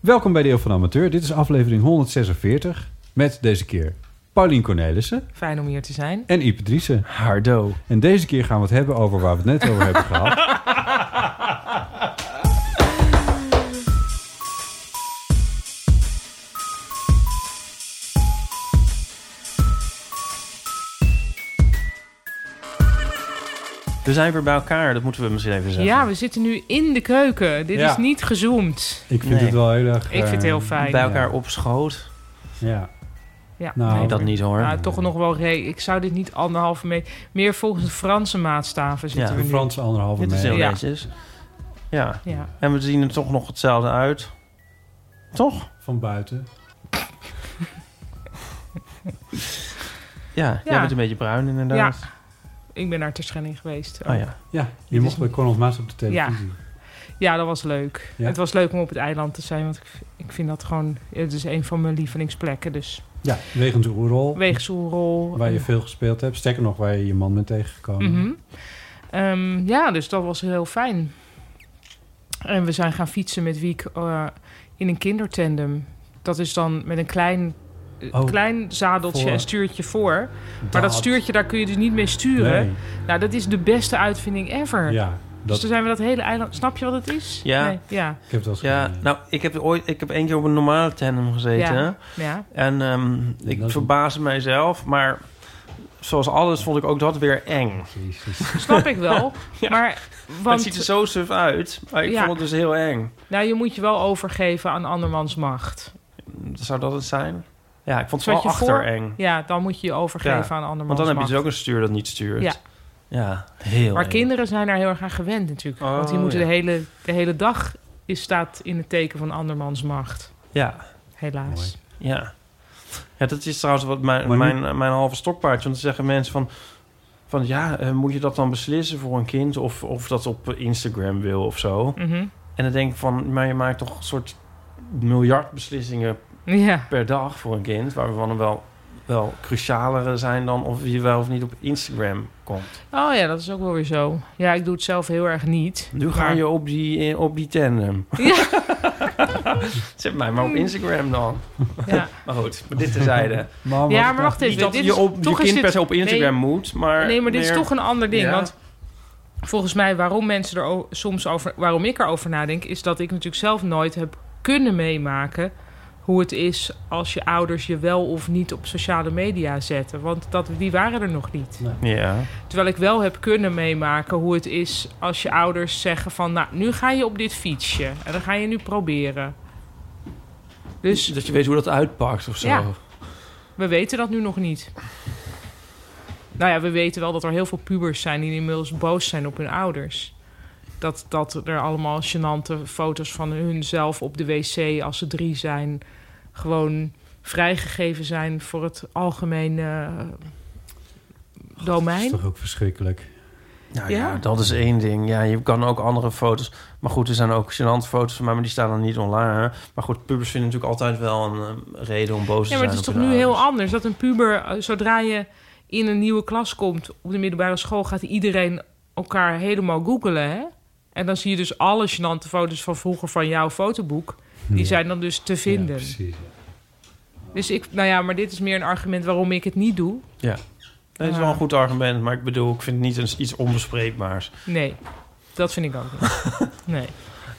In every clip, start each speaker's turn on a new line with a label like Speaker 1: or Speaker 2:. Speaker 1: Welkom bij Deel van Amateur. Dit is aflevering 146 met deze keer Paulien Cornelissen
Speaker 2: Fijn om hier te zijn.
Speaker 1: en Ipe Driessen. Hardo. En deze keer gaan we het hebben over waar we het net over hebben gehad.
Speaker 3: We zijn weer bij elkaar, dat moeten we misschien even zeggen.
Speaker 2: Ja, we zitten nu in de keuken. Dit
Speaker 1: Ja.
Speaker 2: is niet gezoomd.
Speaker 1: Ik vind
Speaker 3: Nee.
Speaker 1: het wel heel erg...
Speaker 2: Ik vind het heel fijn.
Speaker 3: Bij elkaar op schoot.
Speaker 1: Ja.
Speaker 2: Ja.
Speaker 1: Nou,
Speaker 3: Nee, dat niet hoor.
Speaker 2: Nou, toch nog wel re. Ik zou dit niet anderhalve meter. Meer volgens de Franse maatstaven zitten
Speaker 3: Ja,
Speaker 2: we
Speaker 1: De
Speaker 2: nu.
Speaker 1: Franse anderhalve
Speaker 3: Dit is heel
Speaker 1: meter.
Speaker 2: Ja.
Speaker 3: netjes. Ja,
Speaker 2: Ja.
Speaker 3: en we zien er toch nog hetzelfde uit. Toch?
Speaker 1: Van buiten.
Speaker 3: Ja, jij
Speaker 2: Ja.
Speaker 3: bent een beetje bruin inderdaad.
Speaker 2: Ik ben naar Terschelling geweest.
Speaker 3: Oh ja.
Speaker 1: Ja, je
Speaker 2: Dit
Speaker 1: mocht
Speaker 2: is-
Speaker 1: bij Conrad Maas op de televisie.
Speaker 2: Ja, dat was leuk.
Speaker 1: Ja.
Speaker 2: Het was leuk om op het eiland te zijn, want ik, ik vind dat gewoon... Het is een van mijn lievelingsplekken, dus
Speaker 1: Ja, wegens Oerol.
Speaker 2: Weegsoerol.
Speaker 1: Waar je veel gespeeld hebt. Sterker nog, waar je je man bent tegengekomen.
Speaker 2: Mhm. Ehm, ja, dus dat was heel fijn. En we zijn gaan fietsen met Wiek eh, in een kindertandem. Dat is dan met een klein, eh,
Speaker 1: Oh,
Speaker 2: klein zadeltje
Speaker 1: voor.
Speaker 2: en stuurtje voor. Maar dat stuurtje, daar kun je dus niet mee sturen.
Speaker 1: Nee.
Speaker 2: Nou, dat is de beste uitvinding ever.
Speaker 1: Ja,
Speaker 2: Dus
Speaker 1: dat,
Speaker 2: toen zijn we dat hele eiland... Snap je wat het is?
Speaker 3: Ja.
Speaker 2: Nee, ja.
Speaker 1: ik heb het wel eens
Speaker 3: Ja,
Speaker 1: gedaan.
Speaker 3: nou, ik heb ooit, ik heb één keer op een normale tandem gezeten.
Speaker 2: Ja. ja.
Speaker 3: En ehm, ik
Speaker 1: dat is-
Speaker 3: verbaasde mijzelf, maar zoals alles vond ik ook dat weer eng.
Speaker 1: Jezus.
Speaker 2: Snap ik wel. Maar
Speaker 3: Het ziet er
Speaker 2: want,
Speaker 3: zo suf uit, maar ik
Speaker 2: Ja.
Speaker 3: vond het dus heel eng.
Speaker 2: nou, je moet je wel overgeven aan andermans macht.
Speaker 3: Zou dat het zijn? Ja, ik vond het
Speaker 2: Zat
Speaker 3: wel
Speaker 2: je voor?
Speaker 3: achtereng.
Speaker 2: Ja, dan moet je je overgeven aan andermans
Speaker 3: Want dan heb je
Speaker 2: macht.
Speaker 3: dus ook een stuur dat niet stuurt.
Speaker 2: Ja.
Speaker 3: Ja, heel
Speaker 2: Maar
Speaker 3: eng.
Speaker 2: kinderen zijn daar heel erg aan gewend natuurlijk.
Speaker 3: Oh,
Speaker 2: want die moeten
Speaker 3: ja.
Speaker 2: de, hele, de hele dag is, staat in het teken van andermans macht.
Speaker 3: Ja,
Speaker 2: Helaas.
Speaker 1: Mooi.
Speaker 3: ja. Ja, dat is trouwens wat mijn,
Speaker 1: Maar nu-
Speaker 3: mijn, eh, mijn halve stokpaardje. Want dan zeggen mensen van... van ja, eh, moet je dat dan beslissen voor een kind? Of, of dat op Instagram wil of zo.
Speaker 2: Mhm.
Speaker 3: En dan denk ik van... Maar je maakt toch een soort miljard beslissingen
Speaker 2: Ja.
Speaker 3: per dag voor een kind... waarvan er wel, wel crucialere zijn dan of je wel of niet op Instagram komt.
Speaker 2: Oh ja, dat is ook wel weer zo. Ja, ik doe het zelf heel erg niet.
Speaker 3: Nu ga
Speaker 2: Maar-
Speaker 3: je op die, eh, op die tandem.
Speaker 2: Ja.
Speaker 3: Zet mij maar op Instagram dan.
Speaker 2: Hmm. Ja,
Speaker 3: Maar goed, maar dit terzijde.
Speaker 1: Maar
Speaker 2: Ja,
Speaker 1: wat-
Speaker 2: maar wacht
Speaker 3: Niet
Speaker 2: even.
Speaker 3: dat
Speaker 2: Dit
Speaker 3: je
Speaker 2: is,
Speaker 3: op je
Speaker 2: toch is
Speaker 3: kind
Speaker 2: dit-
Speaker 3: per se op Instagram moet, maar...
Speaker 2: Nee, maar dit is
Speaker 3: meer-
Speaker 2: toch een ander ding.
Speaker 3: Ja.
Speaker 2: Want volgens mij waarom mensen er o- soms over... waarom ik erover nadenk... is dat ik natuurlijk zelf nooit heb kunnen meemaken... hoe het is als je ouders je wel of niet op sociale media zetten. Want dat, die waren er nog niet.
Speaker 3: Ja.
Speaker 2: Terwijl ik wel heb kunnen meemaken hoe het is als je ouders zeggen van... nou, nu ga je op dit fietsje en dan ga je nu proberen. Dus
Speaker 3: Dat je weet hoe dat uitpakt of zo.
Speaker 2: Ja. we weten dat nu nog niet. Nou ja, we weten wel dat er heel veel pubers zijn die inmiddels boos zijn op hun ouders. Dat, dat er allemaal gênante foto's van hunzelf op de wc als ze drie zijn... gewoon vrijgegeven zijn voor het algemene eh,
Speaker 1: Dat is
Speaker 2: domein.
Speaker 1: toch ook verschrikkelijk.
Speaker 3: Nou ja.
Speaker 2: Ja.
Speaker 3: dat is één ding. Ja, je kan ook andere foto's... Maar goed, er zijn ook gênante foto's van mij, maar die staan dan niet online. hè. Maar goed, pubers vinden natuurlijk altijd wel een eh, reden om boos te
Speaker 2: Ja,
Speaker 3: zijn
Speaker 2: maar het is
Speaker 3: op
Speaker 2: toch
Speaker 3: hun
Speaker 2: nu heel
Speaker 3: ouders.
Speaker 2: anders. Dat een puber, eh, zodra je in een nieuwe klas komt op de middelbare school, gaat iedereen elkaar helemaal googelen. Hè? En dan zie je dus alle gênante foto's van vroeger van jouw fotoboek. Die zijn dan dus te
Speaker 1: Ja,
Speaker 2: vinden.
Speaker 1: precies.
Speaker 2: dus ik, nou ja, maar dit is meer een argument waarom ik het niet doe. Eh,
Speaker 3: Dat is wel een goed argument, maar ik bedoel, ik vind het niet eens iets onbespreekbaars.
Speaker 2: Nee, dat vind ik ook niet. Nee.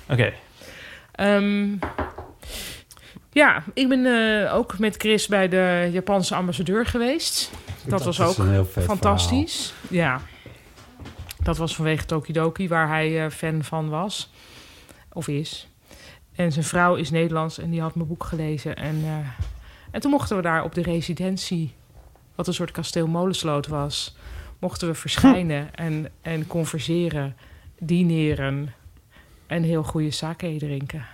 Speaker 3: Oké,
Speaker 2: Ehm, Ja, ik ben eh, ook met Chris bij de Japanse ambassadeur geweest. Dat,
Speaker 1: Dat
Speaker 2: was
Speaker 1: is
Speaker 2: ook
Speaker 1: een heel vet
Speaker 2: fantastisch. Ja. Dat was vanwege Tokidoki, waar hij eh, fan van was. Of is. En zijn vrouw is Nederlands en die had mijn boek gelezen. En, eh, en toen mochten we daar op de residentie, wat een soort kasteel Molensloot was, mochten we verschijnen
Speaker 1: Hm.
Speaker 2: en, en converseren, dineren en heel goede sake drinken.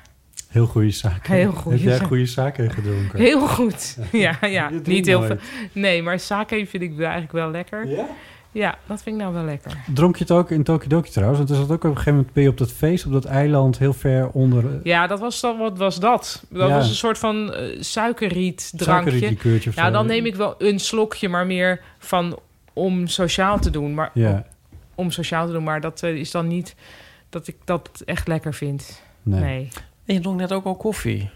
Speaker 1: Heel goede zaken.
Speaker 2: Heel goede
Speaker 1: Heb jij
Speaker 2: zaken.
Speaker 1: goede zaken gedronken?
Speaker 2: Heel goed. Ja, ja.
Speaker 1: drinkt
Speaker 2: Niet heel veel.
Speaker 1: nooit.
Speaker 2: Nee, maar sake vind ik eigenlijk wel lekker.
Speaker 1: Ja?
Speaker 2: Ja, dat vind ik nou wel lekker.
Speaker 1: Dronk je het ook in Tokidoki trouwens? Want er zat ook op een gegeven moment ben je op dat feest, op dat eiland, heel ver onder... eh,
Speaker 2: Ja, dat was dan, wat was dat? Dat
Speaker 1: Ja.
Speaker 2: was een soort van eh, suikerriet drankje.
Speaker 1: Suikerrietliqueurtje of
Speaker 2: Nou,
Speaker 1: zo.
Speaker 2: dan neem ik wel een slokje, maar meer van om sociaal te doen. Maar
Speaker 1: Ja.
Speaker 2: om, om sociaal te doen, maar dat eh, is dan niet dat ik dat echt lekker vind.
Speaker 3: Nee.
Speaker 2: Nee.
Speaker 3: En je dronk net ook al koffie.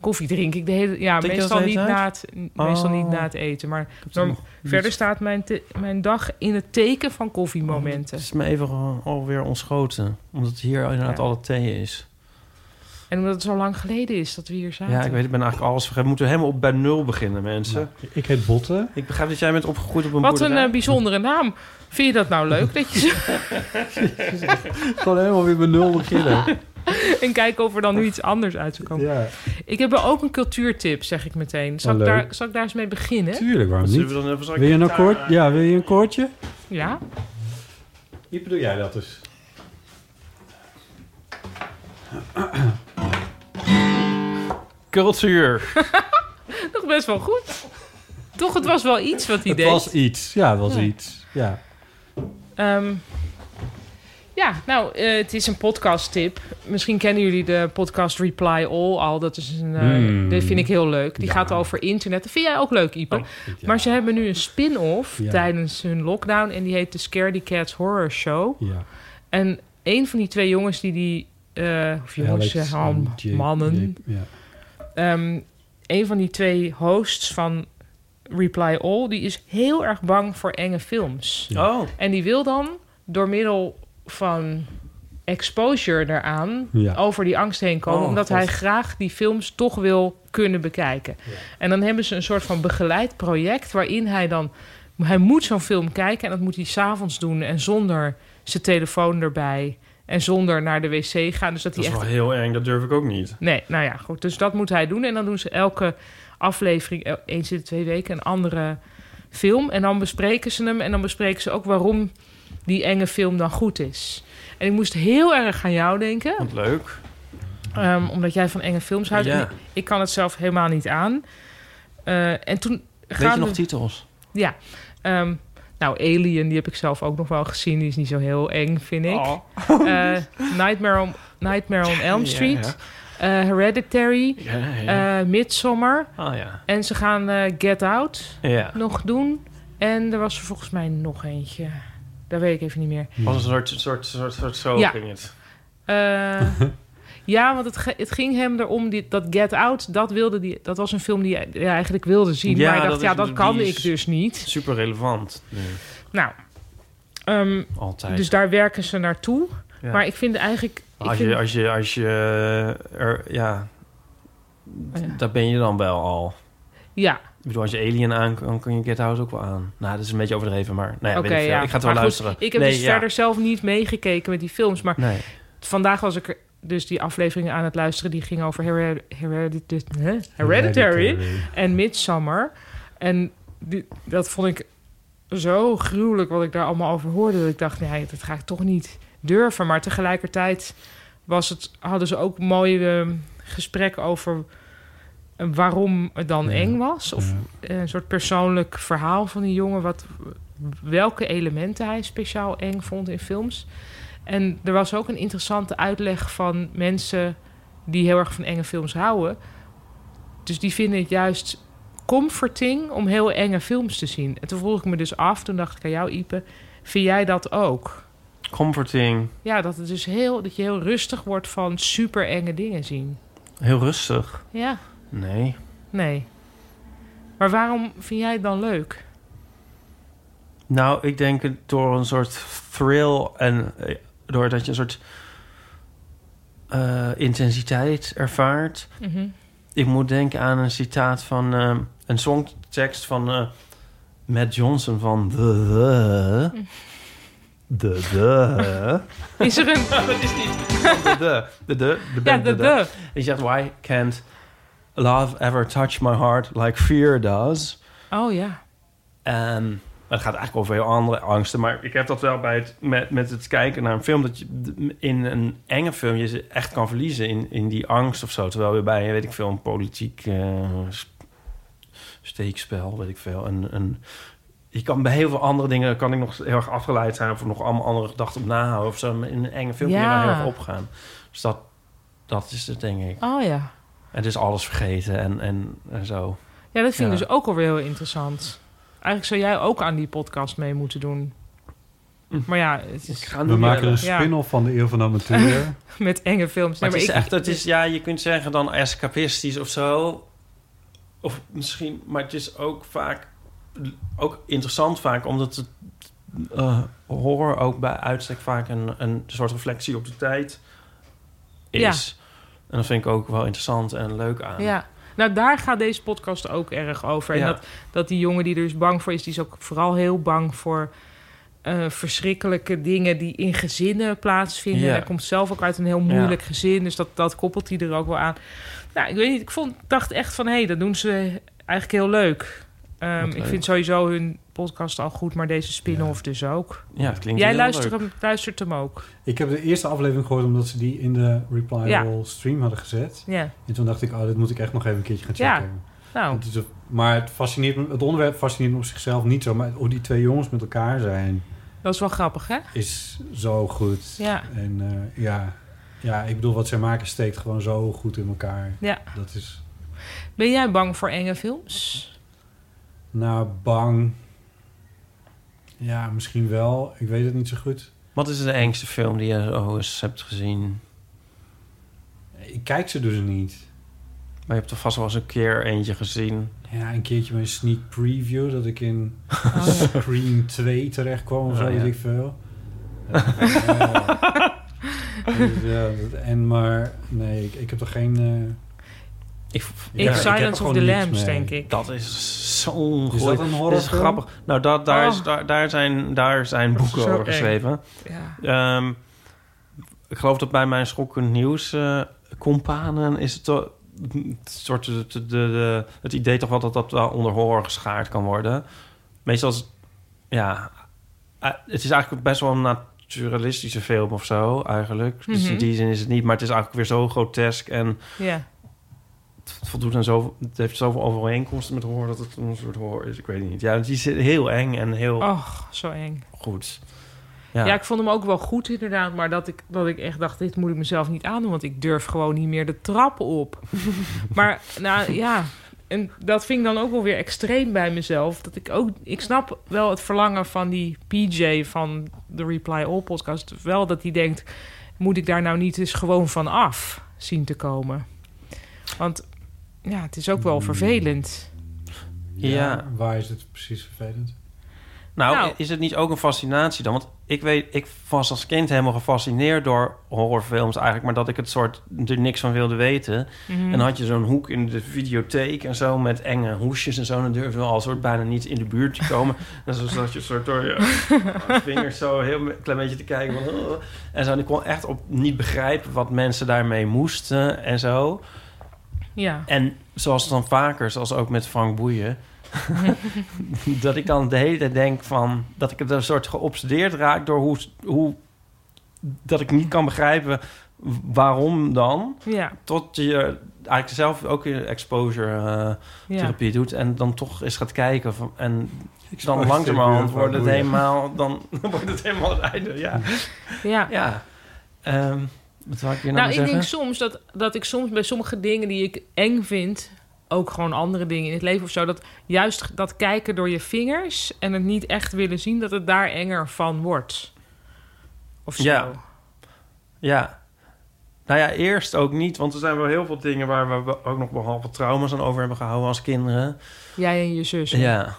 Speaker 2: Koffie drink ik de hele ja,
Speaker 3: Drink je dat
Speaker 2: meestal
Speaker 3: de
Speaker 2: niet,
Speaker 3: hele tijd?
Speaker 2: na het, meestal niet
Speaker 3: Oh.
Speaker 2: na het eten. Maar
Speaker 3: heb
Speaker 2: norm-
Speaker 3: het nog niet.
Speaker 2: verder staat mijn, te- mijn dag in het teken van koffiemomenten.
Speaker 3: Het Oh, is me even al- alweer ontschoten. Omdat hier inderdaad
Speaker 2: Ja.
Speaker 3: alle thee is.
Speaker 2: En omdat het zo lang geleden is dat we hier zaten.
Speaker 3: Ja, ik weet, ik ben eigenlijk alles vergeten. We moeten helemaal op bij nul beginnen, mensen.
Speaker 1: ik heet Botten.
Speaker 3: Ik begrijp dat jij bent opgegroeid op een
Speaker 2: Wat een
Speaker 3: boerderij.
Speaker 2: eh, bijzondere naam. Vind je dat nou leuk dat je zo...
Speaker 1: Gewoon helemaal weer bij nul beginnen.
Speaker 2: en kijken of er dan nu iets anders uit zou komen.
Speaker 1: Ja.
Speaker 2: Ik heb wel ook een cultuurtip, zeg ik meteen. Zal,
Speaker 1: Nou,
Speaker 2: ik
Speaker 1: leuk.
Speaker 2: daar, zal ik daar eens mee beginnen?
Speaker 1: Tuurlijk, waarom niet?
Speaker 3: Zullen we dan even- zal ik
Speaker 1: wil, je een
Speaker 3: gitaar eh,
Speaker 1: akkoord?
Speaker 3: maken?
Speaker 1: ja, wil je een koortje?
Speaker 2: Ja.
Speaker 1: Wie bedoel jij dat dus?
Speaker 3: Cultuur.
Speaker 2: Nog best wel goed. Toch, het was wel iets wat hij
Speaker 1: Het
Speaker 2: deed.
Speaker 1: was iets. Ja, het was
Speaker 2: Ja.
Speaker 1: iets. Ja.
Speaker 2: Ehm, ja, nou, eh, het is een podcast-tip. Misschien kennen jullie de podcast Reply All al. Dat is een, eh
Speaker 1: Hmm.
Speaker 2: die vind ik heel leuk. Die
Speaker 1: Ja. Oh,
Speaker 2: gaat over internet. Dat vind jij ook leuk, Ipe. Maar ze hebben nu een spin-off
Speaker 1: Ja.
Speaker 2: tijdens hun lockdown. En die heet de Scaredy Cats Horror Show.
Speaker 1: Ja.
Speaker 2: En een van die twee jongens die die... eh, of jongens,
Speaker 1: Alex
Speaker 2: eh, ham-
Speaker 1: en Jake-
Speaker 2: mannen.
Speaker 1: Jake- ja.
Speaker 2: Ehm, een van die twee hosts van Reply All, die is heel erg bang voor enge films.
Speaker 3: Ja. Oh.
Speaker 2: En die wil dan door middel van exposure daaraan
Speaker 3: Ja.
Speaker 2: over die angst heen komen,
Speaker 3: Oh,
Speaker 2: omdat
Speaker 3: God.
Speaker 2: hij graag die films toch wil kunnen bekijken. En dan hebben ze een soort van begeleid project waarin hij dan hij moet zo'n film kijken en dat moet hij s'avonds doen en zonder zijn telefoon erbij en zonder naar de wc gaan. Dus dat,
Speaker 3: Dat
Speaker 2: hij
Speaker 3: is
Speaker 2: echt
Speaker 3: wel heel eng, dat durf ik ook niet.
Speaker 2: Nee, nou ja, goed. Dus dat moet hij doen. En dan doen ze elke aflevering, el- eens in de twee weken, een andere film. En dan bespreken ze hem. En dan bespreken ze ook waarom die enge film dan goed is. En ik moest heel erg aan jou denken.
Speaker 3: Wat leuk.
Speaker 2: Ehm, omdat jij van enge films houdt.
Speaker 3: Ja.
Speaker 2: Ik, ik kan het zelf helemaal niet aan. Eh, en toen
Speaker 3: Weet je
Speaker 2: gaande-
Speaker 3: nog titels?
Speaker 2: Ja. Ehm, nou, Alien, die heb ik zelf ook nog wel gezien. Die is niet zo heel eng, vind ik.
Speaker 3: Oh.
Speaker 2: Eh, Nightmare, on, Nightmare on Elm
Speaker 3: Ja,
Speaker 2: Street. eh, Hereditary.
Speaker 3: Ja, ja.
Speaker 2: eh, Midsommar.
Speaker 3: Ah ja.
Speaker 2: En ze gaan eh, Get Out
Speaker 3: Ja.
Speaker 2: nog doen. En er was er volgens mij nog eentje. Daar weet ik even niet meer.
Speaker 3: Was een soort, soort, soort, soort zo
Speaker 2: Ja.
Speaker 3: ging het.
Speaker 2: Eh, ja, want het, ge- het ging hem erom die, dat Get Out, dat, wilde die, dat was een film die hij hij eigenlijk wilde zien. maar hij dacht,
Speaker 3: is-
Speaker 2: ja, dat kan
Speaker 3: die
Speaker 2: ik
Speaker 3: is
Speaker 2: dus niet.
Speaker 3: Super relevant. Nee.
Speaker 2: Nou, ehm,
Speaker 3: Altijd.
Speaker 2: dus daar werken ze naartoe.
Speaker 3: Ja.
Speaker 2: Maar ik vind eigenlijk... ik
Speaker 3: Als
Speaker 2: vind-
Speaker 3: je, als je, als je eh, er, ja,
Speaker 2: Oh ja.
Speaker 3: daar ben je dan wel al.
Speaker 2: Ja.
Speaker 3: Ik bedoel, als je Alien aan dan kun je Get Out ook wel aan. Nou, dat is een beetje overdreven, maar nou ja,
Speaker 2: Oké,
Speaker 3: weet ik, veel.
Speaker 2: ja.
Speaker 3: ik ga het wel
Speaker 2: Maar goed,
Speaker 3: luisteren.
Speaker 2: ik heb
Speaker 3: Nee,
Speaker 2: dus
Speaker 3: ja.
Speaker 2: verder zelf niet meegekeken met die films. Maar
Speaker 3: Nee.
Speaker 2: vandaag was ik er dus die aflevering aan het luisteren. Die ging over Hered- Heredit- hè? Hereditary,
Speaker 1: Hereditary.
Speaker 2: en Midsummer. En die, dat vond ik zo gruwelijk wat ik daar allemaal over hoorde. Dat ik dacht, nee, dat ga ik toch niet durven. Maar tegelijkertijd was het, hadden ze ook mooie eh, gesprekken over eh, waarom het dan eng was. Of eh, een soort persoonlijk verhaal van die jongen. Wat, welke elementen hij speciaal eng vond in films. En er was ook een interessante uitleg van mensen die heel erg van enge films houden. Dus die vinden het juist comforting om heel enge films te zien. En toen vroeg ik me dus af, toen dacht ik aan jou, Ipe, vind jij dat ook?
Speaker 3: Comforting,
Speaker 2: Ja, dat, het dus heel, dat je heel rustig wordt van super enge dingen zien.
Speaker 3: heel rustig.
Speaker 2: Ja,
Speaker 3: Nee.
Speaker 2: nee. Maar waarom vind jij het dan leuk?
Speaker 3: Nou, ik denk het door een soort thrill en eh, doordat je een soort eh, intensiteit ervaart.
Speaker 2: Mhm.
Speaker 3: Ik moet denken aan een citaat van eh, een songtekst van eh, Matt Johnson van de de de de
Speaker 2: Is er een...
Speaker 3: dat is niet... de de de de
Speaker 2: Ja,
Speaker 3: de band
Speaker 2: de de.
Speaker 3: de de. Hij zegt why can't love ever touch my heart like fear does.
Speaker 2: Oh ja.
Speaker 3: En Ehm, het gaat eigenlijk over heel andere angsten. Maar ik heb dat wel bij het, met, met het kijken naar een film. Dat je d- in een enge film je ze echt kan verliezen in, in die angst of zo. Terwijl je bij, weet ik veel, een politiek eh, s- steekspel, weet ik veel. Een, een, je kan bij heel veel andere dingen kan ik nog heel erg afgeleid zijn. Of nog allemaal andere gedachten op nahouden of zo. Maar In een enge film kun je
Speaker 2: Ja.
Speaker 3: daar heel erg opgaan. Dus dat, dat is het, denk ik.
Speaker 2: Oh ja.
Speaker 3: En dus alles vergeten en, en, en zo.
Speaker 2: Ja, dat vind ik
Speaker 3: Ja.
Speaker 2: dus ook alweer heel interessant. Eigenlijk zou jij ook aan die podcast mee moeten doen.
Speaker 3: Hm.
Speaker 2: Maar ja, het is...
Speaker 1: We maken er een spin-off van de Eeuw van de Amateur.
Speaker 2: Met enge films.
Speaker 3: Maar
Speaker 2: Nee,
Speaker 3: het is
Speaker 2: ik-
Speaker 3: echt, het is, ja, je kunt zeggen dan escapistisch of zo. Of misschien, maar het is ook vaak, ook interessant vaak, omdat het eh, horror ook bij uitstek vaak een, een soort reflectie op de tijd is. En dat vind ik ook wel interessant en leuk aan.
Speaker 2: Ja. Nou, daar gaat deze podcast ook erg over. En
Speaker 3: Ja.
Speaker 2: dat, dat die jongen die er dus bang voor is, die is ook vooral heel bang voor eh, verschrikkelijke dingen die in gezinnen plaatsvinden.
Speaker 4: Ja.
Speaker 2: Hij komt zelf ook uit een heel moeilijk gezin, dus dat, dat koppelt hij er ook wel aan. Nou, ik weet niet, ik vond, dacht echt van hé, hey, dat doen ze eigenlijk heel leuk. Ehm,
Speaker 3: Wat
Speaker 2: ik
Speaker 3: leuk.
Speaker 2: vind sowieso hun podcast al goed, maar deze spin-off dus ook.
Speaker 3: Ja, het klinkt
Speaker 2: Jij
Speaker 3: heel
Speaker 2: luistert
Speaker 3: leuk.
Speaker 2: hem, luistert hem ook.
Speaker 1: Ik heb de eerste aflevering gehoord omdat ze die in de Reply
Speaker 2: Ja.
Speaker 1: All stream hadden gezet.
Speaker 2: Ja.
Speaker 1: En toen dacht ik, oh, dit moet ik echt nog even een keertje gaan checken.
Speaker 2: Ja, nou.
Speaker 1: Het is een- maar het, fascineert me, het onderwerp fascineert me op zichzelf niet zo. Maar hoe die twee jongens met elkaar zijn,
Speaker 2: Dat is wel grappig, hè?
Speaker 1: is zo goed.
Speaker 2: Ja.
Speaker 1: En eh, ja. ja, ik bedoel, wat zij maken steekt gewoon zo goed in elkaar.
Speaker 2: Ja.
Speaker 1: Dat is,
Speaker 2: Ben jij bang voor enge films?
Speaker 1: nou, bang. Ja, misschien wel. Ik weet het niet zo goed.
Speaker 3: Wat is de engste film die je zo eens hebt gezien?
Speaker 1: Ik kijk ze dus niet.
Speaker 3: Maar je hebt er vast wel eens een keer eentje gezien.
Speaker 1: Ja, een keertje bij een sneak preview dat ik in Scream 2 terecht kwam of
Speaker 3: Ah,
Speaker 1: zo,
Speaker 3: ja.
Speaker 1: weet ik veel. Ja. Dus ja, dat- en maar, nee, ik, ik heb toch geen... eh,
Speaker 3: Ik,
Speaker 1: Ik Silence
Speaker 3: heb er
Speaker 1: of
Speaker 3: gewoon
Speaker 1: the
Speaker 3: niks
Speaker 1: Lambs, denk ik.
Speaker 3: Dat is zo ongelooflijk.
Speaker 1: Is dat een
Speaker 3: Dit is
Speaker 1: horrorfilm?
Speaker 3: grappig. Nou, dat, daar,
Speaker 1: Oh.
Speaker 3: is, daar, daar zijn, daar zijn
Speaker 1: Dat is
Speaker 3: boeken
Speaker 1: zo
Speaker 3: over
Speaker 1: eng.
Speaker 3: geschreven. Ehm, ik geloof dat bij mijn schokkend nieuws eh, companen is het toch- het soort de, de, de- het idee toch wel dat dat wel onder horror geschaard kan worden. Meestal is het, ja, eh, het is eigenlijk best wel een naturalistische film of zo eigenlijk. Dus in
Speaker 2: Mhm.
Speaker 3: die zin is het niet, maar het is eigenlijk weer zo grotesk en
Speaker 2: Ja.
Speaker 3: het voldoet aan zoveel, het heeft zoveel overeenkomsten met horror dat het een soort horror is. Ik weet het niet. Ja, het is heel eng en heel
Speaker 2: Och, zo eng.
Speaker 3: goed.
Speaker 2: Ja. ik vond hem ook wel goed inderdaad, maar dat ik, dat ik echt dacht, dit moet ik mezelf niet aandoen, want ik durf gewoon niet meer de trap op. maar nou ja, en dat vind ik dan ook wel weer extreem bij mezelf. Dat ik ook, ik snap wel het verlangen van die PJ van de Reply All podcast, wel dat die denkt, moet ik daar nou niet eens gewoon van af zien te komen? Want ja, het is ook wel vervelend.
Speaker 3: Ja.
Speaker 1: Waar is het precies vervelend?
Speaker 3: Nou,
Speaker 2: Nou.
Speaker 3: is het niet ook een fascinatie dan? Want ik weet, ik was als kind helemaal gefascineerd door horrorfilms eigenlijk, maar dat ik het soort er niks van wilde weten.
Speaker 4: Mhm.
Speaker 3: En dan had je zo'n hoek in de videotheek en zo met enge hoesjes en zo, en dan durfde we al soort bijna niet in de buurt te komen. en zo zat je soort door je vingers zo heel een klein beetje te kijken. Van, "Oh." en zo, en ik kon echt op niet begrijpen wat mensen daarmee moesten en zo.
Speaker 2: Ja.
Speaker 3: En zoals dan vaker, zoals ook met Frank Boeien... dat ik dan de hele tijd denk van... dat ik er een soort geobsedeerd raak door hoe, hoe... dat ik niet kan begrijpen waarom dan.
Speaker 2: Ja.
Speaker 3: Tot je eigenlijk zelf ook je exposure eh,
Speaker 2: Ja.
Speaker 3: therapie doet... en dan toch eens gaat kijken. Van, en dan
Speaker 4: steeds meer
Speaker 3: langzamerhand
Speaker 4: Frank
Speaker 3: wordt het
Speaker 4: Boeien.
Speaker 3: helemaal... dan wordt het helemaal het einde, ja.
Speaker 2: Ja.
Speaker 3: ja. Ehm, wat wou ik hier
Speaker 2: Nou, ik
Speaker 3: nou, weer zeggen?
Speaker 2: denk soms dat, dat ik soms bij sommige dingen die ik eng vind, ook gewoon andere dingen in het leven of zo, dat juist dat kijken door je vingers en het niet echt willen zien, dat het daar enger van wordt. Of zo.
Speaker 3: Ja. Ja. Nou ja, eerst ook niet, want er zijn wel heel veel dingen waar we ook nog behalve trauma's aan over hebben gehouden als kinderen.
Speaker 2: Jij en je zus.
Speaker 3: Ja.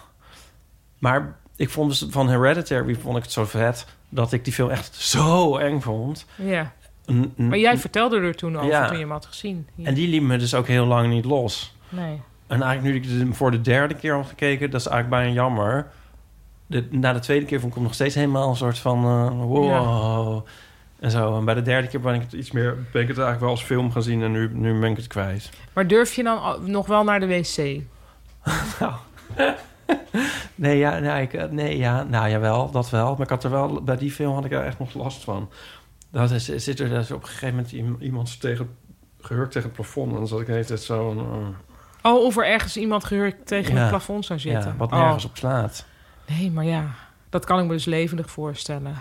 Speaker 3: Maar ik vond dus van Hereditary vond ik het zo vet dat ik die film echt zo eng vond.
Speaker 2: Ja.
Speaker 3: een- een-
Speaker 2: Maar jij vertelde er toen over,
Speaker 3: Ja.
Speaker 2: toen je hem had gezien. Ja.
Speaker 3: En die liep me dus ook heel lang niet los.
Speaker 2: Nee.
Speaker 3: En eigenlijk nu ik het dus voor de derde keer had gekeken, dat is eigenlijk bijna jammer. De, na de tweede keer vond ik hem nog steeds helemaal een soort van eh, wow. En zo. En bij de derde keer ben ik het iets meer. Ben ik het eigenlijk wel als film gaan zien en nu, nu ben ik het kwijt.
Speaker 2: Maar durf je dan al- nog wel naar de wc? Nou.
Speaker 3: Nee, ja, nou, ik, eh, nee, ja, nou jawel, dat wel. Maar ik had er wel, bij die film had ik er echt nog last van. Dat is, zit er dus op een gegeven moment iem- iemand tegen, gehurkt tegen het plafond. En dan zat ik de hele tijd zo... een,
Speaker 2: Oh, of er ergens iemand gehurkt tegen
Speaker 3: Ja.
Speaker 2: het plafond zou
Speaker 3: Ja,
Speaker 2: zitten.
Speaker 3: wat
Speaker 2: Oh.
Speaker 3: nergens op slaat.
Speaker 2: Nee, maar ja, dat kan ik me dus levendig voorstellen.
Speaker 3: eh,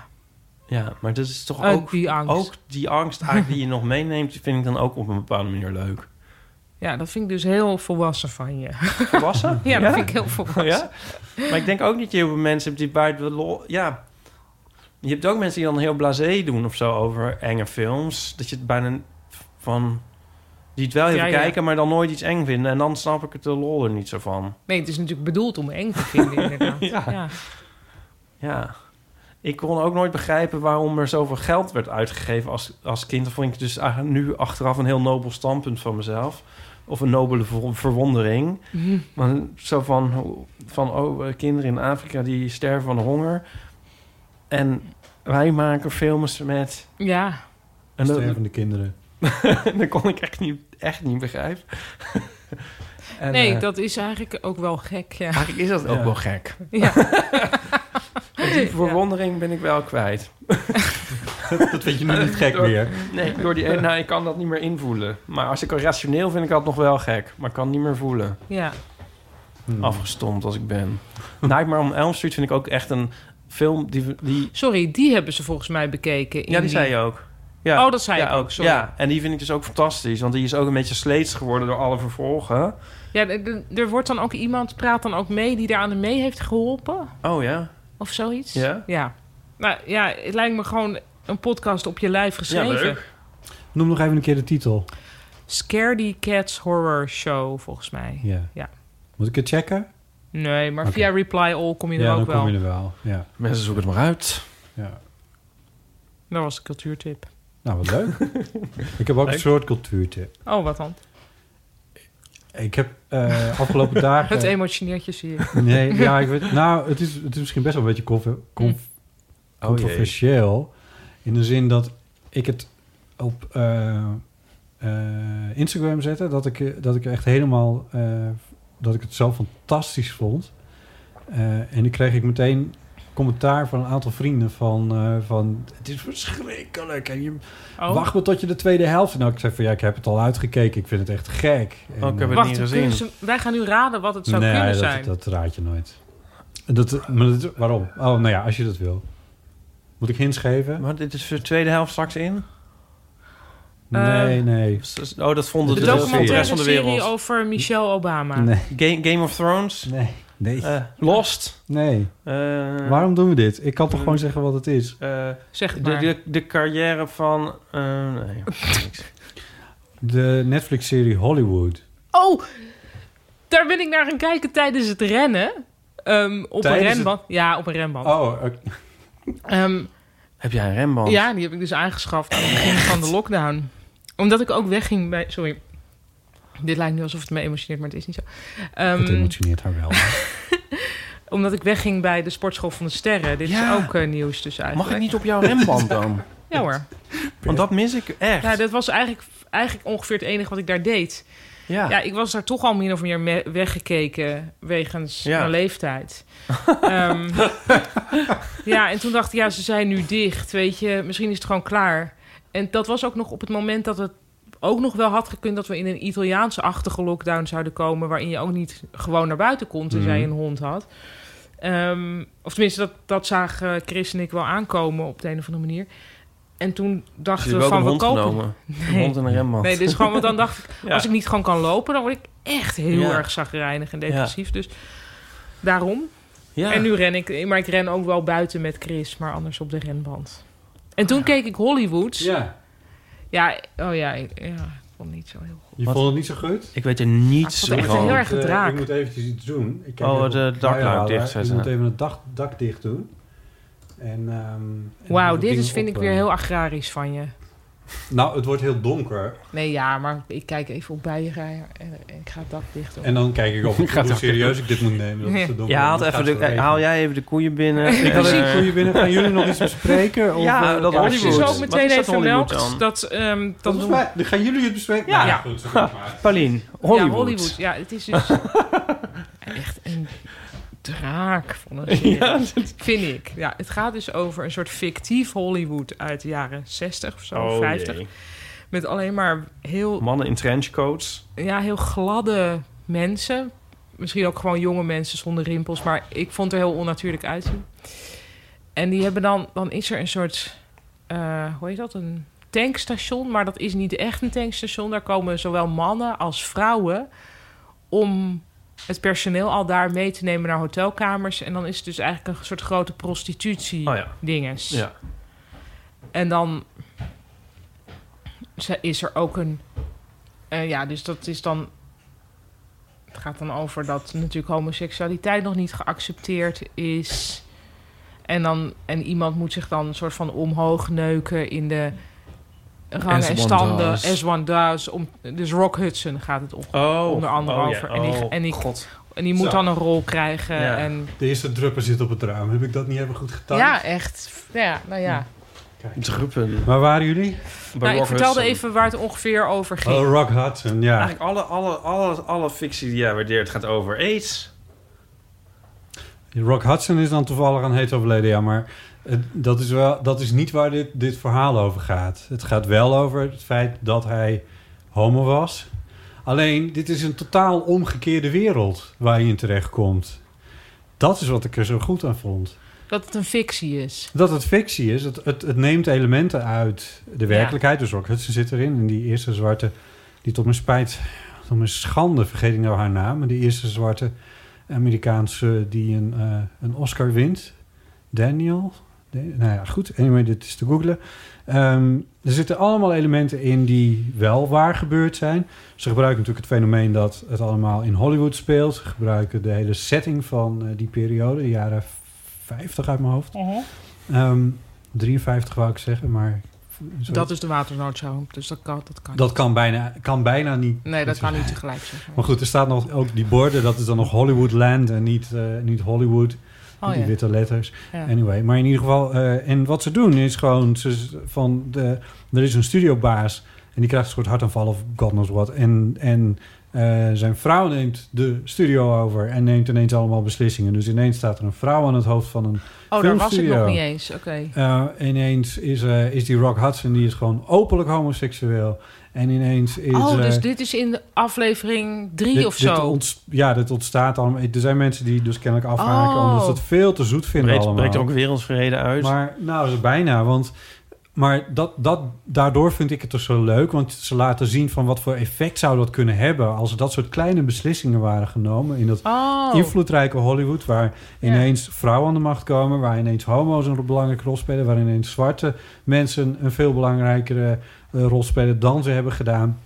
Speaker 3: ja, maar dat is toch
Speaker 2: Ook
Speaker 3: ook...
Speaker 2: Oh, die angst.
Speaker 3: Ook die angst eigenlijk die je nog meeneemt, die vind ik dan ook op een bepaalde manier leuk.
Speaker 2: Ja, dat vind ik dus heel volwassen van je.
Speaker 3: Volwassen?
Speaker 2: ja, dat vind ik heel volwassen.
Speaker 3: Ja? Maar ik denk ook niet dat je heel veel mensen hebt die bij de lol... Ja, je hebt ook mensen die dan heel blasé doen of zo over enge films. Dat je het bijna van... Die het wel even
Speaker 2: Ja, ja.
Speaker 3: kijken, maar dan nooit iets eng vinden. En dan snap ik het de lol er niet zo van.
Speaker 2: Nee, het is natuurlijk bedoeld om eng te vinden, inderdaad.
Speaker 3: Ja.
Speaker 2: ja.
Speaker 3: Ja. Ik kon ook nooit begrijpen waarom er zoveel geld werd uitgegeven als, als kind. Dat vond ik dus eigenlijk nu achteraf een heel nobel standpunt van mezelf. Of een nobele ver- verwondering.
Speaker 2: Mhm.
Speaker 3: Maar zo van, van oh, eh, kinderen in Afrika die sterven van honger. En wij maken films met...
Speaker 2: Ja.
Speaker 3: En dat-
Speaker 1: Stervende kinderen.
Speaker 3: dat kon ik echt niet, echt niet begrijpen. En,
Speaker 2: nee,
Speaker 3: eh,
Speaker 2: dat is eigenlijk ook wel gek, ja.
Speaker 3: Eigenlijk is dat ook
Speaker 2: Ja.
Speaker 3: wel gek.
Speaker 2: Ja.
Speaker 3: Die verwondering ben ik wel kwijt.
Speaker 1: dat vind je nu niet gek
Speaker 3: Door-
Speaker 1: meer.
Speaker 3: Nee, door die, nou, ik kan dat niet meer invoelen. Maar als ik al rationeel vind ik dat nog wel gek. Maar ik kan het niet meer voelen.
Speaker 2: Ja.
Speaker 1: Hmm.
Speaker 3: Afgestomd als ik ben. Nightmare on Elm Street vind ik ook echt een film die... die
Speaker 2: Sorry, die hebben ze volgens mij bekeken. in
Speaker 3: ja, die zei je ook. Ja.
Speaker 2: Oh, dat zei
Speaker 3: ja,
Speaker 2: ik ook, sorry.
Speaker 3: Ja, en die vind ik dus ook fantastisch. Want die is ook een beetje sleets geworden door alle vervolgen.
Speaker 2: Ja, d- d- er wordt dan ook iemand, praat dan ook mee, die daar aan de mee heeft geholpen
Speaker 3: Oh ja.
Speaker 2: of zoiets.
Speaker 3: Ja?
Speaker 2: Ja. Nou ja, het lijkt me gewoon een podcast op je lijf geschreven.
Speaker 1: Noem nog even een keer de titel.
Speaker 2: Scaredy Cats Horror Show, volgens mij.
Speaker 1: Ja.
Speaker 2: ja.
Speaker 1: Moet ik het checken?
Speaker 2: Nee, maar
Speaker 1: Oké.
Speaker 2: via Reply All kom je
Speaker 1: ja,
Speaker 2: er
Speaker 1: dan
Speaker 2: ook wel.
Speaker 1: kom je er wel. Ja.
Speaker 3: Mensen zoeken het maar uit.
Speaker 1: Ja.
Speaker 2: Dat was een cultuurtip.
Speaker 1: Nou, wat leuk. ik heb ook
Speaker 2: Leuk.
Speaker 1: een soort cultuurtip.
Speaker 2: Oh, wat dan?
Speaker 1: Ik heb eh, afgelopen dagen...
Speaker 2: Het emotioneert je, zie ik.
Speaker 1: Nee, ja, ik weet... Nou, het is, het is misschien best wel een beetje conf-
Speaker 2: Mm. Oh,
Speaker 1: conf-
Speaker 3: jee.
Speaker 1: controversieel. In de zin dat ik het op eh, eh, Instagram zette. Dat ik, eh, dat ik echt helemaal... eh, dat ik het zo fantastisch vond. Eh, en nu kreeg ik meteen commentaar van een aantal vrienden van... eh, van het is verschrikkelijk. En je,
Speaker 2: Oh.
Speaker 1: Wacht maar tot je de tweede helft... Nou, ik zei van ja, ik heb het al uitgekeken. Ik vind het echt gek. En,
Speaker 3: Oh, ik heb het
Speaker 1: eh,
Speaker 2: Wacht,
Speaker 3: niet gezien.
Speaker 2: kunnen ze- wij gaan nu raden wat het zou
Speaker 1: nee,
Speaker 2: kunnen
Speaker 1: dat,
Speaker 2: zijn.
Speaker 1: dat raad je nooit. Dat, maar dat- waarom? Oh, nou ja, als je dat wil. Moet ik hints geven?
Speaker 3: Maar dit is de tweede helft straks in?
Speaker 1: nee, nee.
Speaker 3: Oh, dat vonden
Speaker 2: De
Speaker 3: de, de
Speaker 2: documentaire
Speaker 3: rest van de wereld.
Speaker 2: serie over Michelle Obama.
Speaker 1: Nee.
Speaker 3: Game, Game of Thrones?
Speaker 1: Nee. Nee.
Speaker 3: Eh, Lost?
Speaker 1: nee.
Speaker 3: Eh,
Speaker 1: waarom doen we dit? Ik kan toch
Speaker 3: eh,
Speaker 1: gewoon zeggen wat het is?
Speaker 3: eh,
Speaker 2: Zeg het
Speaker 3: de,
Speaker 2: maar.
Speaker 3: de, de carrière van... eh, nee, niks.
Speaker 1: De Netflix-serie Hollywood.
Speaker 2: Oh, daar ben ik naar gaan kijken tijdens het rennen. Ehm, op
Speaker 1: Tijdens
Speaker 2: een
Speaker 1: het-
Speaker 2: renband. Ja, op een renband.
Speaker 1: Oh,
Speaker 2: Ehm,
Speaker 3: Heb jij een remband?
Speaker 2: ja, die heb ik dus aangeschaft aan het begin van de lockdown. Omdat ik ook wegging bij... Sorry. Dit lijkt nu alsof het me emotioneert, maar het is niet zo. Ehm,
Speaker 1: het emotioneert haar wel.
Speaker 2: omdat ik wegging bij de sportschool van de sterren. Dit
Speaker 3: Ja.
Speaker 2: is ook eh, nieuws dus eigenlijk.
Speaker 3: Mag ik niet op jouw remband dan?
Speaker 2: Ja hoor.
Speaker 3: Want dat mis ik echt.
Speaker 2: Ja, dat was eigenlijk, eigenlijk ongeveer het enige wat ik daar deed.
Speaker 3: Ja.
Speaker 2: Ja, ik was daar toch al min of meer me- weggekeken wegens
Speaker 3: Ja.
Speaker 2: mijn leeftijd. Ehm, ja, en toen dacht ik, ja, ze zijn nu dicht, weet je. Misschien is het gewoon klaar. En dat was ook nog op het moment dat het ook nog wel had gekund... dat we in een Italiaanse-achtige lockdown zouden komen... waarin je ook niet gewoon naar buiten kon, tenzij je
Speaker 1: Mhm.
Speaker 2: een hond had. Ehm, of tenminste, dat, dat zagen Chris en ik wel aankomen op de een of andere manier. En toen
Speaker 3: Ze
Speaker 2: dachten
Speaker 3: hebben
Speaker 2: we
Speaker 3: ook
Speaker 2: van,
Speaker 3: een
Speaker 2: we
Speaker 3: hond
Speaker 2: kopen...
Speaker 3: genomen. Een hond en een remband.
Speaker 2: Nee, dus gewoon, want dan dacht ik,
Speaker 3: Ja.
Speaker 2: als ik niet gewoon kan lopen, dan word ik echt heel
Speaker 3: Ja.
Speaker 2: erg zagrijnig en depressief. Dus daarom.
Speaker 3: Ja.
Speaker 2: En nu ren ik, maar ik ren ook wel buiten met Chris, maar anders op de renband. En
Speaker 3: Ah.
Speaker 2: toen keek ik Hollywoods.
Speaker 1: ja.
Speaker 2: Ja, oh ja, ik, ja, ik vond het niet zo heel goed.
Speaker 1: Je
Speaker 3: Wat?
Speaker 1: vond het niet zo goed?
Speaker 3: Ik weet er
Speaker 2: Ah,
Speaker 3: niets
Speaker 2: ik vond het echt
Speaker 3: van.
Speaker 2: heel erg
Speaker 1: Eh,
Speaker 2: gedraak.
Speaker 1: ik moet eventjes iets doen. Ik kijk
Speaker 3: Oh,
Speaker 1: even
Speaker 3: de
Speaker 1: op
Speaker 3: dakluik
Speaker 1: camera.
Speaker 3: dichtzetten.
Speaker 1: Ik moet even het dak, dak dicht doen. En, ehm, en
Speaker 2: Wauw,
Speaker 1: dat
Speaker 2: dit
Speaker 1: ding
Speaker 2: is, vind
Speaker 1: op,
Speaker 2: ik weer
Speaker 1: eh,
Speaker 2: heel agrarisch van je.
Speaker 1: Nou, het wordt heel donker.
Speaker 2: Nee, ja, maar ik kijk even op bijenrij en, en ik ga het dak dicht doen.
Speaker 1: En dan kijk ik op
Speaker 3: Ik ga
Speaker 1: hoe
Speaker 3: het
Speaker 1: serieus
Speaker 3: ook-
Speaker 1: ik dit moet nemen. Dat
Speaker 2: Ja.
Speaker 1: is te donker.
Speaker 3: Ja, haalt
Speaker 1: Dan
Speaker 3: even
Speaker 1: gaat het
Speaker 3: de-
Speaker 1: regenen.
Speaker 3: haal jij even de koeien binnen.
Speaker 1: Ik had
Speaker 3: En,
Speaker 1: een
Speaker 3: eh,
Speaker 1: koeien binnen. Gaan jullie nog iets bespreken? Of,
Speaker 3: Ja,
Speaker 1: eh,
Speaker 3: dat
Speaker 2: Ja,
Speaker 3: Hollywood.
Speaker 2: precies ook
Speaker 3: Wat
Speaker 2: meteen
Speaker 3: is dat
Speaker 2: even
Speaker 3: Hollywood
Speaker 2: melkt
Speaker 3: dan?
Speaker 2: dat... ehm, dat
Speaker 1: Volgens
Speaker 2: doen-
Speaker 1: mij, dan gaan jullie het bespreken.
Speaker 2: Ja.
Speaker 1: Nou, goed, zo goed maar.
Speaker 3: Paulien, Hollywood.
Speaker 2: Ja, Hollywood. Ja, het is dus echt een draak van een serie.
Speaker 3: Ja,
Speaker 2: Vind ik. Ja, het gaat dus over een soort fictief Hollywood uit de jaren 60 of zo,
Speaker 3: Oh,
Speaker 2: 50.
Speaker 3: jee.
Speaker 2: Met alleen maar heel,
Speaker 3: Mannen in trenchcoats.
Speaker 2: ja, heel gladde mensen. Misschien ook gewoon jonge mensen zonder rimpels. Maar ik vond er heel onnatuurlijk uitzien. En die hebben dan... Dan is er een soort... eh, hoe heet dat? Een tankstation. Maar dat is niet echt een tankstation. Daar komen zowel mannen als vrouwen... om het personeel al daar mee te nemen naar hotelkamers. En dan is het dus eigenlijk een soort grote
Speaker 3: Oh ja.
Speaker 2: prostitutie-dinges.
Speaker 3: Ja.
Speaker 2: En dan ze- is er ook een. eh, ja, dus dat is dan. Het gaat dan over dat natuurlijk homoseksualiteit nog niet geaccepteerd is. En, dan, en iemand moet zich dan een soort van omhoog neuken in de rangen en
Speaker 3: S1000.
Speaker 2: standen. S1000. Om, dus Rock Hudson gaat het op,
Speaker 3: Oh.
Speaker 2: onder andere
Speaker 3: Oh, ja.
Speaker 2: over. En die,
Speaker 3: Oh,
Speaker 2: en die,
Speaker 3: God.
Speaker 2: En die moet
Speaker 1: Zo.
Speaker 2: dan een rol krijgen.
Speaker 1: Ja.
Speaker 2: En,
Speaker 1: De eerste druppel zit op het raam. Heb ik dat niet even goed gedaan?
Speaker 2: ja, echt. Ja, nou ja.
Speaker 3: Druppen.
Speaker 1: Waar waren jullie?
Speaker 2: Nou, ik vertelde even waar het ongeveer over ging. Ah.
Speaker 1: Oh, Rock Hudson, ja.
Speaker 3: Eigenlijk alle, alle, alle, alle fictie die jij waardeert gaat over aids.
Speaker 1: Rock Hudson is dan toevallig aan heet overleden, ja. Maar eh, dat is, wel, dat is niet waar dit, dit verhaal over gaat. Het gaat wel over het feit dat hij homo was. Alleen, dit is een totaal omgekeerde wereld waar je in terechtkomt. Dat is wat ik er zo goed aan vond.
Speaker 2: Dat het een fictie is.
Speaker 1: Dat het fictie is, het, het, het neemt elementen uit de werkelijkheid. Dus Rock Hudson zit erin. En die eerste zwarte, die tot mijn spijt, tot mijn schande, vergeet ik nou haar naam. Maar die eerste zwarte Amerikaanse die een, eh, een Oscar wint. Daniel? Nee, nou ja, goed. Anyway, dit is te googlen. Ehm, er zitten allemaal elementen in die wel waar gebeurd zijn. Ze gebruiken natuurlijk het fenomeen dat het allemaal in Hollywood speelt. Ze gebruiken de hele setting van eh, die periode, de jaren 50 uit mijn hoofd. Ehm, 53 wou ik zeggen, maar... zo-
Speaker 2: Dat is de waternoodzaak, dus dat kan, dat kan
Speaker 1: dat
Speaker 2: niet.
Speaker 1: kan bijna, kan bijna niet.
Speaker 2: Nee, dat kan niet tegelijk zeggen.
Speaker 1: Maar goed, er staat nog ook die borden. Dat is dan nog Hollywoodland en niet, eh, niet Hollywood.
Speaker 2: Oh,
Speaker 1: die
Speaker 2: ja.
Speaker 1: witte letters.
Speaker 2: Ja.
Speaker 1: Anyway, maar in ieder geval... eh, en wat ze doen is gewoon... Ze, van de, er is een studiobaas en die krijgt een soort hartaanval of god knows what. En, en eh, zijn vrouw neemt de studio over en neemt ineens allemaal beslissingen. Dus ineens staat er een vrouw aan het hoofd van een
Speaker 2: Oh, daar was ik
Speaker 1: filmstudio.
Speaker 2: nog niet eens. Oké.
Speaker 1: Eh, ineens is, eh, is die Rock Hudson, die is gewoon openlijk homoseksueel. En ineens is...
Speaker 2: Oh,
Speaker 1: eh,
Speaker 2: dus dit is in de aflevering drie
Speaker 1: dit-
Speaker 2: of zo.
Speaker 1: dit ont- ja, dit ontstaat allemaal. Er zijn mensen die dus kennelijk afhaken
Speaker 2: Oh.
Speaker 1: omdat ze het veel te zoet vinden
Speaker 3: Breekt,
Speaker 1: allemaal.
Speaker 3: breekt er ook wereldvrede uit.
Speaker 1: Maar nou, dat is bijna, want... Maar dat, dat, daardoor vind ik het toch zo leuk. Want ze laten zien van wat voor effect zou dat kunnen hebben... als er dat soort kleine beslissingen waren genomen... in dat
Speaker 2: Oh.
Speaker 1: invloedrijke Hollywood... waar
Speaker 2: Ja.
Speaker 1: ineens vrouwen aan de macht komen... waar ineens homo's een belangrijke rol spelen... waar ineens zwarte mensen een veel belangrijkere eh, rol spelen... dan ze hebben gedaan.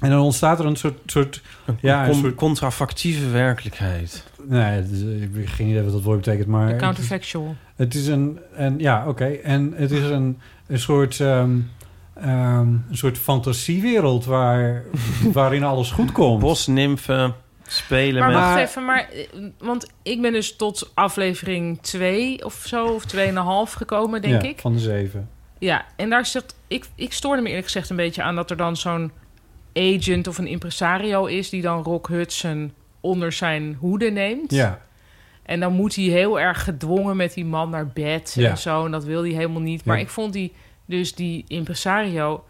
Speaker 1: En dan ontstaat er een soort... soort ja, een
Speaker 3: Con-
Speaker 1: soort,
Speaker 3: Contrafactieve werkelijkheid.
Speaker 1: nee, het is- ik heb geen idee wat dat woord betekent, maar...
Speaker 2: De counterfactual.
Speaker 1: Het is een, en ja, oké. En het is een, een soort, ehm, ehm, een soort fantasiewereld waar, waarin alles goed komt.
Speaker 3: Bosnimfen spelen
Speaker 2: Maar
Speaker 3: met...
Speaker 2: wacht even, maar, eh, want ik ben dus tot aflevering 2 of zo, of 2,5 gekomen, denk
Speaker 1: Ja,
Speaker 2: ik.
Speaker 1: Van de zeven.
Speaker 2: Ja, en daar zit. Ik, ik stoorde me eerlijk gezegd een beetje aan dat er dan zo'n agent of een impresario is die dan Rock Hudson onder zijn hoede neemt.
Speaker 1: Ja.
Speaker 2: En dan moet hij heel erg gedwongen met die man naar bed
Speaker 1: Ja.
Speaker 2: en zo. En dat wil hij helemaal niet. Maar
Speaker 1: Ja.
Speaker 2: ik vond die, dus die impresario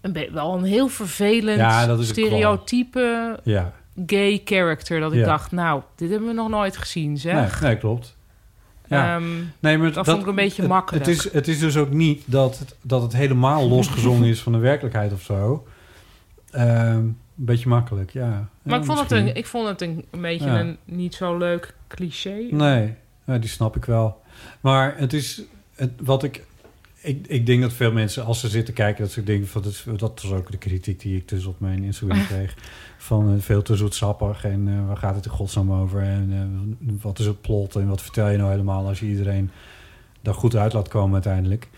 Speaker 2: een be- wel een heel vervelend
Speaker 1: Ja, dat is een
Speaker 2: stereotype
Speaker 1: Ja.
Speaker 2: gay character. Dat ik
Speaker 1: Ja.
Speaker 2: dacht, nou, dit hebben we nog nooit gezien,
Speaker 1: Nee,
Speaker 2: zeg.
Speaker 1: nee, klopt. Ja.
Speaker 2: Ehm,
Speaker 1: Nee, maar
Speaker 2: dat, vond ik een beetje
Speaker 1: het-
Speaker 2: makkelijk.
Speaker 1: Het is, het is dus ook niet dat het, dat het helemaal losgezongen is van de werkelijkheid of zo. Ehm, een beetje makkelijk, ja.
Speaker 2: Maar
Speaker 1: Ja,
Speaker 2: ik, vond het
Speaker 1: misschien.
Speaker 2: een, ik vond het een, een beetje
Speaker 1: Ja.
Speaker 2: een niet zo leuk cliché.
Speaker 1: Nee, ja, die snap ik wel. Maar het is het, wat ik, ik. Ik denk dat veel mensen, als ze zitten kijken, dat ze denken van. Dat, is- dat was ook de kritiek die ik dus op mijn Instagram kreeg. Van eh, veel te zoetsappig en eh, waar gaat het in godsnaam over? En eh, wat is het plot en wat vertel je nou helemaal als je iedereen daar goed uit laat komen uiteindelijk?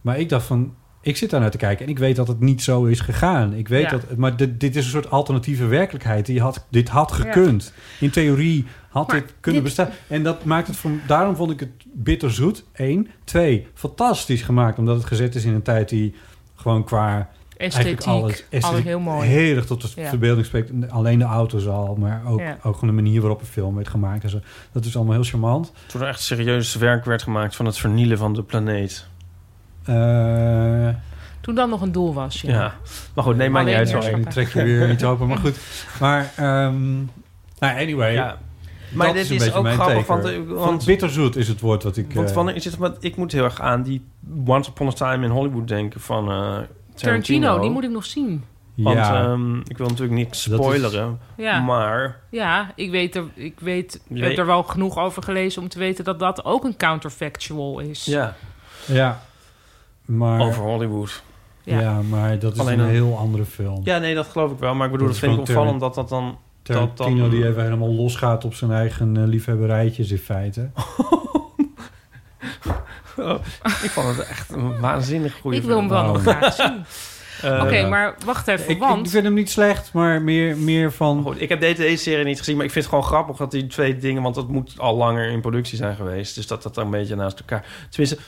Speaker 1: Maar ik dacht van. Ik zit daar naar te kijken en ik weet dat het niet zo is gegaan. Ik weet
Speaker 2: Ja.
Speaker 1: dat, maar dit, dit is een soort alternatieve werkelijkheid. Die had, dit had gekund. In theorie had
Speaker 2: Maar
Speaker 1: dit kunnen
Speaker 2: dit-
Speaker 1: bestaan. En dat maakt het van, daarom vond ik het bitterzoet. Eén. Twee, fantastisch gemaakt, omdat het gezet is in een tijd die gewoon qua.
Speaker 2: Esthetiek, alles heel mooi.
Speaker 1: Heel erg tot de
Speaker 2: Ja.
Speaker 1: verbeelding spreekt. En Alleen de auto's al, maar ook,
Speaker 2: Ja.
Speaker 1: ook gewoon de manier waarop een film werd gemaakt. En zo. Dat is allemaal heel charmant.
Speaker 3: Toen er echt serieus werk werd gemaakt van het vernielen van de planeet.
Speaker 1: Eh,
Speaker 2: Toen dat nog een doel was. Ja.
Speaker 3: Ja. Maar goed, nee, maakt niet uit.
Speaker 2: Alleen
Speaker 3: sorry.
Speaker 1: Ik trek je weer iets open, maar goed. Maar ehm, nou, anyway.
Speaker 3: Ja. Maar dit is ook grappig, want, eh, want-
Speaker 1: bitterzoet is het woord wat ik...
Speaker 3: Want
Speaker 1: eh,
Speaker 3: wanneer is het, want ik moet heel erg aan die Once Upon a Time in Hollywood denken van eh, Tarantino.
Speaker 2: Tarantino, die moet ik nog zien.
Speaker 3: Want
Speaker 1: Ja.
Speaker 3: ehm, ik wil natuurlijk niks
Speaker 1: Dat is-
Speaker 3: spoileren,
Speaker 2: Ja.
Speaker 3: maar...
Speaker 2: Ja, ik weet er, ik weet, ik
Speaker 3: Jij-
Speaker 2: heb er wel genoeg over gelezen om te weten dat dat ook een counterfactual is.
Speaker 3: Ja,
Speaker 1: ja, maar...
Speaker 3: over Hollywood.
Speaker 1: Ja, maar dat is
Speaker 3: Alleen
Speaker 1: een
Speaker 3: dan-
Speaker 1: heel andere film.
Speaker 3: Ja, nee, dat geloof ik wel. Maar ik bedoel,
Speaker 1: Dat
Speaker 3: dat
Speaker 1: is
Speaker 3: vind ik
Speaker 1: gewoon
Speaker 3: opvallend dat dat dan... dat dan-
Speaker 1: Tarantino die even helemaal losgaat op zijn eigen eh, liefhebberijtjes in feite.
Speaker 3: Oh, ik vond het echt een waanzinnig goede
Speaker 2: Ik wil hem
Speaker 3: film.
Speaker 2: wel nog graag zien.
Speaker 3: Eh,
Speaker 2: Oké, maar wacht even,
Speaker 1: Ik,
Speaker 2: want...
Speaker 1: ik vind hem niet slecht, maar meer, meer van...
Speaker 3: Goed, ik heb deze, deze serie niet gezien, maar ik vind het gewoon grappig dat die twee dingen, want dat moet al langer in productie zijn geweest, dus dat dat dan een beetje naast elkaar. Tenminste,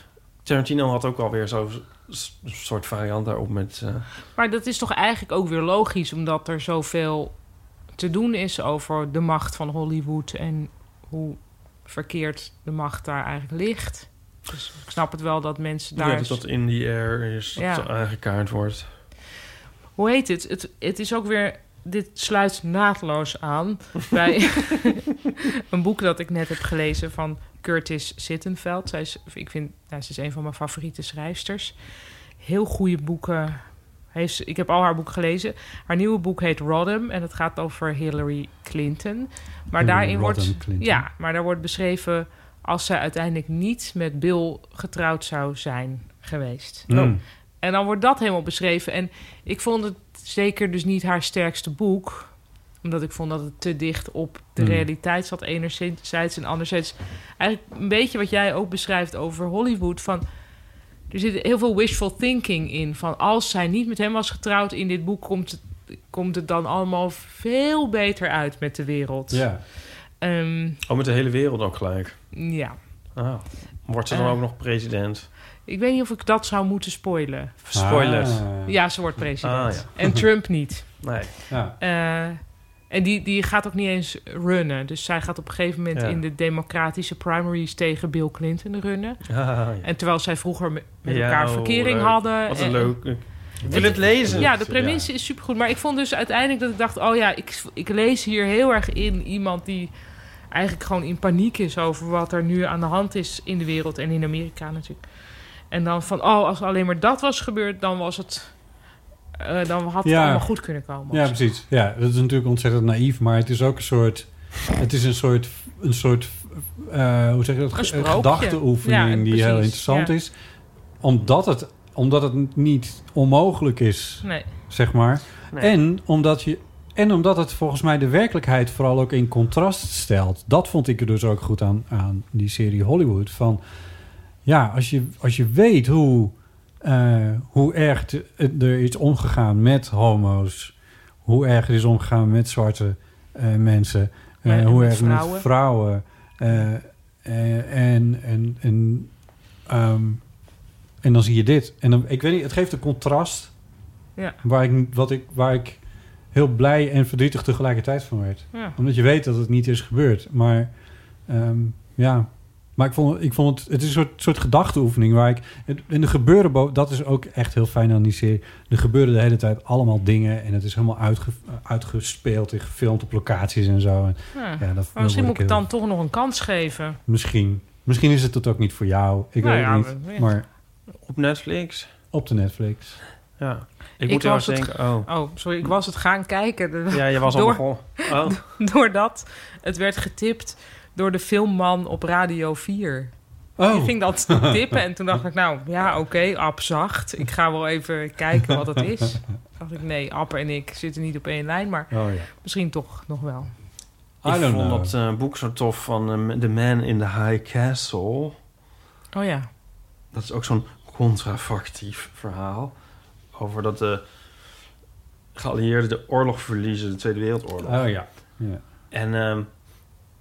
Speaker 3: Tarantino had ook alweer zo'n s- soort variant daarop met. eh,
Speaker 2: Maar dat is toch eigenlijk ook weer logisch, omdat er zoveel te doen is over de macht van Hollywood en hoe verkeerd de macht daar eigenlijk ligt. Dus ik snap het wel dat mensen daar.
Speaker 3: ja, dus dat dat in the air is, dat
Speaker 2: Ja.
Speaker 3: aangekaart wordt.
Speaker 2: Hoe heet het? het? Het is ook weer. Dit sluit naadloos aan bij een boek dat ik net heb gelezen van Curtis Sittenfeld. Zij is, ik vind, nou, ze is een van mijn favoriete schrijfsters. Heel goede boeken. Heeft, ze- ik heb al haar boek gelezen. Haar nieuwe boek heet Rodham en het gaat over Hillary Clinton. Maar
Speaker 1: Hillary
Speaker 2: daarin
Speaker 1: Rodham
Speaker 2: wordt,
Speaker 1: Clinton.
Speaker 2: ja, maar daar wordt beschreven als zij uiteindelijk niet met Bill getrouwd zou zijn geweest.
Speaker 1: Hmm.
Speaker 2: Oh. En dan wordt dat helemaal beschreven. En ik vond het zeker dus niet haar sterkste boek. Omdat ik vond dat het te dicht op de
Speaker 1: Hmm.
Speaker 2: realiteit zat. Enerzijds en anderzijds. Eigenlijk een beetje wat jij ook beschrijft over Hollywood. Van, er zit heel veel wishful thinking in. Van als zij niet met hem was getrouwd in dit boek... komt het, komt het dan allemaal veel beter uit met de wereld.
Speaker 3: Ja.
Speaker 2: Ehm,
Speaker 3: Oh, met de hele wereld ook gelijk.
Speaker 2: ja.
Speaker 3: Ah, wordt ze dan
Speaker 2: Eh.
Speaker 3: ook nog president?
Speaker 2: Ik weet niet of ik dat zou moeten spoilen.
Speaker 3: Spoilers.
Speaker 2: Ja, ze wordt president.
Speaker 3: Ah, ja.
Speaker 2: En Trump niet.
Speaker 3: Nee.
Speaker 1: Ja.
Speaker 2: Eh, en die, die gaat ook niet eens runnen. Dus zij gaat op een gegeven moment
Speaker 3: Ja.
Speaker 2: in de democratische primaries tegen Bill Clinton runnen.
Speaker 3: Ah, ja.
Speaker 2: En terwijl zij vroeger me- met
Speaker 3: Ja,
Speaker 2: elkaar
Speaker 3: oh,
Speaker 2: verkering
Speaker 3: leuk.
Speaker 2: hadden.
Speaker 3: Wat
Speaker 2: en-
Speaker 3: een leuk. Ik wil
Speaker 2: en-
Speaker 3: het lezen.
Speaker 2: Ja, de premisse is supergoed. Maar ik vond dus uiteindelijk dat ik dacht... oh ja, ik, ik lees hier heel erg in iemand die eigenlijk gewoon in paniek is... over wat er nu aan de hand is in de wereld en in Amerika natuurlijk. En dan van, oh, als alleen maar dat was gebeurd... dan was het... eh, dan had het
Speaker 1: Ja.
Speaker 2: allemaal goed kunnen komen.
Speaker 1: Ja, precies. Ja, dat is natuurlijk ontzettend naïef, maar het is ook een soort... Het is een soort, een soort eh, hoe zeg je dat?
Speaker 2: Een sprookje. Ja,
Speaker 1: gedachteoefening die
Speaker 2: precies,
Speaker 1: heel interessant
Speaker 2: ja.
Speaker 1: is. Omdat het, omdat het niet onmogelijk is,
Speaker 2: Nee.
Speaker 1: zeg maar.
Speaker 2: Nee.
Speaker 1: En, omdat je, en omdat het volgens mij de werkelijkheid vooral ook in contrast stelt. Dat vond ik er dus ook goed aan, aan die serie Hollywood. Van, ja, als je, als je weet hoe, eh, hoe erg te- het er is omgegaan met homo's, hoe erg er is omgegaan met zwarte eh, mensen, eh,
Speaker 2: Ja, en
Speaker 1: hoe
Speaker 2: met
Speaker 1: erg
Speaker 2: vrouwen.
Speaker 1: met vrouwen eh, eh, en, en, en, ehm, en dan zie je dit. En dan, ik weet niet, het geeft een contrast
Speaker 2: Ja.
Speaker 1: waar, ik, wat ik, waar ik heel blij en verdrietig tegelijkertijd van werd.
Speaker 2: Ja.
Speaker 1: Omdat je weet dat het niet is gebeurd. Maar ehm, ja, maar ik vond, ik vond het, het is een soort, soort gedachteoefening waar ik. het- En er gebeuren, bo- dat is ook echt heel fijn aan die serie. Er gebeuren de hele tijd allemaal dingen en het is helemaal uitge, uitgespeeld en gefilmd op locaties en zo. En,
Speaker 2: Ja.
Speaker 1: dat-
Speaker 2: Ah, maar
Speaker 1: dat
Speaker 2: misschien moet
Speaker 1: word
Speaker 2: ik het
Speaker 1: heel-
Speaker 2: dan toch nog een kans geven.
Speaker 1: Misschien. Misschien is het dat ook niet voor jou. Ik
Speaker 2: Nou
Speaker 1: weet
Speaker 2: ja,
Speaker 1: het
Speaker 2: we-
Speaker 1: niet. Maar
Speaker 3: Op Netflix.
Speaker 1: op de Netflix.
Speaker 3: Ja. Ik, moet heel erg
Speaker 2: was het
Speaker 3: denken. Oh.
Speaker 2: oh, sorry, ik was het gaan kijken.
Speaker 3: Ja, je was al
Speaker 2: Door-
Speaker 3: begonnen. Oh.
Speaker 2: Doordat het werd getipt door de filmman op Radio 4.
Speaker 1: Oh.
Speaker 2: Die ging dat tippen en toen dacht ik, nou ja, oké, App zacht. Ik ga wel even kijken wat dat is. Toen dacht ik, nee, App en ik zitten niet op één lijn, maar
Speaker 1: Oh ja.
Speaker 2: misschien toch nog wel.
Speaker 3: Ik
Speaker 1: I don't
Speaker 3: vond
Speaker 1: know.
Speaker 3: dat eh, boek zo tof eh, van ehm, The Man in the High Castle.
Speaker 2: Oh ja.
Speaker 3: Dat is ook zo'n contrafactief verhaal. Over dat de geallieerden de oorlog verliezen, de Tweede Wereldoorlog.
Speaker 1: Oh ja. ja.
Speaker 3: En ehm,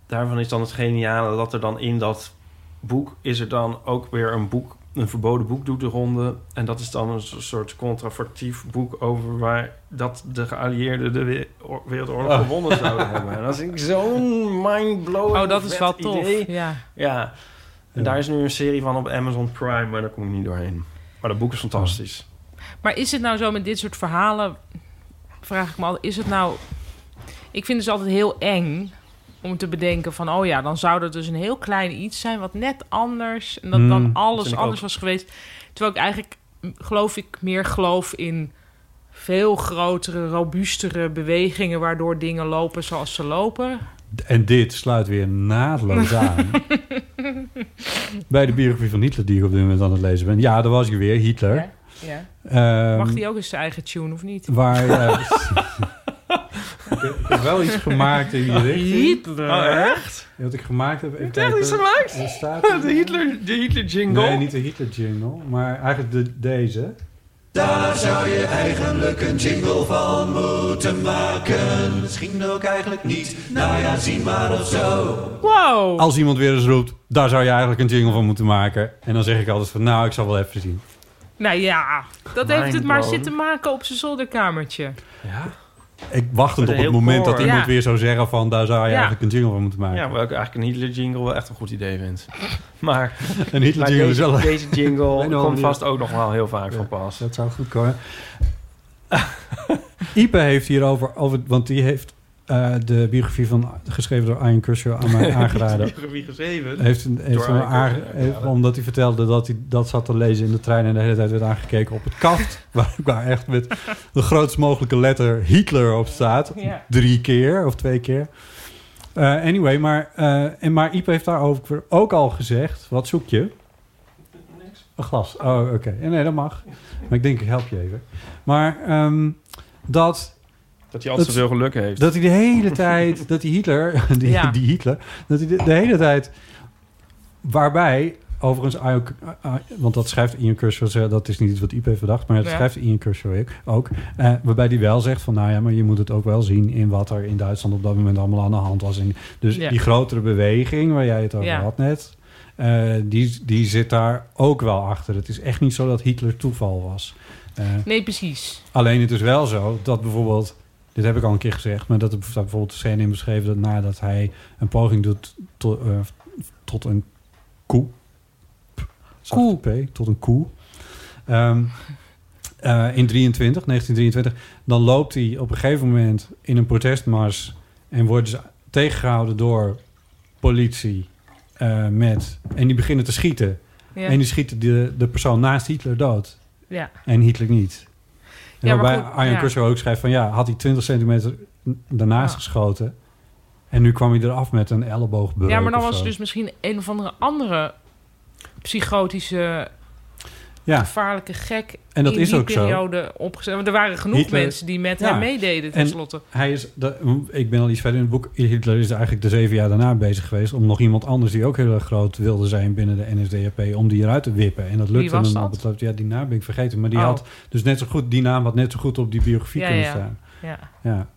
Speaker 3: daarvan is dan het geniale dat er dan in dat boek is er dan ook weer een boek, een verboden boek doet de ronde. En dat is dan een so- soort contrafactief boek over waar dat de geallieerden de we- oor- wereldoorlog
Speaker 5: Oh.
Speaker 3: gewonnen zouden hebben. En dat is zo'n mindblowing.
Speaker 2: Oh, dat is
Speaker 3: vet
Speaker 2: wel tof,
Speaker 3: idee.
Speaker 2: ja.
Speaker 3: Ja. En daar is nu een serie van op Amazon Prime, maar daar kom ik niet doorheen. Maar dat boek is fantastisch.
Speaker 2: Maar is het nou zo met dit soort verhalen? Vraag ik me altijd. Is het nou. Ik vind het dus altijd heel eng om te bedenken van... oh ja, dan zou dat dus een heel klein iets zijn... wat net anders en dat
Speaker 4: Hmm,
Speaker 2: dan
Speaker 4: vind
Speaker 2: alles
Speaker 4: ik
Speaker 2: anders
Speaker 4: ook.
Speaker 2: was geweest. Terwijl ik eigenlijk, m, geloof ik, meer geloof in... veel grotere, robuustere bewegingen... waardoor dingen lopen zoals ze lopen.
Speaker 1: En dit sluit weer naadloos aan bij de biografie van Hitler die ik op dit moment aan het lezen ben. Ja, daar was ik weer, Hitler.
Speaker 2: Ja.
Speaker 1: Ehm,
Speaker 2: Mag die ook eens zijn eigen tune, of niet?
Speaker 1: Waar... eh, ik heb wel iets gemaakt in die richting.
Speaker 2: Hitler.
Speaker 3: Oh, echt?
Speaker 1: Wat ik gemaakt heb... even
Speaker 3: Heb je echt iets
Speaker 1: kijken.
Speaker 3: gemaakt?
Speaker 1: Er staat
Speaker 3: De Hitler, de Hitler jingle?
Speaker 1: Nee, niet de Hitler jingle, maar eigenlijk de, deze.
Speaker 6: Daar zou je eigenlijk een jingle van moeten maken. Misschien ook eigenlijk niet. Nou ja, zie maar of zo.
Speaker 2: Wow!
Speaker 1: Als iemand weer eens roept, daar zou je eigenlijk een jingle van moeten maken. En dan zeg ik altijd van, nou, ik zal wel even zien.
Speaker 2: Nou ja, dat heeft het maar
Speaker 1: Mindblown.
Speaker 2: zitten maken op zijn zolderkamertje.
Speaker 3: Ja.
Speaker 1: Ik wachtend op
Speaker 3: Heel
Speaker 1: het moment dat
Speaker 3: koor.
Speaker 1: iemand
Speaker 2: Ja.
Speaker 1: weer zou zeggen van, daar zou je
Speaker 2: Ja.
Speaker 1: eigenlijk een jingle van moeten maken.
Speaker 3: Ja, waar ik eigenlijk een Hitler jingle wel echt een goed idee vind. Maar
Speaker 1: Een Hitler
Speaker 3: maar
Speaker 1: jingle
Speaker 3: deze,
Speaker 1: zelf.
Speaker 3: deze
Speaker 1: Op
Speaker 3: jingle
Speaker 1: een of andere
Speaker 3: komt vast
Speaker 1: manier.
Speaker 3: ook nog wel heel vaak van pas.
Speaker 1: Dat zou goed komen. Ipe heeft hierover, over, want die heeft eh, de biografie van, geschreven door Arjen Kursjo aan mij aangeraden.
Speaker 3: Die biografie geschreven?
Speaker 1: Heeft, een- heeft hem
Speaker 3: Door Arjen
Speaker 1: aange-
Speaker 3: Kursjo
Speaker 1: heeft- omdat hij vertelde dat hij dat zat te lezen in de trein en de hele tijd werd aangekeken op het kaft. waar, waar echt met de grootst mogelijke letter Hitler op staat.
Speaker 2: Ja.
Speaker 1: Drie keer of twee keer. Eh, anyway, maar, eh, en, maar Ipe heeft daarover ook al gezegd, wat zoek je? Een glas. Oh, oké. Eh, Nee, dat mag. Maar ik denk, ik help je even. Maar ehm, dat...
Speaker 3: Dat hij altijd
Speaker 1: het-
Speaker 3: zoveel geluk heeft.
Speaker 1: Dat hij de hele tijd... dat die Hitler... Die,
Speaker 3: Ja.
Speaker 1: die Hitler... Dat hij de, de hele tijd... Waarbij... Overigens, Arjen- Arjen- eh, want dat schrijft Ian Kershaw, ze- dat is niet iets wat IP heeft bedacht, maar dat
Speaker 3: Ja.
Speaker 1: schrijft Ian Kershaw ook. ook eh, waarbij die wel zegt van, nou ja, maar je moet het ook wel zien in wat er in Duitsland op dat moment allemaal aan de hand was. En dus
Speaker 2: Ja.
Speaker 1: die grotere beweging waar jij het over
Speaker 2: Ja.
Speaker 1: had net, eh, die, die zit daar ook wel achter. Het is echt niet zo dat Hitler toeval was. Eh,
Speaker 2: Nee, precies.
Speaker 1: Alleen het is wel zo dat bijvoorbeeld, dit heb ik al een keer gezegd, maar dat er staat bijvoorbeeld de scène in beschreven dat nadat hij een poging doet to- eh, tot een koe. Koe. P, tot een koe. Ehm, eh, in 23, 1923, dan loopt hij op een gegeven moment in een protestmars en worden ze tegengehouden door politie eh, met en die beginnen te schieten
Speaker 2: Ja.
Speaker 1: en die schieten de, de persoon naast Hitler dood
Speaker 2: Ja.
Speaker 1: en Hitler niet. En
Speaker 2: Ja, maar
Speaker 1: waarbij
Speaker 2: goed,
Speaker 1: Arjan
Speaker 2: ja. Ah.
Speaker 1: Kursjo ook schrijft van ja, had hij 20 centimeter n- daarnaast geschoten. En nu kwam hij eraf met een elleboogbeuk.
Speaker 2: Ja, maar dan
Speaker 1: of
Speaker 2: was
Speaker 1: zo.
Speaker 2: het dus misschien een of andere andere psychotische,
Speaker 1: Ja.
Speaker 2: gevaarlijke gek
Speaker 1: En dat
Speaker 2: in
Speaker 1: is
Speaker 2: die
Speaker 1: ook zo.
Speaker 2: periode opgezet. Want er waren genoeg
Speaker 1: Hitler-
Speaker 2: mensen die met
Speaker 1: Ja.
Speaker 2: hem meededen
Speaker 1: En
Speaker 2: tenslotte.
Speaker 1: Hij is, dat- ik ben al iets verder in het boek. Hitler is eigenlijk de zeven jaar daarna bezig geweest om nog iemand anders die ook heel erg groot wilde zijn binnen de NSDAP, om die eruit te wippen. En dat
Speaker 2: Wie
Speaker 1: lukte
Speaker 2: was
Speaker 1: hem
Speaker 2: dat?
Speaker 1: op het loop- Ja, die naam ben ik vergeten. Maar die
Speaker 2: Oh.
Speaker 1: had dus net zo goed, die naam had net zo goed op die biografie
Speaker 2: Ja,
Speaker 1: kunnen
Speaker 2: ja.
Speaker 1: staan.
Speaker 2: Ja.
Speaker 1: ja.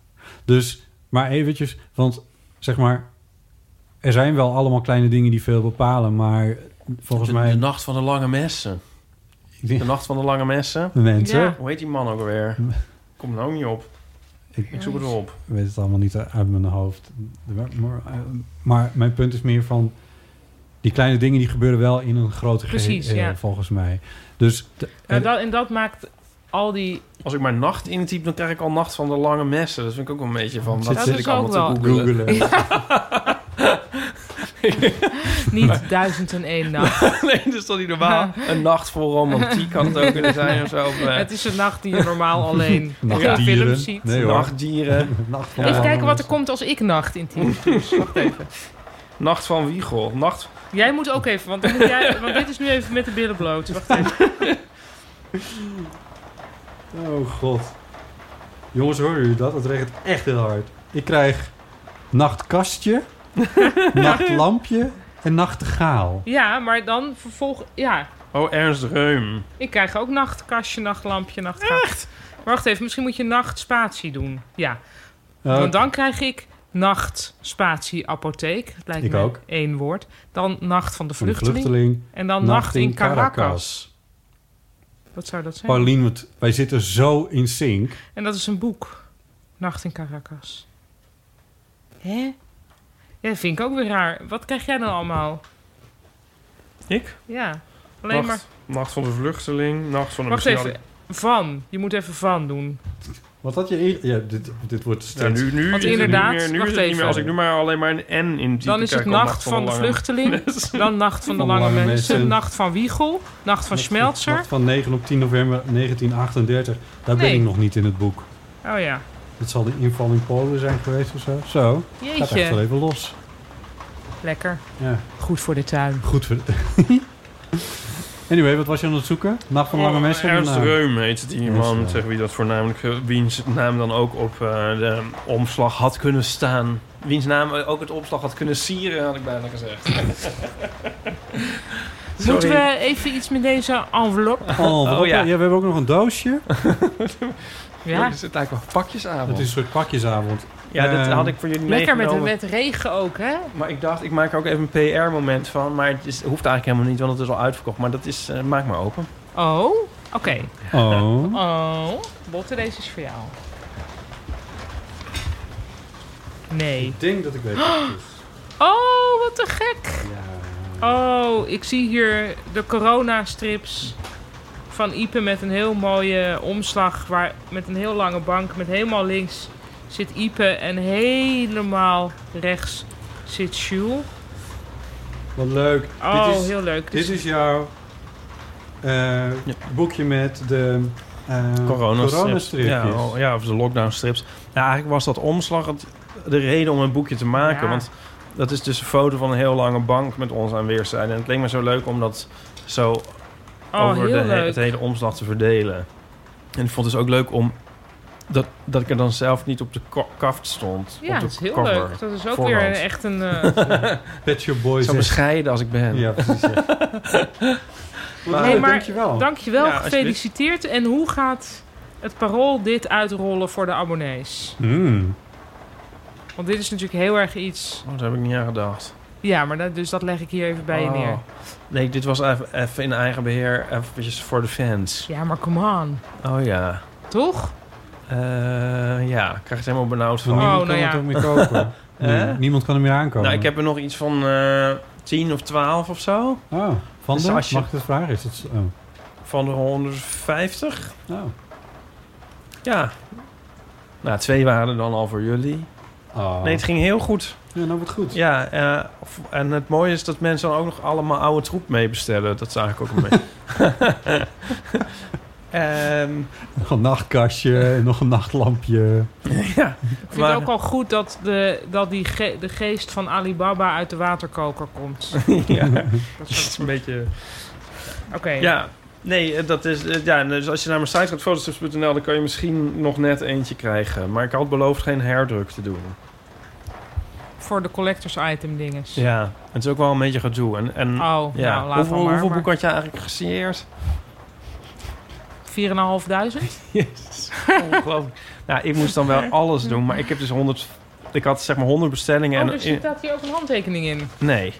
Speaker 1: Dus, maar eventjes, want zeg maar, er zijn wel allemaal kleine dingen die veel bepalen, maar volgens
Speaker 3: de,
Speaker 1: mij.
Speaker 3: de nacht van de lange messen.
Speaker 1: denk-
Speaker 3: De nacht van de lange messen.
Speaker 1: De mensen. Ja.
Speaker 3: Hoe heet die man ook alweer? Komt nou ook niet op.
Speaker 1: Ik,
Speaker 3: zoek het wel op.
Speaker 1: Ik weet het allemaal niet uit mijn hoofd. Maar, eh, Maar mijn punt is meer van... die kleine dingen die gebeuren wel in een grote geheel, eh,
Speaker 2: Precies, ja.
Speaker 1: volgens mij. Dus de-
Speaker 2: En dat, en dat maakt al die...
Speaker 3: Als ik maar nacht intyp, dan krijg ik al nacht van de lange messen. Dat vind ik ook wel een beetje van.
Speaker 1: Zit-
Speaker 3: Wat
Speaker 1: zit-
Speaker 3: zit
Speaker 1: is
Speaker 3: ik allemaal
Speaker 1: ook
Speaker 3: te
Speaker 1: wel-
Speaker 3: googelen?
Speaker 2: Niet duizend en één nacht.
Speaker 3: nee, dat is toch niet normaal? Een nacht vol romantiek kan het ook kunnen zijn of zo. Of, eh,
Speaker 2: Het is een nacht die je normaal alleen in
Speaker 3: Nachtdieren.
Speaker 2: films ziet.
Speaker 3: Nee, hoor. Nachtdieren.
Speaker 2: Even kijken wat er komt als ik nacht in team. Wacht even.
Speaker 3: Nacht van Wiegel. Nacht...
Speaker 2: Jij moet ook even, want, dan moet jij, want dit is nu even met de billen bloot. Wacht even.
Speaker 1: Oh god. Jongens, horen jullie dat? Het regent echt heel hard. Ik krijg nachtkastje, nachtlampje en nachtegaal.
Speaker 2: Ja, maar dan vervolg... Ja,
Speaker 3: Oh, Ernst Reum.
Speaker 2: Ik krijg ook nachtkastje, nachtlampje, nachtkracht. Maar wacht even, misschien moet je nachtspatie doen. Ja.
Speaker 3: Oh.
Speaker 2: Want dan krijg ik nacht, spatie, apotheek. Dat lijkt
Speaker 1: Ik
Speaker 2: me
Speaker 1: ook.
Speaker 2: één woord. Dan nacht van de
Speaker 1: Van de
Speaker 2: vluchteling.
Speaker 1: vluchteling.
Speaker 2: En dan nacht, in Caracas. Wat zou dat zijn?
Speaker 1: Paulien, want wij zitten zo in sync.
Speaker 2: En dat is een boek. Nacht in Caracas. Hè? Ja, vind ik ook weer raar. Wat krijg jij dan allemaal?
Speaker 3: Ik?
Speaker 2: Ja. Alleen
Speaker 3: nacht,
Speaker 2: maar...
Speaker 3: Nacht van de vluchteling, nacht van de...
Speaker 2: Wacht
Speaker 3: misschien
Speaker 2: even. Van. Je moet even van doen.
Speaker 1: Wat had je eer- Ja, dit, dit wordt
Speaker 3: had ik-
Speaker 1: steeds...
Speaker 3: Ja, nu, nu
Speaker 2: Want
Speaker 3: is het
Speaker 2: inderdaad,
Speaker 3: niet meer, nu
Speaker 2: wacht
Speaker 3: is het niet
Speaker 2: even.
Speaker 3: meer. Als ik nu maar alleen maar een N in type,
Speaker 2: Dan is het
Speaker 3: krijg ik al
Speaker 2: nacht van de
Speaker 3: lange-
Speaker 2: vluchteling. Dan nacht van de lange mensen. Nacht van Wiegel. Nacht van Schmelzer.
Speaker 1: Nacht van 9 op 10 november 1938. Daar ben
Speaker 2: Nee.
Speaker 1: ik nog niet in het boek.
Speaker 2: Oh ja.
Speaker 1: Het zal de inval in Polen zijn geweest of zo. Zo, gaat
Speaker 2: Jeetje.
Speaker 1: echt wel even los.
Speaker 2: Lekker.
Speaker 1: Ja.
Speaker 2: Goed voor de tuin.
Speaker 1: Goed voor de Anyway, wat was je aan het zoeken? Nacht van lange
Speaker 3: Oh,
Speaker 1: mensen?
Speaker 3: Ernst
Speaker 1: Nou,
Speaker 3: Reum heet die
Speaker 1: Ernst
Speaker 3: man,
Speaker 1: Reum.
Speaker 3: tegen wie dat voornamelijk, eh, wiens naam dan ook op eh, de omslag had kunnen staan. Wiens naam eh, ook het omslag had kunnen sieren, had ik bijna gezegd. Sorry.
Speaker 2: Moeten we even iets met deze envelop?
Speaker 1: Oh, wat ook- ja. we hebben ook nog een doosje.
Speaker 2: Ja.
Speaker 3: Er zit eigenlijk wel pakjesavond.
Speaker 1: Het is een soort pakjesavond.
Speaker 3: Ja, dat
Speaker 1: Eh,
Speaker 3: had ik voor jullie
Speaker 2: Lekker met,
Speaker 3: meegenomen.
Speaker 2: met regen ook, hè?
Speaker 3: Maar ik dacht, ik maak er ook even een PR-moment van. Maar het is, hoeft eigenlijk helemaal niet, want het is al uitverkocht. Maar dat is, eh, maak maar open.
Speaker 2: Oh, oké.
Speaker 1: Oh.
Speaker 2: Oh, Botte, deze is voor jou. Nee.
Speaker 1: Ik denk dat ik weet
Speaker 2: wat het Oh, wat te gek. Oh, ik zie hier de corona-strips van Ipe met een heel mooie omslag. Waar, met een heel lange bank. Met helemaal links zit Ipe en helemaal rechts zit Sjoel.
Speaker 1: Wat leuk.
Speaker 2: Oh, heel leuk.
Speaker 1: Dit is jouw eh, boekje met de eh
Speaker 3: Corona-strips.
Speaker 1: coronastripjes.
Speaker 3: Ja, oh, ja, of de lockdown-strips. Ja, eigenlijk was dat omslag het, de reden om een boekje te maken.
Speaker 2: Ja.
Speaker 3: Want dat is dus een foto van een heel lange bank met ons aan weerszijden. En het leek me zo leuk om dat zo
Speaker 2: Oh,
Speaker 3: over
Speaker 2: heel
Speaker 3: de, he-
Speaker 2: leuk.
Speaker 3: het hele omslag te verdelen. En ik vond het dus ook leuk om... Dat, dat ik er dan zelf niet op de ko- kaft stond.
Speaker 2: Ja,
Speaker 3: op de
Speaker 2: dat is heel
Speaker 3: cover.
Speaker 2: leuk. Dat is ook
Speaker 3: Voorhand.
Speaker 2: weer een- echt een... eh,
Speaker 1: Pet Shop Boys.
Speaker 3: Zo bescheiden als ik ben.
Speaker 1: Ja, precies. ja.
Speaker 3: Maar-
Speaker 2: Dus- Nee, maar
Speaker 3: dankjewel.
Speaker 2: dankjewel,
Speaker 3: Ja, alsjeblieft.
Speaker 2: gefeliciteerd. En hoe gaat het parool dit uitrollen voor de abonnees?
Speaker 1: Hmm.
Speaker 2: Want dit is natuurlijk heel erg iets...
Speaker 3: Oh, daar heb ik niet aan gedacht.
Speaker 2: Ja, maar dat, dus dat leg ik hier even bij je
Speaker 3: Oh.
Speaker 2: neer.
Speaker 3: Nee, dit was even, even in eigen beheer, eventjes voor de fans.
Speaker 2: Ja, maar come on.
Speaker 3: Oh ja.
Speaker 2: Toch? Oh,
Speaker 3: Eh, ja, ik krijg het helemaal benauwd van.
Speaker 1: Want niemand
Speaker 2: nou
Speaker 1: kan het ook meer kopen. Nee,
Speaker 3: Hè?
Speaker 1: Niemand kan er meer aankomen.
Speaker 3: Nou, ik heb er nog iets van eh 10 of 12 of zo.
Speaker 1: Oh, van
Speaker 3: Dus
Speaker 1: de,
Speaker 3: als je-
Speaker 1: mag ik dat vragen? Is dat zo? oh.
Speaker 3: Van de 150.
Speaker 1: Oh.
Speaker 3: Ja. Nou, twee waren er dan al voor jullie.
Speaker 1: Oh.
Speaker 3: Nee, het ging heel goed.
Speaker 1: Ja, nou wat goed.
Speaker 3: Ja, eh, of- en het mooie is dat mensen dan ook nog allemaal oude troep mee bestellen. Dat is eigenlijk ook een beetje... Ehm,
Speaker 1: Nog een nachtkastje en nog een nachtlampje.
Speaker 3: ja.
Speaker 2: Ik vind het ook al goed dat, de, dat die ge- de geest van Alibaba uit de waterkoker komt.
Speaker 3: ja.
Speaker 2: Dat
Speaker 3: Dat is een beetje...
Speaker 2: Oké.
Speaker 3: Ja, nee, eh, dat is... eh, Ja, dus als je naar mijn site gaat, fotostrips.nl... dan kan je misschien nog net eentje krijgen. Maar ik had beloofd geen herdruk te doen.
Speaker 2: Voor de collectors item dinges.
Speaker 3: Ja, het is ook wel een beetje gedoe. En, en,
Speaker 2: Oh,
Speaker 3: ja.
Speaker 2: nou, laat
Speaker 3: hoeveel,
Speaker 2: maar,
Speaker 3: hoeveel
Speaker 2: maar-
Speaker 3: boeken had je eigenlijk gesieerd?
Speaker 2: 4.500?
Speaker 3: Jezus,
Speaker 2: Oh,
Speaker 3: ongelooflijk. nou, ik moest dan wel alles doen, maar ik heb dus 100... Ik had zeg maar 100 bestellingen.
Speaker 2: Oh,
Speaker 3: en
Speaker 2: dus er staat hier ook een handtekening in.
Speaker 3: Nee.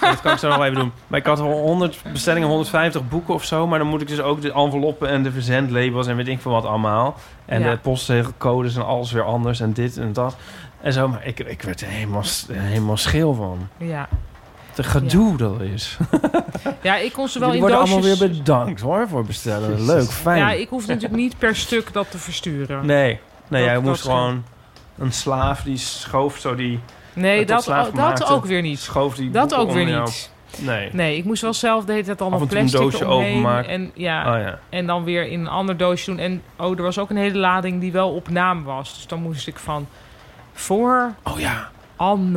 Speaker 3: dat kan ik zo nog wel even doen. Maar ik had al 100 bestellingen, 150 boeken of zo. Maar dan moet ik dus ook de enveloppen en de verzendlabels en weet ik veel wat allemaal. En
Speaker 2: Ja.
Speaker 3: de postzegelcodes en alles weer anders en dit en dat. En zo, maar ik, ik werd er helemaal, s- helemaal scheel van.
Speaker 2: Ja.
Speaker 3: Te gedoe dat is.
Speaker 2: Ja, ik kon ze wel
Speaker 3: Jullie
Speaker 2: in
Speaker 3: worden
Speaker 2: doosjes...
Speaker 3: allemaal weer bedankt hoor voor het bestellen.
Speaker 2: Jezus.
Speaker 3: Leuk, fijn.
Speaker 2: Ja, ik hoef natuurlijk niet per stuk dat te versturen.
Speaker 3: Nee, nee
Speaker 2: Dat-
Speaker 3: jij
Speaker 2: dat
Speaker 3: moest
Speaker 2: scheelt.
Speaker 3: gewoon een slaaf die schoof zo die...
Speaker 2: Nee,
Speaker 3: het tot
Speaker 2: dat-
Speaker 3: slaaf
Speaker 2: dat
Speaker 3: maakte,
Speaker 2: ook weer niet.
Speaker 3: Schoof die
Speaker 2: Dat
Speaker 3: boeken
Speaker 2: ook weer
Speaker 3: onder jou.
Speaker 2: niet.
Speaker 3: Nee.
Speaker 2: Nee, ik moest wel zelf de hele tijd allemaal
Speaker 3: Af en toe een
Speaker 2: plastic
Speaker 3: doosje
Speaker 2: omheen
Speaker 3: openmaken.
Speaker 2: En, ja,
Speaker 3: Oh, ja.
Speaker 2: en dan weer in een ander doosje doen. En oh, er was ook een hele lading die wel op naam was. Dus dan moest ik van voor
Speaker 3: oh, ja.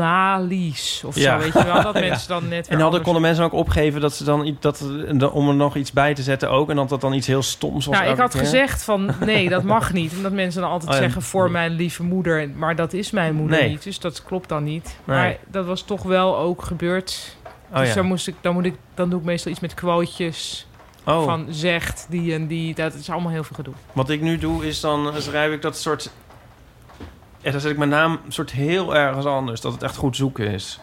Speaker 2: analyse of zo, weet je wel. Dat
Speaker 3: Ja.
Speaker 2: mensen dan net weer
Speaker 3: En hadden,
Speaker 2: anders-
Speaker 3: konden mensen ook opgeven dat ze dan iets- dat, dat- om er nog iets bij te zetten ook en dat dat dan iets heel stoms was.
Speaker 2: Nou, ik
Speaker 3: elke
Speaker 2: had
Speaker 3: keer?
Speaker 2: gezegd van nee, dat mag niet. Omdat mensen dan altijd
Speaker 3: Oh ja.
Speaker 2: zeggen voor mijn lieve moeder. Maar dat is mijn moeder
Speaker 3: Nee.
Speaker 2: niet, dus dat klopt dan niet.
Speaker 3: Nee.
Speaker 2: Maar dat was toch wel ook gebeurd.
Speaker 3: Oh,
Speaker 2: dus
Speaker 3: ja.
Speaker 2: dan, moest ik, dan, moet ik, dan doe ik meestal iets met quotejes.
Speaker 3: Oh.
Speaker 2: Van zegt die en die. Dat is allemaal heel veel gedoe.
Speaker 3: Wat ik nu doe is dan eh, schrijf ik dat soort. En dan zet ik mijn naam soort heel ergens anders, dat het echt goed zoeken is.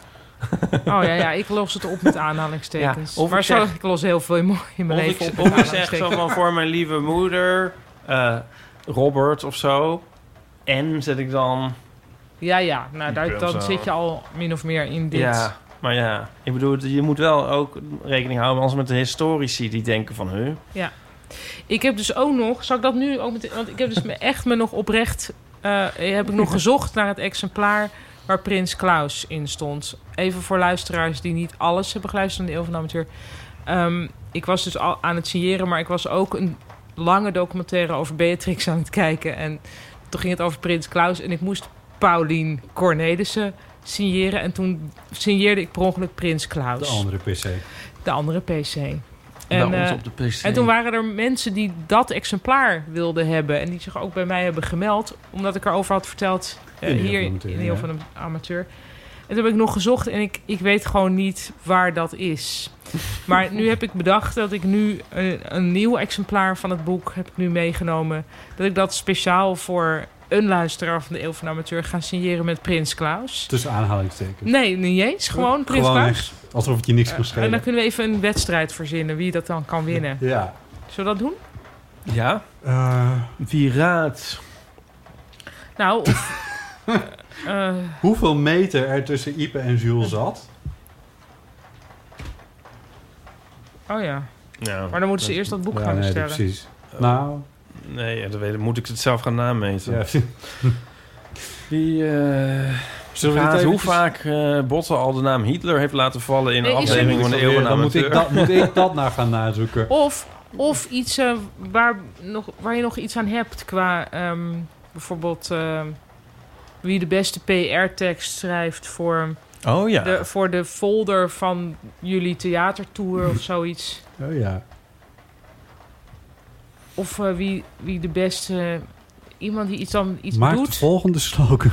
Speaker 2: Oh ja, ja ik los het op met aanhalingstekens.
Speaker 3: Ja, of
Speaker 2: maar
Speaker 3: ik
Speaker 2: zo,
Speaker 3: zeg-
Speaker 2: ik los heel veel in mijn- in mijn
Speaker 3: Of
Speaker 2: leven
Speaker 3: ik,
Speaker 2: op met
Speaker 3: of ik zeg zo
Speaker 2: aanhalingstekens.
Speaker 3: van voor mijn lieve moeder, eh, Robert of zo. En zet ik dan.
Speaker 2: Ja, ja. Nou, daar,
Speaker 3: ben
Speaker 2: dan
Speaker 3: zo.
Speaker 2: zit je al min of meer in dit.
Speaker 3: Ja, maar ja. Ik bedoel, je moet wel ook rekening houden anders met de historici die denken van... Huh?
Speaker 2: Ja. Ik heb dus ook nog, zal ik dat nu ook meteen, want ik heb dus me echt me nog oprecht, eh, heb ik nog gezocht naar het exemplaar waar Prins Klaus in stond. Even voor luisteraars die niet alles hebben geluisterd aan de Eeuw van de Amateur. Ehm, ik was dus al aan het signeren, maar ik was ook een lange documentaire over Beatrix aan het kijken. En toen ging het over Prins Klaus en ik moest Paulien Cornelissen signeren. En toen signeerde ik per ongeluk Prins Klaus.
Speaker 1: De andere PC.
Speaker 2: De andere PC.
Speaker 1: Bij ons
Speaker 2: eh,
Speaker 1: op de PC.
Speaker 2: en toen waren er mensen die dat exemplaar wilden hebben. En die zich ook bij mij hebben gemeld. Omdat ik erover had verteld eh,
Speaker 1: In de Heel
Speaker 2: hier
Speaker 1: van Amateur,
Speaker 2: in heel
Speaker 1: ja.
Speaker 2: van een amateur. En toen heb ik nog gezocht en ik, ik weet gewoon niet waar dat is. Maar nu heb ik bedacht dat ik nu een, een nieuw exemplaar van het boek heb ik nu meegenomen. Dat ik dat speciaal voor een luisteraar van de Eeuw van de Amateur ga signeren met Prins Klaus.
Speaker 1: Tussen aanhalingstekens.
Speaker 2: Nee, niet eens. Gewoon Prins
Speaker 1: Gewoon
Speaker 2: Klaus.
Speaker 1: echt, alsof het je niks kon
Speaker 2: Eh, En dan
Speaker 1: schelen.
Speaker 2: kunnen we even een wedstrijd verzinnen wie dat dan kan winnen.
Speaker 1: Ja.
Speaker 2: Zullen we dat doen?
Speaker 3: Ja?
Speaker 1: Eh,
Speaker 3: Wie raadt?
Speaker 2: Nou, of, eh, eh,
Speaker 1: Hoeveel meter er tussen Ipe en Jules zat?
Speaker 2: oh ja. Maar dan moeten ze eerst dat boek
Speaker 1: Ja,
Speaker 2: gaan
Speaker 1: nee,
Speaker 2: bestellen.
Speaker 1: precies. Nou.
Speaker 3: Oh. Nee, ja, dat weet ik. moet ik het zelf gaan nameten.
Speaker 1: Ja.
Speaker 3: Wie, eh,
Speaker 1: Zullen we
Speaker 3: gaat
Speaker 1: dit
Speaker 3: hoe
Speaker 1: eventjes-
Speaker 3: vaak eh Botten al de naam Hitler heeft laten vallen in
Speaker 2: Nee,
Speaker 3: een
Speaker 2: is er
Speaker 3: aflevering
Speaker 2: niet.
Speaker 3: van de eeuw
Speaker 1: Dan moet ik, dat, moet ik dat naar gaan nazoeken.
Speaker 2: Of, of iets eh, waar, nog, waar je nog iets aan hebt qua ehm, bijvoorbeeld eh, wie de beste PR-tekst schrijft voor,
Speaker 3: Oh ja.
Speaker 2: de, voor de folder van jullie theatertour of zoiets.
Speaker 1: Oh ja.
Speaker 2: Of eh, wie, wie de beste iemand die iets dan iets
Speaker 1: Maak
Speaker 2: doet.
Speaker 1: de volgende slogan.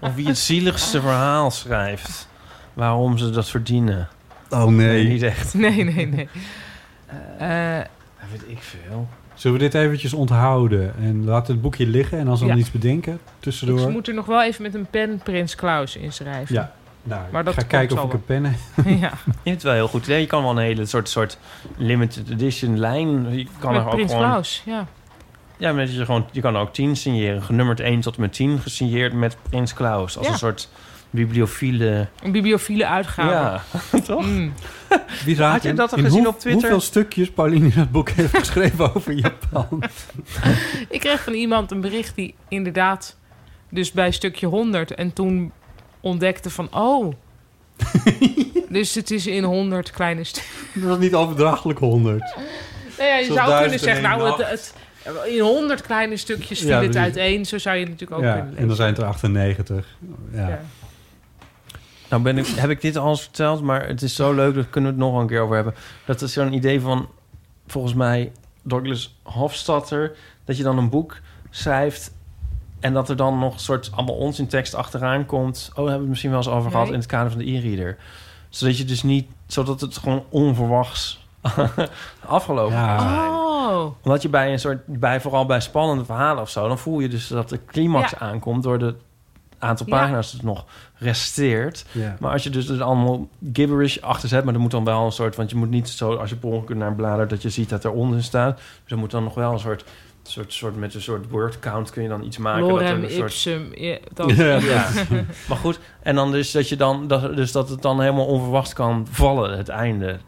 Speaker 3: Of wie het zieligste verhaal schrijft. Waarom ze dat verdienen.
Speaker 1: Oh, nee.
Speaker 3: niet echt.
Speaker 2: Nee, nee, nee. Eh,
Speaker 3: Dat weet ik veel.
Speaker 1: Zullen we dit eventjes onthouden? En laat het boekje liggen en als we
Speaker 2: Ja.
Speaker 1: dan iets bedenken tussendoor.
Speaker 2: Ik moet er nog wel even met een pen Prins Klaus inschrijven.
Speaker 1: Ja, nou,
Speaker 2: Maar
Speaker 1: ik
Speaker 2: dat
Speaker 1: ga
Speaker 2: komt
Speaker 1: kijken of
Speaker 2: zal
Speaker 1: ik
Speaker 2: wel.
Speaker 1: een pen heb.
Speaker 2: Ja.
Speaker 3: Je hebt het wel heel goed. idee. Je kan wel een hele soort, soort limited edition lijn. Je kan
Speaker 2: Met
Speaker 3: er ook
Speaker 2: Prins
Speaker 3: gewoon...
Speaker 2: Klaus, ja.
Speaker 3: Ja, maar dat je, gewoon, je kan ook 10 signeren. Genummerd 1 tot en met 10 gesigneerd met Prins Klaus. Als
Speaker 2: Ja.
Speaker 3: een soort bibliofiele...
Speaker 2: Een bibliophile uitgave.
Speaker 3: Ja, toch?
Speaker 1: Wie raadt
Speaker 3: Had je
Speaker 1: in-
Speaker 3: dat al
Speaker 1: in
Speaker 3: gezien
Speaker 1: hoe-
Speaker 3: op Twitter?
Speaker 1: Hoeveel stukjes Pauline in het boek heeft geschreven over Japan?
Speaker 2: Ik kreeg van iemand een bericht die inderdaad... dus bij stukje 100 en toen ontdekte van... oh, dus het is in 100 kleine stukjes.
Speaker 1: dat was niet overdrachtelijk 100.
Speaker 2: Nou ja, je
Speaker 1: Zoals
Speaker 2: zou kunnen
Speaker 1: duizend en
Speaker 2: zeggen,
Speaker 1: één
Speaker 2: nou, het,
Speaker 1: nacht.
Speaker 2: het- in 100 kleine stukjes viel
Speaker 1: Ja,
Speaker 2: het
Speaker 1: precies.
Speaker 2: uiteen. Zo zou je het natuurlijk ook
Speaker 1: Ja,
Speaker 2: kunnen
Speaker 1: en
Speaker 2: lezen.
Speaker 1: dan zijn het er 98. Ja.
Speaker 2: Ja.
Speaker 3: Nou ben ik, heb ik dit al eens verteld, maar het is zo leuk, daar kunnen we het nog wel een keer over hebben. Dat is zo'n idee van, volgens mij, Douglas Hofstadter... dat je dan een boek schrijft en dat er dan nog een soort allemaal onzin tekst achteraan komt. Oh, daar hebben we het misschien wel eens over gehad
Speaker 2: Nee.
Speaker 3: in het kader van de e-reader. Zodat je dus niet, zodat het gewoon onverwachts afgelopen
Speaker 1: Ja.
Speaker 3: kan zijn.
Speaker 2: Oh,
Speaker 3: Omdat je bij een soort, bij, vooral bij spannende verhalen of zo, dan voel je dus dat de climax
Speaker 2: Ja.
Speaker 3: aankomt door de aantal
Speaker 2: Ja.
Speaker 3: pagina's dat nog resteert.
Speaker 1: Ja.
Speaker 3: Maar als je dus er allemaal gibberish achter zet, maar er moet dan wel een soort, want je moet niet zo als je per ongeluk naar bladert dat je ziet dat er onder staat. Dus er moet dan nog wel een soort, soort, soort met een soort word count kun je dan iets maken. dat er
Speaker 2: lorem
Speaker 3: een soort,
Speaker 2: ipsum. Ja, dat.
Speaker 3: ja. maar goed, en dan dus dat je dan dat, dus dat het dan helemaal onverwacht kan vallen het einde.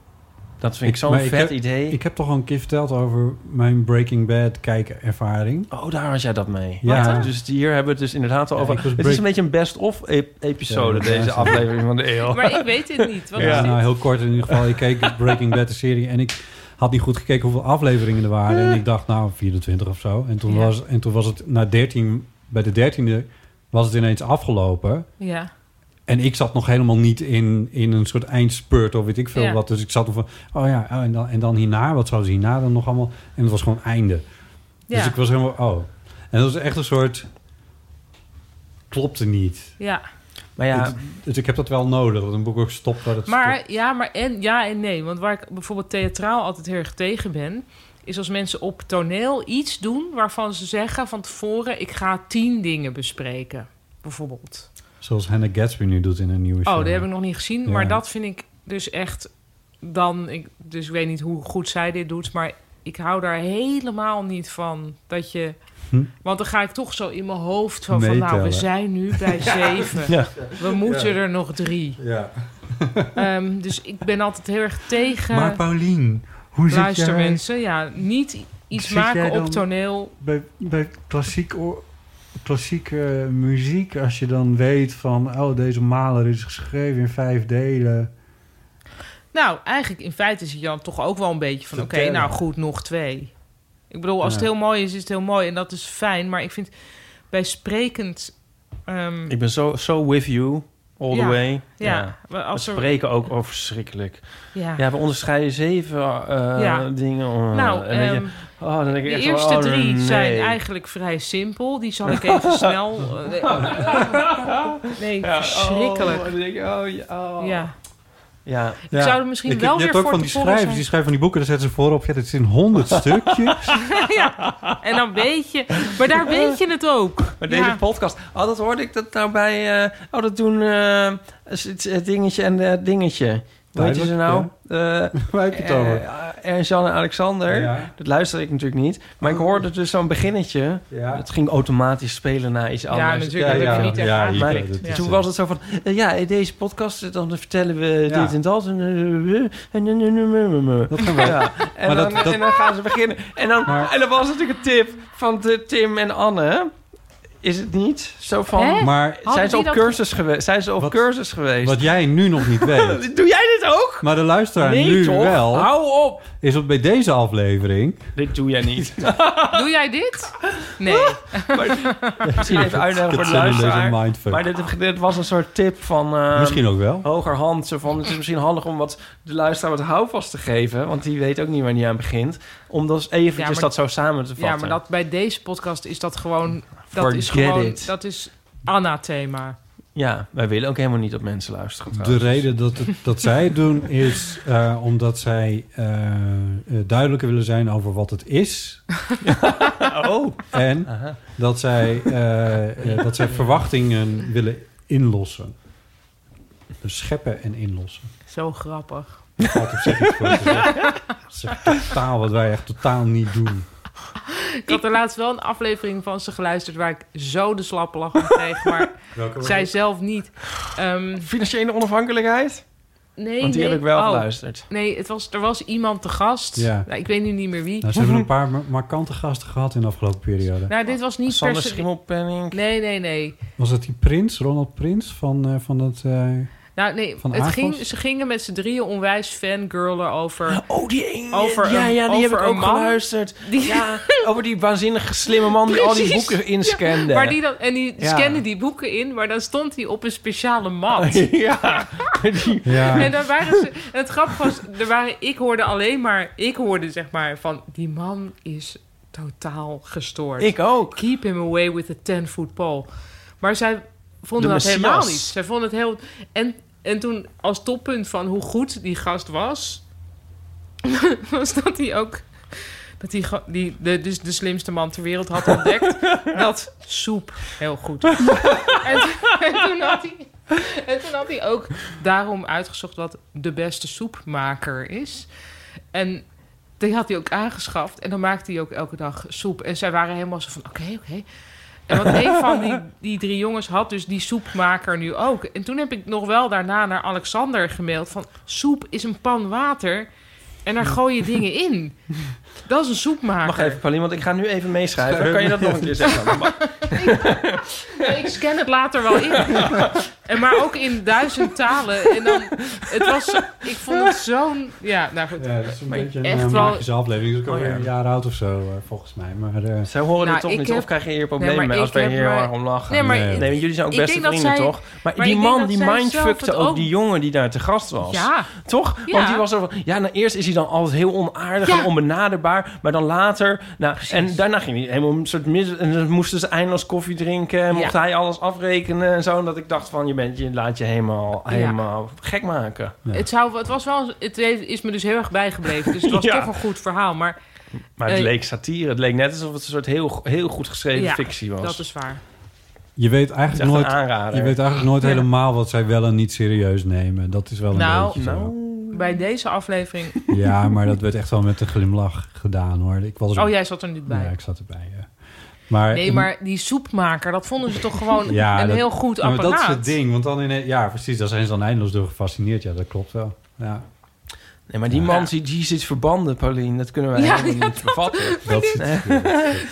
Speaker 3: Dat vind ik, zo'n
Speaker 1: maar ik
Speaker 3: vet
Speaker 1: heb-
Speaker 3: idee.
Speaker 1: Ik heb toch al een keer verteld over mijn Breaking Bad kijkerervaring.
Speaker 3: Oh, daar had jij dat mee.
Speaker 1: Ja.
Speaker 3: Ja. Dus hier hebben we het dus inderdaad al
Speaker 1: Ja,
Speaker 3: over.
Speaker 1: ik was
Speaker 3: het
Speaker 1: break-
Speaker 3: is een beetje een best-of ep- episode,
Speaker 1: Ja, dat
Speaker 3: deze
Speaker 1: is-
Speaker 3: aflevering van de E eeuw.
Speaker 2: Maar ik weet dit niet. Wat
Speaker 1: ja,
Speaker 2: is dit?
Speaker 1: nou heel kort in ieder geval. Ik keek Breaking Bad, de serie. En ik had niet goed gekeken hoeveel afleveringen er waren. En ik dacht, nou, 24 of zo. En toen,
Speaker 2: Ja.
Speaker 1: was, en toen was het na 13, bij de 13e, was het ineens afgelopen.
Speaker 2: Ja.
Speaker 1: En ik zat nog helemaal niet in, in een soort eindspurt of weet ik veel
Speaker 2: Ja.
Speaker 1: wat. Dus ik zat nog van, oh ja, oh, en, dan, en dan hierna, wat zouden ze hierna dan nog allemaal? En het was gewoon einde.
Speaker 2: Ja.
Speaker 1: Dus ik was helemaal, oh. En dat was echt een soort, klopte niet.
Speaker 2: Ja.
Speaker 3: Maar ja.
Speaker 1: Dus, dus ik heb dat wel nodig, dat een boek ook stopt waar het
Speaker 2: Maar ja, maar en, ja en nee. Want waar ik bijvoorbeeld theatraal altijd heel erg tegen ben... is als mensen op toneel iets doen waarvan ze zeggen van tevoren... ik ga tien dingen bespreken, bijvoorbeeld.
Speaker 1: stopt. Zoals Hannah Gatsby nu doet in een nieuwe
Speaker 2: Oh,
Speaker 1: show.
Speaker 2: dat heb ik nog niet gezien.
Speaker 1: Ja.
Speaker 2: Maar dat vind ik dus echt dan... Ik, dus ik weet niet hoe goed zij dit doet, maar... Ik hou daar helemaal niet van dat je...
Speaker 1: Hm?
Speaker 2: Want dan ga ik toch zo in mijn hoofd van... van nou, we
Speaker 1: Meetellen.
Speaker 2: zijn nu bij
Speaker 1: Ja.
Speaker 2: zeven.
Speaker 1: Ja.
Speaker 2: We moeten
Speaker 1: Ja.
Speaker 2: er nog drie.
Speaker 1: Ja.
Speaker 2: Ehm, dus ik ben altijd heel erg tegen...
Speaker 4: Maar Paulien, hoe zit
Speaker 2: Luister
Speaker 4: jij-
Speaker 2: mensen, ja, niet iets
Speaker 4: Zit jij
Speaker 2: maken
Speaker 4: dan
Speaker 2: op toneel.
Speaker 1: Bij, bij klassiek o- klassieke muziek, als je dan weet van... oh, deze maler is geschreven in vijf delen.
Speaker 2: Nou, eigenlijk in feite zit je dan toch ook wel een beetje van... oké,
Speaker 1: Vertellen.
Speaker 2: nou goed, nog twee. Ik bedoel, als
Speaker 3: Ja.
Speaker 2: het heel mooi is, is het heel mooi. En dat is fijn, maar ik vind bij sprekend... ehm,
Speaker 3: Ik ben zo, zo with you all
Speaker 2: Ja,
Speaker 3: the way.
Speaker 2: ja. Maar als
Speaker 3: we
Speaker 2: er-
Speaker 3: spreken ook over verschrikkelijk.
Speaker 2: Ja.
Speaker 3: Ja. we onderscheiden zeven eh,
Speaker 2: Ja.
Speaker 3: dingen. eh,
Speaker 2: nou,
Speaker 3: en weet je,
Speaker 2: ehm,
Speaker 3: oh, dan denk ik
Speaker 2: de
Speaker 3: echt,
Speaker 2: eerste
Speaker 3: oh,
Speaker 2: drie
Speaker 3: nee.
Speaker 2: zijn eigenlijk vrij simpel. Die zal ik even snel... eh, nee,
Speaker 3: Ja, oh,
Speaker 2: verschrikkelijk.
Speaker 3: dan denk ik, oh, ja, oh.
Speaker 2: Ja.
Speaker 3: Ja.
Speaker 2: Ik zou er misschien wel
Speaker 1: je
Speaker 2: weer
Speaker 1: hebt ook
Speaker 2: voor
Speaker 1: van die
Speaker 2: tevoren
Speaker 1: schrijvers,
Speaker 2: zijn.
Speaker 1: die schrijven van die boeken... daar zetten ze voorop, ja, dit is in honderd stukjes.
Speaker 2: ja, en dan weet je... Maar daar weet je het ook.
Speaker 3: Maar deze
Speaker 2: Ja.
Speaker 3: podcast, oh, dat hoorde ik dat nou bij... eh, oh, dat doen eh, het- het het dingetje en het dingetje. Hoe heet ze
Speaker 1: Duidelijk,
Speaker 3: nou? Eh,
Speaker 1: Waar heb je het over?
Speaker 3: eh, Ernst Jan en Alexander.
Speaker 1: Ja.
Speaker 3: Dat luisterde ik natuurlijk niet. Maar ik hoorde dus zo'n beginnetje.
Speaker 1: Ja.
Speaker 3: Het ging automatisch spelen naar iets
Speaker 1: Ja,
Speaker 3: anders.
Speaker 1: natuurlijk, dat Ja, heb je ja. niet ervaren. Ja,
Speaker 3: Maar
Speaker 1: je weet het.
Speaker 3: toen
Speaker 1: Ja.
Speaker 3: was het zo van... eh, ja, in deze podcast eh, dan vertellen we
Speaker 1: Ja.
Speaker 3: dit en dat. En, eh, eh, en, en, en, en, en, en.
Speaker 1: Dat gaan we.
Speaker 3: Ja. En
Speaker 1: Maar
Speaker 3: dan-
Speaker 1: dat- dat-
Speaker 3: en dan gaan ze beginnen. En dan,
Speaker 1: Maar-
Speaker 3: en dan was natuurlijk een tip van de Tim en Anne. Is het niet? Zo van...
Speaker 1: Hè? Maar-
Speaker 3: zijn,
Speaker 1: Hadden
Speaker 3: ze
Speaker 1: die
Speaker 3: op
Speaker 1: dat-
Speaker 3: cursus geweest? zijn ze op cursus geweest?
Speaker 1: Wat jij nu nog niet weet.
Speaker 3: Doe jij dit ook?
Speaker 1: Maar de luisteraar
Speaker 3: Nee,
Speaker 1: nu
Speaker 3: toch?
Speaker 1: wel...
Speaker 3: Hou op!
Speaker 1: Is op bij deze aflevering...
Speaker 3: Dit doe jij niet.
Speaker 2: Doe jij dit? Nee.
Speaker 3: Misschien even uitleggen voor
Speaker 1: Dit
Speaker 3: de
Speaker 1: zijn deze
Speaker 3: luisteraar.
Speaker 1: mindfuck.
Speaker 3: Maar dit, dit was een soort tip van... eh,
Speaker 1: Misschien ook wel.
Speaker 3: Hogerhand. Zo van, het is misschien handig om wat, de luisteraar wat houvast te geven. Want die weet ook niet waar die aan begint. Om dus eventjes
Speaker 2: Ja, maar-
Speaker 3: dat zo samen te vatten.
Speaker 2: Ja, maar dat, bij deze podcast is dat gewoon... Dat is
Speaker 3: Forget
Speaker 2: gewoon...
Speaker 3: it.
Speaker 2: Dat is Anna-thema.
Speaker 3: Ja, wij willen ook helemaal niet dat mensen luisteren
Speaker 1: De
Speaker 3: trouwens.
Speaker 1: reden dat, het- dat zij het doen is eh, omdat zij eh, eh, duidelijker willen zijn over wat het is.
Speaker 3: oh.
Speaker 1: En
Speaker 3: Aha.
Speaker 1: dat zij, eh, eh, dat zij verwachtingen willen inlossen. Dus scheppen en inlossen.
Speaker 2: Zo grappig.
Speaker 1: Dat valt op zich niet voor te zeggen. Dat is echt totaal wat wij echt totaal niet doen.
Speaker 2: Ik had er laatst wel een aflevering van ze geluisterd... waar ik zo de slappe lach van kreeg, maar
Speaker 3: Welke was
Speaker 2: zij
Speaker 3: het?
Speaker 2: zelf niet. Ehm,
Speaker 3: Financiële onafhankelijkheid?
Speaker 2: nee,
Speaker 3: Want die
Speaker 2: nee.
Speaker 3: heb ik wel
Speaker 2: Oh.
Speaker 3: geluisterd.
Speaker 2: Nee, het was, er was iemand te gast.
Speaker 1: Ja.
Speaker 2: Nou, ik weet nu niet meer wie.
Speaker 1: Nou, ze hebben een paar ma- markante gasten gehad in de afgelopen periode.
Speaker 2: Nou, dit was niet
Speaker 3: Sander
Speaker 2: per se-
Speaker 3: Schimmelpenninck.
Speaker 2: Nee, nee, nee.
Speaker 1: Was dat die prins, Ronald Prins, van, eh, van dat... eh,
Speaker 2: Nou, nee,
Speaker 1: Van
Speaker 2: het
Speaker 1: Avos?
Speaker 2: ging, ze gingen met z'n drieën onwijs fangirlen over...
Speaker 3: Oh, die
Speaker 2: Over
Speaker 3: ja,
Speaker 2: een-
Speaker 3: ja, die
Speaker 2: over
Speaker 3: heb ik
Speaker 2: een
Speaker 3: ook
Speaker 2: man.
Speaker 3: geluisterd.
Speaker 2: Die-
Speaker 3: Ja, over die waanzinnig slimme man die al die
Speaker 2: Precies.
Speaker 3: boeken
Speaker 2: Ja,
Speaker 3: inscande.
Speaker 2: maar die dan, en die
Speaker 3: Ja.
Speaker 2: scande die boeken in, maar dan stond hij op een speciale mat.
Speaker 3: ja.
Speaker 2: En dan waren ze, en het grappige was, er waren, ik hoorde alleen maar, ik hoorde zeg maar van, die man is totaal gestoord.
Speaker 3: Ik ook.
Speaker 2: Keep him away with a ten foot pole. Maar zij vonden
Speaker 3: De
Speaker 2: dat
Speaker 3: Messias.
Speaker 2: helemaal niet. Zij vonden het heel, en, en toen als toppunt van hoe goed die gast was, was dat hij ook... Dat hij ge- die, de, dus de slimste man ter wereld had ontdekt dat soep heel goed was. en, toen- en toen had hij, en toen had hij ook daarom uitgezocht wat de beste soepmaker is. En die had hij ook aangeschaft. En dan maakte hij ook elke dag soep. En zij waren helemaal zo van, oké, oké. En want een van die, die drie jongens had dus die soepmaker nu ook. En toen heb ik nog wel daarna naar Alexander gemaild van... soep is een pan water en daar gooi je dingen in. Dat is een soepmaker.
Speaker 3: Mag even, Paulien, want ik ga nu even meeschrijven. Dan kan je dat nog een keer zeggen. Maar-
Speaker 2: Nee, ik scan het later wel in. En maar ook in duizend talen. En dan, het was, zo- ik vond het zo'n... Ja, nou goed.
Speaker 1: Ja, dat is een
Speaker 2: Maar
Speaker 1: beetje een
Speaker 2: echt
Speaker 1: eh,
Speaker 2: wel-
Speaker 1: magische aflevering. Dus ik
Speaker 3: Oh,
Speaker 1: alweer
Speaker 3: ja.
Speaker 1: een jaar oud of zo, eh, volgens mij. Maar, eh
Speaker 3: Zij horen
Speaker 2: Nou,
Speaker 3: dit toch
Speaker 2: ik
Speaker 3: niet?
Speaker 2: heb-
Speaker 3: Of krijgen hier
Speaker 2: Nee,
Speaker 3: problemen
Speaker 2: maar
Speaker 3: mee als
Speaker 2: ik
Speaker 3: wij
Speaker 2: heb
Speaker 3: hier heel
Speaker 2: maar-
Speaker 3: erg om lachen?
Speaker 2: Nee, maar ik-
Speaker 3: want jullie zijn ook
Speaker 2: ik
Speaker 3: beste
Speaker 2: denk dat
Speaker 3: vrienden,
Speaker 2: zij-
Speaker 3: toch? Maar,
Speaker 2: maar
Speaker 3: die
Speaker 2: ik denk
Speaker 3: man,
Speaker 2: dat
Speaker 3: die
Speaker 2: zij
Speaker 3: mindfuckte
Speaker 2: zelf
Speaker 3: ook,
Speaker 2: het ook-
Speaker 3: die jongen die daar te gast was.
Speaker 2: Ja.
Speaker 3: Toch?
Speaker 2: Ja.
Speaker 3: Want die was zo van... Ja, nou, eerst is hij dan altijd heel onaardig
Speaker 2: Ja.
Speaker 3: en bar. Maar dan later... Nou, en daarna ging hij helemaal een soort mis... En dan moesten ze eindeloos koffie drinken. En mocht hij alles afrekenen en zo. En dat ik dacht van, je, bent, je laat je helemaal,
Speaker 2: Ja.
Speaker 3: helemaal gek maken.
Speaker 2: Het, zou, het, was wel, het heeft- is me dus heel erg bijgebleven. Dus het was
Speaker 3: Ja.
Speaker 2: toch een goed verhaal. Maar,
Speaker 3: Maar het
Speaker 2: eh,
Speaker 3: leek satire. Het leek net alsof het een soort heel, heel goed geschreven
Speaker 2: ja,
Speaker 3: fictie was.
Speaker 2: dat is waar.
Speaker 1: Je weet
Speaker 3: Het is echt
Speaker 1: eigenlijk nooit,
Speaker 3: een aanrader.
Speaker 1: je weet eigenlijk nooit
Speaker 2: Ja.
Speaker 1: helemaal wat zij wel en niet serieus nemen. Dat is wel een
Speaker 2: Nou,
Speaker 1: beetje zo.
Speaker 2: bij deze aflevering...
Speaker 1: Ja, maar dat werd echt wel met een glimlach gedaan hoor. Ik was er-
Speaker 2: Oh, jij zat er niet bij.
Speaker 1: Ja, ik zat erbij. Ja. Maar,
Speaker 2: nee, maar die soepmaker, dat vonden ze toch gewoon
Speaker 1: Ja,
Speaker 2: een
Speaker 1: dat-
Speaker 2: heel goed
Speaker 1: maar
Speaker 2: apparaat.
Speaker 1: dat is het ding. Want dan in, ja, precies. Daar zijn ze dan eindeloos door gefascineerd. Ja, dat klopt wel. Ja.
Speaker 3: Nee, maar die man ziet Jesus verbanden, Paulien. Dat kunnen wij
Speaker 2: Ja,
Speaker 3: helemaal
Speaker 2: ja,
Speaker 3: niet bevatten.
Speaker 1: Dat zit-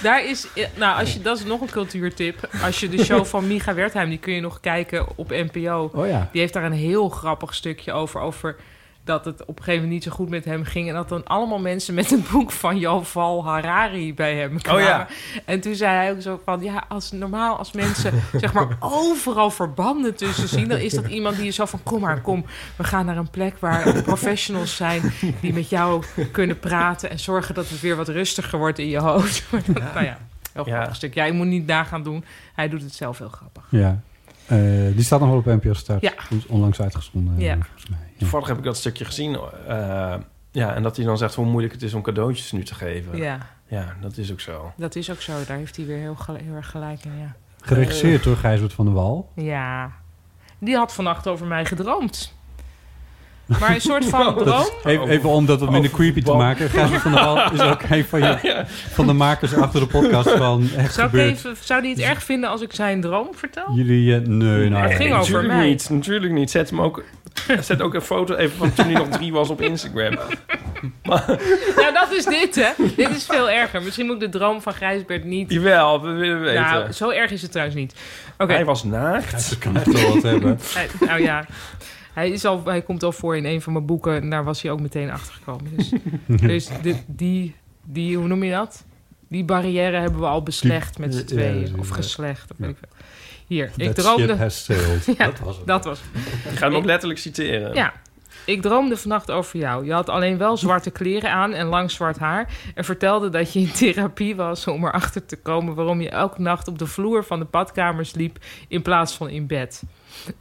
Speaker 2: Daar is, nou, als je, dat is nog een cultuurtip. Als je de show van Miga Wertheim, die kun je nog kijken op NPO.
Speaker 1: Oh ja.
Speaker 2: Die heeft daar een heel grappig stukje over. Over dat het op een gegeven moment niet zo goed met hem ging. En dat dan allemaal mensen met een boek van Joval Harari bij hem kwamen.
Speaker 3: Oh ja.
Speaker 2: En toen zei hij ook zo van... Ja, als, normaal als mensen zeg maar overal verbanden tussen zien... dan is dat iemand die zo van... Kom maar, kom. We gaan naar een plek waar professionals zijn... die met jou kunnen praten... en zorgen dat het weer wat rustiger wordt in je hoofd. Maar dat- Nou ja, heel
Speaker 3: Ja.
Speaker 2: grappig stuk. Ja, je moet niet daar gaan doen. Hij doet het zelf heel grappig.
Speaker 1: ja. Eh, die staat nog wel op NPO Start.
Speaker 2: Ja.
Speaker 1: Is Onlangs uitgezonden.
Speaker 2: Ja.
Speaker 3: Toevallig heb ik dat stukje gezien. eh, ja, en dat hij dan zegt hoe moeilijk het is om cadeautjes nu te geven.
Speaker 2: Ja.
Speaker 3: Ja, dat is ook zo.
Speaker 2: Dat is ook zo. Daar heeft hij weer heel, gel- heel erg gelijk in, ja.
Speaker 1: Geregisseerd
Speaker 2: Eh.
Speaker 1: door Gijsbert van der Wal.
Speaker 2: Ja. Die had vannacht over mij gedroomd. Maar een soort van
Speaker 1: Dat is-
Speaker 2: droom...
Speaker 1: even, even om dat wat minder
Speaker 3: Oh,
Speaker 1: creepy te maken. Gijsbert van der Wal is ook een van, je, van de makers achter de podcast van Echt
Speaker 2: Zou, ik
Speaker 1: Gebeurd.
Speaker 2: even, zou die het erg vinden als ik zijn droom vertel?
Speaker 1: Jullie, eh, nee, nou.
Speaker 2: Het ging over
Speaker 3: natuurlijk
Speaker 2: mij.
Speaker 3: Niet, natuurlijk niet. Zet hem ook... Zet ook een foto even van toen hij nog drie was op Instagram.
Speaker 2: Nou, dat is dit, hè? dit is veel erger. Misschien moet ik de droom van Gijsbert niet...
Speaker 3: Jawel, we willen weten.
Speaker 2: Nou, zo erg is het trouwens niet. Oké.
Speaker 3: Hij was naakt.
Speaker 1: Dat kan echt wel wat hebben.
Speaker 2: Hij- nou ja, hij, is al, hij komt al voor in een van mijn boeken. En daar was hij ook meteen achter gekomen. Dus, dus dit- die, die, hoe noem je dat? Die barrière hebben we al beslecht met
Speaker 1: Die-
Speaker 2: z'n tweeën.
Speaker 1: ja,
Speaker 2: of
Speaker 1: ja.
Speaker 2: geslecht, dat weet ik wel. Hier, ik
Speaker 1: That
Speaker 2: droomde...
Speaker 1: ship has sailed. Dat was het.
Speaker 2: Dat was
Speaker 3: Ik ga hem ook letterlijk citeren.
Speaker 2: ja. Ik droomde vannacht over jou. Je had alleen wel zwarte kleren aan en lang zwart haar. En vertelde dat je in therapie was om erachter te komen waarom je elke nacht op de vloer van de badkamers liep in plaats van in bed.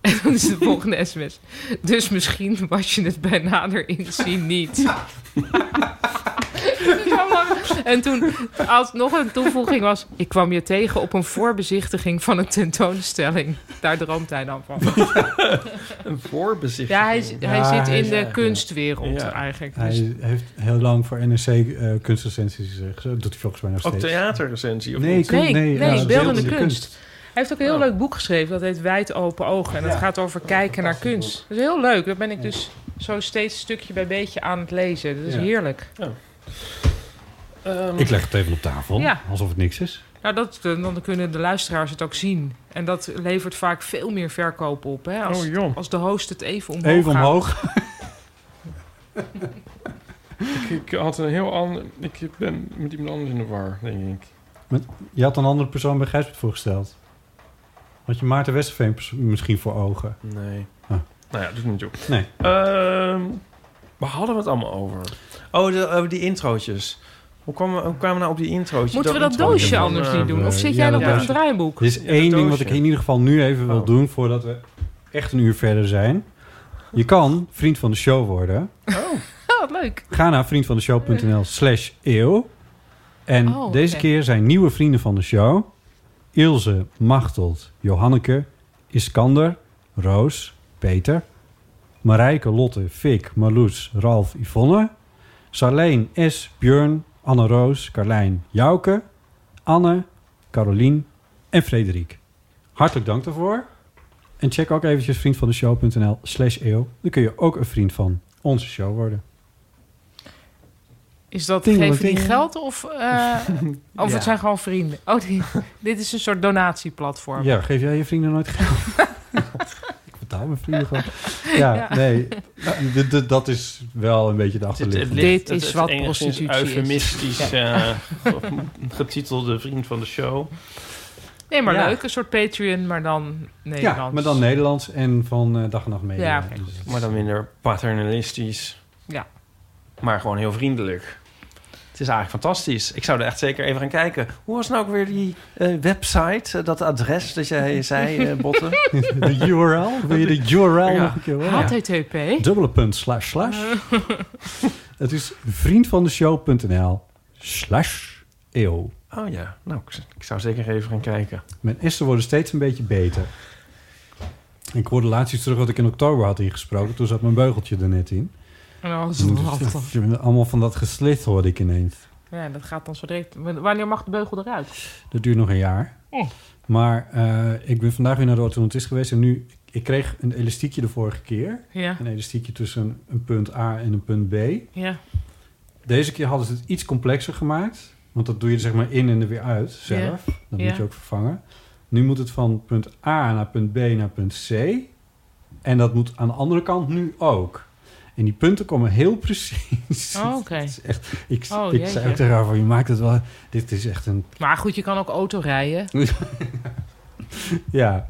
Speaker 2: En dan is de volgende sms. Dus misschien was je het bij nader inzien niet. Het is allemaal- En toen, als nog een toevoeging was... ik kwam je tegen op een voorbezichtiging van een tentoonstelling. Daar droomt hij dan van.
Speaker 3: Een voorbezichtiging.
Speaker 2: Ja, hij, z- hij
Speaker 1: Ja,
Speaker 2: zit
Speaker 1: hij
Speaker 2: in
Speaker 1: is
Speaker 2: de
Speaker 1: eigenlijk-
Speaker 2: kunstwereld
Speaker 3: Ja.
Speaker 2: eigenlijk. Dus
Speaker 1: Hij heeft heel lang voor NRC eh kunstrecensies gezegd. Dat doet hij volgens mij nog
Speaker 3: Ook
Speaker 1: steeds.
Speaker 3: theaterrecensie. of
Speaker 1: Nee,
Speaker 3: niet? Oh.
Speaker 1: kun- nee,
Speaker 2: nee,
Speaker 1: ja, dat
Speaker 2: beeldende
Speaker 1: is
Speaker 2: kunst. Hij heeft ook een heel leuk boek geschreven. Dat heet Wijd Open Ogen. En dat
Speaker 3: Ja.
Speaker 2: gaat over kijken naar kunst. Dat is heel leuk. Daar ben ik dus zo steeds stukje bij beetje aan het lezen. Dat is
Speaker 1: Ja.
Speaker 2: heerlijk.
Speaker 3: Ehm,
Speaker 1: Ik leg het even op tafel,
Speaker 2: Ja.
Speaker 1: alsof het niks is.
Speaker 2: Nou, dat, dan kunnen de luisteraars het ook zien. En dat levert vaak veel meer verkoop op. Hè? Als,
Speaker 3: Oh, joh.
Speaker 2: als de host het even omhoog
Speaker 1: Even
Speaker 2: gaat.
Speaker 1: omhoog.
Speaker 3: Ik, ik had een heel ander... Ik ben met iemand anders in de war, denk ik.
Speaker 1: Met- Je had een andere persoon bij Gijsbert voorgesteld. Had je Maarten Westerveen pers- misschien voor ogen?
Speaker 3: Nee.
Speaker 1: Ah.
Speaker 3: Nou ja, doet niet op.
Speaker 1: Nee.
Speaker 3: Ehm waar hadden we het allemaal over? Oh, de, over die introotjes. Hoe kwamen, hoe kwamen we nou op die introotjes?
Speaker 2: Moeten we dat
Speaker 3: intro-
Speaker 2: doosje
Speaker 3: van,
Speaker 2: anders
Speaker 3: eh,
Speaker 2: niet doen? Of
Speaker 1: eh,
Speaker 2: zit
Speaker 1: ja,
Speaker 2: jij nog
Speaker 1: dat
Speaker 2: met een
Speaker 1: doosje.
Speaker 2: draaiboek?
Speaker 1: Er is één ding wat ik in ieder geval nu even wil doen voordat we echt een uur verder zijn. Je kan vriend van de show worden.
Speaker 2: Oh, wat leuk.
Speaker 1: Ga naar vriendvandeshow.nl slash eeuw. En
Speaker 2: Oh,
Speaker 1: deze
Speaker 2: oké.
Speaker 1: keer zijn nieuwe vrienden van de show... Ilse, Machteld, Johanneke, Iskander, Roos, Peter... Marijke, Lotte, Fik, Marloes, Ralf, Yvonne... Sarleen, S, Björn, Anne-Roos, Carlijn, Jouke... Anne, Carolien en Frederik. Hartelijk dank daarvoor. En check ook eventjes vriendvandeshow.nl slash eeuw. Dan kun je ook een vriend van onze show worden.
Speaker 2: Is dat
Speaker 1: Ding,
Speaker 2: geven
Speaker 1: ding.
Speaker 2: die geld of, eh, of
Speaker 1: Ja.
Speaker 2: het zijn gewoon vrienden? Oh, die- dit is een soort donatieplatform.
Speaker 1: Ja, geef jij je vrienden nooit geld? ik betaal mijn vrienden gewoon. Ja,
Speaker 2: Ja.
Speaker 1: nee. D- d- dat is wel een beetje de
Speaker 3: Het, het
Speaker 1: achterliggende.
Speaker 3: ligt,
Speaker 2: Dit is
Speaker 3: het,
Speaker 2: wat
Speaker 3: het enigszins
Speaker 2: prostitutie is.
Speaker 3: eufemistisch
Speaker 2: Ja.
Speaker 3: eh, getitelde vriend van de show.
Speaker 2: Nee, maar
Speaker 3: Ja.
Speaker 2: leuk. Een soort Patreon, maar dan Nederlands.
Speaker 1: Ja, maar dan Nederlands en van eh, dag en nacht mee.
Speaker 2: Ja, oké.
Speaker 3: Maar dan minder paternalistisch.
Speaker 2: Ja.
Speaker 3: Maar gewoon heel vriendelijk. Het is eigenlijk fantastisch. Ik zou er echt zeker even gaan kijken. Hoe was nou ook weer die eh, website, eh, dat adres dat jij zei, eh, Botten?
Speaker 1: De URL? Wil je de URL nog een keer horen?
Speaker 2: HTTP.
Speaker 1: Dubbele punt slash slash. Het is vriendvandeshow.nl slash eeuw.
Speaker 3: Oh ja, nou, ik, ik zou zeker even gaan kijken.
Speaker 1: Mijn essen worden steeds een beetje beter. Ik hoorde laatst iets terug wat ik in oktober had ingesproken. Toen zat mijn beugeltje er net in.
Speaker 2: En dan was
Speaker 1: En
Speaker 2: het
Speaker 1: dus-
Speaker 2: lastig.
Speaker 1: Allemaal van dat geslit hoorde ik ineens.
Speaker 2: Ja, dat gaat dan zo direct. Wanneer mag de beugel eruit?
Speaker 1: Dat duurt nog een jaar.
Speaker 2: Oh.
Speaker 1: Maar eh, ik ben vandaag weer naar de orthodontist geweest. En nu, ik kreeg een elastiekje de vorige keer.
Speaker 2: Ja.
Speaker 1: Een elastiekje tussen een punt A en een punt B.
Speaker 2: Ja.
Speaker 1: Deze keer hadden ze het iets complexer gemaakt. Want dat doe je er zeg maar in en er weer uit zelf.
Speaker 2: Ja.
Speaker 1: Dat
Speaker 2: Ja.
Speaker 1: moet je ook vervangen. Nu moet het van punt A naar punt B naar punt C. En dat moet aan de andere kant nu ook. En die punten komen heel precies.
Speaker 2: Oh, oké.
Speaker 1: Het is echt- Ik,
Speaker 2: Oh,
Speaker 1: ik
Speaker 2: jeetje.
Speaker 1: zei ook tegen haar van, je maakt het wel... Dit is echt een
Speaker 2: Maar goed, je kan ook auto rijden.
Speaker 1: ja.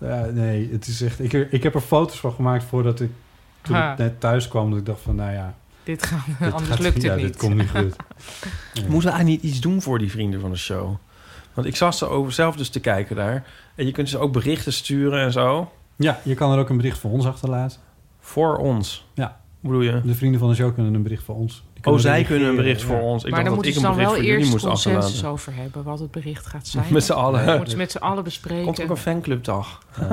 Speaker 1: Ja, nee, het is echt... Ik, ik heb er foto's van gemaakt voordat ik... Toen
Speaker 2: Ha.
Speaker 1: ik net thuis kwam, dat ik dacht van, nou ja...
Speaker 2: Dit gaat-
Speaker 1: dit
Speaker 2: anders
Speaker 1: gaat-
Speaker 2: lukt het
Speaker 1: ja,
Speaker 2: niet.
Speaker 1: dit komt niet goed. Ja.
Speaker 3: Moeten we eigenlijk niet iets doen voor die vrienden van de show? Want ik zat ze over zelf dus te kijken daar. En je kunt ze ook berichten sturen en zo.
Speaker 1: Ja, je kan er ook een bericht voor ons achterlaten.
Speaker 3: Voor ons?
Speaker 1: Ja.
Speaker 3: Hoe bedoel je?
Speaker 1: De vrienden van de show kunnen een bericht voor ons. Die
Speaker 3: Oh, zij
Speaker 1: reageren,
Speaker 3: kunnen een bericht
Speaker 1: ja.
Speaker 3: voor ons. Ik
Speaker 2: maar dan
Speaker 3: dacht dat
Speaker 2: moeten
Speaker 3: ik
Speaker 2: ze dan
Speaker 3: een bericht
Speaker 2: wel
Speaker 3: voor jullie
Speaker 2: eerst
Speaker 3: moest
Speaker 2: consensus
Speaker 3: achterlaten.
Speaker 2: over hebben wat het bericht gaat zijn.
Speaker 3: Met z'n allen.
Speaker 2: Dan moeten ze met z'n allen bespreken.
Speaker 3: Komt ook een fanclubdag.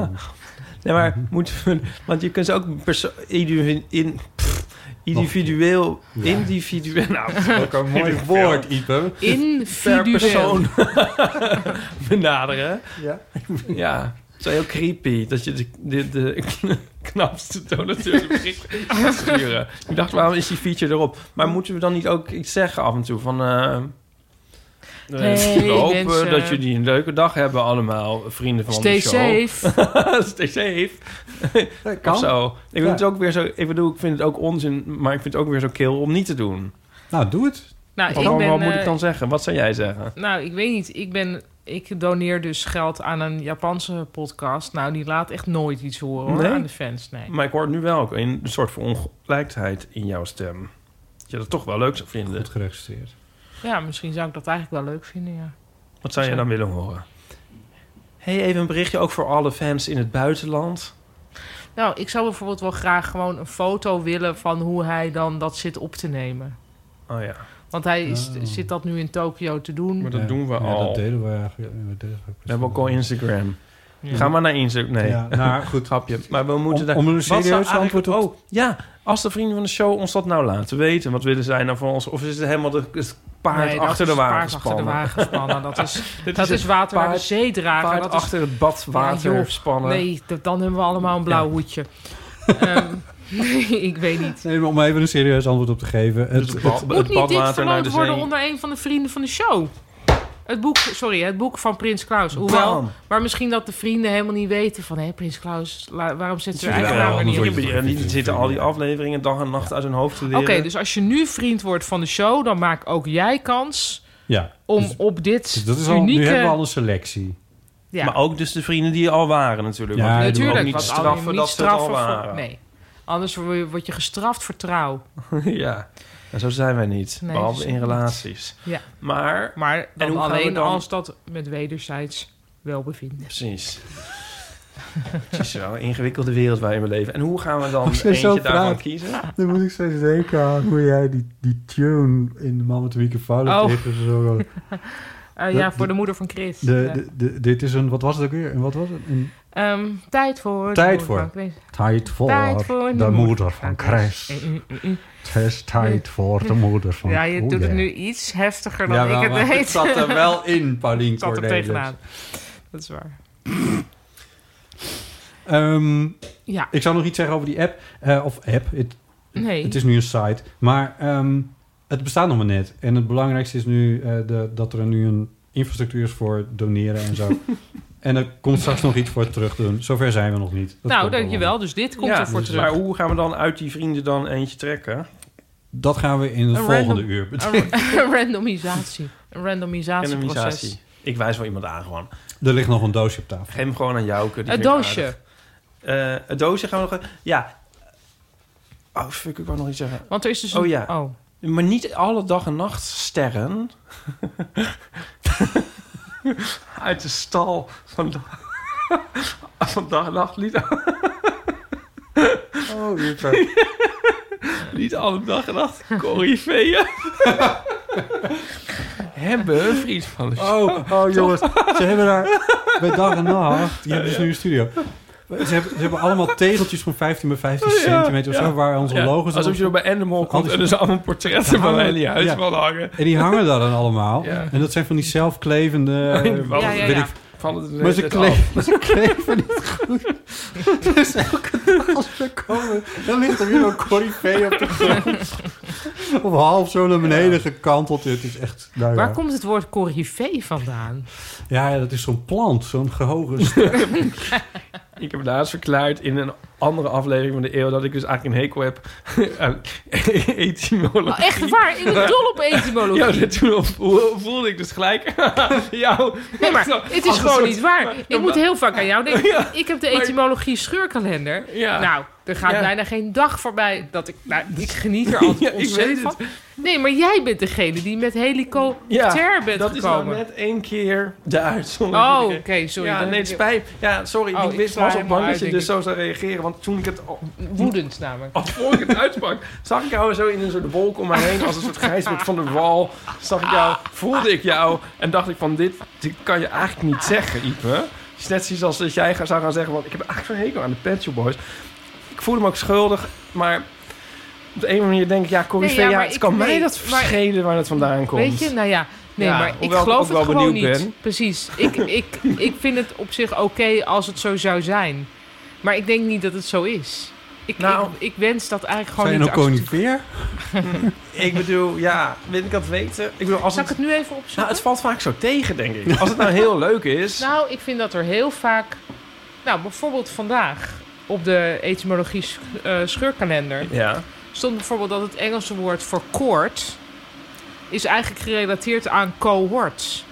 Speaker 3: nee, maar moeten we... Want je kunt ze ook perso- individu- in, pff, individueel... Individueel... Nou, dat is ook een mooi woord,
Speaker 1: Ipe.
Speaker 3: Per
Speaker 2: Individueel.
Speaker 3: persoon benaderen.
Speaker 1: Ja.
Speaker 3: Ja, het is wel heel creepy dat je de, de, de knapste donateur bericht gaat sturen. Ik dacht, waarom is die feature erop? Maar moeten we dan niet ook iets zeggen af en toe? Van, eh, eh,
Speaker 2: Hey,
Speaker 3: we hopen
Speaker 2: mensen.
Speaker 3: dat jullie een leuke dag hebben allemaal, vrienden van
Speaker 2: Stay
Speaker 3: de show.
Speaker 2: safe.
Speaker 3: Stay safe.
Speaker 2: kan.
Speaker 3: Of zo. Ik, vind
Speaker 2: Ja.
Speaker 3: het ook weer zo, ik bedoel, ik vind het ook onzin, maar ik vind het ook weer zo kil om niet te doen.
Speaker 1: Nou, doe het.
Speaker 2: Nou,
Speaker 3: wat
Speaker 2: ik
Speaker 3: wat
Speaker 2: ben,
Speaker 3: moet
Speaker 2: eh,
Speaker 3: ik dan zeggen? Wat zou jij zeggen?
Speaker 2: Nou, ik weet niet. Ik, ben, ik doneer dus geld aan een Japanse podcast. Nou, die laat echt nooit iets horen hoor,
Speaker 3: Nee?
Speaker 2: aan de fans. Nee.
Speaker 3: Maar ik hoor nu wel ook een soort van ongelijkheid in jouw stem. Dat je dat toch wel leuk zou vinden. Goed
Speaker 1: geregistreerd.
Speaker 2: Ja, misschien zou ik dat eigenlijk wel leuk vinden, ja.
Speaker 3: Wat zou je dan willen horen? hey, even een berichtje ook voor alle fans in het buitenland.
Speaker 2: Nou, ik zou bijvoorbeeld wel graag gewoon een foto willen van hoe hij dan dat zit op te nemen.
Speaker 3: Oh ja.
Speaker 2: Want hij is, zit dat nu in Tokio te doen.
Speaker 3: Oh. Maar dat
Speaker 1: Ja.
Speaker 3: doen we
Speaker 1: Ja,
Speaker 3: al.
Speaker 1: dat deden we eigenlijk. ja, we deden
Speaker 3: We hebben ook al Instagram.
Speaker 1: Ja.
Speaker 3: Ga maar naar Instagram. Nee,
Speaker 1: Ja, nou,
Speaker 3: goed. Grapje. Maar we moeten
Speaker 1: Om-
Speaker 3: daar...
Speaker 1: om een
Speaker 3: Wat zou
Speaker 1: serieus
Speaker 3: eigenlijk-
Speaker 1: antwoord op-
Speaker 3: Oh, ja. Als de vrienden van de show ons dat nou laten weten. Wat willen zij nou van ons? Of is het helemaal de, het paard
Speaker 2: Nee, dat
Speaker 3: achter de
Speaker 2: is
Speaker 3: wagen
Speaker 2: paard achter de
Speaker 3: spannen?
Speaker 2: wagen spannen. Dat is,
Speaker 3: Dit
Speaker 2: dat
Speaker 3: is
Speaker 2: is
Speaker 3: het
Speaker 2: water naar de
Speaker 3: paard-
Speaker 2: zee dragen.
Speaker 3: paard
Speaker 2: dat
Speaker 3: achter
Speaker 2: is,
Speaker 3: het bad water
Speaker 2: Ja, joh,
Speaker 3: spannen.
Speaker 2: Nee, dat- dan hebben we allemaal een blauw hoedje. Ehm, nee, ik weet niet.
Speaker 1: Nee, maar om even een serieus antwoord op te geven. Het,
Speaker 3: Dus het bad-
Speaker 2: Moet niet dit verloot worden onder een van de vrienden van de show? Het boek, sorry, het boek van Prins Klaus. Hoewel,
Speaker 3: Bam.
Speaker 2: maar misschien dat de vrienden helemaal niet weten van... hé, Prins Klaus, la- waarom zit ze er
Speaker 3: Tuurlijk
Speaker 2: eigenlijk
Speaker 3: wel.
Speaker 2: naam er niet op?
Speaker 3: Ja, die zitten al die afleveringen dag en nacht uit hun hoofd te
Speaker 2: Oké,
Speaker 3: leren.
Speaker 2: dus als je nu vriend wordt van de show... dan maak ook jij kans
Speaker 1: Ja.
Speaker 2: om op dit
Speaker 1: Dus dat is al,
Speaker 2: unieke...
Speaker 1: nu hebben we al een selectie.
Speaker 2: Ja.
Speaker 3: Maar ook dus de vrienden die er al waren natuurlijk.
Speaker 1: Ja,
Speaker 3: want die
Speaker 2: Natuurlijk,
Speaker 3: doen ook niet
Speaker 2: want
Speaker 3: straffen
Speaker 2: alleen
Speaker 3: dat
Speaker 2: niet
Speaker 3: ze het al
Speaker 2: straffen voor-
Speaker 3: waren.
Speaker 2: Nee, anders word je- word je gestraft voor trouw.
Speaker 3: ja, en zo zijn wij niet.
Speaker 2: Nee,
Speaker 3: behalve
Speaker 2: zo
Speaker 3: in
Speaker 2: niet.
Speaker 3: relaties.
Speaker 2: Ja.
Speaker 3: Maar,
Speaker 2: Maar dan
Speaker 3: en hoe gaan we
Speaker 2: alleen
Speaker 3: dan-
Speaker 2: als dat met wederzijds welbevinden.
Speaker 3: Precies. Het is wel een ingewikkelde wereld waarin we leven. En hoe gaan we dan
Speaker 1: Als jij
Speaker 3: eentje
Speaker 1: zo
Speaker 3: daarvan
Speaker 1: praat,
Speaker 2: Ah,
Speaker 3: kiezen?
Speaker 1: Dan moet ik steeds denken aan hoe jij die, die tune in de man met de microfoon
Speaker 2: Oh.
Speaker 1: tegen zo.
Speaker 2: Eh, ja, voor de moeder van Chris. Eh,
Speaker 1: De,
Speaker 2: Ja.
Speaker 1: de, de- dit is een, wat was het ook weer? En wat was het? Een
Speaker 2: Ehm, tijd voor...
Speaker 1: tijd
Speaker 2: de
Speaker 1: voor.
Speaker 2: moeder van Chris.
Speaker 1: Tijd voor
Speaker 2: Tijd voor
Speaker 1: de
Speaker 2: de
Speaker 1: moeder van Chris.
Speaker 2: Eh,
Speaker 1: Het is tijd voor de moeder van
Speaker 2: Ja, je
Speaker 1: Oh,
Speaker 2: doet het
Speaker 1: yeah.
Speaker 2: nu iets heftiger dan
Speaker 1: Jawel,
Speaker 2: ik
Speaker 1: maar
Speaker 2: het deed.
Speaker 1: zat er wel in, Paulien
Speaker 2: Het zat er
Speaker 1: Cornelis.
Speaker 2: tegenaan. Dat is waar.
Speaker 1: Ehm,
Speaker 2: Ja.
Speaker 1: Ik zou nog iets zeggen over die app. Eh, of app. Het,
Speaker 2: Nee.
Speaker 1: het is nu een site. Maar ehm, het bestaat nog maar net. En het belangrijkste is nu eh, de, dat er nu een infrastructuur is voor doneren en zo. en er komt straks nog iets voor terug doen. Zover zijn we nog niet. Dat
Speaker 2: nou,
Speaker 1: komt wel
Speaker 2: dankjewel. Dus dit komt
Speaker 3: Ja,
Speaker 2: ervoor terug.
Speaker 3: Maar hoe gaan we dan uit die vrienden dan eentje trekken?
Speaker 1: Dat gaan we in het
Speaker 2: Een
Speaker 1: volgende
Speaker 2: random-
Speaker 1: uur
Speaker 2: Een ra- een randomisatie. Een randomisatieproces.
Speaker 3: Randomisatie. Ik wijs wel iemand aan gewoon.
Speaker 1: Er ligt nog een doosje op tafel.
Speaker 3: Geef hem gewoon aan Jouke. die
Speaker 2: Een
Speaker 3: vind ik
Speaker 2: doosje.
Speaker 3: aardig. Eh, het doosje gaan we nog... Ja. Oh, fuck, ik wou nog iets zeggen.
Speaker 2: Want er is dus
Speaker 3: Oh
Speaker 2: een-
Speaker 3: ja.
Speaker 2: oh.
Speaker 3: Maar niet alle dag en nacht sterren. Uit de stal van dag, van dag en nacht. Niet,
Speaker 1: Oh, super.
Speaker 3: niet alle dag en nacht corifeeën. hebben een vriend van de
Speaker 1: Oh, oh jongens, ze hebben daar bij dag en nacht. Die hebben dus
Speaker 3: Ja.
Speaker 1: nu een studio. Ze hebben, ze hebben allemaal tegeltjes van 15 bij 15
Speaker 3: Ja,
Speaker 1: centimeter of zo,
Speaker 3: ja.
Speaker 1: waar onze
Speaker 3: Ja,
Speaker 1: logo's
Speaker 3: alsof je
Speaker 1: op-
Speaker 3: er bij Endemol
Speaker 1: op-
Speaker 3: komt en er zijn allemaal portretten
Speaker 1: Daar
Speaker 3: van
Speaker 1: hangen-
Speaker 3: mij die huis van hangen.
Speaker 1: En die hangen daar dan allemaal.
Speaker 3: Ja.
Speaker 1: En dat zijn van die zelfklevende...
Speaker 3: Ja, ja, ja.
Speaker 1: weet ik-
Speaker 3: Vallen er de
Speaker 1: maar
Speaker 3: hele
Speaker 1: ze
Speaker 3: tijd
Speaker 1: kleven,
Speaker 3: af.
Speaker 1: ze kleven niet goed. Dus elke dag als we komen, dan ligt er weer een corifee op de grond. Of half zo naar beneden gekanteld. Het is echt... nou ja.
Speaker 2: Waar komt het woord corrivee vandaan?
Speaker 1: Ja, ja, dat is zo'n plant, zo'n gehoge ster.
Speaker 3: Ik heb laatst verklaard in een andere aflevering van de eeuw dat ik dus eigenlijk een hekel heb aan etymologie.
Speaker 2: Oh, echt waar? Ik ben dol op etymologie.
Speaker 3: Ja, dit- toen vo- voelde ik dus gelijk jou.
Speaker 2: Nee, maar het is
Speaker 3: Als een
Speaker 2: gewoon
Speaker 3: soort-
Speaker 2: niet waar. Ik moet heel vaak aan jou denken.
Speaker 3: Ja.
Speaker 2: Ik heb de etymologie scheurkalender.
Speaker 3: Ja.
Speaker 2: Nou, er gaat
Speaker 3: Ja.
Speaker 2: bijna geen dag voorbij dat ik... Nou, ik geniet er altijd
Speaker 3: Ja, ik
Speaker 2: ontzettend
Speaker 3: weet het.
Speaker 2: van. Nee, maar jij bent degene die met helicopter
Speaker 3: Ja,
Speaker 2: bent
Speaker 3: dat is nou
Speaker 2: gekomen.
Speaker 3: net één keer de uitzondering.
Speaker 2: Oh, oké, sorry.
Speaker 3: Ja,
Speaker 2: Dan
Speaker 3: nee,
Speaker 2: heb
Speaker 3: het
Speaker 2: ik-
Speaker 3: spijt. Ja, sorry,
Speaker 2: Oh,
Speaker 3: ik
Speaker 2: ik
Speaker 3: wist
Speaker 2: sla
Speaker 3: was op
Speaker 2: helemaal
Speaker 3: bang dat
Speaker 2: uit,
Speaker 3: je
Speaker 2: denk
Speaker 3: dus zo zou reageren. Want toen ik het... Oh,
Speaker 2: Woedend namelijk.
Speaker 3: Als voor ik het uitsprak, zag ik jou zo in een soort wolk om me heen. Als een soort grijsbeeld van de wal. Zag ik jou, voelde ik jou. En dacht ik van, dit, dit kan je eigenlijk niet zeggen, Ipe. Het is net zoiets als dat jij zou gaan zeggen... Want ik heb eigenlijk zo'n hekel aan de Pet Shop Boys. Ik voelde me ook schuldig, maar... Op de een of andere manier denk ik, ja, Corrie
Speaker 2: Nee,
Speaker 3: Vee,
Speaker 2: ja,
Speaker 3: ja,
Speaker 2: maar
Speaker 3: het
Speaker 2: ik-
Speaker 3: kan mij
Speaker 2: nee,
Speaker 3: dat
Speaker 2: maar-
Speaker 3: verschelen waar dat vandaan komt.
Speaker 2: Weet je, nou ja. Nee,
Speaker 3: Ja,
Speaker 2: maar ik
Speaker 3: hoewel ik
Speaker 2: geloof
Speaker 3: ook wel
Speaker 2: het gewoon niet.
Speaker 3: benieuwd ben.
Speaker 2: Precies. Ik, ik, ik vind het op zich oké als het zo zou zijn. Maar ik denk niet dat het zo is. Ik,
Speaker 3: Nou.
Speaker 2: ik, ik wens dat eigenlijk gewoon
Speaker 1: Zijn
Speaker 2: niet
Speaker 1: nou
Speaker 2: te accepteren.
Speaker 1: conifeer?
Speaker 3: ik bedoel, ja, wil ik dat weten? Ik bedoel, als
Speaker 2: Zal
Speaker 3: het,
Speaker 2: ik het nu even opzoeken?
Speaker 3: Nou, het valt vaak zo tegen, denk ik. Als het nou heel leuk is...
Speaker 2: Nou, ik vind dat er heel vaak... Nou, bijvoorbeeld vandaag op de etymologie sch- eh, scheurkalender...
Speaker 3: Ja.
Speaker 2: stond bijvoorbeeld dat het Engelse woord voor koord... is eigenlijk gerelateerd aan cohorts.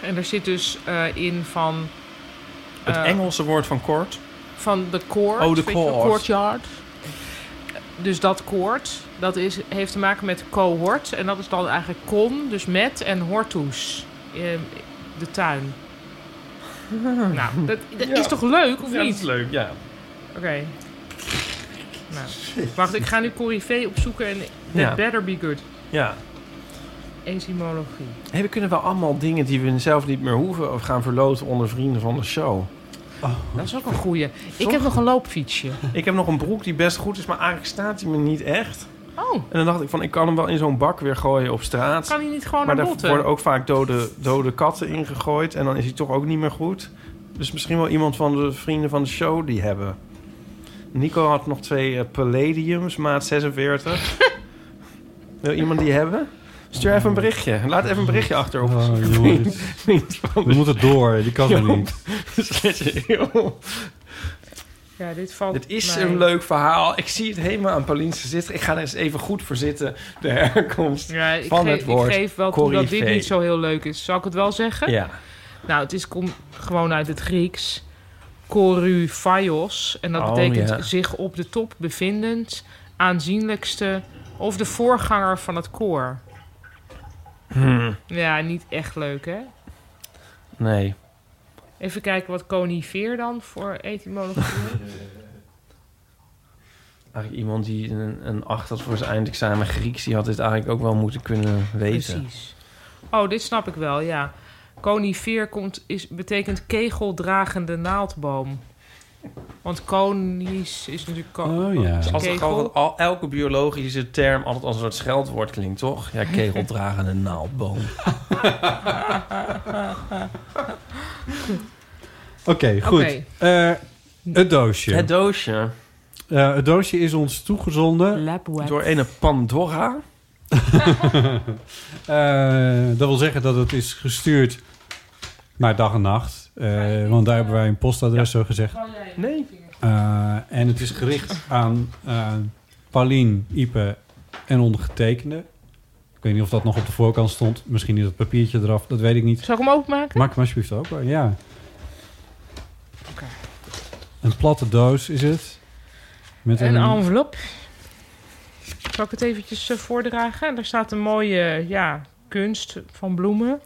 Speaker 2: En er zit dus eh, in van...
Speaker 3: Het
Speaker 2: eh,
Speaker 3: Engelse woord van kort.
Speaker 2: Van de koord.
Speaker 3: Oh, de
Speaker 2: weet je wel,
Speaker 3: koord.
Speaker 2: Courtyard. Dus dat koord, dat is, heeft te maken met cohort. En dat is dan eigenlijk con, dus met, en hortus. eh, De tuin. Nou, dat, dat
Speaker 3: Ja.
Speaker 2: is toch leuk, of
Speaker 3: Ja, dat
Speaker 2: niet?
Speaker 3: is leuk, ja.
Speaker 2: Oké. Nou, wacht, ik ga nu Corrie opzoeken en that
Speaker 3: Ja.
Speaker 2: better be good.
Speaker 3: Ja.
Speaker 2: Etymologie.
Speaker 3: Hey, we kunnen wel allemaal dingen die we zelf niet meer hoeven... of gaan verloten onder vrienden van de show.
Speaker 2: Dat is ook een goeie. Ik heb nog een loopfietsje.
Speaker 3: Ik heb nog een broek die best goed is, maar eigenlijk staat hij me niet echt.
Speaker 2: Oh.
Speaker 3: En dan dacht ik van, ik kan hem wel in zo'n bak weer gooien op straat.
Speaker 2: Kan hij niet gewoon
Speaker 3: maar
Speaker 2: naar
Speaker 3: daar
Speaker 2: botten?
Speaker 3: worden ook vaak dode, dode katten ingegooid. En dan is hij toch ook niet meer goed. Dus misschien wel iemand van de vrienden van de show die hebben. Nico had nog twee eh, Palladiums, maat 46. Wil iemand die hebben? Stuur even een berichtje. Laat even een berichtje achter op
Speaker 1: Oh, jongens. We moeten door, die kan er niet.
Speaker 2: Ja, dit valt
Speaker 3: Het is
Speaker 2: mij-
Speaker 3: een leuk verhaal. Ik zie het helemaal aan Paulien's gezicht. Ik ga er eens even goed voor zitten. De herkomst
Speaker 2: Ja, ik,
Speaker 3: van
Speaker 2: geef-
Speaker 3: het woord.
Speaker 2: ik geef wel toe dat dit
Speaker 3: corrivé.
Speaker 2: niet zo heel leuk is. Zal ik het wel zeggen?
Speaker 3: Ja.
Speaker 2: Nou, het is kom, gewoon uit het Grieks. Koryphaios. En dat
Speaker 3: Oh,
Speaker 2: betekent
Speaker 3: ja.
Speaker 2: zich op de top bevindend, aanzienlijkste of de voorganger van het koor.
Speaker 3: Hmm,
Speaker 2: Ja, niet echt leuk, hè?
Speaker 3: nee.
Speaker 2: Even kijken wat conifeer dan voor etymologie.
Speaker 3: Eigenlijk iemand die een, een acht had voor zijn eindexamen Grieks... die had dit eigenlijk ook wel moeten kunnen weten.
Speaker 2: Precies. oh, dit snap ik wel, ja. Conifeer komt, is, betekent kegeldragende naaldboom. Want conisch is natuurlijk... ko-
Speaker 1: Oh, ja.
Speaker 3: Dus als het
Speaker 2: kegel.
Speaker 3: gewoon al, elke biologische term altijd als een soort scheldwoord klinkt, toch? Ja, kegeldragende naaldboom.
Speaker 1: Oké, goed.
Speaker 3: Oké.
Speaker 1: Eh, het doosje.
Speaker 3: Het doosje.
Speaker 1: Eh, het doosje is ons toegezonden.
Speaker 3: Door een Pandora.
Speaker 1: Eh, dat wil zeggen dat het is gestuurd naar dag en nacht. Eh, want daar hebben wij een postadres, zo gezegd.
Speaker 3: Nee.
Speaker 1: Eh, en het is gericht aan eh Paulien, Ipe en ondergetekende. Ik weet niet of dat nog op de voorkant stond. Misschien is dat papiertje eraf, dat weet ik niet.
Speaker 2: Zal ik hem openmaken?
Speaker 1: Maak hem alsjeblieft open, ja. Een platte doos is het. Met
Speaker 2: Een envelop. Zal ik het eventjes eh, voordragen? Daar staat een mooie ja, kunst van bloemen.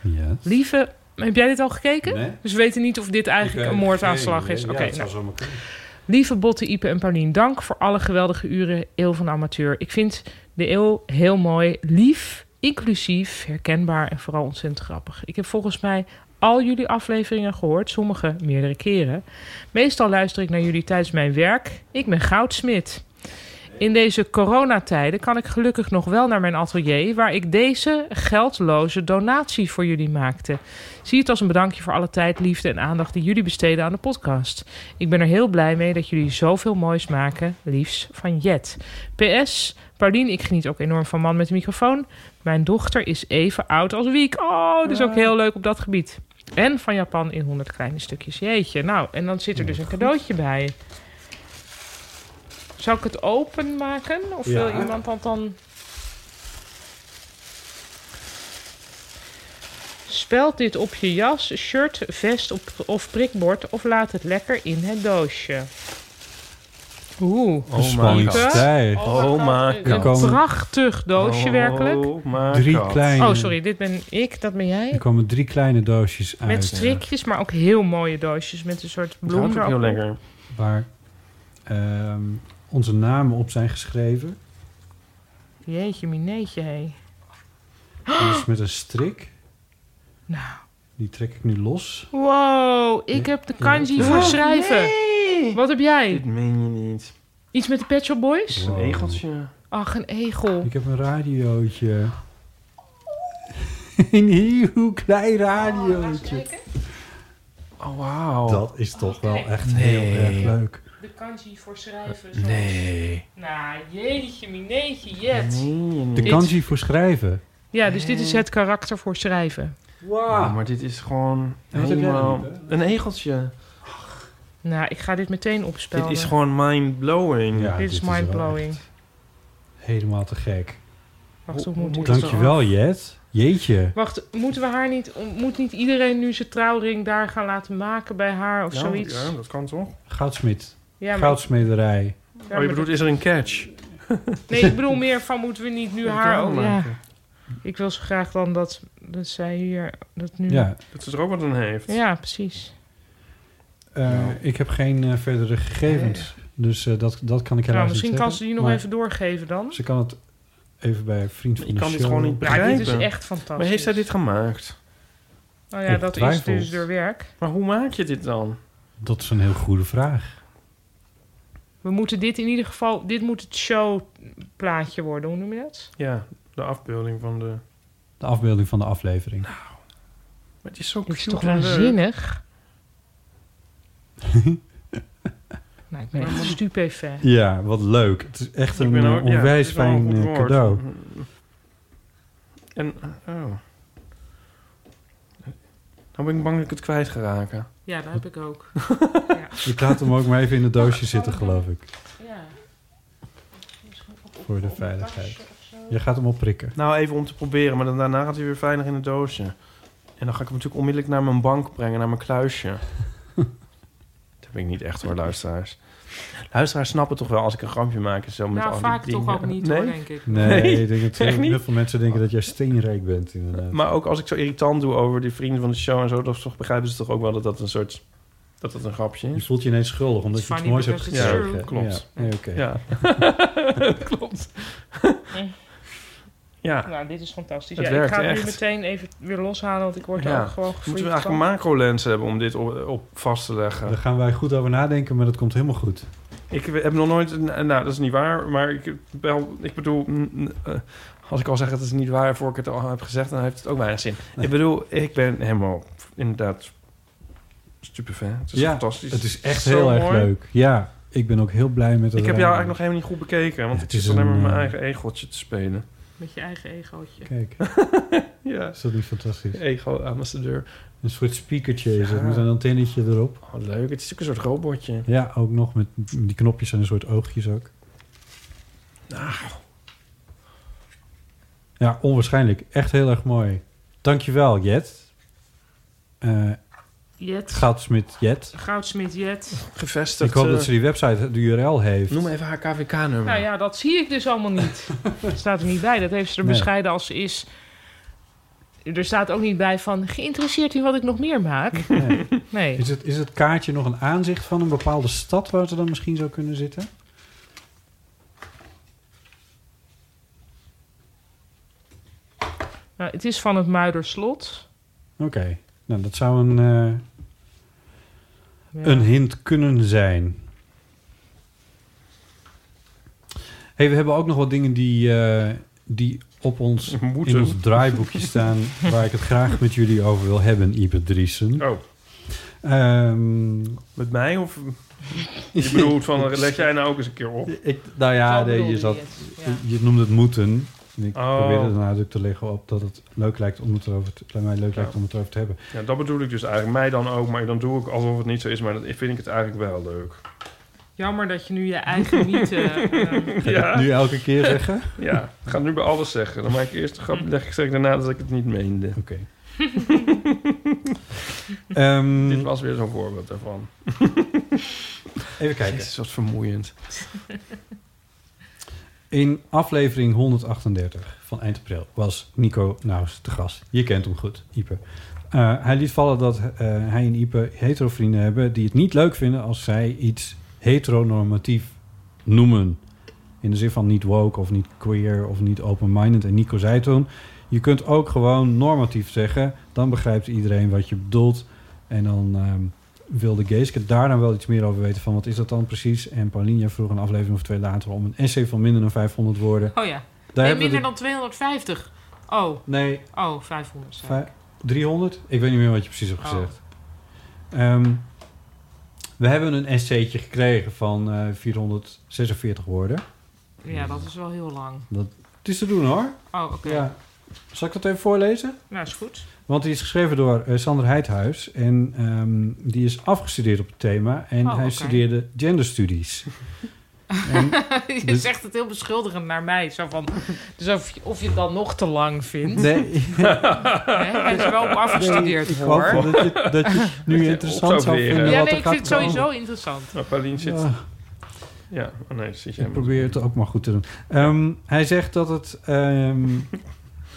Speaker 1: Ja.
Speaker 2: Lieve, heb jij dit al gekeken?
Speaker 1: Nee.
Speaker 2: Dus we weten niet of dit eigenlijk een
Speaker 1: eh,
Speaker 2: moordaanslag is. Oké,
Speaker 1: dat
Speaker 2: nou.
Speaker 1: zou zomaar kunnen.
Speaker 2: Lieve Botte, Ipe en Paulien, dank voor alle geweldige uren Eeuw van de Amateur. Ik vind de Eeuw heel mooi, lief, inclusief, herkenbaar en vooral ontzettend grappig. Ik heb volgens mij al jullie afleveringen gehoord, sommige meerdere keren. Meestal luister ik naar jullie tijdens mijn werk. Ik ben goudsmid. In deze coronatijden kan ik gelukkig nog wel naar mijn atelier, waar ik deze geldloze donatie voor jullie maakte. Zie het als een bedankje voor alle tijd, liefde en aandacht die jullie besteden aan de podcast. Ik ben er heel blij mee dat jullie zoveel moois maken. Liefs van Jet. PS, Paulien, ik geniet ook enorm van Man met de microfoon. Mijn dochter is even oud als Wiek. Oh, dus ook heel leuk op dat gebied. En van Japan in 100 kleine stukjes. Jeetje, nou, en dan zit er dus een cadeautje bij. Zou ik het openmaken? Of
Speaker 1: Ja.
Speaker 2: wil iemand dat dan... Speld dit op je jas, shirt, vest op, of prikbord... of laat het lekker in het doosje. Oeh.
Speaker 3: Oh my god.
Speaker 1: Stijf.
Speaker 3: Oh my
Speaker 1: Er
Speaker 3: god.
Speaker 1: komen-
Speaker 2: Prachtig doosje,
Speaker 3: Oh
Speaker 2: werkelijk.
Speaker 3: my
Speaker 1: Drie
Speaker 3: god.
Speaker 1: kleine-
Speaker 2: Oh, sorry, dit ben ik, dat ben jij.
Speaker 1: Er komen drie kleine doosjes uit. eh,
Speaker 2: Met strikjes, maar ook heel mooie doosjes met een soort bloem
Speaker 3: eh, houdt ook
Speaker 2: erop.
Speaker 3: heel lekker.
Speaker 1: Waar ehm, onze namen op zijn geschreven.
Speaker 2: Jeetje, mineetje, hé.
Speaker 1: Dus met een strik.
Speaker 2: Nou.
Speaker 1: Die trek ik nu los.
Speaker 2: Wow, ik heb de kanji
Speaker 1: Ja.
Speaker 2: voor
Speaker 1: Oh,
Speaker 2: schrijven. Wat heb jij?
Speaker 3: Dit meen je niet.
Speaker 2: Iets met de Pet Shop Boys?
Speaker 3: Een egeltje.
Speaker 2: Ach, een egel.
Speaker 1: Ik heb een radiootje. een heel klein radiootje.
Speaker 3: Oh, wauw.
Speaker 1: Dat is toch wel echt
Speaker 3: Nee.
Speaker 1: heel erg leuk.
Speaker 2: De kanji voor schrijven.
Speaker 1: zoals- Nee.
Speaker 2: Nou, jeetje, mineetje, jet.
Speaker 1: De kanji voor schrijven.
Speaker 2: Ja, dus dit is het karakter voor schrijven.
Speaker 3: Ja, Oh, maar dit is gewoon
Speaker 1: En wat heb jij
Speaker 3: helemaal...
Speaker 1: dan, Ipe?
Speaker 3: Een egeltje.
Speaker 2: Nou, ik ga dit meteen opspelen.
Speaker 3: Dit is gewoon mind-blowing.
Speaker 1: Ja,
Speaker 2: Dit is
Speaker 1: wel
Speaker 2: mindblowing.
Speaker 1: Helemaal te gek.
Speaker 2: Wacht, hoe moet ik het
Speaker 1: Dankjewel, Jet. Jeetje.
Speaker 2: Wacht, moeten we haar niet, moet niet iedereen nu zijn trouwring daar gaan laten maken bij haar of
Speaker 3: Ja,
Speaker 2: zoiets?
Speaker 3: Ja, dat kan toch?
Speaker 1: Goudsmid.
Speaker 2: Ja, maar-
Speaker 1: Goudsmederij.
Speaker 2: maar
Speaker 3: oh, je
Speaker 2: dat-
Speaker 3: bedoelt, is er een catch?
Speaker 2: Nee, ik bedoel meer van moeten we niet nu
Speaker 3: Ja,
Speaker 2: haar
Speaker 3: reclame
Speaker 2: ook. Ja.
Speaker 3: maken.
Speaker 2: Ik wil zo graag dan dat, dat zij hier dat nu.
Speaker 1: Ja.
Speaker 3: Dat ze er ook wat aan heeft.
Speaker 2: Ja, precies.
Speaker 1: Eh, Ik heb geen eh, verdere gegevens. Dus eh, dat, dat kan ik helaas
Speaker 2: Nou,
Speaker 1: niet
Speaker 2: misschien kan
Speaker 1: zeggen,
Speaker 2: ze die nog
Speaker 1: maar
Speaker 2: even doorgeven dan.
Speaker 1: Ze kan het even bij een vriend van
Speaker 3: Ik
Speaker 1: de
Speaker 3: kan
Speaker 1: show...
Speaker 3: dit gewoon niet
Speaker 2: Ja,
Speaker 3: begrijpen.
Speaker 2: dit is echt fantastisch.
Speaker 3: Maar heeft zij dit gemaakt?
Speaker 2: Nou ja, dat is dus
Speaker 1: Ongetwijfeld.
Speaker 2: door werk.
Speaker 3: Maar hoe maak je dit dan?
Speaker 1: Dat is een heel goede vraag.
Speaker 2: We moeten dit in ieder geval, dit moet het showplaatje worden, hoe noem je dat?
Speaker 3: Ja, de afbeelding van de...
Speaker 1: De afbeelding van de aflevering.
Speaker 3: Nou. Maar het is zo
Speaker 2: Dit is
Speaker 3: cute
Speaker 2: toch
Speaker 3: en leuk.
Speaker 2: waanzinnig? nou, ik ben echt stupefait.
Speaker 1: Ja, wat leuk. Het is echt
Speaker 3: Ik
Speaker 1: een
Speaker 3: ben
Speaker 1: eh,
Speaker 3: ook- ja,
Speaker 1: onwijs
Speaker 3: het is wel een
Speaker 1: fijn
Speaker 3: goed
Speaker 1: eh,
Speaker 3: woord.
Speaker 1: cadeau.
Speaker 3: En, oh. Nou ben ik bang dat ik het kwijt ga raken.
Speaker 2: Ja, dat heb ik ook.
Speaker 1: Ik laat hem ook maar even in het doosje zitten, geloof ik.
Speaker 2: Ja.
Speaker 1: Voor de veiligheid. Je gaat hem opprikken.
Speaker 3: Nou, even om te proberen, maar dan, daarna gaat hij weer veilig in het doosje. En dan ga ik hem natuurlijk onmiddellijk naar mijn bank brengen, naar mijn kluisje. Dat heb ik niet echt hoor, luisteraars. Luisteraars snappen toch wel als ik een grampje maak en zo met
Speaker 2: Nou,
Speaker 3: al die
Speaker 2: vaak toch
Speaker 3: dingen.
Speaker 2: ook niet,
Speaker 3: nee?
Speaker 2: hoor, denk ik.
Speaker 1: Nee, ik denk dat
Speaker 3: echt niet.
Speaker 1: heel veel mensen denken dat jij steenrijk bent, inderdaad.
Speaker 3: Maar ook als ik zo irritant doe over die vrienden van de show en zo, dan toch begrijpen ze toch ook wel dat dat een soort dat dat een grapje
Speaker 1: Je
Speaker 3: is.
Speaker 1: voelt je ineens schuldig omdat
Speaker 2: It's
Speaker 1: je iets
Speaker 2: funny
Speaker 1: moois hebt
Speaker 2: because it's
Speaker 1: gekregen.
Speaker 2: true.
Speaker 3: Klopt.
Speaker 1: Ja, nee, oké.
Speaker 3: Ja. Klopt. Ja.
Speaker 2: Nou, dit is fantastisch.
Speaker 3: Het
Speaker 2: Ja,
Speaker 3: werkt
Speaker 2: ik ga het
Speaker 3: echt.
Speaker 2: nu meteen even weer loshalen, want ik word er
Speaker 3: Ja.
Speaker 2: ook gewoon
Speaker 3: Moeten we
Speaker 2: gefreakt
Speaker 3: eigenlijk
Speaker 2: van.
Speaker 3: een macrolens hebben om dit op, op vast te leggen?
Speaker 1: Daar gaan wij goed over nadenken, maar dat komt helemaal goed.
Speaker 3: Ik heb nog nooit... Nou, dat is niet waar, maar ik, wel, ik bedoel... mm, eh, Als ik al zeg dat het niet waar voor ik het al heb gezegd, dan heeft het ook weinig zin. Ik bedoel, ik ben helemaal inderdaad stupefan. Het is
Speaker 1: ja,
Speaker 3: fantastisch.
Speaker 1: Het is echt
Speaker 3: Zo
Speaker 1: heel erg
Speaker 3: mooi.
Speaker 1: leuk. Ja, ik ben ook heel blij met dat
Speaker 3: Ik heb jou
Speaker 1: raam.
Speaker 3: eigenlijk nog helemaal niet goed bekeken, want
Speaker 1: Ja,
Speaker 3: het
Speaker 1: het
Speaker 3: is
Speaker 1: is
Speaker 3: alleen maar
Speaker 1: een,
Speaker 3: mijn
Speaker 1: eh,
Speaker 3: eigen egeltje te spelen.
Speaker 2: Met je eigen egootje.
Speaker 1: Kijk.
Speaker 3: Ja.
Speaker 1: Is dat niet fantastisch?
Speaker 3: Ego-ambassadeur.
Speaker 1: Een soort speakertje is het,
Speaker 3: Ja.
Speaker 1: met een antennetje erop.
Speaker 3: Oh, leuk. Het is ook een soort robotje.
Speaker 1: Ja, ook nog met die knopjes en een soort oogjes ook. Ah. Ja, onwaarschijnlijk. Echt heel erg mooi. Dankjewel, Jet. Eh,
Speaker 2: Jet.
Speaker 1: Goudsmit Jet.
Speaker 2: Goudsmit Jet.
Speaker 7: Gevestigd.
Speaker 1: Ik hoop
Speaker 7: eh,
Speaker 1: dat ze die website, de URL heeft.
Speaker 7: Noem even haar KVK-nummer.
Speaker 2: Nou ja, dat zie ik dus allemaal niet. Dat staat er niet bij. Dat heeft ze er
Speaker 1: Nee.
Speaker 2: bescheiden als ze is. Er staat ook niet bij van... geïnteresseerd in wat ik nog meer maak? Nee.
Speaker 1: Is, het, is het kaartje nog een aanzicht van een bepaalde stad waar ze dan misschien zou kunnen zitten?
Speaker 2: Nou, het is van het Muiderslot.
Speaker 1: Oké, nou dat zou een, eh,
Speaker 2: Ja.
Speaker 1: een hint kunnen zijn. hey, we hebben ook nog wat dingen die, eh, die op ons,
Speaker 3: Moeten.
Speaker 1: in ons draaiboekje staan... waar ik het graag met jullie over wil hebben, Ipe Driessen. Ehm,
Speaker 3: Oh. Met mij? Of je bedoelt van, let jij nou ook eens een keer op?
Speaker 1: Ik, nou ja,
Speaker 3: Zo
Speaker 1: nee, je,
Speaker 3: bedoelde
Speaker 1: zat,
Speaker 3: je
Speaker 1: je noemde het moeten. En ik
Speaker 3: Oh.
Speaker 1: probeerde de nadruk te leggen op dat het leuk lijkt om het erover te, bij mij leuk
Speaker 3: Ja.
Speaker 1: lijkt om het erover te hebben.
Speaker 3: Ja, dat bedoel ik dus eigenlijk. Mij dan ook, maar dan doe ik alsof het niet zo is. Maar dat vind ik het eigenlijk wel leuk.
Speaker 2: Jammer dat je nu je eigen niet... eh, eh,
Speaker 1: Ga je dat nu elke keer zeggen? Hm.
Speaker 3: ja, ik ga het nu bij alles zeggen. Dan maak ik eerst de grap, leg ik straks daarna dat ik het niet meende. Oké.
Speaker 1: Ehm,
Speaker 3: Dit was weer zo'n voorbeeld daarvan.
Speaker 1: Even kijken.
Speaker 3: Jezus, wat vermoeiend.
Speaker 1: In aflevering 138 van eind april was Nico Nauws te gast. Je kent hem goed, Ipe. Eh, hij liet vallen dat eh, hij en Ipe hetero-vrienden hebben... die het niet leuk vinden als zij iets heteronormatief noemen. In de zin van niet woke of niet queer of niet open-minded. En Nico zei toen... je kunt ook gewoon normatief zeggen. Dan begrijpt iedereen wat je bedoelt. En dan... ehm, wilde Geeske daar dan wel iets meer over weten van wat is dat dan precies? En Pauline vroeg een aflevering of twee later om een essay van minder dan 500 woorden.
Speaker 2: Oh ja.
Speaker 1: Daar
Speaker 2: nee,
Speaker 1: hebben
Speaker 2: minder
Speaker 1: we
Speaker 2: dan 250. Oh.
Speaker 1: Nee.
Speaker 2: Oh, 500.
Speaker 1: de
Speaker 2: zei
Speaker 1: vij- 300? Ik weet niet meer wat je precies hebt
Speaker 2: Oh.
Speaker 1: gezegd. Ehm, we hebben een essaytje gekregen van eh, 446 woorden.
Speaker 2: ik. Ja, dat is wel heel lang.
Speaker 1: Dat het is te doen hoor.
Speaker 2: Oh, oké.
Speaker 1: Ja. Zal ik dat even voorlezen?
Speaker 2: Nou, is goed.
Speaker 1: Want die is geschreven door eh, Sander Heidhuis. En ehm, die is afgestudeerd op het thema. En
Speaker 2: Oh,
Speaker 1: hij
Speaker 2: oké.
Speaker 1: studeerde genderstudies.
Speaker 2: je
Speaker 1: dus-
Speaker 2: zegt het heel beschuldigend naar mij. Zo van, dus of, je- of je het dan nog te lang vindt.
Speaker 1: Nee.
Speaker 2: Hè, Hij is er wel op afgestudeerd
Speaker 1: Nee, ik
Speaker 2: hoor.
Speaker 1: hoop dat je, dat je het nu interessant zou vinden.
Speaker 2: Ja,
Speaker 1: wat
Speaker 2: nee,
Speaker 1: er
Speaker 2: ik
Speaker 1: gaat
Speaker 2: vind het sowieso
Speaker 1: komen.
Speaker 2: interessant.
Speaker 3: Nou, Paulien zit...
Speaker 1: Ah.
Speaker 3: Ja, oh nee, zit jij
Speaker 1: Ik probeer het ook maar goed te doen. Ehm, hij zegt dat het ehm,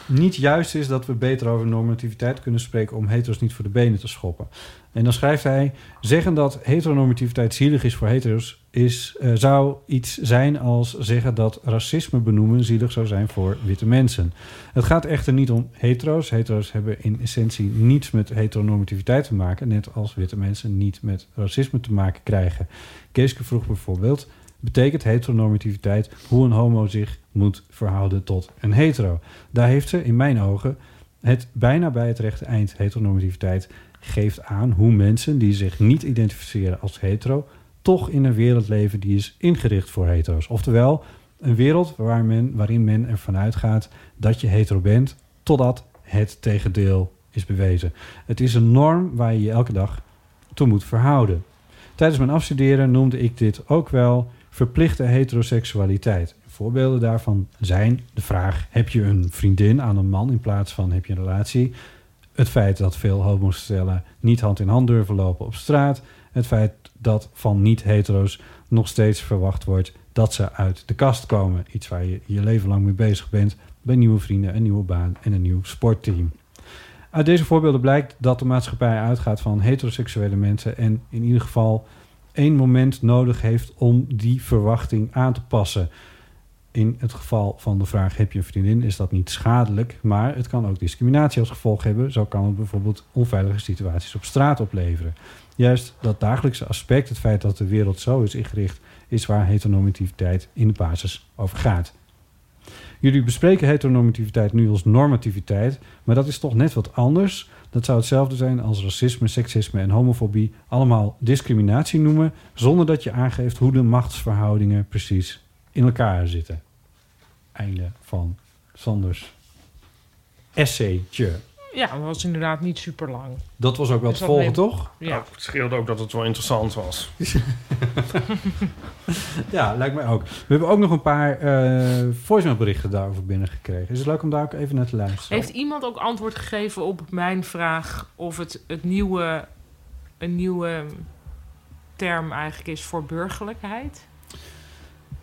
Speaker 1: niet juist is dat we beter over normativiteit kunnen spreken om hetero's niet voor de benen te schoppen. En dan schrijft hij: zeggen dat heteronormativiteit zielig is voor hetero's is, eh, zou iets zijn als zeggen dat racisme benoemen zielig zou zijn voor witte mensen. Het gaat echter niet om hetero's. Hetero's hebben in essentie niets met heteronormativiteit te maken, net als witte mensen niet met racisme te maken krijgen. Keeske vroeg bijvoorbeeld: betekent heteronormativiteit hoe een homo zich moet verhouden tot een hetero? Daar heeft ze in mijn ogen het bijna bij het rechte eind heteronormativiteit geeft aan hoe mensen die zich niet identificeren als hetero toch in een wereld leven die is ingericht voor hetero's. Oftewel, een wereld waar men, waarin men ervan uitgaat dat je hetero bent, totdat het tegendeel is bewezen. Het is een norm waar je je elke dag toe moet verhouden. Tijdens mijn afstuderen noemde ik dit ook wel verplichte heteroseksualiteit. Voorbeelden daarvan zijn de vraag: heb je een vriendin aan een man in plaats van heb je een relatie? Het feit dat veel homo's stellen niet hand in hand durven lopen op straat. Het feit dat van niet-hetero's nog steeds verwacht wordt dat ze uit de kast komen. Iets waar je je leven lang mee bezig bent. Bij nieuwe vrienden, een nieuwe baan en een nieuw sportteam. Uit deze voorbeelden blijkt dat de maatschappij uitgaat van heteroseksuele mensen en in ieder geval één moment nodig heeft om die verwachting aan te passen. In het geval van de vraag heb je een vriendin is dat niet schadelijk, maar het kan ook discriminatie als gevolg hebben. Zo kan het bijvoorbeeld onveilige situaties op straat opleveren. Juist dat dagelijkse aspect, het feit dat de wereld zo is ingericht, is waar heteronormativiteit in de basis over gaat. Jullie bespreken heteronormativiteit nu als normativiteit, maar dat is toch net wat anders. Dat zou hetzelfde zijn als racisme, seksisme en homofobie allemaal discriminatie noemen, zonder dat je aangeeft hoe de machtsverhoudingen precies in elkaar zitten. Einde van Sanders essaytje.
Speaker 2: Ja, dat was inderdaad niet super lang.
Speaker 1: Dat was ook wel
Speaker 2: Dus
Speaker 1: te
Speaker 2: dat
Speaker 1: volgen,
Speaker 2: neemt-
Speaker 1: toch?
Speaker 2: Ja.
Speaker 3: Nou, het scheelde ook dat het wel interessant was.
Speaker 1: Ja, lijkt mij ook. We hebben ook nog een paar eh voicemailberichten daarover binnengekregen. Is het leuk om daar ook even naar te luisteren?
Speaker 2: Heeft iemand ook antwoord gegeven op mijn vraag of het, het nieuwe een nieuwe term eigenlijk is voor burgerlijkheid?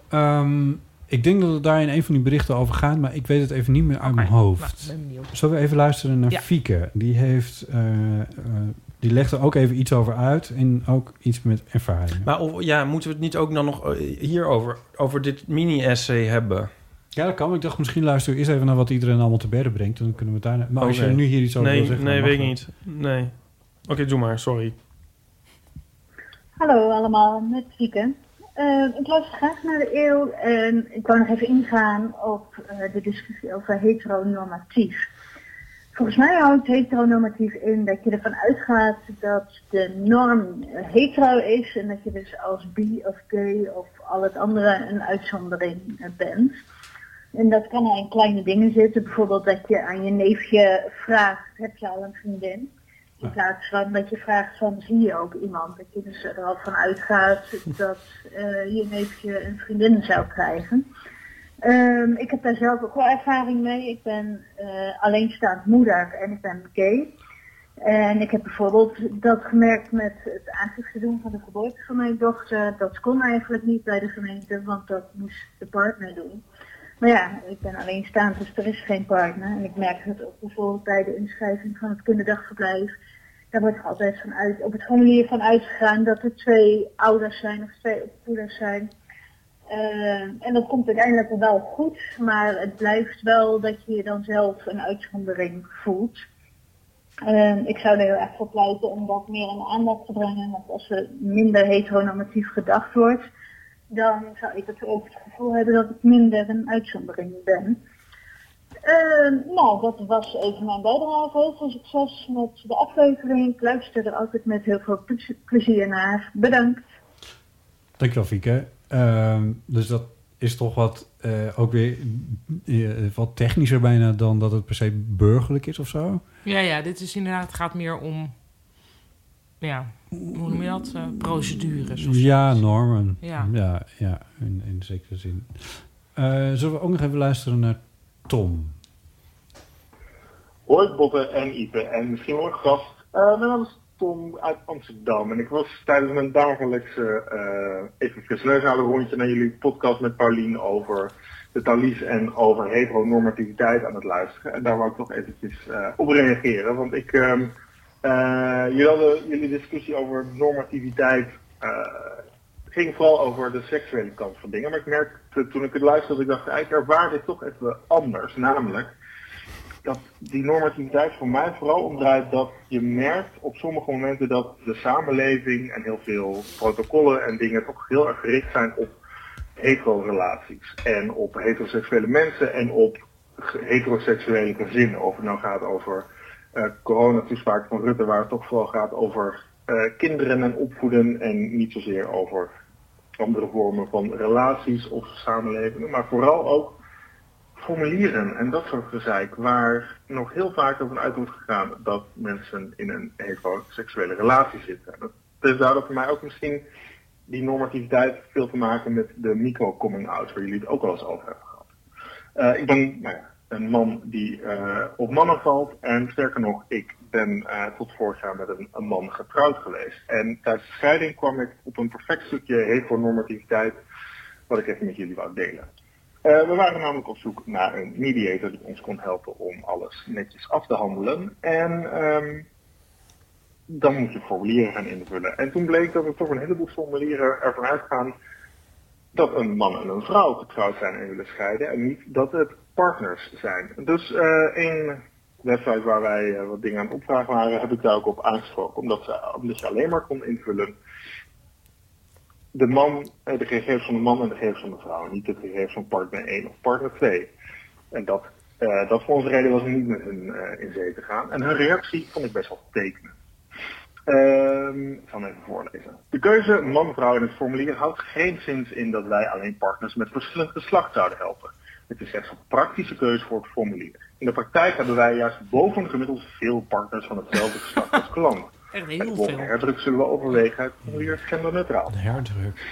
Speaker 1: Ehm, ik denk dat het daar in een van die berichten over gaat, maar ik weet het even niet meer uit mijn hoofd.
Speaker 2: nou, ben benieuwd.
Speaker 1: Zullen we even luisteren naar
Speaker 2: Ja.
Speaker 1: Fieke? Die, heeft, eh, eh, die legt er ook even iets over uit en ook iets met ervaring.
Speaker 3: Maar of- ja, moeten we het niet ook dan nog eh, hierover, over dit mini-essay hebben?
Speaker 1: Ja, dat kan. Ik dacht, misschien luister eerst even naar wat iedereen allemaal te berden brengt. Dan kunnen we het daarna... Maar als
Speaker 3: Oké.
Speaker 1: je nu hier iets over
Speaker 3: Oh,
Speaker 1: wil
Speaker 3: nee,
Speaker 1: zeggen...
Speaker 3: Nee,
Speaker 1: dan mag
Speaker 3: weet ik niet. Nee. Oké, doe maar, sorry.
Speaker 7: Hallo allemaal, met Wieke. Eh, ik luister graag naar de eeuw en ik wou nog even ingaan op eh, de discussie over heteronormatief. Volgens mij houdt heteronormatief in dat je ervan uitgaat dat de norm eh, hetero is en dat je dus als bi of gay of al het andere een uitzondering eh, bent. En dat kan al in kleine dingen zitten, bijvoorbeeld dat je aan je neefje vraagt, heb je al een vriendin? In plaats van dat je vraagt van zie je ook iemand? Dat je dus er al van uitgaat dat eh, je neefje een vriendin zou krijgen. Ehm, ik heb daar zelf ook wel ervaring mee. Ik ben eh, alleenstaand moeder en ik ben gay. En ik heb bijvoorbeeld dat gemerkt met het aangifte doen van de geboorte van mijn dochter. Dat kon eigenlijk niet bij de gemeente, want dat moest de partner doen. Maar ja, ik ben alleenstaand, dus er is geen partner. En ik merk het ook bijvoorbeeld bij de inschrijving van het kinderdagverblijf. Daar wordt er altijd van uit, op het formulier van uitgegaan dat er twee ouders zijn of twee opvoeders zijn. Eh, en dat komt uiteindelijk wel goed, maar het blijft wel dat je je dan zelf een uitzondering voelt. Eh, ik zou er heel erg voor pleiten om dat meer in de aandacht te brengen, want als er minder heteronormatief gedacht wordt, dan zou ik het ook het gevoel hebben dat ik minder een uitzondering ben. Eh, nou, dat was even mijn bijdrage. Heel veel succes met de aflevering. Ik luister er altijd met heel veel ple- plezier naar. Bedankt.
Speaker 1: Dankjewel, Fieke. Ehm, dus dat is toch wat, eh, ook weer eh, wat technischer bijna dan dat het per se burgerlijk is of zo.
Speaker 2: Ja, ja, dit is inderdaad, het gaat meer om, ja, hoe noem je dat? Eh, procedures. of zo.
Speaker 1: Ja, normen. Mhm.
Speaker 2: Ja.
Speaker 1: ja, ja, in, in zekere zin. Eh, zullen we ook nog even luisteren naar Tom?
Speaker 8: Hoi Botte en Ipe en misschien ook gast. Eh, mijn naam is Tom uit Amsterdam en ik was tijdens mijn dagelijkse eh even fris neus houden rondje naar jullie podcast met Paulien over de talief en over heteronormativiteit aan het luisteren. En daar wou ik nog eventjes eh, op reageren, want ik, ehm, eh, jullie, hadden- jullie discussie over normativiteit eh, ging vooral over de seksuele kant van dingen, maar ik merkte toen ik het luisterde, dat ik dacht, eigenlijk ervaar dit toch even anders, namelijk dat die normativiteit voor mij vooral omdraait dat je merkt op sommige momenten dat de samenleving en heel veel protocollen en dingen toch heel erg gericht zijn op hetero-relaties en op heteroseksuele mensen en op ge- heteroseksuele gezinnen. Of het nou gaat over eh coronatoespraak van Rutte, waar het toch vooral gaat over eh, kinderen en opvoeden en niet zozeer over andere vormen van relaties of samenlevingen, maar vooral ook formulieren en dat soort gezeik, waar nog heel vaak ervan uit wordt gegaan dat mensen in een heteroseksuele relatie zitten. Dat- Dus daardoor voor mij ook misschien die normativiteit veel te maken met de micro-coming-out, waar jullie het ook al eens over hebben gehad. Eh, ik ben nou ja, een man die eh, op mannen valt en sterker nog, ik ben eh, tot vorig jaar met een, een man getrouwd geweest. En tijdens de scheiding kwam ik op een perfect stukje heteronormativiteit, wat ik even met jullie wou delen. Eh, we waren namelijk op zoek naar een mediator die ons kon helpen om alles netjes af te handelen. En ehm, dan moet je formulieren gaan invullen. En toen bleek dat er toch een heleboel formulieren ervan uitgaan dat een man en een vrouw getrouwd zijn en willen scheiden. En niet dat het partners zijn. Dus eh een website waar wij eh, wat dingen aan het opvragen waren, heb ik daar ook op aangesproken. Omdat, ze, omdat je alleen maar kon invullen de man, eh, de gegevens van de man en de gegevens van de vrouw. Niet de gegevens van partner 1 of partner 2. En dat, eh, dat voor onze reden was om niet met hun eh, in zee te gaan. En hun reactie vond ik best wel tekenen. Ehm, ik zal hem even voorlezen. De keuze man-vrouw in het formulier houdt geen zins in dat wij alleen partners met verschillend geslacht zouden helpen. Het is echt een praktische keuze voor het formulier. In de praktijk hebben wij juist bovengemiddeld veel partners van hetzelfde geslacht als klant.
Speaker 2: Echt
Speaker 8: Bij de
Speaker 2: heel
Speaker 8: volgende
Speaker 2: veel.
Speaker 8: herdruk zullen we overwegen het formulier genderneutraal.
Speaker 1: Herdruk.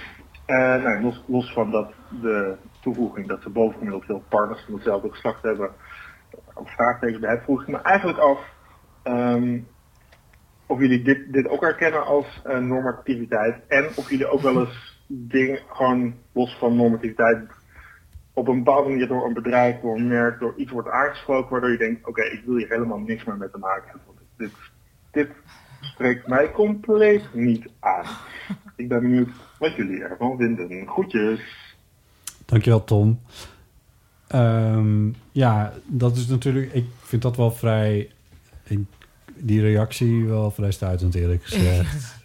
Speaker 8: Eh, nee, los, los van dat de toevoeging dat ze bovengemiddeld veel partners van hetzelfde geslacht hebben, een vraagteken bij het vroeg ik me eigenlijk af ehm, of jullie dit, dit ook herkennen als eh, normativiteit. En of jullie ook wel eens dingen gewoon los van normativiteit op een bepaalde manier door een bedrijf, door een merk, door iets wordt aangesproken waardoor je denkt, oké, ik wil hier helemaal niks meer mee te maken hebben. Want Dit, dit spreekt mij compleet niet aan. Ik ben benieuwd wat jullie ervan vinden. Groetjes!
Speaker 1: Dankjewel, Tom. Ehm, ja, dat is natuurlijk... Ik vind dat wel vrij... ik- die reactie wel vrij stuitend, eerlijk gezegd.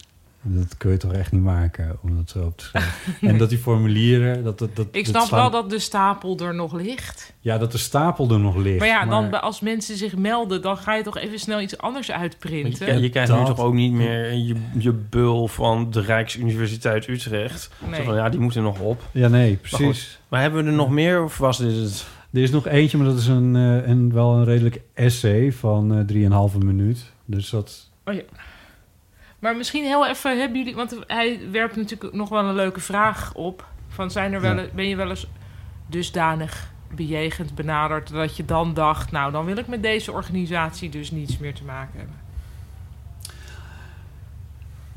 Speaker 1: Dat kun je toch echt niet maken, om dat zo op te schrijven. En dat die formulieren... Dat, dat, dat,
Speaker 2: Ik
Speaker 1: dat
Speaker 2: snap
Speaker 1: slaan-
Speaker 2: wel dat de stapel er nog ligt.
Speaker 1: Ja, dat de stapel er nog ligt.
Speaker 2: maar ja, dan, bij- als mensen zich melden, dan ga je toch even snel iets anders uitprinten.
Speaker 3: Je, je krijgt nu
Speaker 1: Dat-
Speaker 3: toch ook niet meer je, je bul van de Rijksuniversiteit Utrecht.
Speaker 2: Nee.
Speaker 3: Zo van, ja, die moeten nog op.
Speaker 1: Ja, nee,
Speaker 3: Maar goed.
Speaker 1: precies.
Speaker 3: Maar, hebben we er nog meer of was dit het?
Speaker 1: Er is nog eentje, maar dat is een, eh, een, wel een redelijk essay van eh 3,5 minuut. Dus dat...
Speaker 2: Oh ja. Maar misschien heel even, hebben jullie... Want hij werpt natuurlijk nog wel een leuke vraag op. Van zijn er wel,
Speaker 1: Ja.
Speaker 2: een- ben je wel eens dusdanig bejegend, benaderd... dat je dan dacht, nou, dan wil ik met deze organisatie dus niets meer te maken hebben.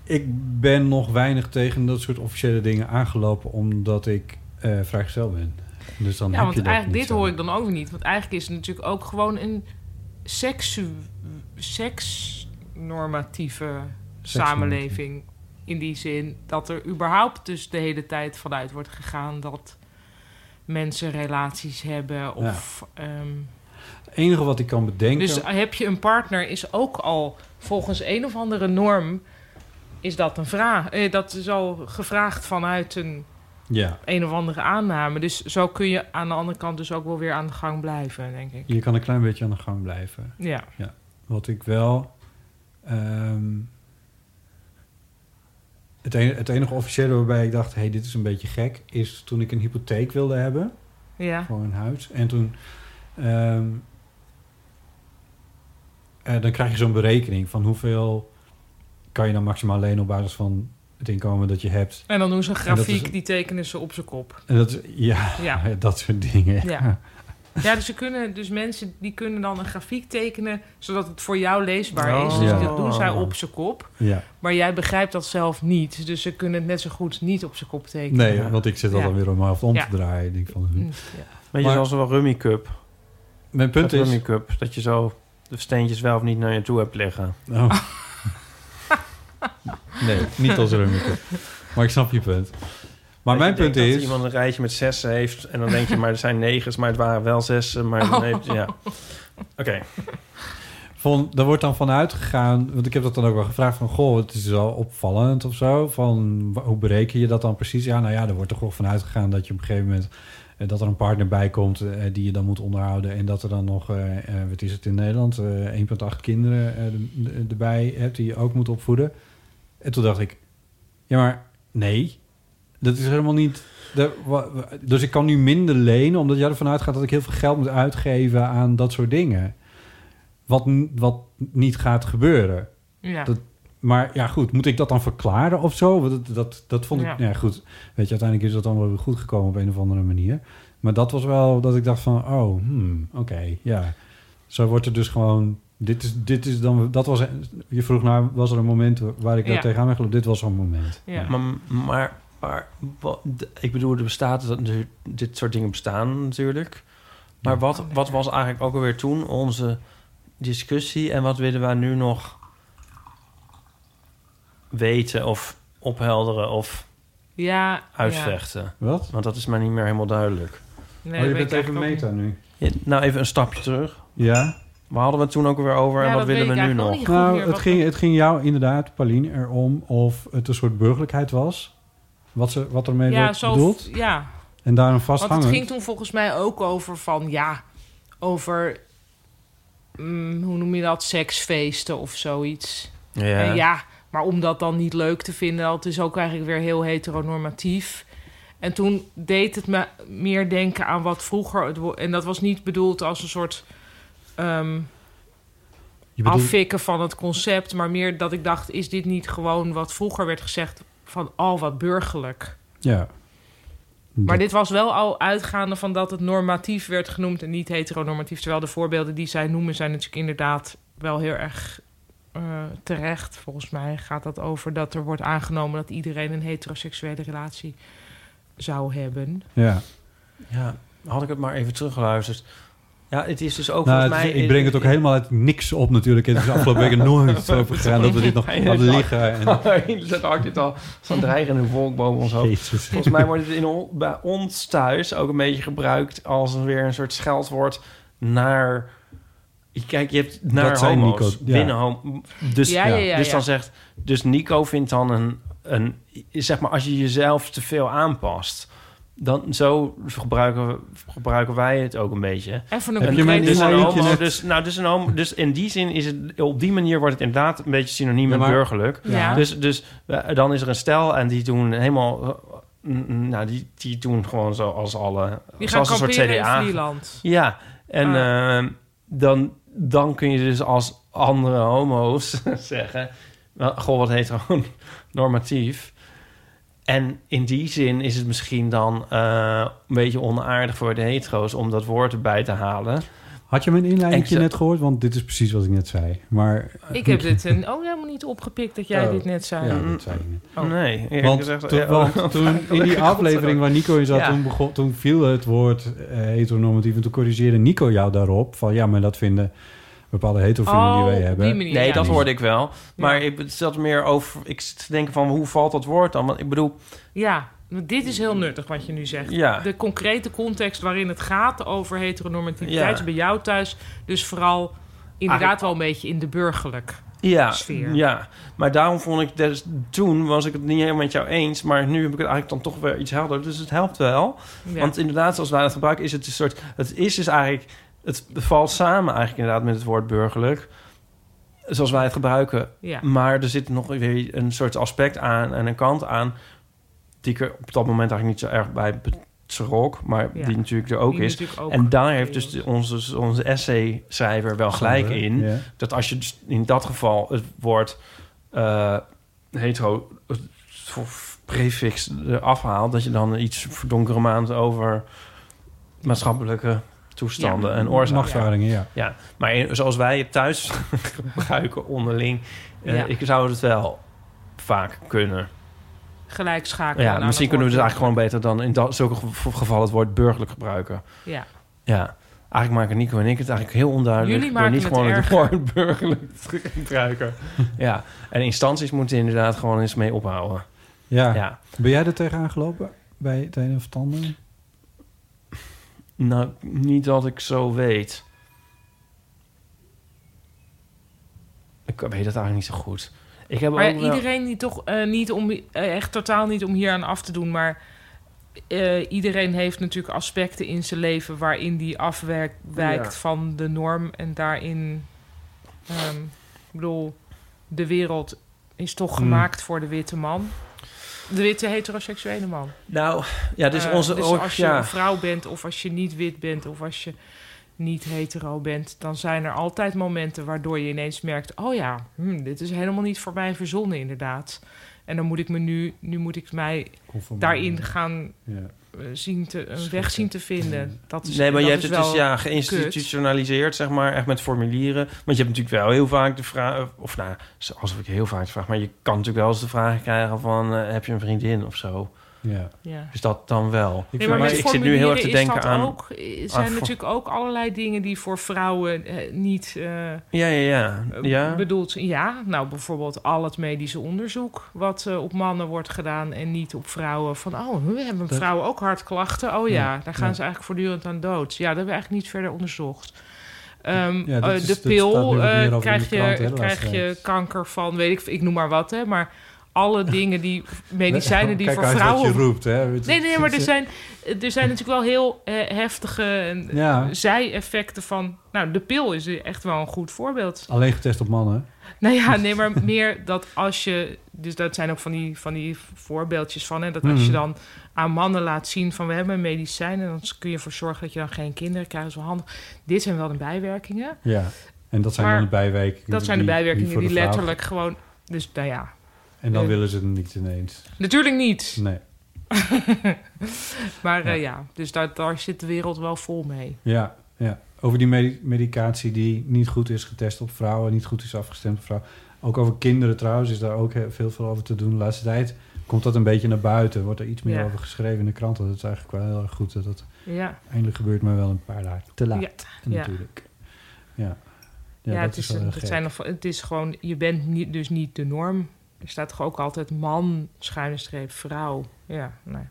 Speaker 1: Ik ben nog weinig tegen dat soort officiële dingen aangelopen, omdat ik eh vrijgezel ben. Dus dan
Speaker 2: ja,
Speaker 1: heb
Speaker 2: want
Speaker 1: je dat
Speaker 2: eigenlijk
Speaker 1: niet
Speaker 2: dit
Speaker 1: zo.
Speaker 2: hoor ik dan ook weer niet. Want eigenlijk is het natuurlijk ook gewoon een seksu- seksnormatieve samenleving. In die zin dat er überhaupt dus de hele tijd vanuit wordt gegaan dat mensen relaties hebben. Of, ehm,
Speaker 1: Het enige wat ik kan bedenken...
Speaker 2: dus heb je een partner is ook al volgens een of andere norm is dat een vraag. Eh, dat is al gevraagd vanuit een
Speaker 1: Ja.
Speaker 2: een of andere aanname. Dus zo kun je aan de andere kant dus ook wel weer aan de gang blijven, denk ik.
Speaker 1: Je kan een klein beetje aan de gang blijven.
Speaker 2: Ja.
Speaker 1: ja. Wat ik wel. ehm, het, enige, het enige officiële waarbij ik dacht: hé, hey, dit is een beetje gek, is toen ik een hypotheek wilde hebben.
Speaker 2: Ja.
Speaker 1: Voor een huis. En toen. ehm, eh, dan krijg je zo'n berekening van hoeveel kan je dan maximaal lenen op basis van het inkomen dat je hebt.
Speaker 2: En dan doen ze een
Speaker 1: En dat is-
Speaker 2: grafiek, die tekenen ze op zijn kop.
Speaker 1: en dat, ja,
Speaker 2: Ja.
Speaker 1: dat soort dingen.
Speaker 2: Ja. Ja, dus, ze kunnen, dus mensen die kunnen dan een grafiek tekenen... zodat het voor jou leesbaar is.
Speaker 1: Oh.
Speaker 2: Dus
Speaker 1: Ja.
Speaker 2: dat doen zij op zijn kop.
Speaker 1: Ja.
Speaker 2: Maar jij begrijpt dat zelf niet. Dus ze kunnen het net zo goed niet op zijn kop tekenen.
Speaker 1: Nee, want ik zit dat
Speaker 2: Ja.
Speaker 1: dan weer om mijn hoofd om
Speaker 2: Ja. Mm,
Speaker 1: te draaien. Ik Denk van, hm.
Speaker 2: Ja.
Speaker 3: Weet je,
Speaker 1: Maar-
Speaker 3: zoals wel Rummy Cup.
Speaker 1: Mijn punt
Speaker 3: Dat
Speaker 1: is-
Speaker 3: Rummy Cup, dat je zo de steentjes wel of niet naar je toe hebt liggen.
Speaker 1: Oh. Nee, niet als rummetje. Maar ik snap je punt. Maar
Speaker 3: Dat je
Speaker 1: mijn punt
Speaker 3: denkt dat
Speaker 1: is...
Speaker 3: iemand een rijtje met zessen heeft en dan denk je, maar er zijn negens, maar het waren wel zessen. Maar dan heeft, ja. Oké.
Speaker 1: Van, daar wordt dan van uitgegaan, want ik heb dat dan ook wel gevraagd van, goh, het is wel opvallend of zo. Van, wa- hoe bereken je dat dan precies? Ja, nou ja, er wordt toch wel van uitgegaan dat je op een gegeven moment eh, dat er een partner bij komt eh, die je dan moet onderhouden en dat er dan nog, eh, eh, wat is het in Nederland, eh, 1,8 kinderen eh, de- de- erbij hebt die je ook moet opvoeden. En toen dacht ik, ja, maar nee, dat is helemaal niet. de- wa- wa- dus ik kan nu minder lenen omdat jij ervan uitgaat dat ik heel veel geld moet uitgeven aan dat soort dingen wat, n- wat niet gaat gebeuren.
Speaker 2: Ja.
Speaker 1: Dat, maar ja, goed, moet ik dat dan verklaren of zo? Want Dat, dat, dat vond ik...
Speaker 2: Ja.
Speaker 1: Ja. goed. Weet je, uiteindelijk is dat dan wel weer goed gekomen op een of andere manier. Maar dat was wel dat ik dacht van... Oh, hmm, oké, ja. Zo wordt er dus gewoon... Dit is, dit is dan... Dat was, je vroeg naar, was er een moment waar ik
Speaker 3: Ja.
Speaker 1: daar tegenaan ben gelopen? Dit was zo'n moment.
Speaker 3: Maar, maar, maar wat- d- ik bedoel, er bestaat, dat- er- dit soort dingen bestaan natuurlijk. Maar wat, wat was eigenlijk ook alweer toen onze discussie en wat willen wij nu nog weten of ophelderen of
Speaker 2: Ja,
Speaker 3: uitvechten?
Speaker 1: Wat?
Speaker 3: Want dat is mij niet meer helemaal duidelijk.
Speaker 2: Nee, Oh, je dat weet bent ik even eigenlijk ook meta
Speaker 1: nu.
Speaker 3: nou, even een stapje terug.
Speaker 1: Ja.
Speaker 3: Waar hadden we het toen ook weer over en
Speaker 2: Ja,
Speaker 3: wat
Speaker 2: dat
Speaker 3: willen
Speaker 2: weet
Speaker 3: we
Speaker 2: ik
Speaker 3: nu
Speaker 2: eigenlijk
Speaker 3: nog?
Speaker 2: ook niet goed
Speaker 1: Nou,
Speaker 2: meer,
Speaker 1: het
Speaker 2: wat-
Speaker 1: ging, het ging jou inderdaad, Pauline, erom of het een soort burgerlijkheid was. Wat, ze, wat ermee
Speaker 2: Ja,
Speaker 1: werd
Speaker 2: zo-
Speaker 1: bedoeld.
Speaker 2: ja.
Speaker 1: En daarom vasthangen.
Speaker 2: Want het ging toen volgens mij ook over van ja, over mm, hoe noem je dat, seksfeesten of zoiets.
Speaker 3: Ja.
Speaker 2: En ja, maar om dat dan niet leuk te vinden, dat is ook eigenlijk weer heel heteronormatief. En toen deed het me meer denken aan wat vroeger. Het wo- en dat was niet bedoeld als een soort ehm,
Speaker 1: Je bedoelt-
Speaker 2: afvikken van het concept, maar meer dat ik dacht: is dit niet gewoon wat vroeger werd gezegd van al wat burgerlijk?
Speaker 1: Ja.
Speaker 2: Maar dit was wel al uitgaande van dat het normatief werd genoemd en niet heteronormatief. Terwijl de voorbeelden die zij noemen zijn natuurlijk inderdaad wel heel erg eh, terecht. Volgens mij gaat dat over dat er wordt aangenomen dat iedereen een heteroseksuele relatie zou hebben.
Speaker 1: Ja.
Speaker 3: Ja, had ik het maar even teruggeluisterd. Ja, het is dus ook
Speaker 1: Nou,
Speaker 3: volgens
Speaker 1: het
Speaker 3: mij...
Speaker 1: is- ik breng het ook helemaal uit niks op natuurlijk. Het is afgelopen weken nooit zo over gegaan dat we dit nog hadden liggen. En,
Speaker 3: Dat hakt dit al zo'n dreigende volk boven ons hoofd.
Speaker 1: Jezus.
Speaker 3: Volgens mij wordt het in on- bij ons thuis ook een beetje gebruikt... als een weer een soort scheldwoord naar... Kijk, je hebt naar
Speaker 1: Dat zei
Speaker 3: homo's.
Speaker 1: Nico, ja.
Speaker 3: Binnen homo. Dus,
Speaker 2: Ja, ja, ja,
Speaker 3: dus
Speaker 2: ja.
Speaker 3: dan zegt... Dus Nico vindt dan een, een... Zeg maar, als je jezelf te veel aanpast... Dan zo Dus gebruiken, we- gebruiken wij het ook een beetje.
Speaker 2: Even een
Speaker 3: En
Speaker 2: Heb je mijn
Speaker 3: dus een
Speaker 2: inhoudje
Speaker 3: homo,
Speaker 2: net-
Speaker 3: dus, nou, dus, een homo, dus in die zin is het... Op die manier wordt het inderdaad een beetje synoniem
Speaker 1: Ja,
Speaker 3: met
Speaker 1: maar-
Speaker 3: burgerlijk.
Speaker 1: Ja.
Speaker 3: Dus, dus eh, dan is er een stel en die doen helemaal... eh, mm, mm, Nou, die, die doen gewoon zo als alle...
Speaker 2: Die gaan
Speaker 3: zoals een soort
Speaker 2: kamperen in
Speaker 3: CDA.
Speaker 2: Vlieland.
Speaker 3: Ja, en eh, dan, dan kun je dus als andere homo's zeggen... wel, Goh, wat heteronormatief. En in die zin is het misschien dan eh, een beetje onaardig voor de hetero's... om dat woord erbij te halen.
Speaker 1: had je mijn inleiding
Speaker 3: Ik-
Speaker 1: net gehoord? Want dit is precies wat ik net zei. Maar,
Speaker 2: Ik heb dit eh, een, ook helemaal niet opgepikt dat jij
Speaker 1: Oh.
Speaker 2: dit net zei.
Speaker 1: Ja, dat zei ik net.
Speaker 2: Oh.
Speaker 3: Nee, eerlijk
Speaker 1: Want,
Speaker 3: gezegd,
Speaker 1: toen-
Speaker 3: ja,
Speaker 1: want toen in die
Speaker 3: gelukkig
Speaker 1: aflevering waar Nico in zat,
Speaker 3: Ja.
Speaker 1: toen, begon, toen viel het woord eh, heteronormatief. En toen corrigeerde Nico jou daarop. Van ja, maar dat vinden bepaalde heterofielen
Speaker 2: Oh,
Speaker 1: Oh, die wij hebben.
Speaker 3: nee, dat hoorde ik wel. Maar ik het zat meer over... Ik zit te denken van, hoe valt dat woord dan? Want ik bedoel...
Speaker 2: Ja, want dit is heel nuttig wat je nu zegt.
Speaker 3: Ja.
Speaker 2: De concrete context waarin het gaat over heteronormativiteit
Speaker 3: Ja.
Speaker 2: is bij jou thuis. Dus vooral inderdaad wel een beetje in de burgerlijk
Speaker 3: ja,
Speaker 2: sfeer.
Speaker 3: Ja, maar daarom vond ik... Dus, toen was ik het niet helemaal met jou eens... maar nu heb ik het eigenlijk dan toch weer iets helder. Dus het helpt wel.
Speaker 2: Ja.
Speaker 3: Want inderdaad, zoals wij het gebruiken... is het een soort... Het is dus eigenlijk... Het valt samen eigenlijk inderdaad met het woord burgerlijk... Zoals wij het gebruiken.
Speaker 2: Ja.
Speaker 3: Maar er zit nog weer een soort aspect aan en een kant aan... die ik er op dat moment eigenlijk niet zo erg bij betrok... maar
Speaker 1: Ja.
Speaker 3: die natuurlijk er ook
Speaker 1: Die
Speaker 3: is.
Speaker 1: natuurlijk ook
Speaker 3: en daar heeft dus de- onze, onze essay-schrijver wel gelijk
Speaker 1: Sander,
Speaker 3: in...
Speaker 1: ja.
Speaker 3: dat als je dus in dat geval het woord eh, hetero... het voor prefix eraf haalt... dat je dan iets voor donkere maand over maatschappelijke toestanden
Speaker 1: Ja.
Speaker 3: en oorzaken...
Speaker 1: Machtsverhoudingen, ja.
Speaker 3: ja. Maar in- zoals wij het thuis gebruiken onderling... eh,
Speaker 2: Ja.
Speaker 3: ik zou het wel vaak kunnen...
Speaker 2: gelijk schakelen.
Speaker 3: Ja,
Speaker 2: aan
Speaker 3: misschien
Speaker 2: nou, dat
Speaker 3: kunnen we dus
Speaker 2: woord.
Speaker 3: eigenlijk gewoon beter dan in dat, zulke gev- gevallen het woord burgerlijk gebruiken.
Speaker 2: Ja.
Speaker 3: Ja. Eigenlijk maken Nico en ik het eigenlijk heel onduidelijk.
Speaker 2: Jullie
Speaker 3: door
Speaker 2: maken
Speaker 3: niet
Speaker 2: het
Speaker 3: gewoon
Speaker 2: erger.
Speaker 3: woord burgerlijk te gebruiken. ja. En instanties moeten inderdaad gewoon eens mee ophouden.
Speaker 1: Ja.
Speaker 3: Ja.
Speaker 1: Ben jij er tegenaan gelopen bij het een of het ander?
Speaker 3: Nou, niet dat ik zo weet. Ik weet dat eigenlijk niet zo goed. Ik heb
Speaker 2: Maar
Speaker 3: ook wel-
Speaker 2: iedereen die toch eh, niet om, eh, echt totaal niet om hier aan af te doen, maar eh, iedereen heeft natuurlijk aspecten in zijn leven waarin die afwijkt
Speaker 3: Ja.
Speaker 2: van de norm en daarin, ehm, ik bedoel, de wereld is toch
Speaker 3: Hmm.
Speaker 2: gemaakt voor de witte man, de witte heteroseksuele man.
Speaker 3: Nou, ja, dus
Speaker 2: Eh,
Speaker 3: onze-
Speaker 2: dus
Speaker 3: ook-
Speaker 2: als je
Speaker 3: ja.
Speaker 2: een vrouw bent of als je niet wit bent of als je niet hetero bent, dan zijn er altijd momenten waardoor je ineens merkt: oh ja, hm, dit is helemaal niet voor mij verzonnen inderdaad. En dan moet ik me nu, nu moet ik mij
Speaker 3: Conformeren.
Speaker 2: daarin gaan
Speaker 3: Ja.
Speaker 2: eh, zien te, een weg zien te vinden. Dat is,
Speaker 3: nee, maar
Speaker 2: dat
Speaker 3: je hebt
Speaker 2: is
Speaker 3: het dus
Speaker 2: wel
Speaker 3: ja,
Speaker 2: kut.
Speaker 3: geïnstitutionaliseerd, zeg maar, echt met formulieren. Want je hebt natuurlijk wel heel vaak de vraag, of nou, alsof ik heel vaak de vraag, maar je kan natuurlijk wel eens de vraag krijgen van, eh, heb je een vriendin of zo?
Speaker 1: Ja.
Speaker 2: Ja.
Speaker 3: Dus dat dan wel.
Speaker 2: Nee, maar met
Speaker 3: ik zit nu heel erg
Speaker 2: formulieren
Speaker 3: te
Speaker 2: is
Speaker 3: denken
Speaker 2: dat
Speaker 3: aan...
Speaker 2: Ook, er zijn
Speaker 3: aan voor-
Speaker 2: natuurlijk ook allerlei dingen die voor vrouwen eh, niet. eh,
Speaker 3: Ja, ja, ja. ja.
Speaker 2: bedoeld Eh, ja nou bijvoorbeeld al het medische onderzoek wat eh, op mannen wordt gedaan en niet op vrouwen van oh we hebben
Speaker 3: Dat-
Speaker 2: vrouwen ook hartklachten oh ja,
Speaker 3: Ja,
Speaker 2: daar gaan
Speaker 3: ja.
Speaker 2: ze eigenlijk voortdurend aan dood ja dat hebben we eigenlijk niet verder onderzocht Ehm,
Speaker 3: Ja, dat
Speaker 2: eh,
Speaker 3: is-
Speaker 2: de
Speaker 3: dat staat nu
Speaker 2: pil
Speaker 3: wat meer
Speaker 2: eh,
Speaker 3: over in de
Speaker 2: krijg je
Speaker 3: krant, hè, de
Speaker 2: krijg
Speaker 3: laatste
Speaker 2: je kanker van weet ik ik noem maar wat hè maar alle dingen die medicijnen die
Speaker 1: Kijk
Speaker 2: voor
Speaker 1: uit wat
Speaker 2: vrouwen
Speaker 1: je roept, hè.
Speaker 2: Nee, nee, maar er zijn, er zijn natuurlijk wel heel eh, heftige eh,
Speaker 1: Ja.
Speaker 2: zij-effecten van... Nou, de pil is echt wel een goed voorbeeld.
Speaker 1: Alleen getest op mannen.
Speaker 2: Nou ja, nee, maar meer dat als je... Dus dat zijn ook van die, van die voorbeeldjes van... Hè, dat als je
Speaker 1: Mhm.
Speaker 2: dan aan mannen laat zien van... we hebben een medicijn en dan kun je ervoor zorgen... dat je dan geen kinderen krijgt. Dat is wel handig. Dit zijn wel de bijwerkingen.
Speaker 1: Ja. En dat zijn
Speaker 2: Maar
Speaker 1: dan de bijwerkingen.
Speaker 2: Dat zijn de
Speaker 1: die-
Speaker 2: bijwerkingen die,
Speaker 1: voor de vrouw-
Speaker 2: letterlijk gewoon... Dus nou ja,
Speaker 1: En dan
Speaker 2: Eh.
Speaker 1: willen ze het niet ineens.
Speaker 2: natuurlijk niet.
Speaker 1: Nee.
Speaker 2: Maar eh, ja, dus daar, daar zit de wereld wel vol mee.
Speaker 1: Ja, ja. Over die medi- medicatie die niet goed is getest op vrouwen, niet goed is afgestemd op vrouwen. Ook over kinderen trouwens is daar ook heel veel veel over te doen de laatste tijd. Komt dat een beetje naar buiten? Wordt er iets meer
Speaker 2: Ja.
Speaker 1: over geschreven in de krant? Dat is eigenlijk wel heel erg goed. Dat dat
Speaker 2: Ja.
Speaker 1: eindelijk gebeurt, maar wel een paar dagen te laat.
Speaker 2: Ja.
Speaker 1: En
Speaker 2: Ja.
Speaker 1: Natuurlijk. Ja.
Speaker 2: Ja,
Speaker 1: dat
Speaker 2: het, is,
Speaker 1: wel heel
Speaker 2: het,
Speaker 1: gek.
Speaker 2: zijn nog, het is gewoon, je bent niet, dus niet de norm. Er staat toch ook altijd man, schuine streep, vrouw. Ja, nee.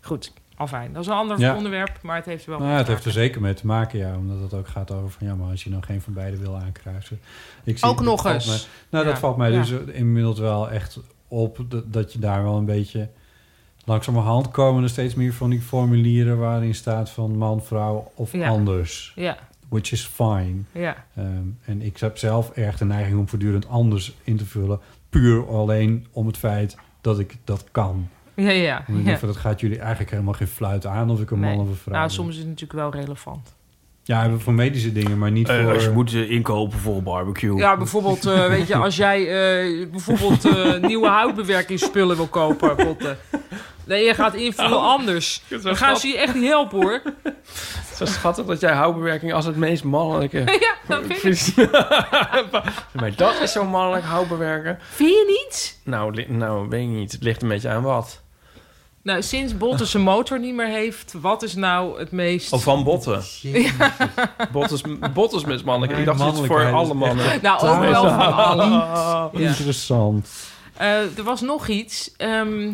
Speaker 2: Goed, afijn. Dat is een ander
Speaker 1: Ja.
Speaker 2: onderwerp, maar het heeft er wel
Speaker 1: Nou,
Speaker 2: mee
Speaker 1: ja, het
Speaker 2: te
Speaker 1: heeft er
Speaker 2: maken.
Speaker 1: zeker mee te maken, ja. Omdat het ook gaat over van... ja, maar als je nou geen van beide wil aankruisen... Ik
Speaker 2: Ook
Speaker 1: dat
Speaker 2: nog
Speaker 1: valt
Speaker 2: eens.
Speaker 1: mij- nou, dat
Speaker 2: Ja,
Speaker 1: valt mij
Speaker 2: ja.
Speaker 1: dus inmiddels wel echt op... dat, dat je daar wel een beetje... langzamerhand komen er steeds meer van die formulieren... waarin staat van man, vrouw of
Speaker 2: Ja.
Speaker 1: anders.
Speaker 2: Ja.
Speaker 1: Which is fine.
Speaker 2: Ja.
Speaker 1: Ehm, en ik heb zelf erg de neiging om voortdurend anders in te vullen... puur alleen om het feit dat ik dat kan.
Speaker 2: Ja, ja,
Speaker 1: Omdat ik
Speaker 2: ja.
Speaker 1: denk van, dat gaat jullie eigenlijk helemaal geen fluit aan... of ik een
Speaker 2: Nee.
Speaker 1: man of een vrouw
Speaker 2: Nou,
Speaker 1: ben.
Speaker 2: soms is het natuurlijk wel relevant.
Speaker 1: Ja, voor medische dingen, maar niet
Speaker 3: Eh,
Speaker 1: voor...
Speaker 3: als je moet eh, inkopen voor een barbecue.
Speaker 2: Ja, bijvoorbeeld, eh, weet je, als jij eh, bijvoorbeeld eh, nieuwe houtbewerkingsspullen wil kopen, Botte. Nee, je gaat invullen
Speaker 1: Nou,
Speaker 3: Oh,
Speaker 2: anders.
Speaker 3: dat is wel
Speaker 2: Dan gaan ze
Speaker 3: grappig.
Speaker 2: je echt niet helpen, hoor.
Speaker 3: Zo schattig dat jij houtbewerking als het meest mannelijke...
Speaker 2: ja, dat vind ik.
Speaker 3: Precies. maar dat is zo mannelijk, houtbewerken.
Speaker 2: Vind je niet?
Speaker 3: Nou, li- nou, weet ik niet. Het ligt een beetje aan wat.
Speaker 2: Nou, sinds Botte zijn motor niet meer heeft, wat is nou het meest...
Speaker 3: Of Oh, van botten. Bottes, bottes met mannelijk. Ik dacht dat het voor alle mannen.
Speaker 2: Nou, ook wel van alle.
Speaker 3: Ah,
Speaker 2: Ja.
Speaker 1: Interessant.
Speaker 2: Eh, er was nog iets. Ehm,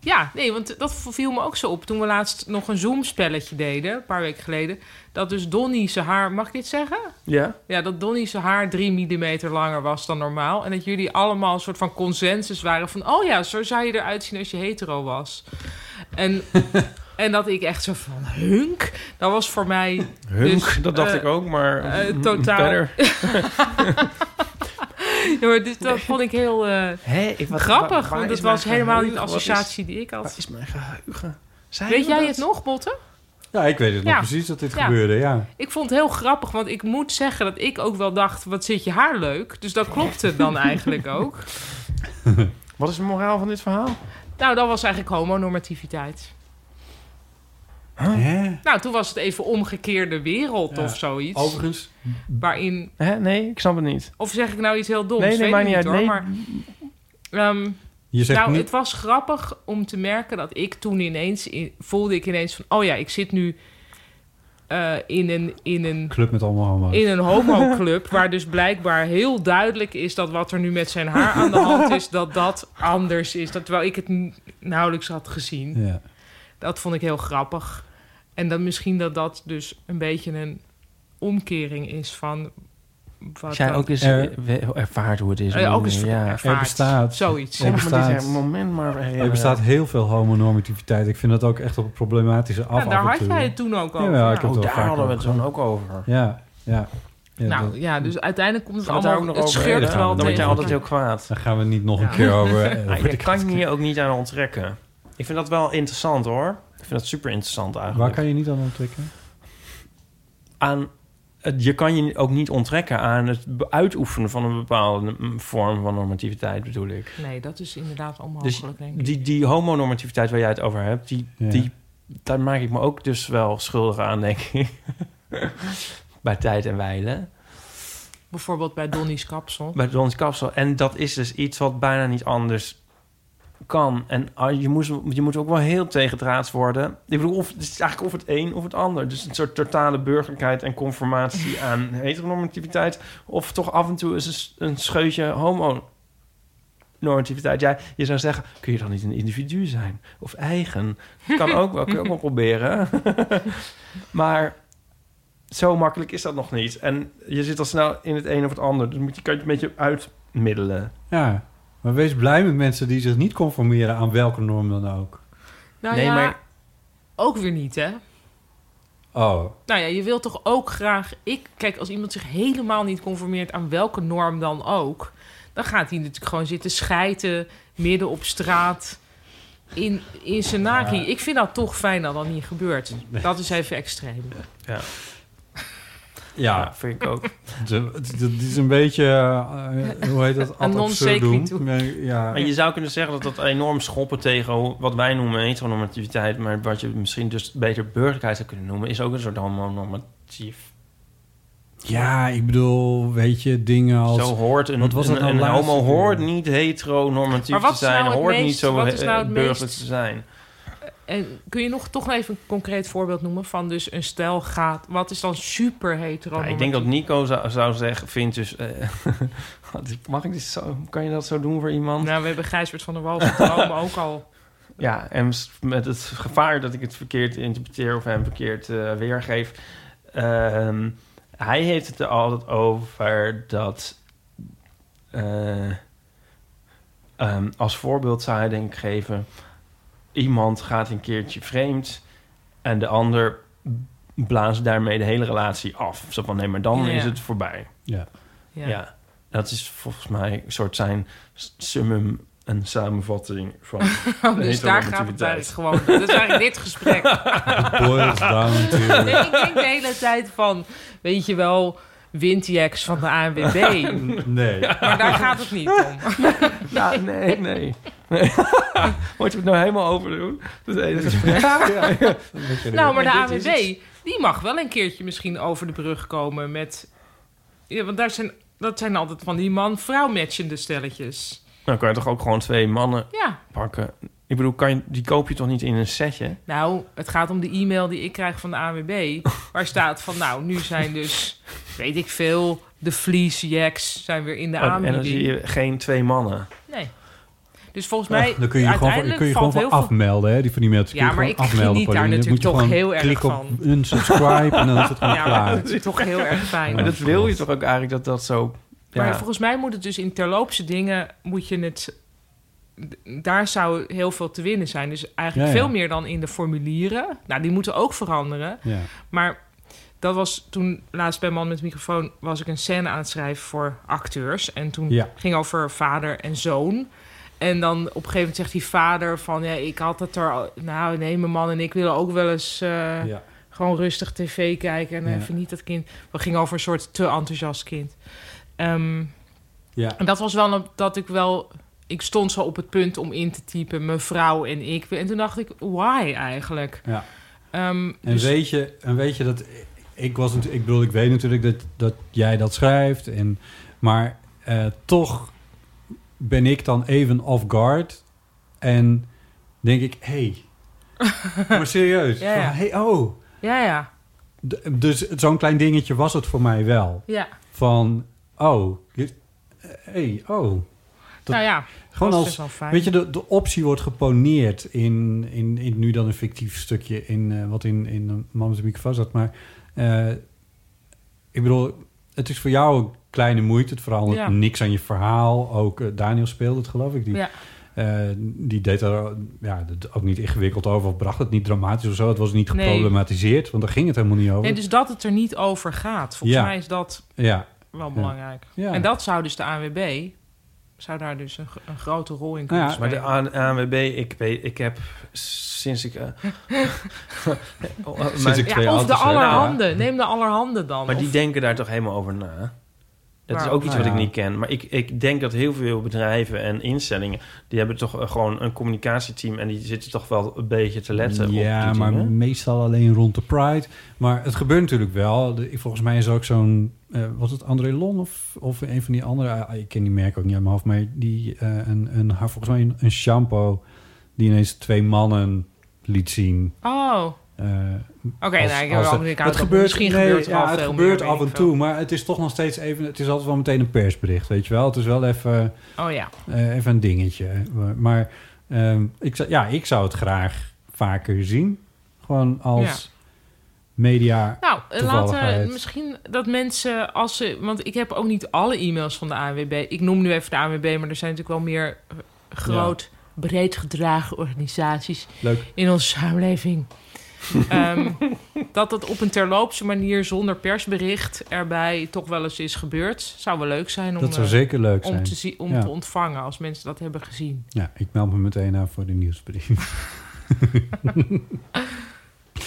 Speaker 2: ja, nee, want dat viel me ook zo op toen we laatst nog een Zoom-spelletje deden, een paar weken geleden. Dat dus Donnie zijn haar, mag ik dit zeggen?
Speaker 3: Ja?
Speaker 2: Ja, dat Donnie zijn haar drie millimeter langer was dan normaal. En dat jullie allemaal een soort van consensus waren van... oh ja, zo zou je eruit zien als je hetero was. En, en dat ik echt zo van, hunk? Dat was voor mij...
Speaker 3: Hunk,
Speaker 2: dus,
Speaker 3: dat dacht
Speaker 2: eh,
Speaker 3: ik ook, maar
Speaker 2: eh,
Speaker 3: mm,
Speaker 2: totaal...
Speaker 3: verder.
Speaker 2: ja, maar dus dat vond ik heel eh,
Speaker 3: Hé, ik- wat-
Speaker 2: grappig.
Speaker 3: waar- waar
Speaker 2: want
Speaker 3: is
Speaker 2: het was
Speaker 3: mijn
Speaker 2: helemaal niet de
Speaker 3: geheugen? Wat is-
Speaker 2: associatie die ik had.
Speaker 3: waar is mijn geheugen?
Speaker 2: Weet
Speaker 3: we
Speaker 2: jij
Speaker 3: dat?
Speaker 2: het nog, Botte?
Speaker 1: Ja, ik weet het nog
Speaker 2: Ja.
Speaker 1: precies dat dit
Speaker 2: Ja.
Speaker 1: gebeurde, ja.
Speaker 2: Ik vond het heel grappig, want ik moet zeggen dat ik ook wel dacht... wat zit je haar leuk? Dus dat klopte dan eigenlijk ook.
Speaker 3: Wat is de moraal van dit verhaal?
Speaker 2: Nou, dat was eigenlijk homonormativiteit.
Speaker 1: Hè?
Speaker 2: Nou, toen was het even omgekeerde wereld
Speaker 3: Ja.
Speaker 2: of zoiets.
Speaker 3: Overigens-
Speaker 2: Waarin...
Speaker 3: Hè? Nee, ik snap het niet.
Speaker 2: Of zeg ik nou iets heel doms?
Speaker 3: Nee, nee,
Speaker 2: Weet ik
Speaker 3: maakt niet
Speaker 2: niet
Speaker 3: uit.
Speaker 2: hoor,
Speaker 3: Nee.
Speaker 2: maar... ehm,
Speaker 3: Je zegt
Speaker 2: nou,
Speaker 3: niet-
Speaker 2: het was grappig om te merken dat ik toen ineens... in- voelde ik ineens van... Oh ja, ik zit nu eh, in een... In een
Speaker 1: Club met allemaal homo's.
Speaker 2: in een homoclub, waar dus blijkbaar heel duidelijk is dat wat er nu met zijn haar aan de hand is, dat dat anders is. Dat, terwijl ik het n- nauwelijks had gezien.
Speaker 1: Ja.
Speaker 2: Dat vond ik heel grappig. En dan misschien dat dat dus een beetje een omkering is van. Wat
Speaker 3: Zij
Speaker 2: dat-
Speaker 3: ook eens
Speaker 2: Er-
Speaker 3: eh, ervaart hoe het is.
Speaker 2: Oh ja, ook eens
Speaker 3: Ja.
Speaker 2: ervaart.
Speaker 1: Er bestaat...
Speaker 2: Zoiets.
Speaker 1: Er bestaat,
Speaker 3: moment maar eh,
Speaker 1: er bestaat heel veel homonormativiteit. Ik vind dat ook echt op een problematische af.
Speaker 2: daar
Speaker 1: af en
Speaker 2: had
Speaker 1: toe.
Speaker 2: jij het toen ook over.
Speaker 1: Ja, ik heb
Speaker 2: Oh,
Speaker 1: het wel
Speaker 2: daar
Speaker 1: vaak
Speaker 2: hadden we
Speaker 3: het toen ook over.
Speaker 1: Ja, ja. ja dat-
Speaker 2: nou ja, dus uiteindelijk komt het
Speaker 3: Gaan we daar
Speaker 2: allemaal.
Speaker 3: ook nog
Speaker 2: het
Speaker 3: over
Speaker 2: scheurt
Speaker 3: hebben?
Speaker 2: wel.
Speaker 3: Dan word jij
Speaker 2: tegen
Speaker 3: altijd heel kwaad.
Speaker 1: Daar gaan we niet nog een keer over. eh,
Speaker 3: Ah,
Speaker 1: over
Speaker 3: je
Speaker 1: de-
Speaker 3: kan je ook niet aan onttrekken. Ik vind dat wel interessant hoor. Ik vind dat super interessant
Speaker 1: Waar
Speaker 3: eigenlijk.
Speaker 1: kan je niet aan ontwikkelen?
Speaker 3: Aan het, je kan je ook niet onttrekken aan het be- uitoefenen van een bepaalde mm, vorm van normativiteit bedoel ik.
Speaker 2: elkaar. Nee, dat is inderdaad
Speaker 3: Dus
Speaker 2: onmogelijk, denk ik.
Speaker 3: die, die homonormativiteit waar jij het over hebt, die,
Speaker 1: Ja.
Speaker 3: die, daar maak ik me ook dus wel schuldig aan, denk ik. Bij tijd en wijlen.
Speaker 2: Bijvoorbeeld bij Donnie's kapsel.
Speaker 3: Bij Dons Kapsel. En dat is dus iets wat bijna niet anders kan. En ah, je moet, je moet ook wel heel tegendraads worden. Ik bedoel, of, het is eigenlijk of het een of het ander. Dus een soort totale burgerlijkheid en conformatie aan heteronormativiteit. Of toch af en toe is een, s- een scheutje homonormativiteit. Ja, je zou zeggen, kun je dan niet een individu zijn? Of eigen? Dat kan ook wel, kun je ook wel proberen. maar zo makkelijk is dat nog niet. En je zit al snel in het een of het ander. Dus moet je, kan je het een beetje uitmiddelen.
Speaker 1: Ja, maar wees blij met mensen die zich niet conformeren aan welke norm dan ook.
Speaker 2: Nou
Speaker 1: Nee,
Speaker 2: ja,
Speaker 1: maar-
Speaker 2: ook weer niet, hè?
Speaker 1: Oh,
Speaker 2: Nou ja, je wilt toch ook graag... Ik, kijk, als iemand zich helemaal niet conformeert aan welke norm dan ook... dan gaat hij natuurlijk gewoon zitten schijten midden op straat in, in zijn naki.
Speaker 3: Ja.
Speaker 2: Ik vind dat toch fijn dat dat niet gebeurt. Dat is even extreem.
Speaker 3: Ja.
Speaker 1: Ja.
Speaker 3: Ja, vind ik ook.
Speaker 1: dat is een beetje, eh, hoe heet dat? Ad
Speaker 2: Een non
Speaker 1: absurdum.
Speaker 2: sequitur.
Speaker 1: Nee, Ja,
Speaker 3: En je zou kunnen zeggen dat dat enorm schoppen tegen hoe- wat wij noemen heteronormativiteit, maar wat je misschien dus beter burgerlijkheid zou kunnen noemen, is ook een soort homonormatief
Speaker 1: Ja, ik bedoel, weet je, dingen als...
Speaker 3: Zo hoort een,
Speaker 1: wat was het
Speaker 3: een,
Speaker 1: nou
Speaker 3: een
Speaker 1: laatst?
Speaker 3: homo hoort niet heteronormatief
Speaker 2: Maar wat
Speaker 3: te
Speaker 2: is
Speaker 3: zijn,
Speaker 2: nou het
Speaker 3: hoort
Speaker 2: meest-
Speaker 3: niet zo
Speaker 2: wat is nou het
Speaker 3: burgers
Speaker 2: meest- Eh,
Speaker 3: te zijn.
Speaker 2: En kun je nog toch nog even een concreet voorbeeld noemen van dus een stel gaat... Wat is dan super hetero?
Speaker 3: Ja, ik denk dat Nico zou, zou zeggen, vindt dus... eh, mag ik dit zo, kan je dat zo doen voor iemand?
Speaker 2: Nou, we hebben Gijsbert van der Wal van ook al.
Speaker 3: Ja, en s- met het gevaar dat ik het verkeerd interpreteer of hem verkeerd eh, weergeef. Ehm, hij heeft het er altijd over dat. eh, ehm, als voorbeeld zou hij denk ik geven: iemand gaat een keertje vreemd en de ander blaast daarmee de hele relatie af. Zo van nee, maar dan
Speaker 1: Ja.
Speaker 3: is het voorbij.
Speaker 1: Ja.
Speaker 3: Ja.
Speaker 1: Ja.
Speaker 3: dat is volgens mij een soort zijn s- summum, een samenvatting van. de
Speaker 2: dus daar gaat het
Speaker 3: heteronormativiteit.
Speaker 2: eigenlijk gewoon. Dat is eigenlijk dit gesprek.
Speaker 1: boils down to-
Speaker 2: Nee, ik denk de hele tijd van, weet je wel, Windjacks van de ANWB.
Speaker 1: Nee.
Speaker 2: Maar daar gaat het niet om.
Speaker 3: Nou, nee, nee. nee. Moet je het nou helemaal overdoen? Dat hele gesprek.
Speaker 2: Nou, maar de
Speaker 3: En dit is
Speaker 2: AWB, die mag wel een keertje misschien over de brug komen met... Ja, want daar zijn, dat zijn altijd van die man-vrouw matchende stelletjes.
Speaker 3: Dan Nou, kan je toch ook gewoon twee mannen
Speaker 2: Ja.
Speaker 3: pakken? Ik bedoel, kan je, die koop je toch niet in een setje?
Speaker 2: Nou, het gaat om de e-mail die ik krijg van de AWB, waar staat van, nou, nu zijn dus, weet ik veel, de fleecejacks zijn weer in de
Speaker 3: Oh, en dan
Speaker 2: aanbieding.
Speaker 3: zie je geen twee mannen.
Speaker 2: Nee. Dus volgens mij,
Speaker 1: Dan kun je je gewoon, voor-
Speaker 2: uiteindelijk
Speaker 1: kun je gewoon
Speaker 2: valt
Speaker 1: voor
Speaker 2: heel veel...
Speaker 1: afmelden, hè? Die van die mailtjes. kun
Speaker 2: Ja,
Speaker 1: je
Speaker 2: maar
Speaker 1: gewoon
Speaker 2: ik
Speaker 1: afmelden,
Speaker 2: geniet daar
Speaker 1: Pauline. Dan
Speaker 2: natuurlijk
Speaker 1: moet je
Speaker 2: toch
Speaker 1: gewoon
Speaker 2: heel erg
Speaker 1: klik op
Speaker 2: van.
Speaker 1: unsubscribe en dan is het gewoon
Speaker 2: Ja, maar
Speaker 1: klaar.
Speaker 2: dat is toch heel erg fijn.
Speaker 3: Maar dat wil je toch ook eigenlijk dat dat zo... Ja.
Speaker 2: Maar volgens mij moet het dus in terloopse dingen, moet je het... d- Daar zou heel veel te winnen zijn. Dus eigenlijk
Speaker 3: Ja, ja.
Speaker 2: veel meer dan in de formulieren. Nou, die moeten ook veranderen.
Speaker 3: Ja.
Speaker 2: Maar dat was toen laatst bij Man met Microfoon... was ik een scène aan het schrijven voor acteurs. En toen
Speaker 1: Ja.
Speaker 2: ging over vader en zoon. En dan op een gegeven moment zegt die vader van... Ja, ik had het er... al- Nou, nee, mijn man en ik willen ook wel eens... eh,
Speaker 1: Ja.
Speaker 2: Gewoon rustig tv kijken en
Speaker 1: Ja.
Speaker 2: even niet dat kind. We gingen over een soort te enthousiast kind. Ehm,
Speaker 1: Ja.
Speaker 2: en dat was wel een- dat ik wel... Ik stond zo op het punt om in te typen, mevrouw en ik. En toen dacht ik, why eigenlijk?
Speaker 1: Ja.
Speaker 2: Ehm,
Speaker 1: En,
Speaker 2: dus-
Speaker 1: weet je, en weet je dat ik was natuurlijk, ik bedoel, ik weet natuurlijk dat, dat jij dat schrijft, en, maar eh, toch ben ik dan even off guard en denk ik, hé, hey, maar serieus,
Speaker 2: Ja, ja.
Speaker 1: van, hey, oh,
Speaker 2: Ja, ja.
Speaker 1: D- dus zo'n klein dingetje was het voor mij wel.
Speaker 2: Ja.
Speaker 1: Van, oh, je- hey, oh. Dat-
Speaker 2: Nou ja,
Speaker 1: gewoon
Speaker 2: dat is
Speaker 1: als,
Speaker 2: dus wel fijn.
Speaker 1: weet je, de, de optie wordt geponeerd in, in, in nu dan een fictief stukje in eh, wat in, in Mama's Microfoon zat. Maar eh, ik bedoel, het is voor jou een kleine moeite. Het verandert
Speaker 2: Ja.
Speaker 1: niks aan je verhaal. Ook eh, Daniel speelde het, geloof ik. Die,
Speaker 2: Ja.
Speaker 1: eh, die deed er ja, dat ook niet ingewikkeld over of bracht het niet dramatisch of zo. Het was niet
Speaker 2: Nee.
Speaker 1: geproblematiseerd, want daar ging het helemaal niet over.
Speaker 2: Nee, dus dat het er niet over gaat. Volgens
Speaker 1: Ja.
Speaker 2: mij is dat
Speaker 1: Ja.
Speaker 2: wel
Speaker 1: Ja.
Speaker 2: belangrijk.
Speaker 1: Ja.
Speaker 2: En dat zou dus de ANWB... zou daar dus een, gro- een grote rol in
Speaker 1: Nou
Speaker 2: kunnen
Speaker 3: maar de
Speaker 2: spelen.
Speaker 3: A- ANWB, ik, weet, ik heb sinds ik... eh,
Speaker 2: Ja,
Speaker 3: mijn-
Speaker 2: of de
Speaker 3: Nou,
Speaker 1: eh,
Speaker 2: allerhande. Neem de allerhande dan.
Speaker 3: Maar die
Speaker 2: Of-
Speaker 3: denken daar toch helemaal over na? Dat is
Speaker 2: Maar-
Speaker 3: ook iets
Speaker 2: Nou
Speaker 3: wat
Speaker 2: ja.
Speaker 3: ik niet ken. Maar ik, ik denk dat heel veel bedrijven en instellingen... die hebben toch eh, gewoon een communicatieteam... en die zitten toch wel een beetje te letten op
Speaker 1: Ja,
Speaker 3: die
Speaker 1: maar
Speaker 3: dingen.
Speaker 1: meestal alleen rond de Pride. Maar het gebeurt natuurlijk wel. De- volgens mij is er ook zo'n... eh, was het André Lon of, of een van die andere... ah, ik ken die merk ook niet uit mijn hoofd. Maar die, eh, een, een, haar- volgens mij een, een shampoo... die ineens twee mannen liet zien.
Speaker 2: Oh.
Speaker 1: Eh,
Speaker 2: Oké,
Speaker 1: als-
Speaker 2: nee, ik heb
Speaker 1: als
Speaker 2: wel
Speaker 1: het-
Speaker 2: een keer
Speaker 1: het
Speaker 2: uit-
Speaker 1: gebeurt,
Speaker 2: misschien
Speaker 1: nee,
Speaker 2: gebeurt er
Speaker 1: ja,
Speaker 2: wel
Speaker 1: het
Speaker 2: veel
Speaker 1: gebeurt
Speaker 2: meer,
Speaker 1: af
Speaker 2: weet
Speaker 1: en
Speaker 2: ik veel.
Speaker 1: toe, maar het is toch nog steeds even, het is altijd wel meteen een persbericht, weet je wel? Het is wel even,
Speaker 2: Oh ja.
Speaker 1: eh, even een dingetje. Maar ehm, ik, zou- ja, ik zou het graag vaker zien, gewoon als media.
Speaker 2: Nou, eh, laten
Speaker 1: toevalligheid.
Speaker 2: we misschien dat mensen als ze... Want ik heb ook niet alle e-mails van de ANWB. Ik noem nu even de ANWB, maar er zijn natuurlijk wel meer eh, groot, breed gedragen organisaties...
Speaker 1: Leuk.
Speaker 2: in onze samenleving. Ehm, dat dat op een terloopse manier zonder persbericht erbij toch wel eens is gebeurd. Zou wel leuk zijn om,
Speaker 1: Dat zou
Speaker 2: eh,
Speaker 1: zeker leuk
Speaker 2: om,
Speaker 1: zijn.
Speaker 2: Te, zien- om
Speaker 1: Ja.
Speaker 2: te ontvangen als mensen dat hebben gezien.
Speaker 1: Ja, ik meld me meteen aan voor de nieuwsbrief.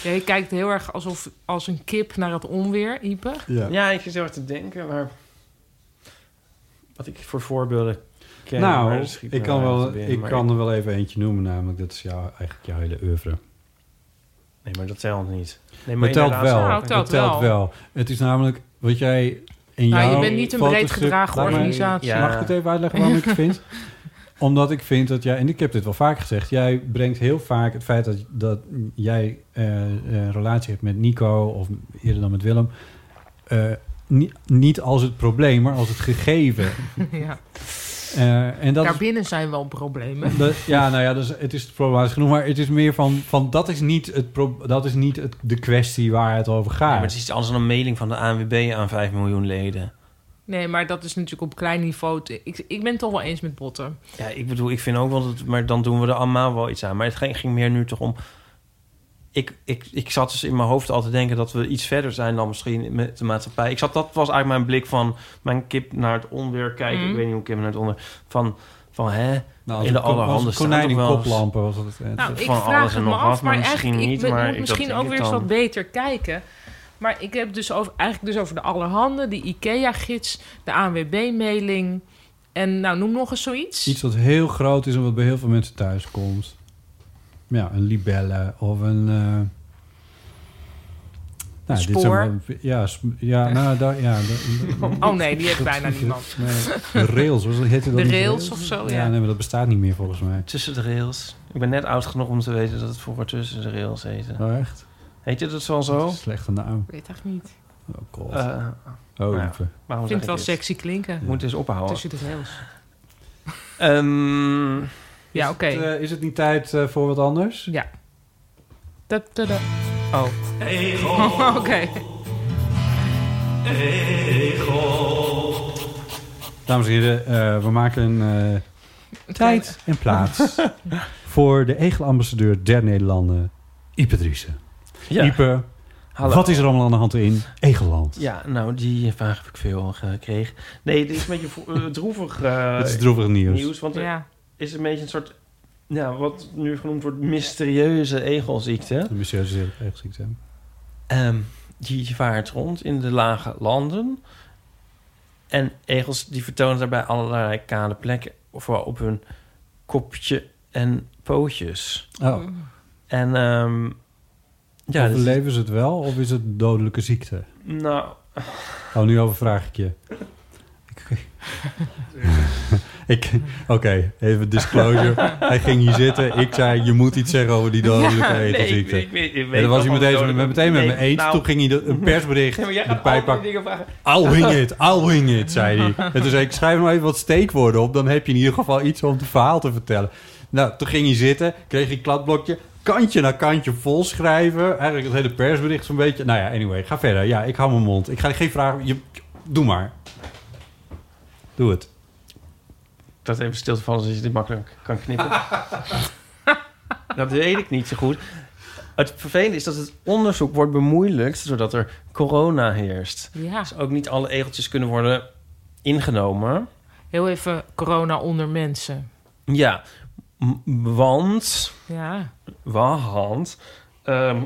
Speaker 2: Ja, je kijkt heel erg alsof als een kip naar het onweer, Ipe.
Speaker 3: Ja. ik zit heel erg te denken, maar... Wat ik voor voorbeelden ken... maar
Speaker 1: nou,
Speaker 3: dat schiet
Speaker 1: ik
Speaker 3: me
Speaker 1: kan,
Speaker 3: uit
Speaker 1: wel,
Speaker 3: te binnen,
Speaker 1: ik
Speaker 3: maar
Speaker 1: kan er wel even eentje noemen, namelijk dat is jou, eigenlijk jouw hele oeuvre.
Speaker 3: Nee, maar dat telt niet. Nee,
Speaker 1: Maar
Speaker 3: maar
Speaker 1: dat telt
Speaker 3: inderdaad-
Speaker 1: wel.
Speaker 2: Nou, telt
Speaker 1: dat telt
Speaker 2: wel.
Speaker 1: wel. Het is namelijk wat jij in
Speaker 2: Nou, je
Speaker 1: jouw
Speaker 2: bent niet een breed
Speaker 1: fotostuk-
Speaker 2: gedragen
Speaker 1: Laat mij-
Speaker 2: organisatie.
Speaker 3: Ja.
Speaker 1: Mag ik het even uitleggen waarom ik het vind? Omdat ik vind dat jij, en ik heb dit wel vaak gezegd, jij brengt heel vaak het feit dat, dat jij eh, een relatie hebt met Nico of eerder dan met Willem, eh, niet, niet als het probleem, maar als het gegeven.
Speaker 2: ja.
Speaker 1: Eh, en dat is
Speaker 2: Daarbinnen zijn wel problemen.
Speaker 1: dat- ja, nou ja, dus het is problematisch genoeg. Maar het is meer van, van dat is niet, het pro- dat is niet het, de kwestie waar het over
Speaker 3: Ja,
Speaker 1: gaat.
Speaker 3: maar het is iets anders dan een mailing van de ANWB aan 5 miljoen leden.
Speaker 2: Nee, maar dat is natuurlijk op klein niveau. te- Ik, ik ben het toch wel eens met botten.
Speaker 3: Ja, ik bedoel, ik vind ook wel dat... Maar dan doen we er allemaal wel iets aan. Maar het ging, ging meer nu toch om... Ik, ik, ik zat dus in mijn hoofd al te denken dat we iets verder zijn dan misschien met de maatschappij. Ik zat, dat was eigenlijk mijn blik van mijn kip naar het onweer kijken.
Speaker 2: Mhm.
Speaker 3: Ik weet niet hoe kip naar het onweer. Van, van hè,
Speaker 1: Nou,
Speaker 3: in de
Speaker 1: een ko- als
Speaker 3: allerhande
Speaker 1: een
Speaker 3: staan
Speaker 1: konijn
Speaker 3: toch
Speaker 1: in
Speaker 3: wel eens-
Speaker 1: koplampen was dat het. eh,
Speaker 2: Nou, ik
Speaker 3: van
Speaker 2: vraag
Speaker 3: alles
Speaker 2: het
Speaker 3: en
Speaker 2: me
Speaker 3: nog
Speaker 2: af,
Speaker 3: wat,
Speaker 2: maar,
Speaker 3: maar
Speaker 2: eigenlijk
Speaker 3: misschien
Speaker 2: ik
Speaker 3: niet,
Speaker 2: ben-
Speaker 3: maar
Speaker 2: moet
Speaker 3: ik-
Speaker 2: misschien
Speaker 3: dat
Speaker 2: ook
Speaker 3: ik
Speaker 2: weer eens
Speaker 3: dan.
Speaker 2: wat beter kijken. Maar ik heb dus over, eigenlijk dus over de allerhande, die IKEA-gids, de ANWB-mailing... en nou, noem nog eens zoiets.
Speaker 1: Iets wat heel groot is en wat bij heel veel mensen thuis komt. Ja, een libelle of een... eh, nou, dit
Speaker 2: spoor.
Speaker 1: zijn wel- ja, sp- ja, nou, daar, ja.
Speaker 2: Oh nee, die heeft bijna niemand.
Speaker 1: De rails, was dat, heette dat
Speaker 2: De
Speaker 1: niet?
Speaker 2: rails of zo, ja.
Speaker 1: nee, maar dat bestaat niet meer volgens mij.
Speaker 3: Tussen de rails. Ik ben net oud genoeg om te weten dat het vroeger tussen de rails heette.
Speaker 1: Oh, echt?
Speaker 3: Heette dat zo al zo?
Speaker 1: Slechte naam.
Speaker 2: Ik weet echt niet.
Speaker 1: Oh, god.
Speaker 3: Eh, nou ja,
Speaker 1: lieve.
Speaker 3: waarom
Speaker 2: Ik
Speaker 3: zeg
Speaker 2: vind het wel
Speaker 3: dit?
Speaker 2: sexy klinken.
Speaker 3: Moet eens ophouden.
Speaker 2: Tussen de rails.
Speaker 3: Ehm,
Speaker 2: Ja, oké.
Speaker 1: Is, het, eh, is het niet tijd eh, voor wat anders?
Speaker 2: Ja. Da- da- da.
Speaker 3: Oh.
Speaker 2: Oké.
Speaker 1: Dames en heren, eh, we maken een eh, tijd en plaats voor de egelambassadeur der Nederlanden, Ipe Driessen.
Speaker 3: Ja.
Speaker 1: Ipe,
Speaker 3: Hallo.
Speaker 1: wat is er allemaal aan de hand in Egeland?
Speaker 3: Ja, nou, die vraag heb ik veel gekregen. Nee, dit is een beetje vo- eh, droevig, eh,
Speaker 1: Het is droevig nieuws.
Speaker 3: Want er
Speaker 2: Ja.
Speaker 3: is een beetje een soort, ja, wat nu genoemd wordt, mysterieuze egelziekte.
Speaker 1: De mysterieuze egelziekte.
Speaker 3: Ehm, die vaart rond in de lage landen. En egels die vertonen daarbij allerlei kale plekken, vooral op hun kopje en pootjes.
Speaker 1: Oh.
Speaker 3: Mm. En ehm ja, dat is-
Speaker 1: Overleven ze het wel of is het dodelijke ziekte?
Speaker 3: nou,
Speaker 1: Oh, nu overvraag ik je. Ik- ik, Oké, even disclosure. Hij ging hier zitten. Ik zei, je moet iets zeggen over die dodelijke
Speaker 3: Ja, nee,
Speaker 1: egelziekte.
Speaker 3: ik weet- ik weet
Speaker 1: en dan
Speaker 3: wel
Speaker 1: was hij
Speaker 3: van
Speaker 1: meteen,
Speaker 3: de dodelijke-
Speaker 1: meteen met
Speaker 3: Nee,
Speaker 1: me eens.
Speaker 3: nou-
Speaker 1: Toen ging hij de- een persbericht
Speaker 3: Nee, maar jij
Speaker 1: de
Speaker 3: gaat
Speaker 1: pijp
Speaker 3: al die
Speaker 1: pakken.
Speaker 3: dingen vragen.
Speaker 1: I'll wing it, I'll wing it, zei hij. En toen zei ik, schrijf nou even wat steekwoorden op. Dan heb je in ieder geval iets om het verhaal te vertellen. Nou, toen ging hij zitten, kreeg hij een kladblokje. Kantje na kantje vol schrijven. Eigenlijk het hele persbericht zo'n beetje. Nou ja, anyway, ga verder. Ja, ik hou mijn mond. Ik ga geen vragen... Je, doe maar. Doe het.
Speaker 3: dat even stil te vallen, zodat je dit makkelijk kan knippen. dat weet ik niet zo goed. Het vervelende is dat het onderzoek wordt bemoeilijkt doordat er corona heerst.
Speaker 2: Ja.
Speaker 3: Dus ook niet alle egeltjes kunnen worden ingenomen.
Speaker 2: Heel even corona onder mensen.
Speaker 3: Ja, m- want...
Speaker 2: Ja.
Speaker 3: Want... ehm,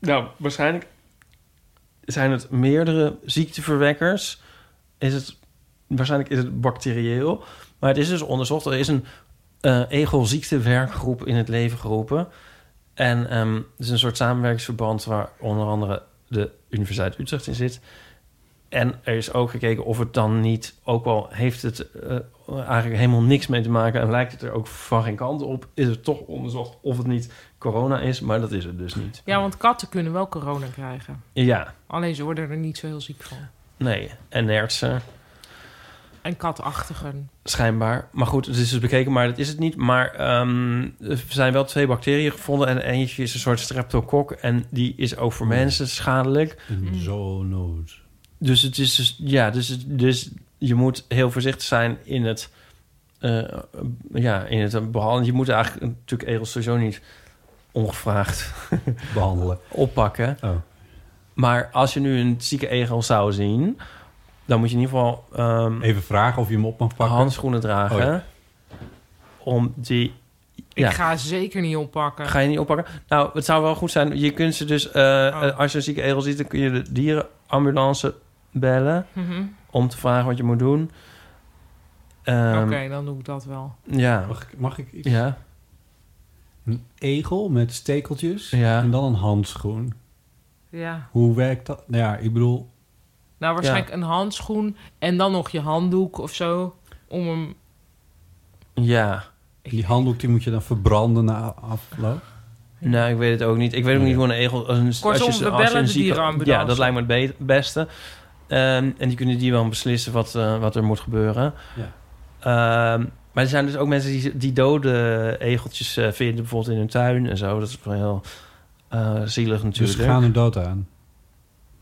Speaker 3: nou, waarschijnlijk zijn het meerdere ziekteverwekkers. Is het, waarschijnlijk is het bacterieel. Maar het is dus onderzocht. Er is een eh egelziektewerkgroep in het leven geroepen. En ehm, het is een soort samenwerkingsverband... waar onder andere de Universiteit Utrecht in zit. En er is ook gekeken of het dan niet... ook al heeft het eh, eigenlijk helemaal niks mee te maken... en lijkt het er ook van geen kant op... is het toch onderzocht of het niet corona is. Maar dat is het dus niet.
Speaker 2: ja, want katten kunnen wel corona krijgen.
Speaker 3: Ja,
Speaker 2: Alleen ze worden er niet zo heel ziek van.
Speaker 3: nee. En nertsen.
Speaker 2: En katachtigen.
Speaker 3: Schijnbaar. Maar goed, het is dus bekeken, maar dat is het niet. Maar ehm, er zijn wel twee bacteriën gevonden. En eentje is een soort streptokok. En die is ook voor mensen schadelijk.
Speaker 1: Een zoonoot.
Speaker 3: Dus het is dus, ja, dus, het- dus je moet heel voorzichtig zijn in het, eh, ja, in het behandelen. Je moet eigenlijk natuurlijk egels sowieso niet ongevraagd
Speaker 1: behandelen,
Speaker 3: oppakken. Maar als je nu een zieke egel zou zien, dan moet je in ieder geval ehm,
Speaker 1: even vragen of je hem op mag pakken.
Speaker 3: Handschoenen dragen,
Speaker 1: Oh ja.
Speaker 3: om die.
Speaker 2: Ik ga zeker niet oppakken.
Speaker 3: Ga je niet oppakken? Nou, het zou wel goed zijn. Je kunt ze dus, eh,
Speaker 2: Oh.
Speaker 3: eh, als je een zieke egel ziet, dan kun je de dierenambulance bellen
Speaker 2: Mhm.
Speaker 3: om te vragen wat je moet doen. Ehm,
Speaker 2: Oké, dan doe ik dat wel.
Speaker 3: Ja.
Speaker 1: Mag ik, mag ik iets?
Speaker 3: Ja.
Speaker 1: Een egel met stekeltjes
Speaker 3: Ja.
Speaker 1: en dan een handschoen.
Speaker 2: Ja.
Speaker 1: Hoe werkt dat? Nou ja, ik bedoel...
Speaker 2: Nou, waarschijnlijk een handschoen en dan nog je handdoek of zo. Om hem...
Speaker 3: Ja.
Speaker 1: Die handdoek die moet je dan verbranden na afloop.
Speaker 3: Nou, ik weet het ook niet. Ik weet ook niet gewoon een egel. Als een,
Speaker 2: Kortom,
Speaker 3: als je,
Speaker 2: we
Speaker 3: als je
Speaker 2: bellen
Speaker 3: een
Speaker 2: de
Speaker 3: zieke-
Speaker 2: dierenambulance.
Speaker 3: Ja, dat lijkt me het be- beste. Ehm, en die kunnen die wel beslissen wat, eh, wat er moet gebeuren.
Speaker 1: Ja.
Speaker 3: Ehm, maar er zijn dus ook mensen die, die dode egeltjes eh, vinden, bijvoorbeeld in hun tuin en zo. Dat is wel heel eh, zielig
Speaker 1: Dus
Speaker 3: natuurlijk.
Speaker 1: gaan er dood aan.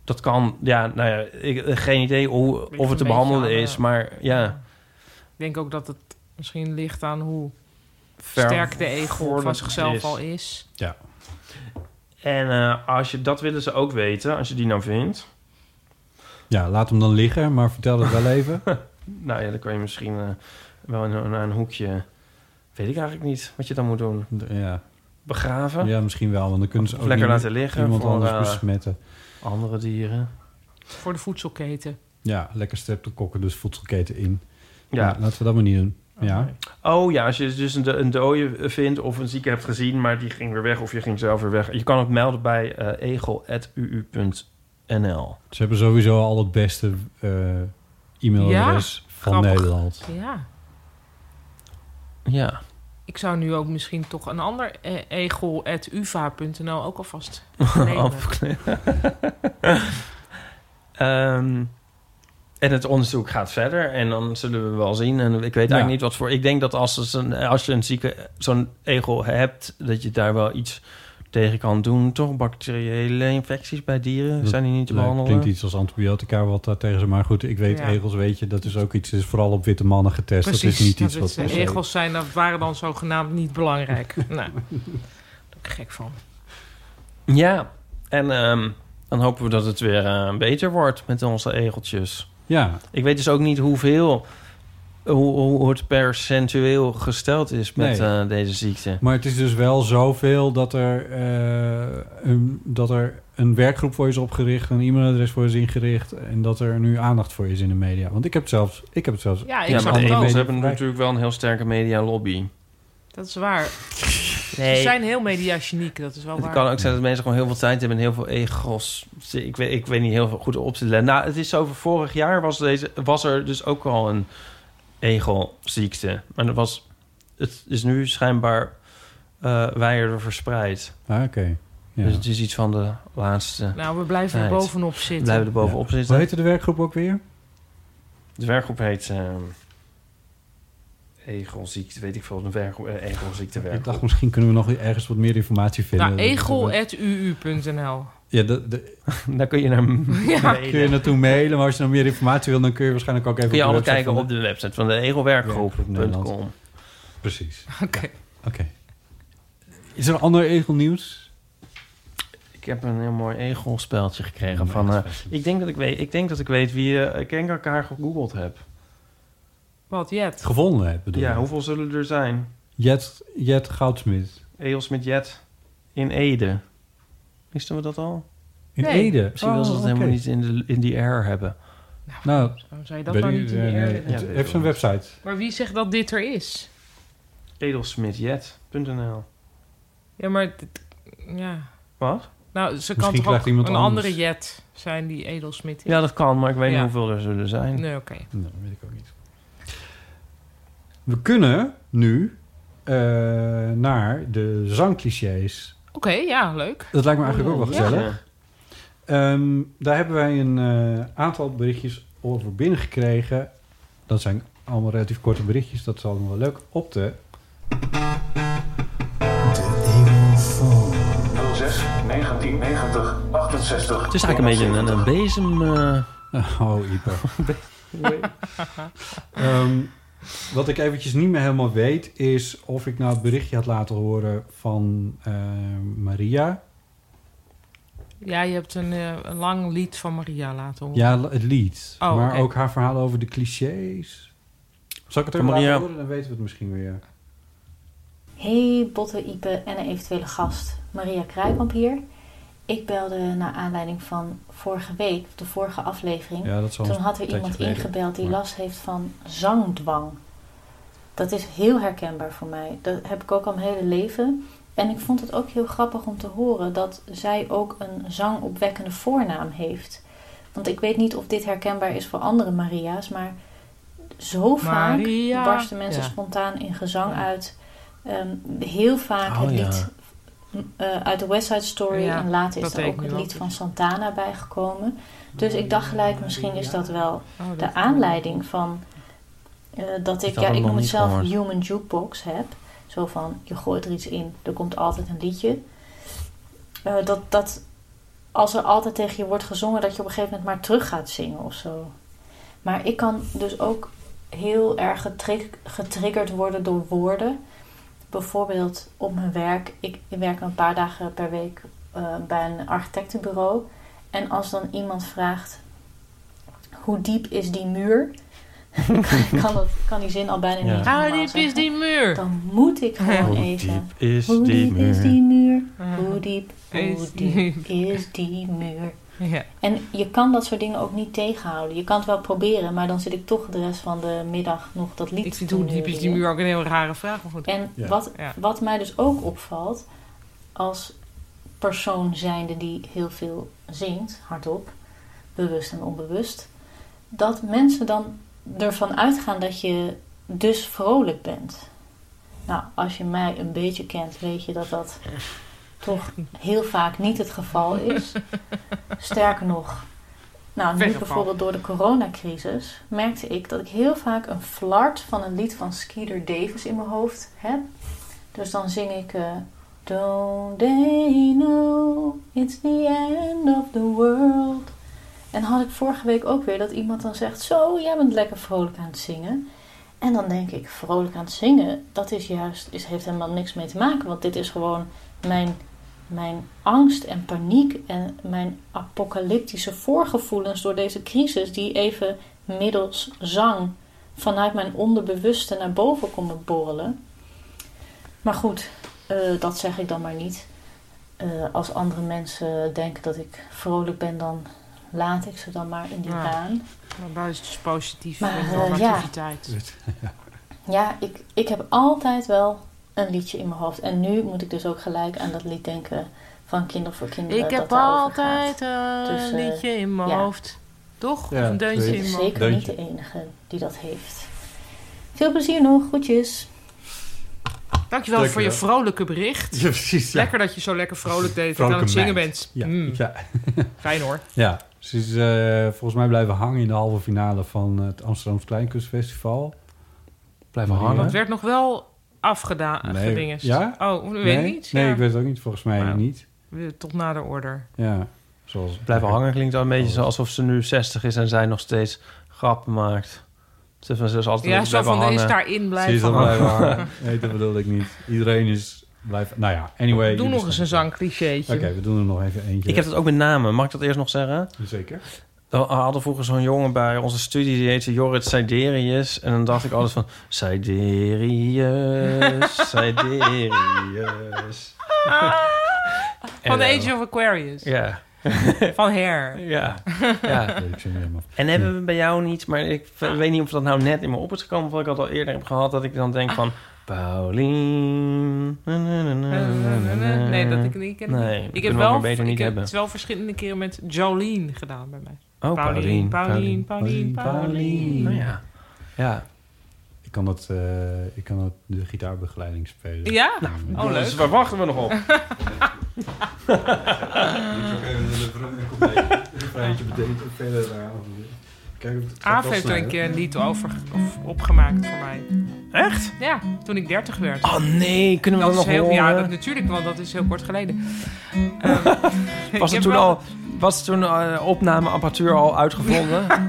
Speaker 3: Dat kan, ja, nou ja, ik, geen idee hoe,
Speaker 2: Ligt
Speaker 3: of
Speaker 2: een
Speaker 3: het te
Speaker 2: beetje
Speaker 3: behandelen
Speaker 2: aan, eh,
Speaker 3: is,
Speaker 2: ja.
Speaker 3: maar ja.
Speaker 2: Ik denk ook dat het misschien ligt aan hoe
Speaker 3: Ver-
Speaker 2: sterk de egel van
Speaker 3: voordat
Speaker 2: zichzelf
Speaker 3: het is.
Speaker 2: al is.
Speaker 1: Ja.
Speaker 3: En eh, als je, dat willen ze ook weten, als je die nou vindt.
Speaker 1: Ja, laat hem dan liggen, maar vertel het wel even.
Speaker 3: Nou ja, dan kan je misschien eh, wel in- naar een hoekje. Weet ik eigenlijk niet wat je dan moet doen.
Speaker 1: Ja.
Speaker 3: Begraven.
Speaker 1: Ja, misschien wel, want dan kunnen ze
Speaker 3: Of
Speaker 1: ook
Speaker 3: lekker
Speaker 1: niet
Speaker 3: laten liggen
Speaker 1: iemand
Speaker 3: voor,
Speaker 1: anders
Speaker 3: eh,
Speaker 1: besmetten.
Speaker 3: Andere dieren.
Speaker 2: Voor de voedselketen.
Speaker 1: Ja, lekker streptokokken, dus voedselketen in. Ja.
Speaker 3: Ja.
Speaker 1: Laten we dat maar niet doen. Ja.
Speaker 3: Oh ja, als je dus een, do- een dode vindt of een zieke hebt gezien, maar die ging weer weg of je ging zelf weer weg. Je kan het melden bij eh egel.uu.nl.
Speaker 1: Ze hebben sowieso al het beste eh,
Speaker 3: Oh,
Speaker 1: e-mailadres van
Speaker 2: grappig.
Speaker 1: Nederland.
Speaker 2: Ja.
Speaker 3: Ja.
Speaker 2: Ik zou nu ook misschien toch een ander eh, egel.uva.nl ook alvast nemen.
Speaker 3: Afkle- Ehm, en het onderzoek gaat verder en dan zullen we wel zien. En ik weet eigenlijk
Speaker 1: Ja.
Speaker 3: niet wat voor. Ik denk dat als, het een- als je een zieke zo'n egel hebt, dat je daar wel iets tegen kan doen, toch? Bacteriële infecties bij dieren
Speaker 1: Dat
Speaker 3: zijn die niet te
Speaker 1: lijkt-
Speaker 3: behandelen.
Speaker 1: Klinkt iets als antibiotica wat daar tegen ze. Maar goed, ik weet
Speaker 2: Ja.
Speaker 1: egels, weet je, dat is ook iets. is vooral op witte mannen getest. dat is niet iets wat.
Speaker 2: de egels eh, zijn, dat waren dan zogenaamd niet belangrijk. nou, daar ben ik gek van.
Speaker 3: Ja, en ehm, dan hopen we dat het weer eh, beter wordt met onze egeltjes.
Speaker 1: Ja.
Speaker 3: Ik weet dus ook niet hoeveel, hoe, hoe het percentueel gesteld is met
Speaker 1: Nee.
Speaker 3: eh, deze ziekte.
Speaker 1: Maar het is dus wel zoveel dat er, eh, een, dat er een werkgroep voor is opgericht, een e-mailadres voor is ingericht en dat er nu aandacht voor is in de media. Want ik heb het zelfs, ik heb het zelfs.
Speaker 3: ja, maar de
Speaker 1: andere
Speaker 3: egels
Speaker 1: media-
Speaker 3: hebben natuurlijk wel een heel sterke media lobby.
Speaker 2: Oh, Dat is waar. Ze
Speaker 3: Nee.
Speaker 2: zijn heel mediageniek, dat is wel
Speaker 3: Het
Speaker 2: waar.
Speaker 3: kan ook zijn dat mensen gewoon heel veel tijd hebben en heel veel egels. Ik weet, ik weet niet heel veel goed op te letten. Nou, het is zo van vorig jaar was, deze, was er dus ook al een egelziekte. Maar dat was, het is nu schijnbaar eh wijder verspreid.
Speaker 1: Ah, oké. Ja.
Speaker 3: Dus het is iets van de laatste.
Speaker 2: Nou, we blijven er
Speaker 3: tijd.
Speaker 2: bovenop zitten.
Speaker 3: We blijven er bovenop
Speaker 1: Ja.
Speaker 3: zitten.
Speaker 1: Hoe heette de werkgroep ook weer?
Speaker 3: De werkgroep heet. ehm, Egelziekte, weet ik veel, een werkgroep, eh, egelziekte
Speaker 1: Ik
Speaker 3: werkgroep.
Speaker 1: dacht, misschien kunnen we nog ergens wat meer informatie vinden.
Speaker 2: Nou, egel.uu.nl.
Speaker 1: Ja, de, de...
Speaker 3: daar kun je naar
Speaker 2: Ja.
Speaker 1: kun je naartoe mailen. Maar als je nog meer informatie wil, dan kun je waarschijnlijk ook even.
Speaker 3: Kun je
Speaker 1: op de
Speaker 3: allemaal
Speaker 1: website
Speaker 3: kijken
Speaker 1: van
Speaker 3: op de website van de
Speaker 1: Nederland.
Speaker 3: egelwerkgroep.com.
Speaker 1: Precies.
Speaker 2: Oké.
Speaker 1: Oké. Is er een ander egelnieuws?
Speaker 3: Ik heb een heel mooi egelspeltje gekregen van. eh, ik, denk dat ik, weet, ik denk dat ik weet wie eh, ik denk dat ik haar gegoogeld heb.
Speaker 2: Wat, Jet?
Speaker 1: Gevonden heb, bedoel
Speaker 3: Ja,
Speaker 1: je?
Speaker 3: hoeveel zullen er zijn?
Speaker 1: Jet, Jet Goudsmit.
Speaker 3: Egels met Jet in Ede. Wisten we dat al?
Speaker 1: In Nee. Ede?
Speaker 3: Misschien
Speaker 1: Oh,
Speaker 3: wil ze dat helemaal
Speaker 1: oké.
Speaker 3: niet in, de, in die air hebben.
Speaker 1: Nou, eh,
Speaker 2: Waarom zou je dat nou niet in de air willen?
Speaker 3: Ja,
Speaker 1: Heeft zijn website.
Speaker 2: Maar wie zegt dat dit er is?
Speaker 3: Edelsmitjet.nl.
Speaker 2: Ja, maar... dit- ja.
Speaker 3: Wat?
Speaker 2: Nou, ze kan
Speaker 3: Misschien
Speaker 2: toch
Speaker 3: krijgt
Speaker 2: ook een
Speaker 3: iemand anders.
Speaker 2: andere Jet zijn die edelsmid is?
Speaker 3: Ja, dat kan, maar ik weet
Speaker 2: Ja.
Speaker 3: niet hoeveel er zullen zijn.
Speaker 2: Nee, oké.
Speaker 1: Nee, weet ik ook niet. We kunnen nu eh, naar de zangclichés.
Speaker 2: Oké, ja, leuk.
Speaker 1: Dat lijkt me eigenlijk ook wel
Speaker 2: Ja.
Speaker 1: gezellig. Ehm, daar hebben wij een eh, aantal berichtjes over binnengekregen. Dat zijn allemaal relatief korte berichtjes. Dat is allemaal wel leuk op te...
Speaker 9: 06 1990 68.
Speaker 3: Het is eigenlijk een beetje een, een bezem. eh,
Speaker 1: Oh, Ieper. Ehm, wat ik eventjes niet meer helemaal weet... is of ik nou het berichtje had laten horen van eh, Maria...
Speaker 2: Ja, je hebt een, eh, een lang lied van Maria laten horen.
Speaker 1: Ja, het lied.
Speaker 2: Oh,
Speaker 1: maar
Speaker 2: oké.
Speaker 1: ook haar verhaal over de clichés. Zal ik het even
Speaker 3: Van Maria.
Speaker 1: laten horen? Dan weten we het misschien weer.
Speaker 10: Hey Botte, Ipe en een eventuele gast, Maria Kruikamp hier. Ik belde naar aanleiding van vorige week, de vorige aflevering.
Speaker 11: Ja, dat is al
Speaker 10: Toen
Speaker 11: een
Speaker 10: had er
Speaker 11: tijdje
Speaker 10: iemand
Speaker 11: geleden,
Speaker 10: ingebeld die
Speaker 11: maar-
Speaker 10: last heeft van zangdwang. Dat is heel herkenbaar voor mij. Dat heb ik ook al mijn hele leven. En ik vond het ook heel grappig om te horen dat zij ook een zangopwekkende voornaam heeft. Want ik weet niet of dit herkenbaar is voor andere Maria's, maar zo vaak
Speaker 2: Maria.
Speaker 10: barsten mensen
Speaker 2: Ja.
Speaker 10: spontaan in gezang uit. Ehm, heel vaak
Speaker 2: Oh,
Speaker 10: het
Speaker 2: ja.
Speaker 10: lied eh, uit de West Side Story
Speaker 2: Ja,
Speaker 10: en later is
Speaker 2: dat
Speaker 10: er
Speaker 2: weet
Speaker 10: ook
Speaker 2: ik
Speaker 10: het
Speaker 2: nu
Speaker 10: lied
Speaker 2: ook.
Speaker 10: van Santana bijgekomen. Dus ik dacht gelijk, misschien is dat wel de aanleiding van eh, dat ik,
Speaker 5: had
Speaker 10: ja,
Speaker 5: ik
Speaker 10: ik
Speaker 5: nog
Speaker 10: noem het
Speaker 5: niet
Speaker 10: zelf
Speaker 5: gehoord.
Speaker 10: human jukebox heb. Zo van, je gooit er iets in, er komt altijd een liedje. Eh, dat, dat als er altijd tegen je wordt gezongen, dat je op een gegeven moment maar terug gaat zingen of zo. Maar ik kan dus ook heel erg getrik- getriggerd worden door woorden. Bijvoorbeeld op mijn werk. Ik werk een paar dagen per week eh, bij een architectenbureau. En als dan iemand vraagt: hoe diep is die muur? Ik kan, dat, kan die zin al bijna
Speaker 2: Ja.
Speaker 10: niet. normaal
Speaker 2: Hoe Ah, diep
Speaker 10: zeggen.
Speaker 2: is die muur?
Speaker 10: Dan moet ik gewoon
Speaker 2: Hoe
Speaker 10: even.
Speaker 3: Is
Speaker 10: Hoe
Speaker 3: die
Speaker 10: diep is
Speaker 3: muur.
Speaker 10: die muur? Hoe diep,
Speaker 2: Is
Speaker 10: hoe diep is die muur? En je kan dat soort dingen ook niet tegenhouden. Je kan het wel proberen, maar dan zit ik toch de rest van de middag nog dat lied
Speaker 2: Ik vind
Speaker 10: te
Speaker 2: hoe diep is die
Speaker 10: neuriën.
Speaker 2: muur ook een heel rare vraag. Maar goed.
Speaker 10: En
Speaker 2: Ja.
Speaker 10: wat,
Speaker 2: Ja.
Speaker 10: wat mij dus ook opvalt, als persoon zijnde die heel veel zingt, hardop, bewust en onbewust, dat mensen dan ervan uitgaan dat je dus vrolijk bent. Nou, als je mij een beetje kent, weet je dat dat toch heel vaak niet het geval is. Sterker nog, nou, nu
Speaker 2: Vergeval.
Speaker 10: bijvoorbeeld door de coronacrisis merkte ik dat ik heel vaak een flart van een lied van Skeeter Davis in mijn hoofd heb. Dus dan zing ik. eh, Don't they know it's the end of the world? En had ik vorige week ook weer dat iemand dan zegt: Zo, jij bent lekker vrolijk aan het zingen. En dan denk ik: Vrolijk aan het zingen, dat is juist, is, heeft helemaal niks mee te maken. Want dit is gewoon mijn, mijn angst en paniek en mijn apocalyptische voorgevoelens door deze crisis, die even middels zang vanuit mijn onderbewuste naar boven komen borrelen. Maar goed, eh, dat zeg ik dan maar niet. Eh, als andere mensen denken dat ik vrolijk ben, dan laat ik ze dan maar in die
Speaker 2: Ja.
Speaker 10: waan.
Speaker 2: Maar dat is dus positief.
Speaker 10: Maar,
Speaker 2: en
Speaker 10: eh,
Speaker 2: normativiteit.
Speaker 10: Ja, ik, ik heb altijd wel een liedje in mijn hoofd. En nu moet ik dus ook gelijk aan dat lied denken van Kinder voor Kinderen.
Speaker 2: Ik
Speaker 10: dat
Speaker 2: heb
Speaker 10: daarover
Speaker 2: altijd
Speaker 10: gaat.
Speaker 2: een
Speaker 10: Dus, eh,
Speaker 2: liedje in mijn
Speaker 10: ja.
Speaker 2: hoofd. Toch?
Speaker 10: Ja,
Speaker 2: of een deuntje
Speaker 10: Ze
Speaker 2: in
Speaker 10: is
Speaker 2: mijn
Speaker 10: zeker
Speaker 2: hoofd.
Speaker 10: niet de enige die dat heeft. Veel plezier nog, groetjes.
Speaker 2: Dankjewel,
Speaker 10: Dankjewel.
Speaker 2: voor je vrolijke bericht.
Speaker 1: Ja, precies, ja.
Speaker 2: Lekker dat je zo lekker vrolijk deed dat je aan
Speaker 1: Vrolijke
Speaker 2: het zingen
Speaker 1: meid.
Speaker 2: bent.
Speaker 1: Ja,
Speaker 2: Mm.
Speaker 1: ja.
Speaker 2: Fijn hoor.
Speaker 1: Ja, ze is eh, volgens mij blijven hangen in de halve finale van het Amsterdamse Kleinkunstfestival. Blijven
Speaker 2: Maar het werd nog wel afgedaan.
Speaker 1: Nee.
Speaker 2: gedingest.
Speaker 1: Ja?
Speaker 2: Oh, dat weet
Speaker 1: nee?
Speaker 2: ik niet.
Speaker 1: Nee,
Speaker 2: Ja.
Speaker 1: ik weet het ook niet. Volgens mij
Speaker 3: Ja.
Speaker 1: niet.
Speaker 2: Eh, Tot na de order.
Speaker 1: Ja, zoals...
Speaker 3: Blijven hangen klinkt al een beetje zo alsof ze nu 60 is en zij nog steeds grappen maakt. Ze is dus altijd
Speaker 2: Ja,
Speaker 3: een beetje
Speaker 2: zo van,
Speaker 3: blijven
Speaker 2: er is
Speaker 3: hangen.
Speaker 2: daarin
Speaker 1: Ze is al
Speaker 3: hangen.
Speaker 1: blijven hangen. Nee, dat bedoelde ik niet. Iedereen is blijven... Nou ja, anyway.
Speaker 2: Doe
Speaker 1: jullie
Speaker 2: nog
Speaker 1: staan-
Speaker 2: eens een zangclichéetje.
Speaker 1: Oké, we doen er nog even eentje.
Speaker 3: Ik heb dat ook met namen. Mag ik dat eerst nog zeggen?
Speaker 1: Zeker.
Speaker 3: We hadden vroeger zo'n jongen bij onze studie, die heette Jorrit Siderius. En dan dacht ik altijd van, Siderius, Eh, Siderius.
Speaker 2: Ah. Van
Speaker 3: En,
Speaker 2: The
Speaker 3: eh,
Speaker 2: Age of Aquarius.
Speaker 3: Ja.
Speaker 2: Van Hair.
Speaker 3: Ja. ja.
Speaker 1: ik zing hem af.
Speaker 3: En hebben we bij jou niet, maar ik v- weet niet of dat nou net in me op is gekomen... of ik dat al eerder heb gehad, dat ik dan denk van... Paulien... na, na, na, na, na, na, na.
Speaker 2: Nee, dat ik niet ken.
Speaker 3: Nee,
Speaker 2: ik heb
Speaker 3: kunnen we
Speaker 2: wel,
Speaker 3: maar beter niet
Speaker 2: ik heb
Speaker 3: hebben.
Speaker 2: het wel verschillende keren met Jolene gedaan bij mij.
Speaker 3: Oh,
Speaker 2: Paulien,
Speaker 3: Paulien,
Speaker 2: Paulien, Paulien,
Speaker 1: Paulien,
Speaker 2: Paulien.
Speaker 3: Nou ja. Ja.
Speaker 1: Ik kan, dat, eh, ik kan dat de gitaarbegeleiding spelen.
Speaker 2: Ja? Oh, leuk.
Speaker 3: Dus waar wachten we nog op?
Speaker 1: eh,
Speaker 2: Aaf heeft
Speaker 3: eh,
Speaker 2: er een keer een lied over of opgemaakt voor mij.
Speaker 3: Echt?
Speaker 2: Ja, toen ik 30 werd.
Speaker 3: Oh nee, kunnen we
Speaker 2: dat
Speaker 3: dat
Speaker 2: is
Speaker 3: nog
Speaker 2: heel, Ja,
Speaker 3: horen?
Speaker 2: dat, natuurlijk, want dat is heel kort geleden. Ik
Speaker 3: Was
Speaker 2: heb
Speaker 3: het toen
Speaker 2: wel-
Speaker 3: al... Was het toen eh, opnameapparatuur al uitgevonden?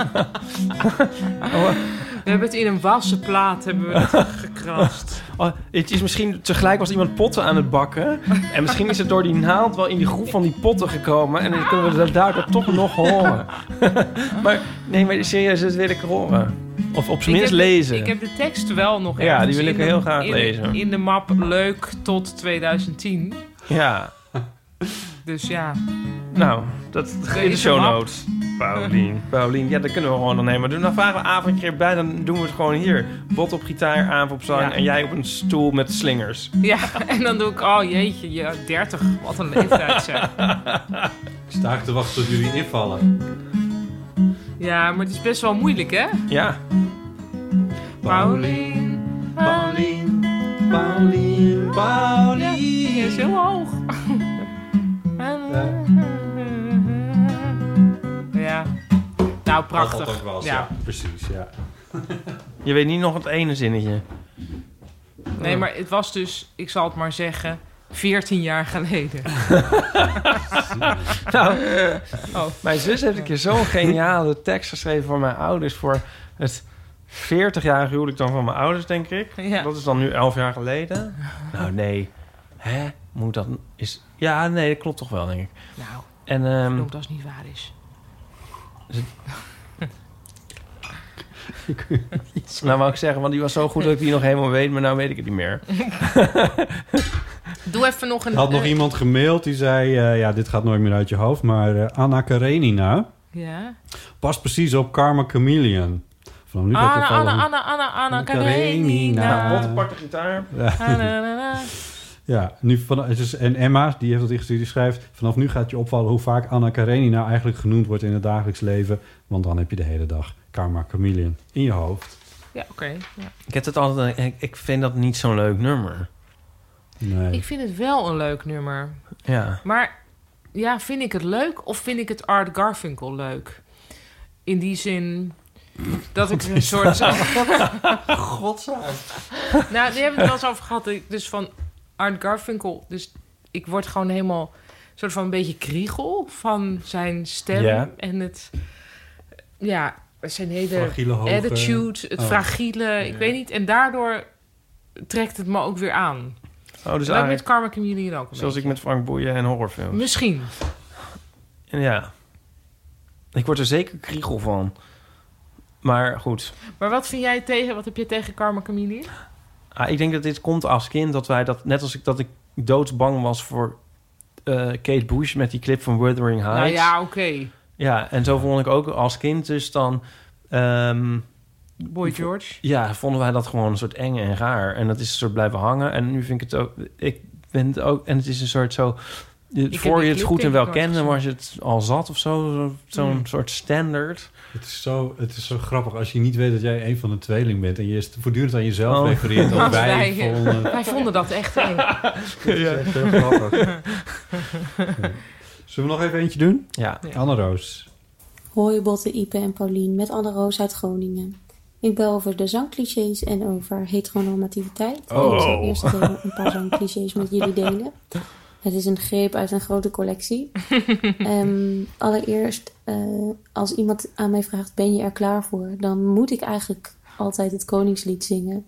Speaker 2: We hebben het in een wassen plaat hebben we het gekrast.
Speaker 3: Oh, het is misschien tegelijk was iemand potten aan het bakken. En misschien is het door die naald wel in die groef van die potten gekomen. En dan kunnen we dat daardoor toch nog horen. maar nee, maar serieus, dat wil ik horen. Of op zijn
Speaker 2: Ik
Speaker 3: minst
Speaker 2: heb de-
Speaker 3: lezen.
Speaker 2: Ik heb de tekst wel nog
Speaker 3: Ja,
Speaker 2: ergens
Speaker 3: die wil
Speaker 2: in
Speaker 3: ik
Speaker 2: de-
Speaker 3: heel graag
Speaker 2: in-
Speaker 3: lezen.
Speaker 2: In de map leuk tot 2010.
Speaker 3: Ja,
Speaker 2: Dus ja.
Speaker 3: nou, dat
Speaker 2: Er
Speaker 3: in de
Speaker 2: is een
Speaker 3: show
Speaker 2: map.
Speaker 3: notes. Paulien, Paulien. Ja, dat kunnen we gewoon dan helemaal doen. Dan vragen we avond een keer bij, dan doen we het gewoon hier. Bot op gitaar, avond op zang en jij op een stoel met slingers.
Speaker 2: Ja, en dan doe ik, oh jeetje, ja, 30. Wat een leeftijd zeg.
Speaker 1: Sta ik te wachten tot jullie invallen.
Speaker 2: Ja, maar het is best wel moeilijk, hè?
Speaker 3: Ja.
Speaker 2: Paulien, Paulien, Paulien, Paulien. Ja, is heel hoog. eh, Ja. Nou,
Speaker 1: Dat had
Speaker 2: prachtig.
Speaker 1: ook wel eens,
Speaker 2: ja.
Speaker 1: ja. precies, ja.
Speaker 3: Je weet niet nog het ene zinnetje.
Speaker 2: Nee, maar het was dus, ik zal het maar zeggen, 14 jaar geleden.
Speaker 3: Nou,
Speaker 2: Oh.
Speaker 3: mijn zus heeft een keer zo'n geniale tekst geschreven voor mijn ouders. Voor het 40-jarige huwelijk dan van mijn ouders, denk ik. Dat is dan nu 11 jaar geleden. Nou, nee. Hè? Moet dat... Is... Ja, nee, dat klopt toch wel, denk ik.
Speaker 2: Nou,
Speaker 3: en,
Speaker 2: Ik
Speaker 3: ehm,
Speaker 2: hoop dat het niet waar is.
Speaker 3: nou wou ik zeggen, want die was zo goed dat ik die nog helemaal weet. Maar nou weet ik het niet meer.
Speaker 2: Doe even nog een...
Speaker 1: Er had nog
Speaker 2: eh,
Speaker 1: iemand gemaild die zei... eh, ja, dit gaat nooit meer uit je hoofd, maar eh, Anna Karenina...
Speaker 2: Ja.
Speaker 1: past precies op Karma Chameleon. Vanaf nu gaat
Speaker 2: Anna,
Speaker 1: het wel
Speaker 2: Anna,
Speaker 1: een-
Speaker 2: Anna, Anna, Anna,
Speaker 1: Karenina.
Speaker 2: Karenina.
Speaker 1: Nou, Botte pakt
Speaker 3: de gitaar.
Speaker 1: Ja. Ja, nu van, het is- en Emma, die heeft dat ingestuurd, die schrijft... vanaf nu gaat je opvallen hoe vaak Anna Karenina eigenlijk genoemd wordt in het dagelijks leven. Want dan heb je de hele dag Karma Chameleon in je hoofd.
Speaker 2: Ja, oké. ja.
Speaker 3: Ik, heb dat altijd, ik, ik vind dat niet zo'n leuk nummer.
Speaker 1: Nee.
Speaker 2: Ik vind het wel een leuk nummer.
Speaker 3: Ja.
Speaker 2: Maar ja, vind ik het leuk of vind ik het Art Garfinkel leuk? In die zin dat ik een soort...
Speaker 3: Godzaam.
Speaker 2: Nou, die hebben we het wel eens over gehad. Ik- Dus van Art Garfinkel. Dus ik word gewoon helemaal soort van een beetje kriegel van zijn stem.
Speaker 3: Ja.
Speaker 2: En het, ja, zijn hele
Speaker 3: Fragiele hoge-
Speaker 2: attitude, het
Speaker 3: Oh.
Speaker 2: fragiele. Ik weet niet. En daardoor trekt het me ook weer aan. en
Speaker 3: Oh, dus
Speaker 2: ook met
Speaker 3: eigenlijk,
Speaker 2: Karma Chameleon ook een
Speaker 3: zoals ik
Speaker 2: beetje.
Speaker 3: met Frank Boeien en horrorfilms.
Speaker 2: Misschien.
Speaker 3: En Ja. Ik word er zeker kriegel van. Maar goed.
Speaker 2: Maar wat vind jij tegen, wat heb je tegen Karma Chameleon?
Speaker 3: Ah, ik denk dat dit komt als kind dat wij dat... Net als ik dat ik doodsbang was voor eh, Kate Bush met die clip van Wuthering Heights.
Speaker 2: Nou ja, oké.
Speaker 3: Ja, en zo vond ik ook als kind dus dan... ehm,
Speaker 2: Boy George.
Speaker 3: Ja, vonden wij dat gewoon een soort eng en raar. En dat is een soort blijven hangen. En nu vind ik het ook... Ik ben het ook... En het is een soort zo... je-
Speaker 2: heb
Speaker 3: voor
Speaker 2: die
Speaker 3: je het
Speaker 2: clip
Speaker 3: goed
Speaker 2: denk ik
Speaker 3: en wel
Speaker 2: nooit
Speaker 3: kende,
Speaker 2: gezien.
Speaker 3: was je het al zat of zo. zo- Zo'n
Speaker 2: Mm.
Speaker 3: soort standaard.
Speaker 1: Het is, zo, het is zo grappig als je niet weet dat jij een van de tweeling bent... en je is voortdurend aan jezelf
Speaker 3: Oh.
Speaker 1: refereert. als
Speaker 3: Als
Speaker 1: wij
Speaker 2: wij,
Speaker 1: vonden...
Speaker 2: wij vonden dat echt eng.
Speaker 1: Ja. Echt heel grappig. Zullen we nog even eentje doen?
Speaker 3: Ja.
Speaker 1: Anne Roos.
Speaker 11: Hoi Botte, Ipe en Paulien met Anne Roos uit Groningen. Ik bel over de zangclichés en over heteronormativiteit.
Speaker 12: Oh.
Speaker 11: Ik zal eerst even een paar zangclichés met jullie delen. Het is een greep uit een grote collectie. Ehm, allereerst, eh, als iemand aan mij vraagt: Ben je er klaar voor? Dan moet ik eigenlijk altijd het Koningslied zingen.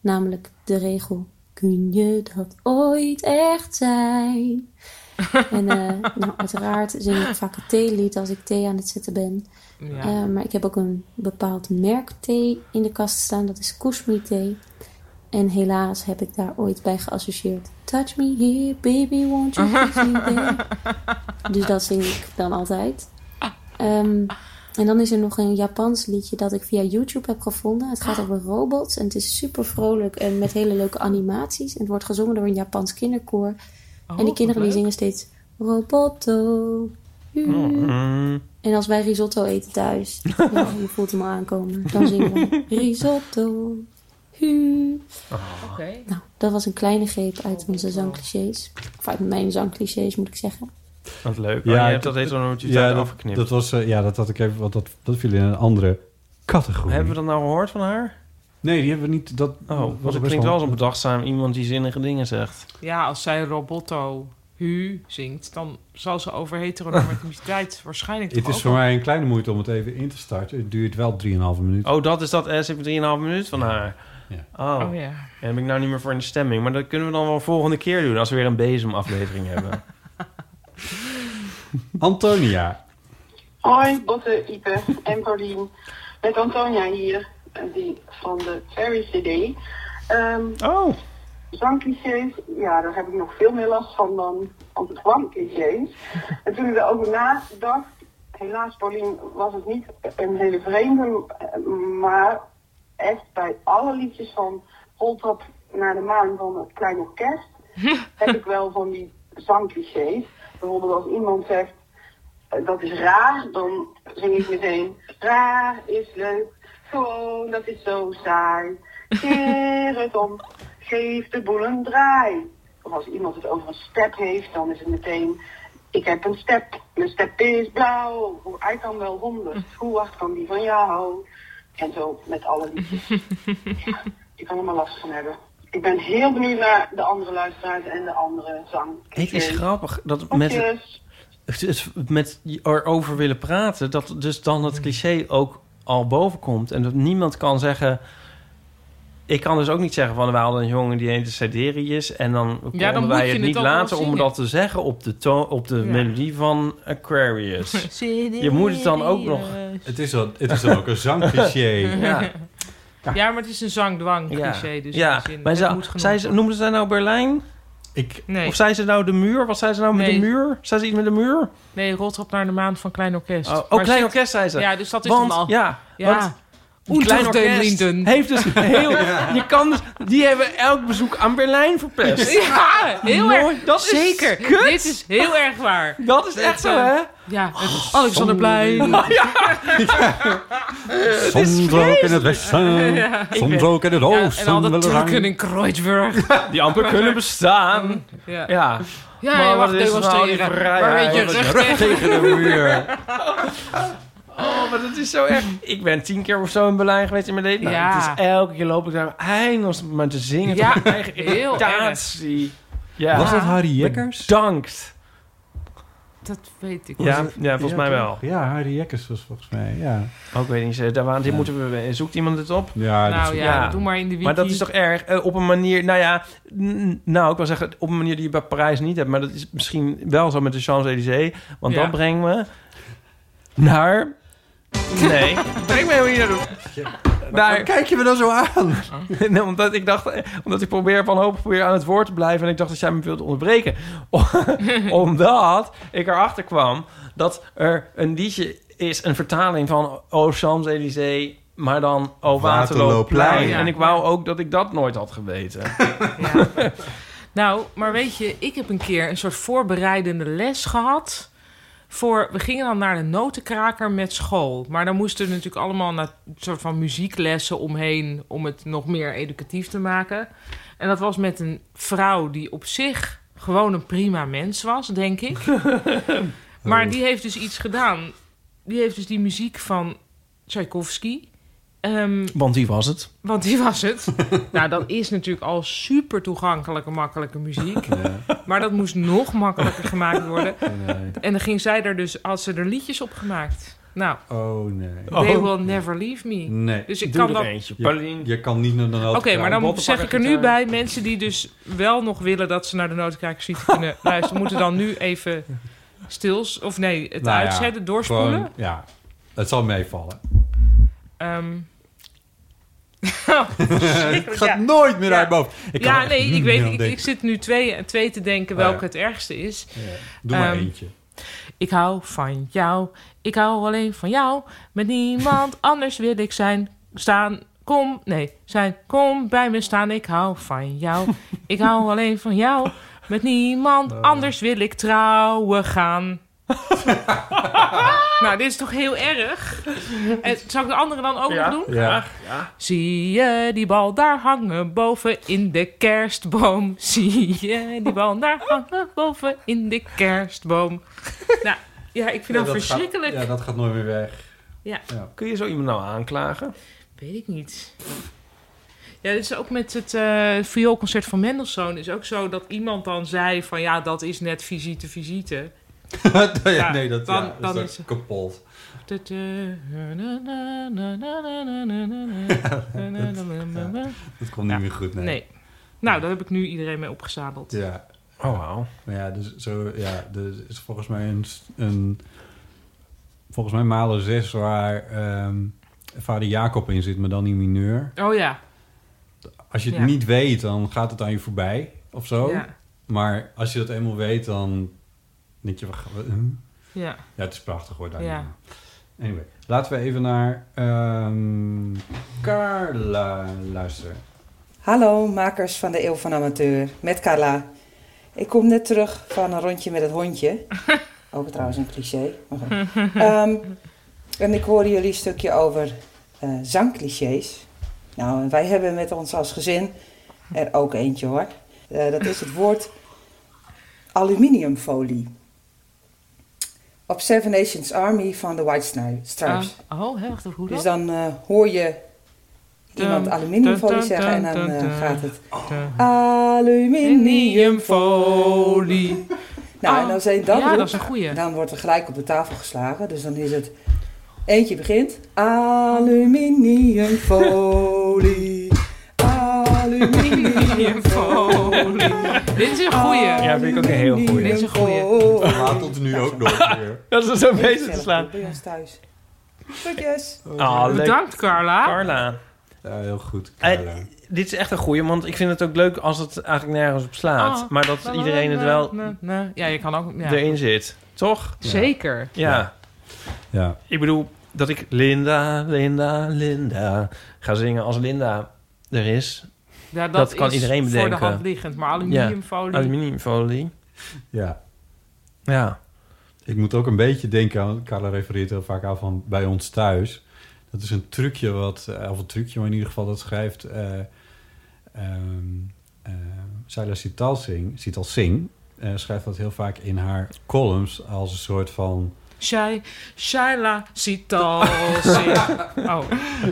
Speaker 11: Namelijk de regel: Kun je dat ooit echt zijn? En eh, nou, uiteraard zing ik vaak het theelied als ik thee aan het zetten ben.
Speaker 12: Ja.
Speaker 11: Eh, maar ik heb ook een bepaald merk thee in de kast staan. Dat is Kashmir thee. En helaas heb ik daar ooit bij geassocieerd. Touch me here, baby, won't you touch me there? Dus dat zing ik dan altijd. Ehm, en dan is er nog een Japans liedje dat ik via YouTube heb gevonden. Het gaat over robots en het is super vrolijk en met hele leuke animaties. En het wordt gezongen door een Japans kinderkoor. en die
Speaker 12: wat
Speaker 11: kinderen die
Speaker 12: leuk.
Speaker 11: zingen steeds Roboto. hu, hu."
Speaker 10: Oh.
Speaker 11: En als wij risotto eten thuis, ja, je voelt hem al aankomen, dan zingen we risotto. Hu.
Speaker 2: Oké.
Speaker 11: Nou, dat was een kleine greep uit onze zangclichés. Of uit mijn zangclichés, moet ik zeggen.
Speaker 3: Wat
Speaker 2: Oh,
Speaker 3: leuk. Ja, je hebt dat heteronormativiteit
Speaker 1: dat-
Speaker 3: afgeknipt.
Speaker 1: Dat was, eh, ja, dat had ik even, want dat, dat viel in een andere categorie.
Speaker 3: Hebben we dat nou gehoord van haar?
Speaker 1: Nee, die hebben we niet. Dat,
Speaker 3: oh, want
Speaker 1: best
Speaker 3: het klinkt
Speaker 1: wel-
Speaker 3: wel als een bedachtzaam iemand die zinnige dingen zegt.
Speaker 2: Ja, als zij Roboto Hu zingt, dan zal ze over heteronormativiteit waarschijnlijk
Speaker 1: Het
Speaker 2: toch
Speaker 1: is
Speaker 2: ook
Speaker 1: voor
Speaker 2: wel-
Speaker 1: mij een kleine moeite om het even in te starten. Het duurt wel 3,5 minuten.
Speaker 3: Oh, dat is dat S in 3,5 minuut van haar. Oh,
Speaker 2: Oh, ja.
Speaker 3: Daar ben ik nou niet meer voor in de stemming. Maar dat kunnen we dan wel volgende keer doen als we weer een bezemaflevering hebben.
Speaker 1: Antonia.
Speaker 13: Hoi, Botte, Ipe en Paulien. Met Antonia hier, eh, die van de Fairy CD.
Speaker 3: oh.
Speaker 13: Zangclichés, ja, daar heb ik nog veel meer last van dan antiquam clichés. En toen ik daarover nadacht, helaas, Paulien, was het niet een hele vreemde, eh, maar echt bij alle liedjes van Holtrap naar de maan van het kleine orkest heb ik wel van die zangclichés. Bijvoorbeeld als iemand zegt, eh, dat is raar, dan zing ik meteen, raar is leuk, gewoon dat is zo saai. Keer het om, geef de boel een draai. Of als iemand het over een step heeft, dan is het meteen, ik heb een step, mijn step is blauw. Hoe uit dan wel honderd, hoe hard kan die van jou? En zo met alle liedjes. Ja, ik kan er maar last van hebben. Ik ben heel benieuwd naar de andere luisteraars en de andere zang.
Speaker 3: Het is grappig dat
Speaker 13: Of
Speaker 3: met,
Speaker 13: dus,
Speaker 3: het is met erover willen praten, dat dus dan het cliché ook al boven komt. En dat niemand kan zeggen. Ik kan dus ook niet zeggen van we hadden een jongen die heette Siderius. En dan konden
Speaker 2: dan moet
Speaker 3: wij
Speaker 2: je
Speaker 3: het
Speaker 2: het
Speaker 3: niet
Speaker 2: ook wel
Speaker 3: laten om
Speaker 2: zingen.
Speaker 3: dat te zeggen op de, toon, op de melodie van Aquarius. Je moet het dan ook nog.
Speaker 1: Het is, dan, het is dan ook een zangcliché.
Speaker 3: Ja.
Speaker 2: Ja, maar het is een zangdwang cliché. Dus in
Speaker 3: ja.
Speaker 2: die zin,
Speaker 3: maar
Speaker 2: het
Speaker 3: zou,
Speaker 2: moet genoemd
Speaker 3: zei ze, noemde zij nou Berlijn?
Speaker 1: Ik,
Speaker 2: Nee.
Speaker 3: Of zei ze nou de muur? Wat zei ze nou met
Speaker 2: Nee.
Speaker 3: de muur? Zei ze iets met de muur?
Speaker 2: Nee, Rotrop naar de maan van Klein Orkest.
Speaker 3: Oh, oh,
Speaker 2: Maar
Speaker 3: Klein
Speaker 2: zit-
Speaker 3: Orkest zei ze.
Speaker 2: Ja, dus dat is
Speaker 3: Want-
Speaker 2: hem al.
Speaker 3: ja, want-
Speaker 2: Een
Speaker 3: Klein
Speaker 2: Unter den
Speaker 3: orkest
Speaker 2: Linden.
Speaker 3: heeft dus heel... Je kan dus, die hebben elk bezoek aan Berlijn verpest.
Speaker 2: Ja, heel
Speaker 3: Mooi,
Speaker 2: erg.
Speaker 3: Dat is
Speaker 2: Zeker.
Speaker 3: kut.
Speaker 2: Dit is heel erg waar. eh,
Speaker 3: Dat is echt zo, hè? Oh,
Speaker 2: Ja, het Alexanderplein.
Speaker 4: Soms ook in het westen, soms ook in het oosten.
Speaker 2: en al
Speaker 4: willen
Speaker 2: dat Turken
Speaker 4: hangen.
Speaker 2: in Kreuzberg.
Speaker 3: Die amper kunnen bestaan.
Speaker 2: Ja.
Speaker 3: Ja.
Speaker 2: Ja,
Speaker 3: Maar
Speaker 2: je
Speaker 3: wat
Speaker 2: mag
Speaker 3: is er nou die
Speaker 2: demonstreren.
Speaker 3: vrijheid?
Speaker 2: Maar met je
Speaker 3: Wat is
Speaker 2: rug
Speaker 3: er
Speaker 2: tegen-
Speaker 3: de muur. Oh, maar dat is zo erg. Ik ben tien keer of zo in Berlijn geweest in mijn leven. Nou,
Speaker 2: Ja.
Speaker 3: Het is elke keer loop ik daar eindeloos maar te zingen.
Speaker 2: Ja,
Speaker 3: tot mijn eigen
Speaker 2: heel
Speaker 3: irritatie. Ja.
Speaker 1: Was dat Harry Jekkers?
Speaker 3: Bedankt.
Speaker 2: Dat weet ik
Speaker 3: Ja,
Speaker 2: niet.
Speaker 3: ja, volgens mij wel.
Speaker 1: Ja, Harry Jekkers was volgens mij, ja.
Speaker 3: Ook weet niet, eh, daar waren, dit moeten we, zoekt iemand het op?
Speaker 1: Ja,
Speaker 2: Nou dat- ja, doe maar in de wiki.
Speaker 3: Maar dat is toch erg, eh, op een manier, nou ja, n- nou, ik wil zeggen, op een manier die je bij Parijs niet hebt, maar dat is misschien wel zo met de Champs-Élysées, want
Speaker 2: Ja.
Speaker 3: dat brengt me naar, nee, breng me helemaal niet naar de... Daar.
Speaker 4: Kijk je me dan zo aan?
Speaker 3: Nee, omdat ik dacht, eh, omdat ik probeer van hoop probeer aan het woord te blijven. En ik dacht dat jij me wilde onderbreken. Om- omdat ik erachter kwam dat er een liedje is, een vertaling van O Champs-Élysées, maar dan O
Speaker 4: Waterloopplein.
Speaker 3: Waterloopplein.
Speaker 4: Ja.
Speaker 3: En ik wou ook dat ik dat nooit had geweten.
Speaker 2: Nou, maar weet je, ik heb een keer een soort voorbereidende les gehad. Voor, we gingen dan naar de notenkraker met school. Maar dan moesten er natuurlijk allemaal naar soort van muzieklessen omheen... om het nog meer educatief te maken. En dat was met een vrouw die op zich gewoon een prima mens was, denk ik. maar die heeft dus iets gedaan. Die heeft dus die muziek van Tchaikovsky... ehm,
Speaker 3: Want wie was het?
Speaker 2: want die was het. nou, dat is natuurlijk al super toegankelijke, makkelijke muziek. Maar dat moest nog makkelijker gemaakt worden. En dan ging zij er dus, had ze er liedjes op gemaakt. Nou,
Speaker 1: Oh, nee.
Speaker 2: They Will Never Leave Me.
Speaker 1: Nee.
Speaker 2: Dus ik kan dat...
Speaker 1: Je, je kan niet naar de
Speaker 2: Oké,
Speaker 1: noodkraak.
Speaker 2: maar dan zeg ik er nu bij, mensen die dus wel nog willen dat ze naar de noodkraak kunnen luisteren, moeten dan nu even stils, of nee, het
Speaker 1: Nou ja,
Speaker 2: uitzetten, doorspoelen.
Speaker 1: gewoon- ja, het zal meevallen.
Speaker 2: Ehm,
Speaker 4: Het gaat nooit meer uit mijn hoofd. Ik kan
Speaker 2: ja,
Speaker 4: er
Speaker 2: nee,
Speaker 4: echt
Speaker 2: ik weet
Speaker 4: niet aan
Speaker 2: ik, ik
Speaker 4: denken.
Speaker 2: zit nu twee, twee te denken
Speaker 4: Oh,
Speaker 2: welke
Speaker 4: ja.
Speaker 2: het ergste is.
Speaker 4: Doe maar
Speaker 2: Ehm,
Speaker 4: eentje.
Speaker 2: Ik hou van jou, ik hou alleen van jou. Met niemand anders wil ik zijn, staan, kom, nee, zijn, kom bij me staan. Ik hou van jou, ik hou alleen van jou. Met niemand anders wil ik trouwen gaan. nou, dit is toch heel erg? En, zal ik de andere dan ook nog doen?
Speaker 3: Ja.
Speaker 2: Zie je die bal daar hangen boven in de kerstboom? Zie je die bal daar hangen boven in de kerstboom? Nou, ja, ik vind dat, verschrikkelijk.
Speaker 1: ja, dat gaat nooit meer weg.
Speaker 2: Ja.
Speaker 3: Kun je zo iemand nou aanklagen?
Speaker 2: Weet ik niet. Ja, dit is ook met het eh vioolconcert van Mendelssohn. is ook zo dat iemand dan zei van... ja, dat is net visite, visite. Ja,
Speaker 1: nee, dat,
Speaker 2: dan-
Speaker 1: ja, dat
Speaker 2: dan
Speaker 1: is,
Speaker 2: is-
Speaker 1: ook kapot. Dat komt niet meer goed, nee.
Speaker 2: Nee. Nou, daar heb ik nu iedereen mee opgezadeld.
Speaker 1: Ja.
Speaker 3: Oh, wauw.
Speaker 1: Maar ja, dus zo, ja, er is volgens mij een, een volgens mij malen zes waar ehm, vader Jacob in zit, maar dan in mineur.
Speaker 2: Oh ja.
Speaker 1: Als je het
Speaker 2: Ja.
Speaker 1: niet weet, dan gaat het aan je voorbij of zo.
Speaker 2: Ja.
Speaker 1: Maar als je dat eenmaal weet, dan denk je, wacht, wat, hm?
Speaker 2: Ja.
Speaker 1: Ja, het is prachtig hoor. Daar
Speaker 2: Ja.
Speaker 1: Anyway, laten we even naar ehm, Carla luisteren.
Speaker 12: Hallo makers van de Eeuw van Amateur, met Carla. Ik kom net terug van een rondje met het hondje. Ook trouwens een cliché. maar goed. Ehm, en ik hoorde jullie een stukje over eh, zangclichés. Nou, en wij hebben met ons als gezin er ook eentje hoor. Eh, dat is het woord aluminiumfolie. Op Seven Nations Army van de White Stri- Stripes.
Speaker 2: Ah, oh, hè, wacht even, hoe
Speaker 12: Dus
Speaker 2: dat?
Speaker 12: dan eh, hoor je iemand
Speaker 2: Dun,
Speaker 12: aluminiumfolie
Speaker 2: dun, dun,
Speaker 12: zeggen en
Speaker 2: dun,
Speaker 12: dan eh,
Speaker 2: dun, Oh.
Speaker 12: gaat het
Speaker 2: dun.
Speaker 12: aluminiumfolie. Nou, en als een dat
Speaker 2: Oh. ja,
Speaker 12: roept,
Speaker 2: dat is een goeie.
Speaker 12: dan wordt er gelijk op de tafel geslagen. Dus dan is het, eentje begint, aluminiumfolie.
Speaker 2: Oh.
Speaker 12: aluminiumfolie.
Speaker 2: Dit is een goeie.
Speaker 3: Ja, vind ik ook een heel goeie.
Speaker 2: Dit is een goeie.
Speaker 4: Laat ons nu ook nog weer.
Speaker 3: Dat
Speaker 2: dus
Speaker 3: is zo bezig te slaan.
Speaker 12: Bij ons thuis. Groetjes.
Speaker 3: Ah, leuk.
Speaker 2: Eh, Bedankt, Carla.
Speaker 3: Carla.
Speaker 1: Ja, heel goed.
Speaker 3: Eh, dit is echt een goeie, want ik vind het ook leuk als het eigenlijk nergens op slaat.
Speaker 2: Ah,
Speaker 3: maar dat
Speaker 2: na, na,
Speaker 3: iedereen het
Speaker 2: na,
Speaker 3: wel
Speaker 2: na, na. Ja, je kan ook... Oh, Ja.
Speaker 3: erin zit. Toch?
Speaker 2: Zeker.
Speaker 3: Ja.
Speaker 1: ja.
Speaker 3: Ik bedoel, dat ik Linda, Linda, Linda ga zingen als Linda er is.
Speaker 2: Ja,
Speaker 3: dat kan
Speaker 2: is
Speaker 3: iedereen bedenken.
Speaker 2: voor de hand liggend. Maar aluminiumfolie...
Speaker 3: Ja, aluminiumfolie.
Speaker 1: Ja.
Speaker 3: Ja.
Speaker 1: Ik moet ook een beetje denken aan... Carla refereert heel vaak aan van bij ons thuis. Dat is een trucje wat... eh, Of een trucje, maar in ieder geval dat schrijft... eh ehm eh Saila Sital Singh, Sital Singh eh, schrijft dat heel vaak in haar columns als een soort van...
Speaker 2: Shai, Shaila Sital Singh. Oh,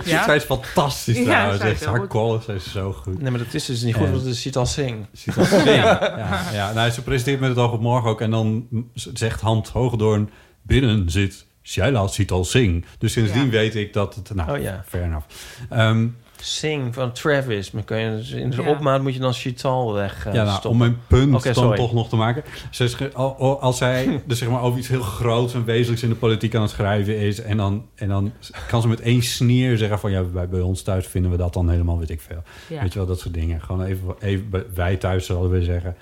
Speaker 2: ja?
Speaker 1: Zij is fantastisch
Speaker 2: Ja,
Speaker 1: trouwens.
Speaker 2: zij is
Speaker 1: Echt,
Speaker 2: heel
Speaker 1: haar
Speaker 2: goed.
Speaker 1: columns zijn zo goed.
Speaker 3: Nee, maar dat is dus niet goed,
Speaker 1: Eh,
Speaker 3: want het is Sital Singh.
Speaker 1: Sital Singh. ja, ja. Nou, ze presenteert met het oog op morgen ook. En dan zegt Hand Hogedoorn... Binnen zit Shaila Sital Singh. Dus sindsdien weet ik dat het... Nou,
Speaker 3: Oh ja.
Speaker 1: fair enough. Ehm,
Speaker 3: Sing van Travis. Maar kun je, dus in zijn
Speaker 1: Ja.
Speaker 3: opmaat moet je dan Chital weg eh,
Speaker 1: ja, nou,
Speaker 3: stoppen.
Speaker 1: om mijn punt
Speaker 3: Oké,
Speaker 1: dan
Speaker 3: sorry.
Speaker 1: toch nog te maken. Ze is ge- al- al- als zij dus zeg maar over iets heel groots en wezenlijks in de politiek aan het schrijven is... en dan, en dan kan ze met één sneer zeggen van... ja, bij, bij ons thuis vinden we dat dan helemaal, weet ik veel.
Speaker 4: Ja.
Speaker 1: Weet je wel, dat soort dingen. Gewoon even, even bij- wij thuis zullen we zeggen.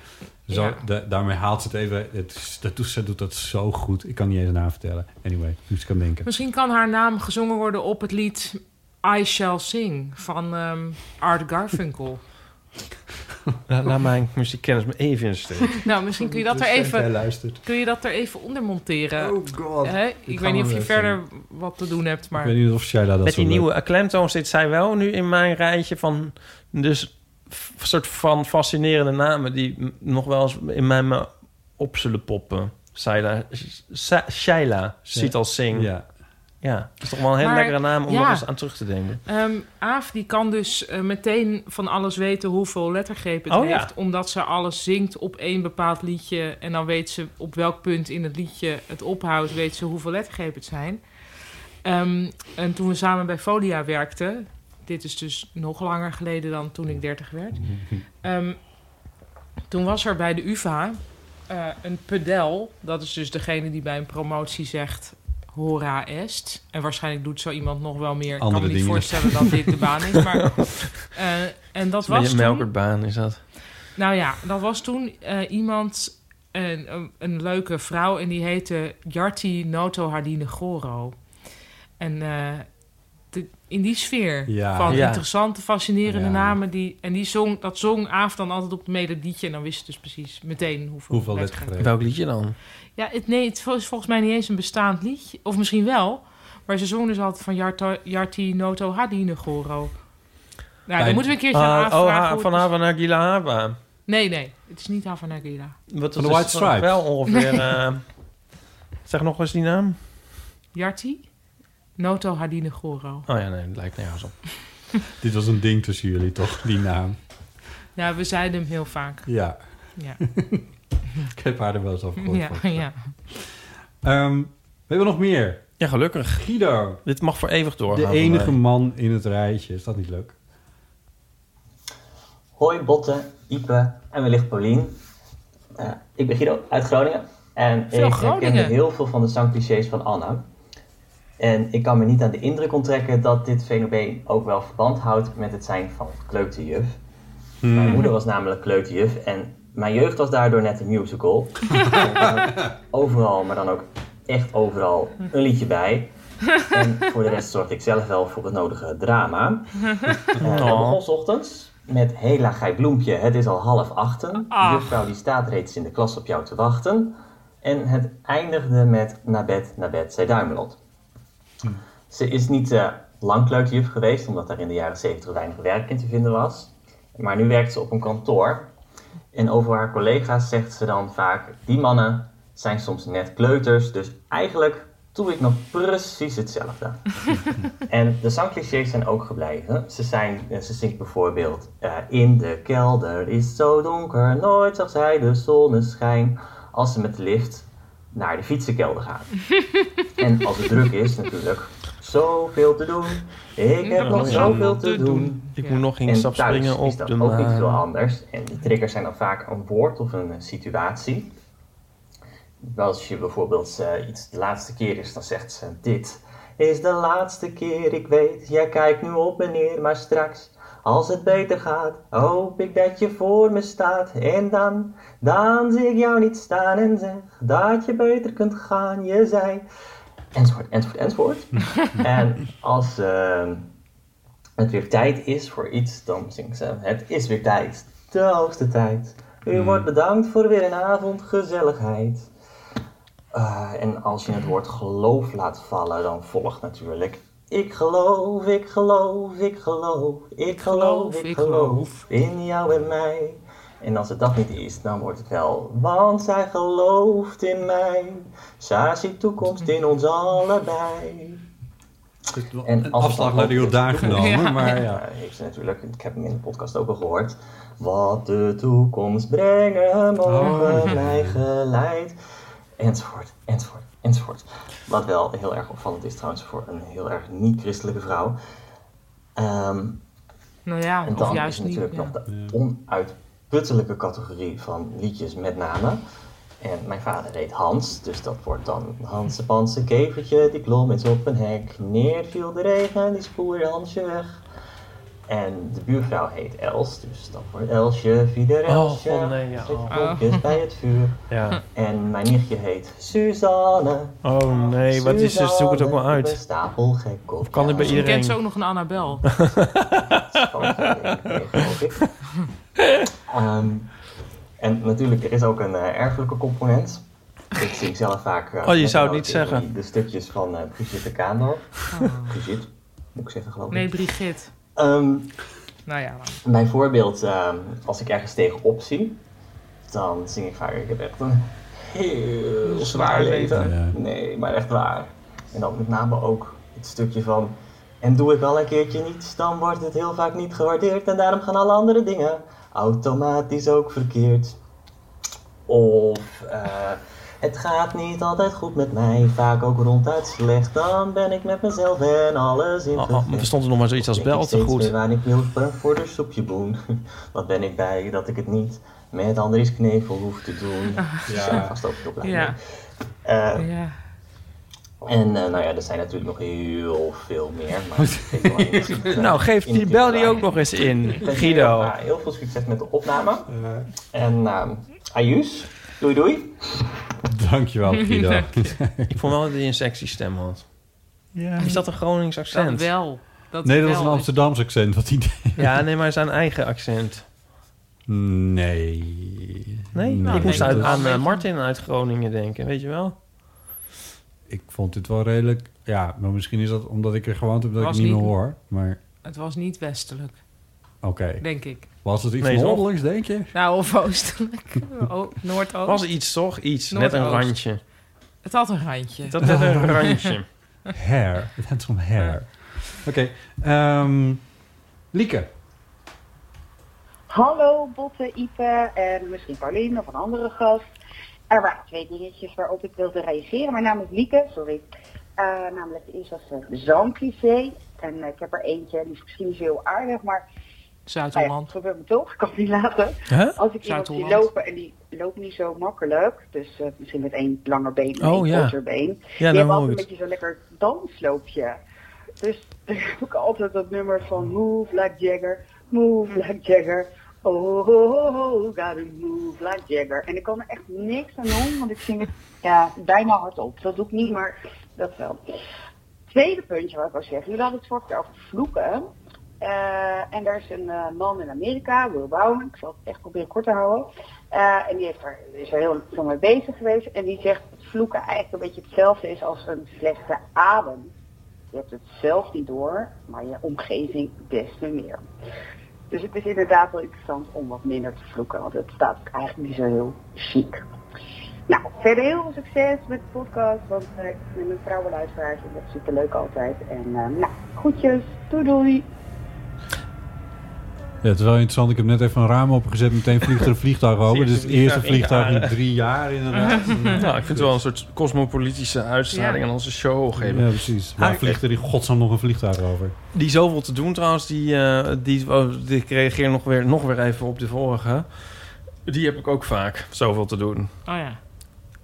Speaker 1: Zo,
Speaker 4: Ja.
Speaker 1: da- daarmee haalt ze het even... Het, is- dat, doet- ze doet dat zo goed. Ik kan niet eens na vertellen. Anyway, hoe ze kan denken.
Speaker 2: Misschien kan haar naam gezongen worden op het lied I Shall Sing van ehm, Art Garfunkel.
Speaker 3: Laat, laat mijn muziekkennis me even in de steek.
Speaker 2: nou, misschien kun je dat
Speaker 3: Dus
Speaker 2: er
Speaker 1: eh,
Speaker 3: jij
Speaker 2: even,
Speaker 3: luistert.
Speaker 2: kun je dat er even onder monteren. Oh god.
Speaker 3: Dit
Speaker 2: Ik weet niet
Speaker 3: gaan we
Speaker 2: of je
Speaker 3: weer
Speaker 2: verder wat te doen hebt, maar...
Speaker 1: Ik weet niet of Shaila dat
Speaker 3: Met
Speaker 1: zo
Speaker 3: die
Speaker 1: leuk-
Speaker 3: nieuwe Acclamtoon zit zij wel nu in mijn rijtje van... Dus f- soort van fascinerende namen die m- nog wel eens in mijn me- op zullen poppen. Shaila, Sa- Shaila Sital Singh.
Speaker 1: Ja.
Speaker 3: ja, dat is toch wel een hele
Speaker 2: Maar-
Speaker 3: lekkere naam om
Speaker 2: ja.
Speaker 3: nog eens aan terug te denken.
Speaker 2: Ehm, Aaf die kan dus eh, meteen van alles weten hoeveel lettergrepen het
Speaker 3: Oh, ja.
Speaker 2: heeft. Omdat ze alles zingt op één bepaald liedje. En dan weet ze op welk punt in het liedje het ophoudt, weet ze hoeveel lettergrepen het zijn. Ehm, en toen we samen bij Folia werkten. Dit is dus nog langer geleden dan toen ik 30 werd. Ehm, toen was er bij de UVA eh, een pedel. Dat is dus degene die bij een promotie zegt... Hora est. En waarschijnlijk doet zo iemand nog wel meer. Ik kan me
Speaker 3: Andere
Speaker 2: niet
Speaker 3: dingen.
Speaker 2: voorstellen dat dit de baan is. Maar, eh, en dat was
Speaker 3: Een
Speaker 2: toen...
Speaker 3: melkertbaan is dat.
Speaker 2: Nou ja, dat was toen eh, iemand, een, een, een leuke vrouw... en die heette Jarti Noto Hardine Goro. En eh, de- in die sfeer
Speaker 5: Ja.
Speaker 2: van
Speaker 5: Ja.
Speaker 2: interessante, fascinerende
Speaker 5: Ja.
Speaker 2: namen... Die, en die zong, dat zong Aaf dan altijd op het melodietje... en dan wist je dus precies meteen hoeveel,
Speaker 3: Hoeveel
Speaker 2: wedstrijden.
Speaker 3: lettergrepen. Welk liedje dan?
Speaker 2: Ja, het, nee, het is volgens mij niet eens een bestaand liedje. Of misschien wel, maar ze zong dus altijd van Jarto- Jarti Noto Hardine Goro... Nou, dan moeten we een keertje aan
Speaker 3: Ah,
Speaker 2: Aaf
Speaker 3: oh,
Speaker 2: vragen
Speaker 3: ha-
Speaker 2: hoe het
Speaker 3: van
Speaker 2: is.
Speaker 3: Hava naar Gilahaba.
Speaker 2: Nee, nee. Het is niet Havanagila.
Speaker 3: Wat
Speaker 1: Van
Speaker 3: is
Speaker 1: de White
Speaker 3: dus
Speaker 1: Stripes.
Speaker 3: Wel ongeveer...
Speaker 2: Nee.
Speaker 3: eh, zeg nog eens die naam.
Speaker 2: Jarti? Noto Hadine Goro.
Speaker 3: Oh ja, nee, dat lijkt nergens op.
Speaker 1: Dit was een ding tussen jullie, toch? Die naam.
Speaker 2: Ja, we zeiden hem heel vaak.
Speaker 1: Ja.
Speaker 2: Ja.
Speaker 1: Ik heb haar er wel eens over gehoord.
Speaker 2: ja, ja.
Speaker 1: Ehm, we hebben nog meer.
Speaker 3: Ja, gelukkig.
Speaker 1: Guido.
Speaker 3: Dit mag voor eeuwig doorgaan.
Speaker 1: De
Speaker 3: voor mij.
Speaker 1: enige man in het rijtje. Is dat niet leuk?
Speaker 14: Hoi Botte, Ipe en wellicht Paulien. Eh, ik ben Guido uit Groningen. En
Speaker 2: Veel
Speaker 14: ik
Speaker 2: Groningen.
Speaker 14: herkende heel veel van de zangclichés van Anna. En ik kan me niet aan de indruk onttrekken dat dit fenomeen ook wel verband houdt met het zijn van kleuterjuf.
Speaker 7: Mm.
Speaker 14: Mijn moeder was namelijk kleuterjuf en mijn jeugd was daardoor net een musical. En ik kon ook overal, maar dan ook echt overal een liedje bij. En voor de rest zorgde ik zelf wel voor het nodige drama. Eh,
Speaker 3: Oh.
Speaker 2: Nou.
Speaker 14: dat begon 's ochtends met Hela Gij Bloempje, het is al half achten.
Speaker 3: Ach.
Speaker 14: De juffrouw die staat reeds in de klas op jou te wachten. En het eindigde met naar bed, naar bed, zei Duimelot. Ze is niet eh, lang kleuterjuf geweest, omdat daar in de jaren 70 weinig werk in te vinden was. Maar nu werkt ze op een kantoor. En over haar collega's zegt ze dan vaak: die mannen zijn soms net kleuters, dus eigenlijk doe ik nog precies hetzelfde. en de zangclichés zijn ook gebleven. Ze, zijn, eh, ze zingt bijvoorbeeld: eh, In de kelder is zo donker, nooit zag zij de zonneschijn. Als ze met de lift naar de fietsenkelder gaat. En als het druk is, natuurlijk. Zoveel te doen. Ik heb nog zoveel te doen.
Speaker 3: Ik moet nog geen
Speaker 14: En
Speaker 3: stap
Speaker 14: thuis
Speaker 3: springen
Speaker 14: is
Speaker 3: op
Speaker 14: dat
Speaker 3: de eh,
Speaker 14: ook niet veel
Speaker 3: maan.
Speaker 14: anders. En die triggers zijn dan vaak een woord of een eh, situatie. Als je bijvoorbeeld eh, iets de laatste keer is, dan zegt ze dit. Is de laatste keer, ik weet, jij kijkt nu op meneer, maar straks, als het beter gaat, hoop ik dat je voor me staat. En dan, dan zie ik jou niet staan en zeg dat je beter kunt gaan, je zei. Enzovoort, enzovoort, enzovoort. en als eh, het weer tijd is voor iets, dan zingt ze, het is weer tijd, de hoogste tijd. U wordt bedankt voor weer een avond gezelligheid. Eh, en als je het woord geloof laat vallen, dan volgt natuurlijk. Ik geloof, ik geloof, ik geloof, ik geloof, ik geloof in jou en mij. En als het dat niet is, dan wordt het wel. Want zij gelooft in mij. Zij ziet toekomst in ons allebei.
Speaker 4: een afslag naar de Jordaan genomen, maar ja.
Speaker 14: Eh, Heeft ze natuurlijk, ik heb hem in de podcast ook al gehoord. Wat de toekomst brengen mogen
Speaker 4: Oh.
Speaker 14: mij geleid. Enzovoort, enzovoort, enzovoort. Wat wel heel erg opvallend is trouwens voor een heel erg niet-christelijke vrouw. Ehm,
Speaker 2: Nou ja,
Speaker 14: en
Speaker 2: of
Speaker 14: dan
Speaker 2: juist
Speaker 14: is
Speaker 2: niet.
Speaker 14: natuurlijk
Speaker 2: ja.
Speaker 14: nog de onuitputtelijke categorie van liedjes met namen. En mijn vader heet Hans, dus dat wordt dan Hanse Panse kevertje, die klom eens op een hek. Neer viel de regen, die spoer Hansje weg. En de buurvrouw heet Els, dus dat wordt Elsje, Vieder
Speaker 3: Oh,
Speaker 14: Elsje.
Speaker 3: god, nee, ja,
Speaker 14: zit
Speaker 3: oh.
Speaker 14: blokjes bij het vuur.
Speaker 3: Ja.
Speaker 14: En mijn nichtje heet Suzanne.
Speaker 3: Oh nee, wat is er? Zoek het ook wel
Speaker 14: Ik ben
Speaker 3: uit.
Speaker 14: stapel gek op.
Speaker 3: Of kan dit bij
Speaker 2: Je kent ze
Speaker 3: iedereen?
Speaker 2: ook nog een Annabel.
Speaker 14: Ehm, en natuurlijk, er is ook een eh, erfelijke component. Ik zing zelf vaak... eh,
Speaker 3: Oh, je
Speaker 14: met
Speaker 3: zou het
Speaker 14: een
Speaker 3: niet
Speaker 14: noot in
Speaker 3: zeggen.
Speaker 14: De stukjes van eh Brigitte Kaandorp. Brigitte, moet ik zeggen geloof ik.
Speaker 2: Nee, Brigitte.
Speaker 14: Ehm,
Speaker 2: Nou ja,
Speaker 14: Bijvoorbeeld, ehm, als ik ergens tegenop zie, dan zing ik vaak, ik heb echt een heel
Speaker 3: Zwaar
Speaker 14: zwaar leven.
Speaker 3: leven,
Speaker 14: Nee, maar echt waar. En dan met name ook het stukje van, en doe ik al een keertje niets, dan wordt het heel vaak niet gewaardeerd en daarom gaan alle andere dingen automatisch ook verkeerd. Of, eh, het gaat niet altijd goed met mij, vaak ook ronduit slecht, dan ben ik met mezelf en alles in
Speaker 3: Oh, oh, er stond er nog maar zoiets als
Speaker 14: Denk
Speaker 3: bel
Speaker 14: ik
Speaker 3: te
Speaker 14: steeds
Speaker 3: goed.
Speaker 14: meer waar ik wil voor- voor de soepje boen. Wat ben ik bij dat ik het niet met Andries Knevel hoef te doen.
Speaker 3: Ah,
Speaker 14: Ja. Zijn vast ook heel blij mee.
Speaker 2: Ja.
Speaker 14: Eh,
Speaker 2: ja.
Speaker 14: En eh, nou ja, er zijn natuurlijk nog heel veel meer. Maar ik weet wel niet of-
Speaker 3: Nou, geef die bel die ook nog eens in,
Speaker 14: Ik wens jullie
Speaker 3: Guido.
Speaker 14: allemaal Heel veel succes met de opname. En ehm Ayus, doei doei.
Speaker 3: Dankjewel,
Speaker 14: Guido. Dank
Speaker 3: Ik vond wel dat hij een sexy stem had.
Speaker 4: Ja.
Speaker 3: Is dat een Gronings accent?
Speaker 2: Dat wel. Dat
Speaker 3: Nee,
Speaker 4: dat was
Speaker 2: wel
Speaker 4: een
Speaker 2: is.
Speaker 4: Amsterdams accent wat hij deed.
Speaker 3: Ja, nee, maar zijn eigen accent.
Speaker 4: Nee.
Speaker 3: Nee?
Speaker 4: Nou,
Speaker 3: ik moest
Speaker 4: nee,
Speaker 3: uit,
Speaker 4: dat-
Speaker 3: aan eh, Martin uit Groningen denken, weet je wel?
Speaker 4: Ik vond dit wel redelijk... Ja, maar misschien is dat omdat ik er gewoond heb dat
Speaker 2: Was
Speaker 4: ik niet meer
Speaker 2: niet-
Speaker 4: hoor. Maar
Speaker 2: Het was niet westelijk,
Speaker 4: oké.
Speaker 2: denk ik.
Speaker 4: Was het iets
Speaker 3: Nee, toch?
Speaker 4: noordelijks, denk je?
Speaker 2: Nou, of oostelijk. O- Noordoost.
Speaker 3: Was iets, toch? Iets. Net een
Speaker 2: Noordoost.
Speaker 3: randje.
Speaker 2: Het had een randje.
Speaker 3: Dat had een randje.
Speaker 4: Hair. Het gaat om hair. Oké. ehm, Lieke.
Speaker 15: Hallo Botte, Ipe en misschien Paulien of een andere gast. Er waren twee dingetjes waarop ik wilde reageren. Mijn naam is Lieke, sorry. Eh, namelijk eh, de eerste was een zangcliché. En eh, ik heb er eentje, die is misschien niet zo heel aardig, maar...
Speaker 2: Zuid-Holland.
Speaker 15: Nou ja, probeer me toch, ik kan het niet laten.
Speaker 2: Huh?
Speaker 15: Als ik iemand zie
Speaker 2: Zuid-Holland.
Speaker 15: lopen en die loopt niet zo makkelijk, dus eh, misschien met één langer been en
Speaker 3: Oh,
Speaker 15: één
Speaker 3: ja.
Speaker 15: korter been.
Speaker 3: Ja,
Speaker 15: die
Speaker 3: dan
Speaker 15: hebben
Speaker 3: hoor ik
Speaker 15: altijd een
Speaker 3: het.
Speaker 15: beetje zo'n lekker dansloopje. Dus heb ik altijd dat nummer van Move Like Jagger, Move Like Jagger. Oh, oh, oh, oh, gotta move like Jagger. En ik kan er echt niks aan doen, want ik zing het ja, bijna hardop. Dat doe ik niet, maar dat wel. Tweede puntje wat ik wil zeggen. Jullie hadden het vorige keer over vloeken. Eh, en daar is een eh, man in Amerika, Will Bowen. Ik zal het echt proberen kort te houden. Eh, en die heeft er, is er heel veel mee bezig geweest. En die zegt dat vloeken eigenlijk een beetje hetzelfde is als een slechte adem. Je hebt het zelf niet door, maar je omgeving des te meer. Dus het is inderdaad wel interessant om wat minder te vloeken, want het staat ook eigenlijk niet zo heel chic. Nou, verder heel veel succes met de podcast, want eh, ik ben een vrouwenluisteraar en dat is superleuk altijd. En eh, nou, groetjes, doei doei!
Speaker 1: Ja, het is wel interessant. Ik heb net even een raam opengezet. Meteen vliegt er een vliegtuig over. Dus het eerste vliegtuig in drie jaar inderdaad.
Speaker 3: Nou, ik vind het wel een soort cosmopolitische uitstraling
Speaker 1: Ja.
Speaker 3: aan onze show geven.
Speaker 1: Ja, precies. Waar vliegt er in godsnaam nog een vliegtuig over?
Speaker 3: Ah, Die zoveel te doen trouwens, die, eh die, oh, die- ik reageer nog weer, nog weer even op de vorige. Die heb ik ook vaak, zoveel te doen.
Speaker 2: Oh ja.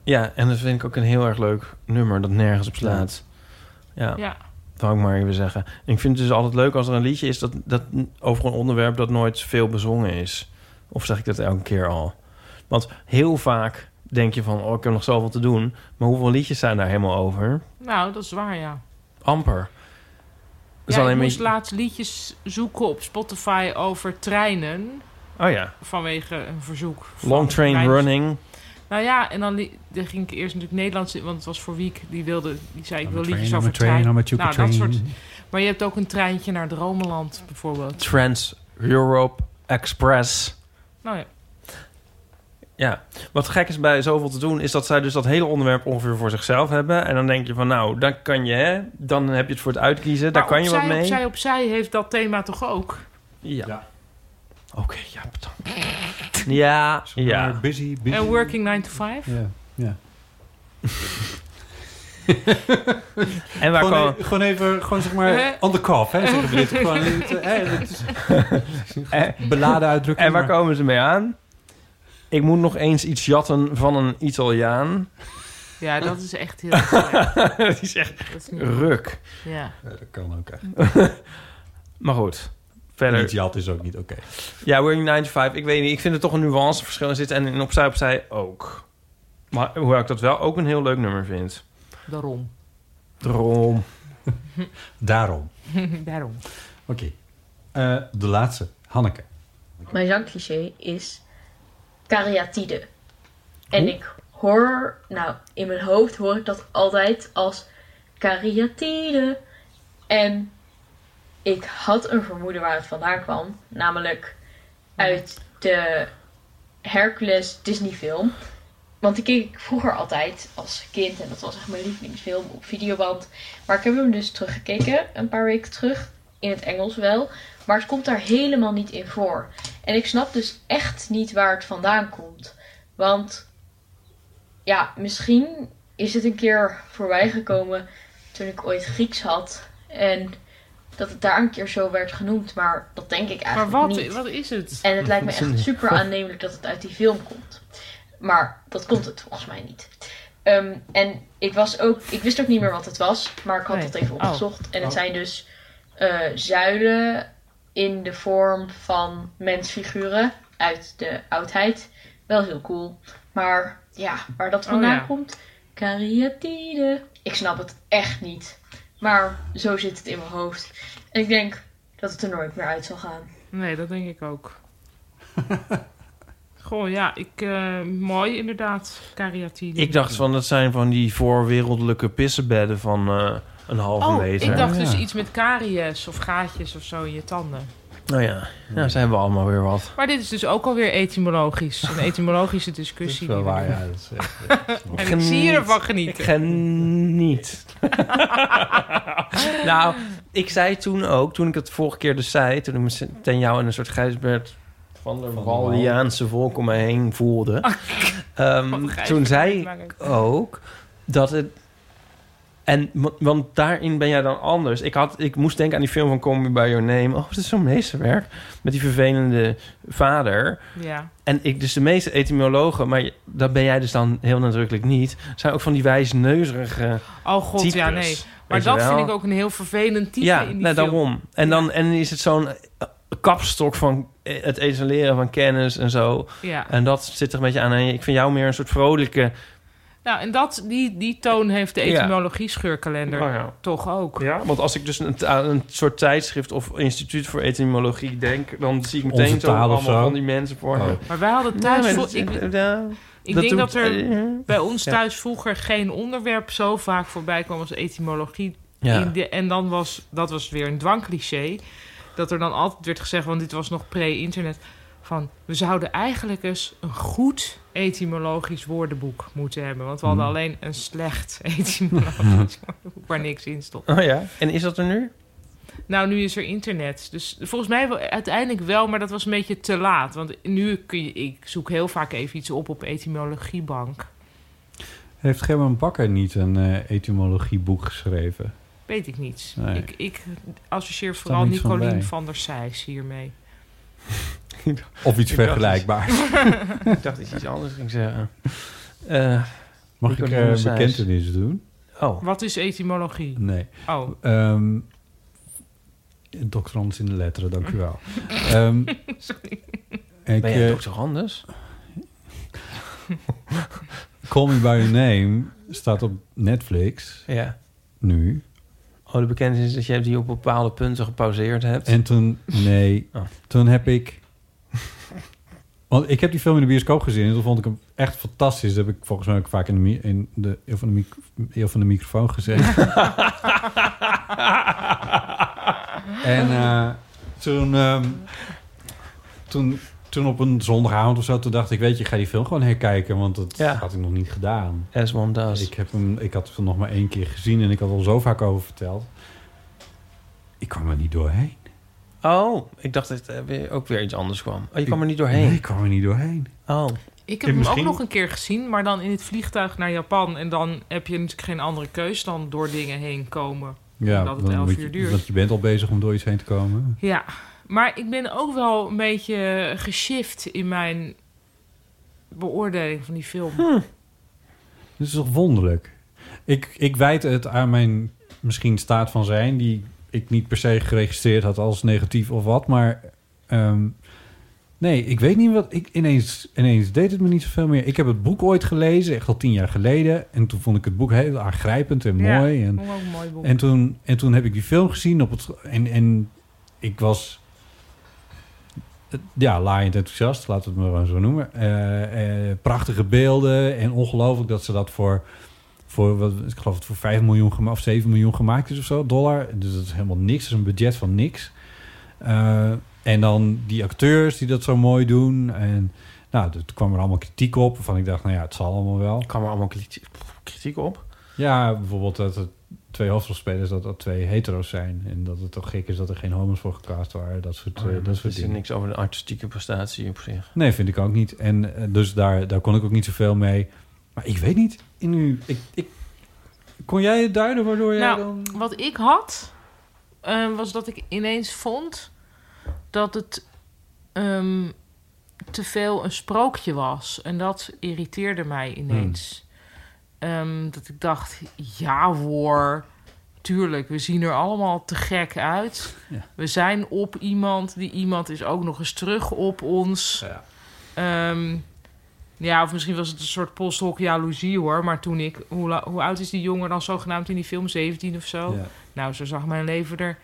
Speaker 3: Ja, en dat vind ik ook een heel erg leuk nummer dat nergens op slaat. Ja,
Speaker 2: Ja.
Speaker 3: dat wou ik maar even zeggen. En ik vind het dus altijd leuk als er een liedje is dat, dat over een onderwerp dat nooit veel bezongen is. Of zeg ik dat elke keer al? Want heel vaak denk je van, oh, ik heb nog zoveel te doen. Maar hoeveel liedjes zijn daar helemaal over?
Speaker 2: Nou, dat is waar, ja.
Speaker 3: Amper. Dat is
Speaker 2: ja ik
Speaker 3: alleen maar-
Speaker 2: moest laatst liedjes zoeken op Spotify over treinen.
Speaker 3: Oh ja.
Speaker 2: Vanwege een verzoek. van
Speaker 3: Long Train
Speaker 2: trein-
Speaker 3: Running.
Speaker 2: Nou ja, en dan, li- dan ging ik eerst natuurlijk Nederlands in, want het was voor Wiek. Die, wilde, die zei, ik wil
Speaker 1: train,
Speaker 2: liedjes
Speaker 1: I'm a
Speaker 2: over
Speaker 1: train,
Speaker 2: treinen.
Speaker 1: I'm a tube
Speaker 2: Nou,
Speaker 1: train.
Speaker 2: dat soort. Maar je hebt ook een treintje naar Dromeland, bijvoorbeeld.
Speaker 3: Trans Europe Express.
Speaker 2: Nou ja.
Speaker 3: Ja, wat gek is bij zoveel te doen, is dat zij dus dat hele onderwerp ongeveer voor zichzelf hebben. En dan denk je van, nou, dan kan je, hè, dan heb je het voor het uitkiezen, daar
Speaker 2: Maar
Speaker 3: kan je
Speaker 2: opzij,
Speaker 3: wat mee.
Speaker 2: Opzij, opzij heeft dat thema toch ook?
Speaker 3: Ja. Oké, ja, bedankt. Ja, ja.
Speaker 1: Busy,
Speaker 2: En Working 9 to 5?
Speaker 1: Ja. ja.
Speaker 3: En waar
Speaker 1: gewoon,
Speaker 3: komen-
Speaker 1: e- gewoon even, gewoon zeg
Speaker 3: Hè?
Speaker 2: Eh.
Speaker 1: maar, on the cuff, hè, zeggen we dit. Gewoon, het, eh, hè, het is-
Speaker 3: En-
Speaker 1: Beladen uitdrukking,
Speaker 3: En waar
Speaker 1: maar-
Speaker 3: komen ze mee aan? Ik moet nog eens iets jatten van een Italiaan.
Speaker 2: Ja, dat is echt heel slecht.
Speaker 3: dat is echt
Speaker 2: Dat is niet-
Speaker 3: ruk.
Speaker 2: Ja.
Speaker 1: dat kan ook
Speaker 3: echt. maar goed, verder.
Speaker 1: Niet jat is ook niet oké.
Speaker 3: Ja, Working 9 to 5. Ik weet niet. Ik vind er toch een nuanceverschil in zitten. En in opzij opzij ook. Maar hoewel ik dat wel ook een heel leuk nummer vind.
Speaker 2: Daarom.
Speaker 3: Daarom.
Speaker 1: Daarom.
Speaker 2: Daarom.
Speaker 1: Oké. Eh, de laatste. Hanneke.
Speaker 16: Mijn zangcliché is kariatide. En ik hoor, nou in mijn hoofd hoor ik dat altijd als kariatide. En ik had een vermoeden waar het vandaan kwam, namelijk uit de Hercules Disney film. Want die keek ik vroeger altijd als kind en dat was echt mijn lievelingsfilm op videoband. Maar ik heb hem dus teruggekeken, een paar weken terug, in het Engels wel. Maar het komt daar helemaal niet in voor. En ik snap dus echt niet waar het vandaan komt. Want ja, misschien is het een keer voorbij gekomen toen ik ooit Grieks had. En dat het daar een keer zo werd genoemd, maar dat denk ik eigenlijk
Speaker 2: Maar wat-
Speaker 16: niet.
Speaker 2: wat is het?
Speaker 16: En het lijkt me echt
Speaker 2: Nee.
Speaker 16: super aannemelijk dat het uit die film komt. Maar dat komt het volgens mij niet. Ehm, en ik, was ook, ik wist ook niet meer wat het was, maar ik had
Speaker 2: Nee.
Speaker 16: dat even
Speaker 2: Oh.
Speaker 16: opgezocht. En het
Speaker 2: Oh.
Speaker 16: zijn dus eh, zuilen in de vorm van mensfiguren uit de oudheid. Wel heel cool. Maar ja, waar dat
Speaker 2: Oh,
Speaker 16: vandaan
Speaker 2: ja.
Speaker 16: komt. Kariatide. Ik snap het echt niet. Maar zo zit het in mijn hoofd. En ik denk dat het er nooit meer uit zal gaan.
Speaker 2: Nee, dat denk ik ook. Goh, ja, ik, eh, mooi inderdaad, kariatine.
Speaker 3: Ik dacht van, dat zijn van die voorwereldelijke pissenbedden van eh, een halve
Speaker 2: Oh,
Speaker 3: meter.
Speaker 2: ik dacht dus iets met karies of gaatjes of zo in je tanden.
Speaker 3: Nou ja, nou zijn we allemaal weer wat.
Speaker 2: Maar dit is dus ook alweer etymologisch. Een etymologische discussie.
Speaker 3: Dat is wel
Speaker 2: die we
Speaker 3: waar,
Speaker 2: doen.
Speaker 3: ja, dat is eh,
Speaker 2: en ik zie je ervan genieten.
Speaker 3: Ik geniet. nou, ik zei toen ook, toen ik het vorige keer dus zei... toen ik me ten jou in een soort Gijsbert van der Walliaanse volk om mij heen voelde... ehm,
Speaker 2: Gijsbert
Speaker 3: toen zei
Speaker 2: maakt
Speaker 3: ik ook dat het... En, wa- want daarin ben jij dan anders. Ik, had, ik moest denken aan die film van Call Me By Your Name. Oh, dat is zo'n meesterwerk. Met die vervelende vader.
Speaker 2: Ja.
Speaker 3: En ik, dus de meeste etymologen, maar je- dat ben jij dus dan heel nadrukkelijk niet, zijn ook van die wijsneuzerige.
Speaker 2: Oh god,
Speaker 3: types,
Speaker 2: ja, nee. Maar
Speaker 3: weet je
Speaker 2: dat
Speaker 3: wel?
Speaker 2: vind ik ook een heel vervelend type
Speaker 3: Ja,
Speaker 2: in die
Speaker 3: nou,
Speaker 2: film.
Speaker 3: daarom. En dan en is het zo'n eh, kapstok van eh, het etaleren van kennis en zo.
Speaker 2: Ja.
Speaker 3: En dat zit er een beetje aan. En ik vind jou meer een soort vrolijke...
Speaker 2: Nou, en dat, die, die toon heeft de
Speaker 3: Ja.
Speaker 2: etymologie-scheurkalender
Speaker 3: Oh ja.
Speaker 2: toch ook.
Speaker 3: Ja, want als ik dus een, aan een soort tijdschrift of instituut voor etymologie denk... dan zie ik meteen zo
Speaker 1: Onze taal of
Speaker 3: allemaal
Speaker 1: zo. Oh.
Speaker 3: van die mensen voor me.
Speaker 2: Maar wij hadden thuis...
Speaker 3: Ja, maar
Speaker 2: vro-
Speaker 3: dat-
Speaker 2: ik ik
Speaker 3: eh, dat
Speaker 2: denk
Speaker 3: doet-
Speaker 2: dat er
Speaker 3: eh,
Speaker 2: bij ons
Speaker 3: ja.
Speaker 2: thuis vroeger geen onderwerp zo vaak voorbij kwam als etymologie.
Speaker 3: Ja.
Speaker 2: In de- en dan was, dat was weer een dwangcliché, dat er dan altijd werd gezegd, want dit was nog pre-internet, van we zouden eigenlijk eens een goed etymologisch woordenboek moeten hebben. Want we hadden
Speaker 3: Hmm.
Speaker 2: alleen een slecht etymologisch woordenboek waar niks in stond.
Speaker 3: Oh ja, en is dat er nu?
Speaker 2: Nou, nu is er internet. Dus volgens mij wel- uiteindelijk wel, maar dat was een beetje te laat. Want nu kun je... Ik zoek heel vaak even iets op op etymologiebank.
Speaker 1: Heeft Gerben Bakker niet een eh, etymologieboek geschreven?
Speaker 2: Weet ik niet.
Speaker 1: Nee.
Speaker 2: Ik, ik associeer vooral
Speaker 1: niks van
Speaker 2: Nicolien van,
Speaker 1: bij.
Speaker 2: der Sijs hiermee.
Speaker 1: Of iets
Speaker 3: Ik dacht
Speaker 1: vergelijkbaars.
Speaker 3: Dus ik dacht dat je iets anders ging zeggen. Eh,
Speaker 1: Mag ik
Speaker 3: Nicoline
Speaker 1: eh, een
Speaker 3: Sijs.
Speaker 1: bekentenis doen?
Speaker 3: Oh.
Speaker 2: Wat is etymologie?
Speaker 1: Nee.
Speaker 2: Oh.
Speaker 1: Ehm, doctorandus in de letteren, dank u wel. Ehm, ik,
Speaker 3: ben jij
Speaker 1: eh,
Speaker 3: doctorandus?
Speaker 1: Call Me By Your Name staat op Netflix
Speaker 3: Ja.
Speaker 1: nu.
Speaker 3: Oh, de bekend is dat je die op bepaalde punten gepauzeerd hebt.
Speaker 1: En toen, nee,
Speaker 3: Oh.
Speaker 1: toen heb ik... Want ik heb die film in de bioscoop gezien en toen vond ik hem echt fantastisch. Dat heb ik volgens mij ook vaak in de, mi- in de eeuw, van de mic- eeuw van de microfoon gezegd. en eh, toen, ehm, toen, toen op een zondagavond of zo, toen dacht ik, weet je, ik ga die film gewoon herkijken, want dat had ik nog niet gedaan.
Speaker 3: As one does.
Speaker 1: Ik, heb hem, ik had hem nog maar één keer gezien en ik had er al zo vaak over verteld. Ik kwam er niet doorheen.
Speaker 3: Oh, ik dacht dat er weer- ook weer iets anders kwam. Oh, je kwam
Speaker 1: Ik-
Speaker 3: er niet doorheen?
Speaker 1: Nee, ik kwam er niet doorheen.
Speaker 3: Oh.
Speaker 2: Ik heb hem ook nog een keer gezien, maar dan in het vliegtuig naar Japan. En dan heb je natuurlijk geen andere keus dan door dingen heen komen.
Speaker 1: Ja,
Speaker 2: dat het
Speaker 1: dan
Speaker 2: elf
Speaker 1: moet
Speaker 2: uur
Speaker 1: je,
Speaker 2: duurt.
Speaker 1: Want je bent al bezig om door iets heen te komen.
Speaker 2: Ja, maar ik ben ook wel een beetje geshift in mijn beoordeling van die film.
Speaker 1: Dat is toch wonderlijk? Ik, ik wijd het aan mijn misschien staat van zijn, die ik niet per se geregistreerd had als negatief of wat. Maar ehm, nee, ik weet niet wat. Ik, ineens, ineens deed het me niet zoveel meer. Ik heb het boek ooit gelezen, echt al tien jaar geleden. En toen vond ik het boek heel aangrijpend en
Speaker 2: Ja,
Speaker 1: mooi. en,
Speaker 2: vond ik ook een mooi boek.
Speaker 1: En toen, en toen heb ik die film gezien op het. En, en ik was Eh, ja, laaiend enthousiast, laten we het maar zo noemen. Eh, eh, prachtige beelden en ongelooflijk dat ze dat voor, voor wat, ik geloof het voor 5 miljoen gema- of 7 miljoen gemaakt is of zo, dollar. Dus dat is helemaal niks, dat is een budget van niks. Eh, en dan die acteurs die dat zo mooi doen. En nou, er kwam er allemaal kritiek op, waarvan ik dacht, nou ja, het zal allemaal wel.
Speaker 3: Kwam er allemaal kritiek op?
Speaker 1: Ja, bijvoorbeeld dat er twee hoofdrolspelers, dat dat twee hetero's zijn. En dat het toch gek is dat er geen homo's voor gecast waren. Dat soort, eh,
Speaker 3: Oh,
Speaker 1: dat
Speaker 3: dat
Speaker 1: soort
Speaker 3: is er
Speaker 1: dingen.
Speaker 3: niks over de artistieke prestatie op zich.
Speaker 1: Nee, vind ik ook niet. En eh, dus daar, daar kon ik ook niet zoveel mee. Maar ik weet niet. In u, ik, ik, kon jij het duiden waardoor jij
Speaker 2: nou,
Speaker 1: dan...
Speaker 2: wat ik had, ehm, was dat ik ineens vond dat het ehm, te veel een sprookje was. En dat irriteerde mij ineens. Ehm, dat ik dacht, ja hoor, tuurlijk, we zien er allemaal te gek uit. We zijn op iemand, die iemand is ook nog eens terug op ons. Ehm,
Speaker 1: Ja.
Speaker 2: ja, of misschien was het een soort postdoc jaloezie hoor. Maar toen ik, hoe, la- hoe oud is die jongen dan zogenaamd in die film? 17 of zo?
Speaker 1: Ja.
Speaker 2: Nou, zo zag mijn leven er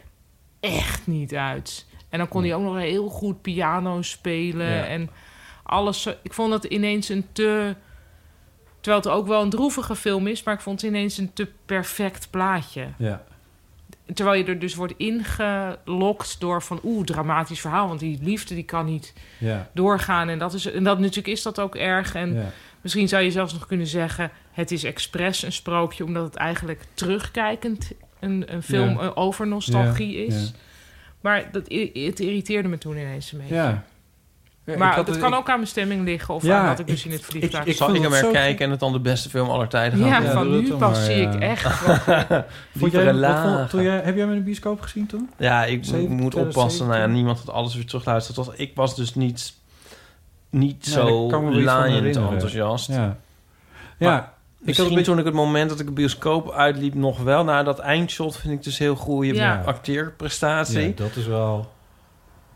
Speaker 2: echt niet uit. En dan kon hij ook nog heel goed piano spelen.
Speaker 17: Ja.
Speaker 2: En alles. zo- Ik vond dat ineens een te. Terwijl het ook wel een droevige film is, maar ik vond het ineens een te perfect plaatje.
Speaker 1: Ja.
Speaker 2: Terwijl je er dus wordt ingelokt door van oeh, dramatisch verhaal. Want die liefde die kan niet
Speaker 1: Ja.
Speaker 2: doorgaan. En dat is en dat natuurlijk is dat ook erg. En
Speaker 1: Ja.
Speaker 2: misschien zou je zelfs nog kunnen zeggen. Het is expres een sprookje, omdat het eigenlijk terugkijkend een, een film
Speaker 1: Ja.
Speaker 2: eh, over nostalgie
Speaker 1: Ja,
Speaker 2: is.
Speaker 1: ja.
Speaker 2: Maar dat, i- het irriteerde me toen ineens een beetje.
Speaker 1: Ja. Ja,
Speaker 2: maar
Speaker 1: ik had
Speaker 2: dat
Speaker 1: het-
Speaker 2: kan
Speaker 1: ik-
Speaker 2: ook aan mijn stemming liggen of
Speaker 1: Ja,
Speaker 2: aan dat ik dus
Speaker 1: ik-
Speaker 2: in het
Speaker 1: ik-
Speaker 2: vliegtuig
Speaker 1: ik
Speaker 3: Zal
Speaker 1: vond
Speaker 3: ik hem
Speaker 1: het zo-
Speaker 3: herkijken en het dan de beste film aller tijden
Speaker 2: Ja,
Speaker 3: gaan
Speaker 2: van
Speaker 3: vinden?
Speaker 2: nu pas zie ik echt gewoon-
Speaker 1: Vond jij,
Speaker 3: Diepere
Speaker 1: wat vond-
Speaker 3: lagen.
Speaker 1: toen jij, heb jij met een bioscoop gezien toen?
Speaker 3: Ja, ik
Speaker 1: Zeven-
Speaker 3: moet
Speaker 1: 2017?
Speaker 3: oppassen. Nou ja, niemand had alles weer terugluisterd. Dat was- Ik was dus niet, niet
Speaker 1: Nee,
Speaker 3: zo
Speaker 1: daar kan ik me iets van
Speaker 3: laaiend
Speaker 1: herinneren.
Speaker 3: enthousiast.
Speaker 1: Ja.
Speaker 3: Maar
Speaker 1: Ja, ik had het
Speaker 3: misschien
Speaker 1: een beetje-
Speaker 3: toen ik het moment dat ik de bioscoop uitliep nog wel. Naar dat eindshot vind ik dus heel goede
Speaker 1: Ja.
Speaker 3: acteerprestatie.
Speaker 1: Ja, dat is wel...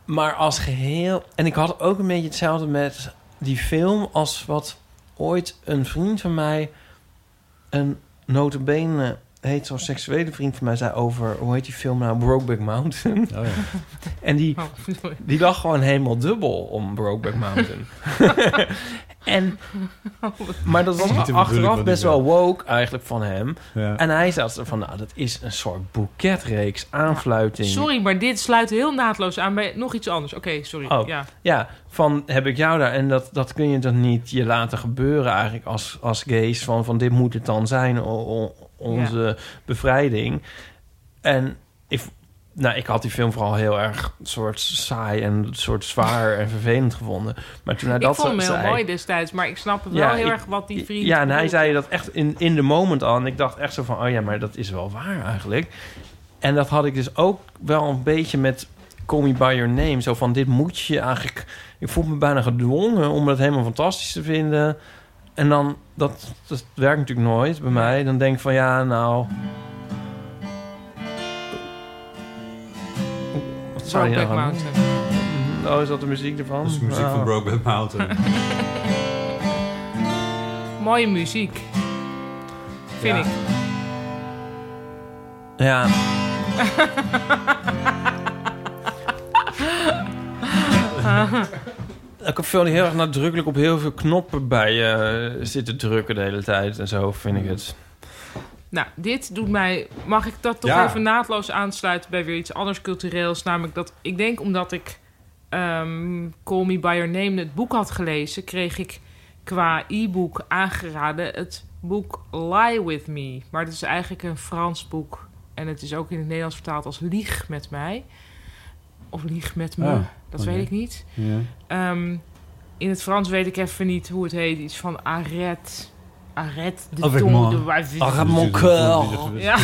Speaker 3: Maar als geheel... En ik had ook een beetje hetzelfde met die film... als wat ooit een vriend van mij... een notabene heteroseksuele vriend van mij zei over... hoe heet die film nou? Brokeback Mountain.
Speaker 4: Oh,
Speaker 3: en die, die lag gewoon helemaal dubbel om Brokeback Mountain. en, maar dat
Speaker 4: Niet de
Speaker 3: was
Speaker 4: bedoeling
Speaker 3: achteraf
Speaker 4: van
Speaker 3: best
Speaker 4: die
Speaker 3: wel woke eigenlijk van hem.
Speaker 4: Ja.
Speaker 3: En hij zat er van... nou, dat is een soort boeketreeks, aanfluiting...
Speaker 2: Sorry, maar dit sluit heel naadloos aan bij nog iets anders. Oké, sorry.
Speaker 3: Oh,
Speaker 2: Ja.
Speaker 3: ja. van heb ik jou daar. En dat, dat kun je dan niet je laten gebeuren eigenlijk als, als gays. Van, van dit moet het dan zijn, o- o- onze bevrijding. En ik, nou, ik had die film vooral heel erg soort saai en soort zwaar en vervelend gevonden. Maar toen hij
Speaker 2: ik
Speaker 3: Nou, dat
Speaker 2: vond hem heel
Speaker 3: zei,
Speaker 2: mooi destijds, maar ik snap wel
Speaker 3: Ja,
Speaker 2: heel
Speaker 3: ik-
Speaker 2: erg wat die vriend...
Speaker 3: Ja, en hij
Speaker 2: bedoelt.
Speaker 3: zei dat echt in, in the moment al. En ik dacht echt zo van, oh ja, maar dat is wel waar eigenlijk. En dat had ik dus ook wel een beetje met Call Me By Your Name. Zo van, dit moet je eigenlijk... Ik voel me bijna gedwongen om dat helemaal fantastisch te vinden. En dan, dat, dat werkt natuurlijk nooit bij mij. Dan denk ik van, ja, nou... Wat zou je nou
Speaker 2: Brokeback
Speaker 3: gaan doen?
Speaker 2: Mountain.
Speaker 3: Oh, is dat de muziek ervan?
Speaker 4: Dat is de muziek
Speaker 3: Ah.
Speaker 4: van Brokeback Mountain.
Speaker 2: Mooie muziek. Vind
Speaker 3: Ja.
Speaker 2: ik.
Speaker 3: Ja. Ik heb veel die heel erg nadrukkelijk op heel veel knoppen bij je zit te drukken de hele tijd en zo vind
Speaker 2: Mm.
Speaker 3: ik het.
Speaker 2: Nou, dit doet mij. Mag ik dat toch
Speaker 3: Ja.
Speaker 2: even naadloos aansluiten bij weer iets anders cultureels? Namelijk dat ik denk omdat ik ehm Call Me By Your Name het boek had gelezen, kreeg ik qua e-book aangeraden het boek Lie With Me. Maar het is eigenlijk een Frans boek en het is ook in het Nederlands vertaald als Lieg met mij. Of Lieg met me,
Speaker 4: Oh,
Speaker 2: dat
Speaker 4: oké.
Speaker 2: weet ik niet.
Speaker 4: Ja.
Speaker 2: Ehm, in het Frans weet ik even niet hoe het heet. Iets van arrête. Arrête de
Speaker 4: Avec
Speaker 2: tong
Speaker 4: moi.
Speaker 2: de wa-
Speaker 4: Arrête mon cœur.
Speaker 2: Ja.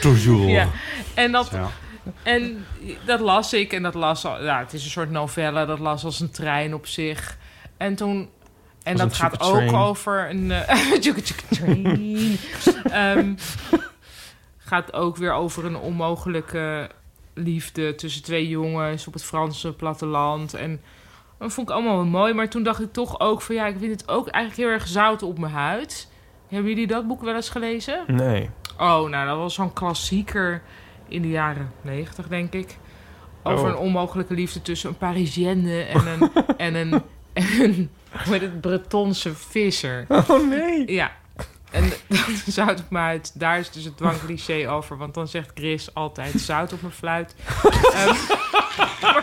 Speaker 4: Toujours.
Speaker 2: Ja. En dat...
Speaker 4: Ja.
Speaker 2: En dat las ik en dat las al. Ja, het is een soort novelle, dat las als een trein op zich. En toen. En
Speaker 4: Als
Speaker 2: dat
Speaker 4: een
Speaker 2: gaat
Speaker 4: tjoeke
Speaker 2: ook
Speaker 4: train.
Speaker 2: over een. eh, tjoeke tjoeke train. Ehm, gaat ook weer over een onmogelijke liefde tussen twee jongens op het Franse platteland. En dat vond ik allemaal wel mooi. Maar toen dacht ik toch ook van ja, ik vind het ook eigenlijk heel erg zout op mijn huid. Hebben jullie dat boek wel eens gelezen?
Speaker 3: Nee.
Speaker 2: Oh, nou, dat was zo'n klassieker in de jaren negentig, denk ik. Over
Speaker 3: Oh.
Speaker 2: een onmogelijke liefde tussen een Parisienne en een... en een, en een met het Bretonse visser.
Speaker 3: Oh, nee.
Speaker 2: Ja. En dat zout op mijn huid. Daar is dus het dwangcliché over. Want dan zegt Chris altijd zout op mijn fluit. Ehm,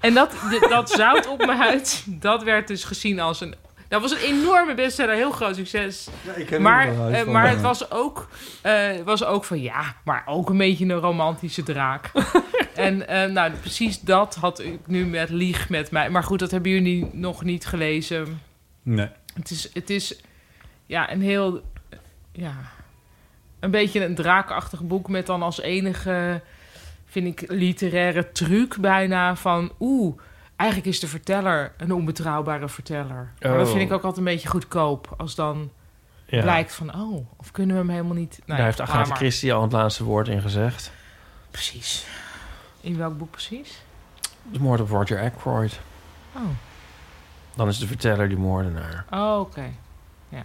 Speaker 2: en dat, dat zout op mijn huid, dat werd dus gezien als een... Dat was een enorme bestseller, heel groot succes.
Speaker 4: ik ken
Speaker 2: maar
Speaker 4: hem wel, hij is
Speaker 2: eh,
Speaker 4: wel
Speaker 2: maar
Speaker 4: leuk.
Speaker 2: het was ook, eh, was ook van ja, maar ook een beetje een romantische draak. en eh, nou, precies dat had ik nu met Lieg met mij. Maar goed, dat hebben jullie nog niet gelezen.
Speaker 4: Nee.
Speaker 2: Het is, het is ja, een heel. Ja, een beetje een draakachtig boek met dan als enige, vind ik, literaire truc bijna van. Oeh, eigenlijk is de verteller een onbetrouwbare verteller. Maar dat
Speaker 3: Oh.
Speaker 2: vind ik ook altijd een beetje goedkoop als dan.
Speaker 3: Ja.
Speaker 2: Blijkt van, oh, of kunnen we hem helemaal niet... Nou
Speaker 3: Daar
Speaker 2: ja,
Speaker 3: heeft
Speaker 2: laat
Speaker 3: Agatha
Speaker 2: maar.
Speaker 3: Christie al het laatste woord in gezegd.
Speaker 2: Precies. In welk boek precies?
Speaker 3: De moord op Roger Ackroyd.
Speaker 2: Oh,
Speaker 3: Dan is de verteller die moordenaar.
Speaker 2: oh oké. Ja.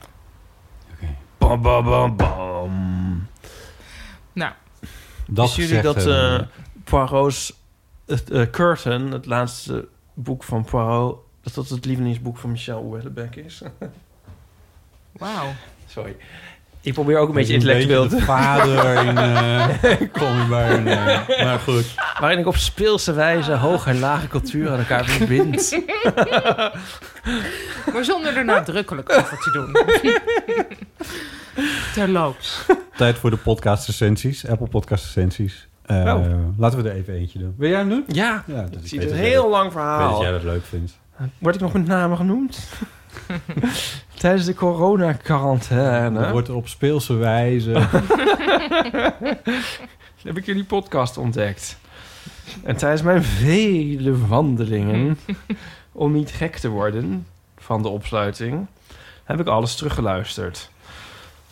Speaker 3: Bam, bam, bam, bam.
Speaker 2: Nou,
Speaker 3: Dat
Speaker 4: Dat
Speaker 3: Wisten jullie
Speaker 4: gezegd
Speaker 3: dat eh
Speaker 4: hebben.
Speaker 3: Poirot's het, eh, Curtain, het laatste boek van Poirot... dat dat het lievelingsboek van Michel Houellebecq is?
Speaker 2: Wauw.
Speaker 3: Sorry. Ik probeer ook een
Speaker 4: Hij is
Speaker 3: beetje
Speaker 4: een
Speaker 3: intellectueel
Speaker 4: beetje
Speaker 3: te...
Speaker 4: de vader in, eh, Call Me By Your Name. Maar goed.
Speaker 3: Waarin ik op speelse wijze hoge en lage cultuur aan elkaar verbind.
Speaker 2: maar zonder er nadrukkelijk over te doen. Terloops.
Speaker 4: Tijd voor de podcast recensies. Apple podcast recensies. Eh,
Speaker 3: Oh.
Speaker 4: Laten we er even eentje doen. Wil jij hem doen?
Speaker 3: Ja,
Speaker 4: dat
Speaker 3: ik
Speaker 4: ik
Speaker 3: zie
Speaker 4: weet
Speaker 3: het een
Speaker 4: dat jij
Speaker 3: heel
Speaker 4: dat-
Speaker 3: lang
Speaker 4: ik
Speaker 3: verhaal.
Speaker 4: Weet dat jij dat leuk vindt.
Speaker 3: Word ik nog met namen genoemd? Tijdens de corona-quarantaine...
Speaker 4: Dat wordt op speelse wijze.
Speaker 3: heb ik jullie podcast ontdekt. En tijdens mijn vele wandelingen, om niet gek te worden van de opsluiting, heb ik alles teruggeluisterd.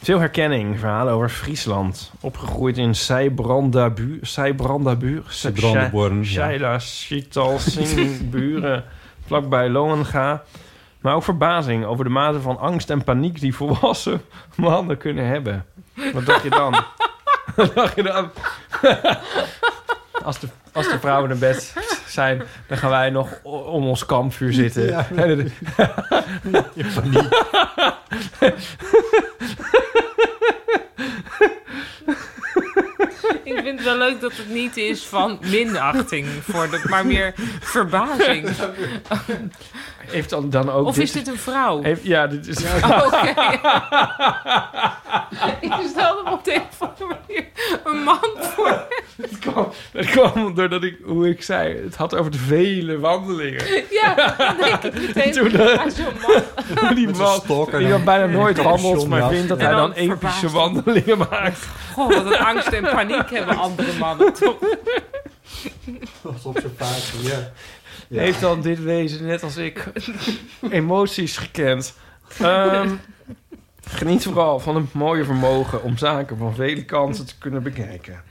Speaker 3: Veel herkenning, verhalen over Friesland. Opgegroeid in Seibrandabuur, Seibrandabuur, Se-
Speaker 4: Seibrandenborn, ja.
Speaker 3: Seila, Schietal, Singburen, vlakbij Lohenga. Maar ook verbazing over de mate van angst en paniek die volwassen mannen kunnen hebben. Wat dacht je dan? Wat dacht je dan? Als de, als de vrouwen naar bed zijn, dan gaan wij nog o- om ons kampvuur zitten.
Speaker 4: Ja.
Speaker 3: En dan-
Speaker 2: Ik vind het wel leuk dat het niet is van minachting voor de, maar meer verbazing.
Speaker 3: Heeft dan, dan ook
Speaker 2: Of is dit een vrouw?
Speaker 3: Heeft- ja, dit is...
Speaker 2: Oh, Oké. Ik stelde me op de een of andere manier een man voor.
Speaker 3: Dat kwam doordat ik, hoe ik zei, het had over de vele wandelingen.
Speaker 2: Ja, dan denk ik
Speaker 3: Doe
Speaker 2: meteen
Speaker 3: dat.
Speaker 2: aan zo'n man.
Speaker 3: die
Speaker 4: zo'n
Speaker 3: man,
Speaker 4: stalker
Speaker 3: die
Speaker 4: dan.
Speaker 3: dan bijna nooit
Speaker 4: Ja,
Speaker 3: wandelt,
Speaker 4: zo'n
Speaker 3: maar
Speaker 4: jas.
Speaker 3: vindt dat
Speaker 4: En
Speaker 3: hij
Speaker 4: dan
Speaker 3: dan epische wandelingen maakt.
Speaker 2: Goh, wat een angst en paniek hebben andere mannen toch.
Speaker 4: Als op zijn paardje, ja. Ja.
Speaker 3: Heeft dan dit wezen, net als ik, emoties gekend. Ehm, geniet vooral van het mooie vermogen om zaken van vele kanten te kunnen bekijken.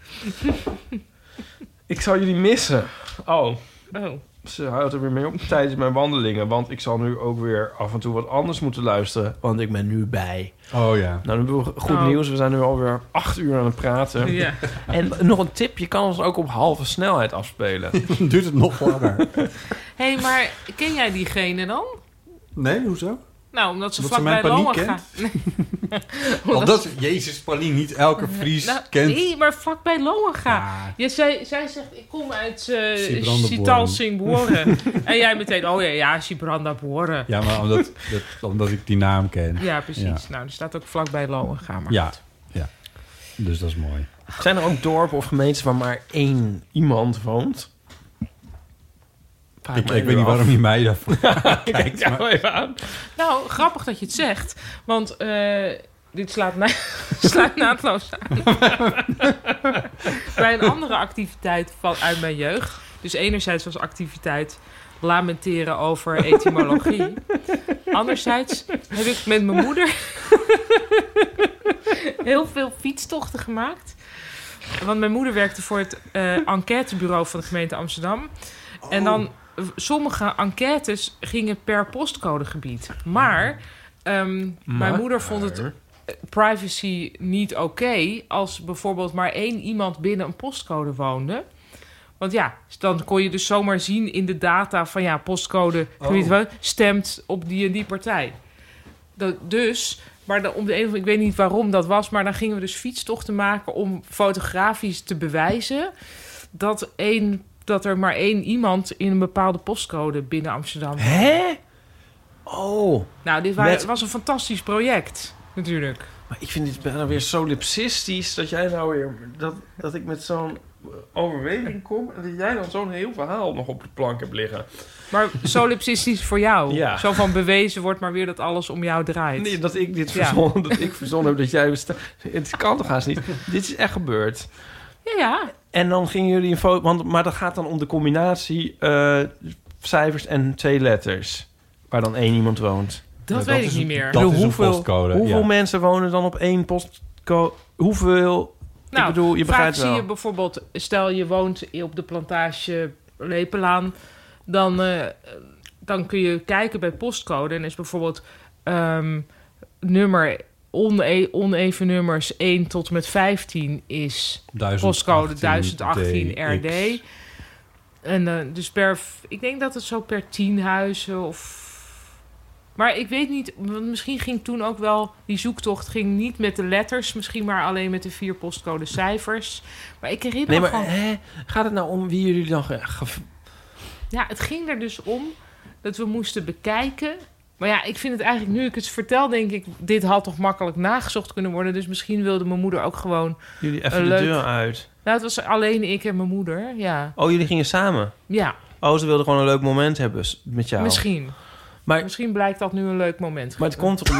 Speaker 3: Ik zal jullie missen. Oh.
Speaker 2: Oh.
Speaker 3: Ze houdt er weer mee op tijdens mijn wandelingen. Want ik zal nu ook weer af en toe wat anders moeten luisteren. Want ik ben nu bij.
Speaker 4: Oh ja.
Speaker 3: Nou, dan hebben we goed
Speaker 4: Oh.
Speaker 3: nieuws. We zijn nu alweer acht uur aan het praten.
Speaker 4: Ja.
Speaker 3: En nog een tip. Je kan ons ook op halve snelheid afspelen.
Speaker 4: Duurt het nog langer?
Speaker 2: Hé, hey, maar ken jij diegene dan?
Speaker 4: Nee, hoezo?
Speaker 2: Nou, omdat ze
Speaker 4: Omdat ze
Speaker 2: vlakbij
Speaker 4: mijn
Speaker 2: Lohen
Speaker 4: paniek
Speaker 2: gaan.
Speaker 4: Want dat is, Jezus, Paulien, niet elke Fries
Speaker 2: Nou,
Speaker 4: kent.
Speaker 2: Nee, maar vlakbij Lohen gaan. Ja, zij, zij zegt, ik kom uit eh
Speaker 4: Sibrandenborn.
Speaker 2: Sital en jij meteen, oh ja, ja, Sibrandaboren.
Speaker 4: Ja, maar omdat, dat- omdat ik die naam ken.
Speaker 2: Ja, precies. Nou, er staat ook vlakbij Lohen gaan. Maar
Speaker 4: Ja. ja. Dus dat is mooi.
Speaker 3: Zijn er ook dorpen of gemeenten waar maar één iemand woont?
Speaker 4: Ik, ik weet niet waarom je mij daarvoor
Speaker 3: Kijk
Speaker 4: kijkt.
Speaker 3: jou
Speaker 4: maar-
Speaker 3: even aan.
Speaker 2: Nou, grappig dat je het zegt, want eh, dit slaat, na slaat naadloos aan. Bij een andere activiteit van, uit mijn jeugd. Dus enerzijds was activiteit lamenteren over etymologie. Anderzijds heb ik met mijn moeder heel veel fietstochten gemaakt. Want mijn moeder werkte voor het eh, enquêtebureau van de gemeente Amsterdam. En dan eh, sommige enquêtes gingen per postcodegebied. Maar, ehm, mijn
Speaker 3: Maar?
Speaker 2: moeder vond het eh, privacy niet oké als bijvoorbeeld maar één iemand binnen een postcode woonde. Want ja, dan kon je dus zomaar zien in de data van ja, postcode gebied
Speaker 3: Oh.
Speaker 2: wel, stemt op die en die partij. Dat, dus, maar dan, om de een of ik weet niet waarom dat was, maar dan gingen we dus fietstochten maken om fotografisch te bewijzen dat, één, dat er maar één iemand in een bepaalde postcode binnen Amsterdam.
Speaker 3: Hè? Oh.
Speaker 2: Nou, dit waren,
Speaker 3: Met-
Speaker 2: was een fantastisch project, natuurlijk.
Speaker 3: Maar ik vind dit bijna weer solipsistisch dat jij nou weer... Dat, dat ik met zo'n overweging kom en dat jij dan zo'n heel verhaal nog op de plank hebt liggen.
Speaker 2: Maar solipsistisch voor jou.
Speaker 3: Ja.
Speaker 2: Zo van bewezen wordt maar weer dat alles om jou draait.
Speaker 3: Nee, dat ik dit
Speaker 2: Ja.
Speaker 3: verzonnen, dat ik verzonnen heb dat jij... besta- Het kan toch haast niet? Dit is echt gebeurd.
Speaker 2: Ja, ja.
Speaker 3: En dan gingen jullie een foto... Want, maar dat gaat dan om de combinatie eh, cijfers en twee letters. Waar dan één iemand woont.
Speaker 2: Dat Ja, dat weet ik is niet een- meer. dat
Speaker 3: Ik bedoel,
Speaker 2: is een
Speaker 3: hoeveel,
Speaker 2: postcode,
Speaker 3: Hoeveel
Speaker 2: ja.
Speaker 3: mensen wonen dan op één postcode? Hoeveel...
Speaker 2: Nou,
Speaker 3: ik bedoel, je
Speaker 2: vaak
Speaker 3: begrijpt
Speaker 2: zie
Speaker 3: wel.
Speaker 2: je bijvoorbeeld, stel je woont op de plantage Lepelaan, dan, eh, dan kun je kijken bij postcode en is bijvoorbeeld ehm, nummer one, oneven nummers 1 tot en met 15 is
Speaker 4: 1018
Speaker 2: postcode 1018 RD.
Speaker 4: DX.
Speaker 2: En eh, dus per, ik denk dat het zo per 10 huizen of maar ik weet niet, want misschien ging toen ook wel... die zoektocht ging niet met de letters... misschien maar alleen met de vier postcode cijfers. Maar ik herinner
Speaker 3: Nee,
Speaker 2: me
Speaker 3: maar
Speaker 2: gewoon...
Speaker 3: hè, gaat het nou om wie jullie dan... ge- ge-
Speaker 2: Ja, het ging er dus om dat we moesten bekijken... Maar ja, ik vind het eigenlijk, nu ik het vertel, denk ik... dit had toch makkelijk nagezocht kunnen worden. Dus misschien wilde mijn moeder ook gewoon...
Speaker 3: Jullie
Speaker 2: een
Speaker 3: even de
Speaker 2: leuk-
Speaker 3: deur uit.
Speaker 2: Nou, het was alleen ik en mijn moeder, ja.
Speaker 3: Oh, jullie gingen samen?
Speaker 2: Ja.
Speaker 3: Oh, ze wilden gewoon een leuk moment hebben s- met jou.
Speaker 2: Misschien.
Speaker 3: Maar-
Speaker 2: Misschien blijkt dat nu een leuk moment.
Speaker 3: Maar het komt toch...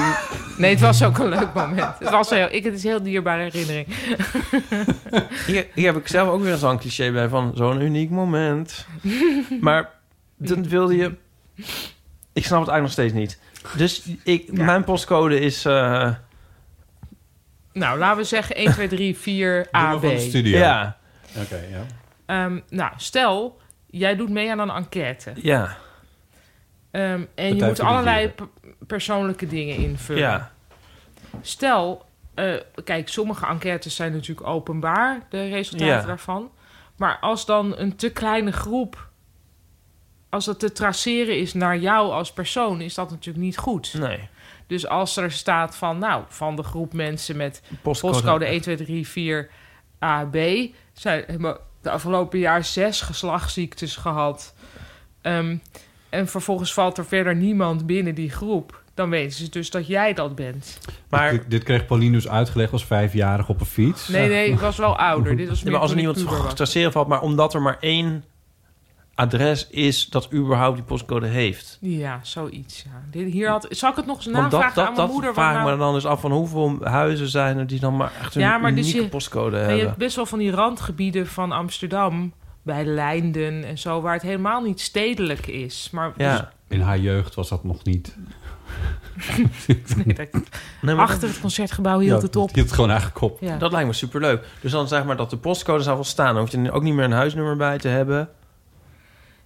Speaker 2: Nee, het was ook een leuk moment. Het, was heel, ik, het is een heel dierbare herinnering.
Speaker 3: Hier, hier heb ik zelf ook weer zo'n cliché bij van zo'n uniek moment. Maar dan wilde je... Ik snap het eigenlijk nog steeds niet. Dus ik, mijn postcode is... eh,
Speaker 2: Nou, laten we zeggen 1, 2, 3, 4, A, B.
Speaker 4: van de studio.
Speaker 3: Ja.
Speaker 4: Oké, ja.
Speaker 2: Ehm, nou, stel, jij doet mee aan een enquête.
Speaker 3: Ja.
Speaker 2: Ehm, en je
Speaker 3: voor
Speaker 2: moet
Speaker 3: de
Speaker 2: allerlei pe- persoonlijke dingen invullen.
Speaker 3: Ja.
Speaker 2: Stel, eh, kijk, sommige enquêtes zijn natuurlijk openbaar, de resultaten
Speaker 3: Ja.
Speaker 2: daarvan. Maar als dan een te kleine groep, als dat te traceren is naar jou als persoon, is dat natuurlijk niet goed.
Speaker 3: Nee.
Speaker 2: Dus als er staat van, nou, van de groep mensen met
Speaker 3: Postcode.
Speaker 2: postcode, E 1, 2, 3, 4 AB, zijn hebben de afgelopen jaar zes geslachtsziektes gehad. Ehm, en vervolgens valt er verder niemand binnen die groep. Dan weten ze dus dat jij dat bent.
Speaker 3: Maar...
Speaker 4: Dit, dit kreeg Pauline dus uitgelegd als vijfjarig op een fiets.
Speaker 2: Nee, nee, ik was wel ouder. Dit was
Speaker 3: Ja,
Speaker 2: meer
Speaker 3: maar als er
Speaker 2: toen ik
Speaker 3: niemand
Speaker 2: puber was.
Speaker 3: te traceren valt, maar omdat er maar één adres is dat überhaupt die postcode heeft.
Speaker 2: Ja, zoiets. Ja. Dit, hier had, zal ik het nog eens
Speaker 3: Want
Speaker 2: navragen Nou, aan
Speaker 3: dat, dat,
Speaker 2: mijn
Speaker 3: dat
Speaker 2: moeder? wat
Speaker 3: vraag ik
Speaker 2: nou-
Speaker 3: me dan eens af van hoeveel huizen zijn er die dan maar echt een
Speaker 2: dus
Speaker 3: unieke postcode
Speaker 2: maar Je
Speaker 3: hebben.
Speaker 2: hebt best wel van die randgebieden van Amsterdam, bij Leinden en zo, waar het helemaal niet stedelijk is. Maar dus-
Speaker 4: In haar jeugd was dat nog niet.
Speaker 2: nee, dat-
Speaker 3: Nee, maar
Speaker 2: achter
Speaker 3: dat-
Speaker 2: het concertgebouw Nou, hield het op. Ja.
Speaker 3: Dat lijkt me superleuk. Dus dan zeg maar dat de postcode zou wel staan. Dan hoef je er ook niet meer een huisnummer bij te hebben.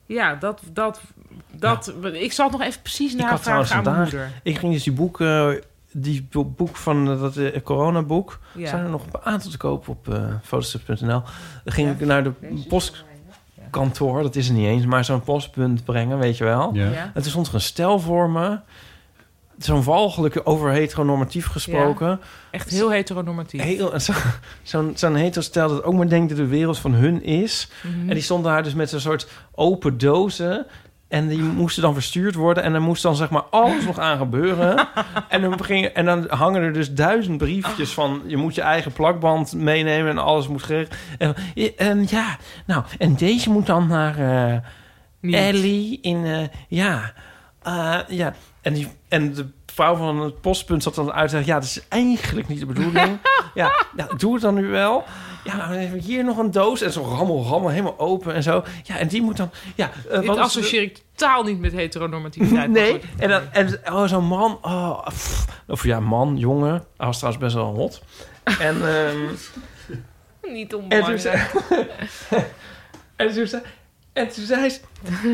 Speaker 2: Ja, dat, dat, dat, ik zal het nog even precies
Speaker 3: Ik had trouwens
Speaker 2: navragen aan mijn
Speaker 3: vandaag-
Speaker 2: moeder.
Speaker 3: Ik ging dus die boek, eh, die bo- boek van eh, dat eh, coronaboek.
Speaker 2: Ja.
Speaker 3: Zijn er nog een aantal te koop op eh fotostrips.nl. Dan ging ik naar de postkantoor, dat is er niet eens, maar zo'n postpunt brengen, weet je wel.
Speaker 4: Ja. Ja.
Speaker 3: En toen stond er een stel voor me. Zo'n walgelijke over heteronormatief gesproken.
Speaker 2: Ja. Echt heel heteronormatief.
Speaker 3: Heel, en zo- zo'n zo'n hetero stel dat ook maar denkt dat de wereld van hun is.
Speaker 2: Mhm.
Speaker 3: En die stonden daar dus met zo'n soort open dozen. En die moesten dan verstuurd worden. En dan moest dan zeg maar alles nog aan gebeuren. En dan, begin, en dan hangen er dus duizend briefjes van... je moet je eigen plakband meenemen en alles moet geregeld. En, en ja, nou, en deze moet dan naar
Speaker 2: Niet.
Speaker 3: eh Ellie in... eh, ja, eh, ja. En, die, en de vrouw van het postpunt zat dan uit te zeggen... ja, dat is eigenlijk niet de bedoeling. ja, nou, doe het dan nu wel. Ja, dan hebben we hier nog een doos. En zo rammel, rammel, helemaal open en zo. Ja, en die moet dan... Ja, eh,
Speaker 2: Dit
Speaker 3: wat is-
Speaker 2: associeer ik totaal niet met heteronormativiteit.
Speaker 3: Nee, en, dan, en oh, zo'n man. Oh, pff. of ja, man, jongen. Hij was trouwens best wel hot. En, ehm
Speaker 2: Niet
Speaker 3: en toen
Speaker 2: onbelangrijk.
Speaker 3: zei... en toen zei... En toen zei ze...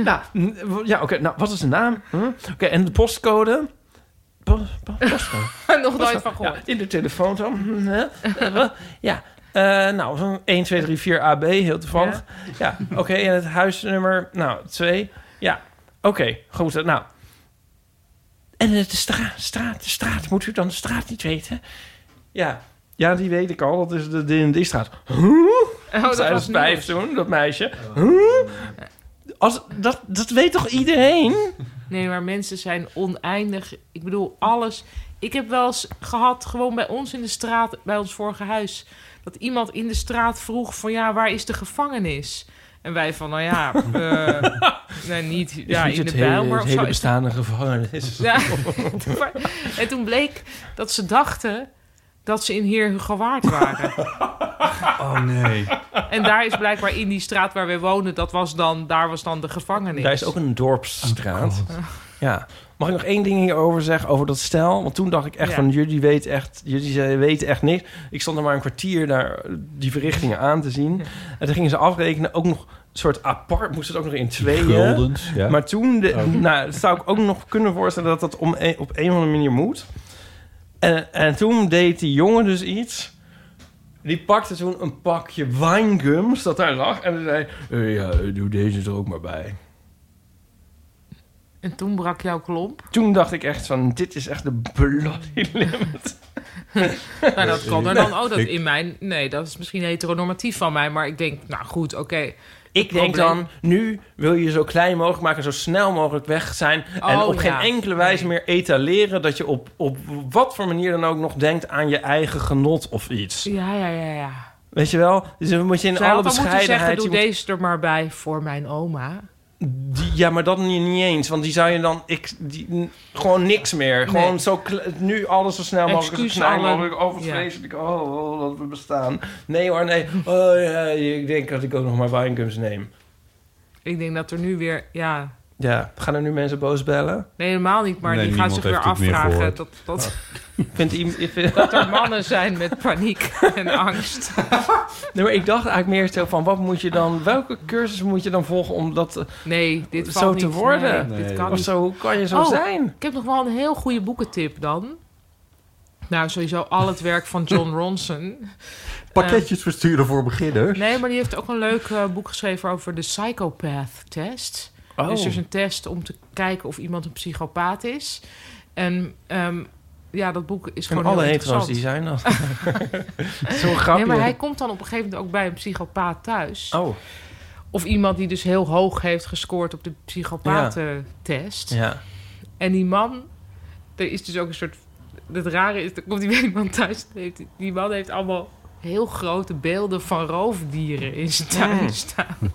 Speaker 3: Nou, n- ja, oké. nou, wat is de naam? Hm? Oké, en de postcode? Po- po- postcode.
Speaker 2: Nog nooit van
Speaker 3: Ja, in de telefoon zo. Hm, hè? Eh, ja. Eh, nou, zo'n 1, 2, 3, 4 AB, heel toevallig. Ja, oké. en het huisnummer, nou, 2. Ja, oké. goed, eh, nou. En eh, de straat, straat, de straat. Moet u dan de straat niet weten? Ja, ja die weet ik al. Dat is de, de in die straat. Huh?
Speaker 2: Oh, dat
Speaker 3: Zij
Speaker 2: was Oh.
Speaker 3: was vijf toen, dat meisje. Huh? Als, dat, dat weet toch iedereen?
Speaker 2: Nee, maar mensen zijn oneindig. Ik bedoel, alles. Ik heb wel eens gehad, gewoon bij ons in de straat, bij ons vorige huis, dat iemand in de straat vroeg van ja, waar is de gevangenis? En wij van, nou ja, eh, nee, niet ja,
Speaker 3: Is
Speaker 2: in
Speaker 3: niet
Speaker 2: de
Speaker 3: het hele,
Speaker 2: bijl, maar
Speaker 3: het
Speaker 2: of
Speaker 3: hele
Speaker 2: zo.
Speaker 3: bestaande gevangenis.
Speaker 2: Ja, maar- en toen bleek dat ze dachten dat ze in Heer Hugo Waard waren.
Speaker 3: Oh nee.
Speaker 2: en daar is blijkbaar in die straat waar wij wonen, dat was dan, daar was dan de gevangenis.
Speaker 3: Daar is ook een dorpsstraat.
Speaker 4: Oh,
Speaker 3: ja. Mag ik nog één ding hierover zeggen, over dat stel? Want toen dacht ik echt
Speaker 2: Ja.
Speaker 3: van, jullie weten echt, jullie ze- weten echt niks. Ik stond er maar een kwartier daar eh, die verrichtingen aan te zien. En toen gingen ze afrekenen, ook nog een soort apart, moest het ook nog in tweeën.
Speaker 4: Guldens, ja.
Speaker 3: Maar toen, de,
Speaker 4: Oh.
Speaker 3: nou, dat zou ik ook nog kunnen voorstellen dat dat om een- op een of andere manier moet. En, en toen deed die jongen dus iets. Die pakte toen een pakje winegums dat daar lag. En hij zei, eh, ja, doe deze er ook maar bij.
Speaker 2: En toen brak jouw klomp.
Speaker 3: Toen dacht ik echt van, dit is echt de bloody limit.
Speaker 2: Nou, dat kan er dan. Oh, dat
Speaker 3: Ik-
Speaker 2: in mijn. Nee, dat is misschien heteronormatief van mij, maar ik denk, nou goed, oké.
Speaker 3: Ik denk dan, nu wil je zo klein mogelijk maken, zo snel mogelijk weg zijn. en
Speaker 2: Oh,
Speaker 3: op
Speaker 2: ja.
Speaker 3: geen enkele wijze meer etaleren dat je op, op wat voor manier dan ook nog denkt aan je eigen genot of iets.
Speaker 2: Ja, ja, ja, ja.
Speaker 3: Weet je wel? Dus dan moet je in
Speaker 2: Zij
Speaker 3: alle
Speaker 2: had al moeten zeggen,
Speaker 3: bescheidenheid...
Speaker 2: doe
Speaker 3: je moet-
Speaker 2: deze er maar bij voor mijn oma.
Speaker 3: die- ja, maar dat niet, niet eens. Want die zou je dan... Ik, die, n- gewoon niks meer.
Speaker 2: Nee.
Speaker 3: Gewoon zo kle- nu alles zo snel mogelijk, zo
Speaker 2: Excuus
Speaker 3: klein
Speaker 2: alle-
Speaker 3: mogelijk. Over het
Speaker 2: Ja.
Speaker 3: vreselijk, oh, oh, dat we bestaan. Nee hoor, nee. Oh ja, ik denk dat ik ook nog maar winegums neem.
Speaker 2: Ik denk dat er nu weer. Ja.
Speaker 3: Ja, gaan er nu mensen boos bellen?
Speaker 2: Nee, helemaal niet, maar
Speaker 3: Nee,
Speaker 2: die gaan zich weer
Speaker 3: niemand heeft dit meer
Speaker 2: afvragen
Speaker 3: gehoord.
Speaker 2: dat, dat,
Speaker 3: Vindt iemand... ik vind-
Speaker 2: dat er mannen zijn met paniek en angst.
Speaker 3: Nee, maar ik dacht eigenlijk meer zo van, wat moet je dan, welke cursus moet je dan volgen om dat eh,
Speaker 2: Nee, dit
Speaker 3: zo
Speaker 2: valt
Speaker 3: te
Speaker 2: niet.
Speaker 3: worden?
Speaker 2: Nee, dit kan
Speaker 3: of
Speaker 2: niet.
Speaker 3: zo, hoe kan je zo
Speaker 2: Oh,
Speaker 3: zijn?
Speaker 2: Ik heb nog wel een heel goede boekentip dan. Nou, sowieso al het werk van John Ronson.
Speaker 17: Pakketjes versturen voor
Speaker 2: Eh,
Speaker 17: beginners.
Speaker 2: nee, maar die heeft ook een leuk eh, boek geschreven over de psychopath-test.
Speaker 17: Oh.
Speaker 2: Dus er is een test om te kijken of iemand een psychopaat is. En ehm, ja, dat boek is
Speaker 3: En
Speaker 2: gewoon
Speaker 3: alle
Speaker 2: heel
Speaker 3: hetero's
Speaker 2: interessant.
Speaker 3: die zijn dat. Zo'n grapje.
Speaker 2: Nee, maar hij komt dan op een gegeven moment ook bij een psychopaat thuis.
Speaker 3: Oh.
Speaker 2: Of iemand die dus heel hoog heeft gescoord op de psychopatentest.
Speaker 3: Ja.
Speaker 2: En die man, er is dus ook een soort... Het rare is, dan komt die iemand thuis... en heeft- Die man heeft allemaal heel grote beelden van roofdieren in zijn tuin
Speaker 17: Mm.
Speaker 2: staan.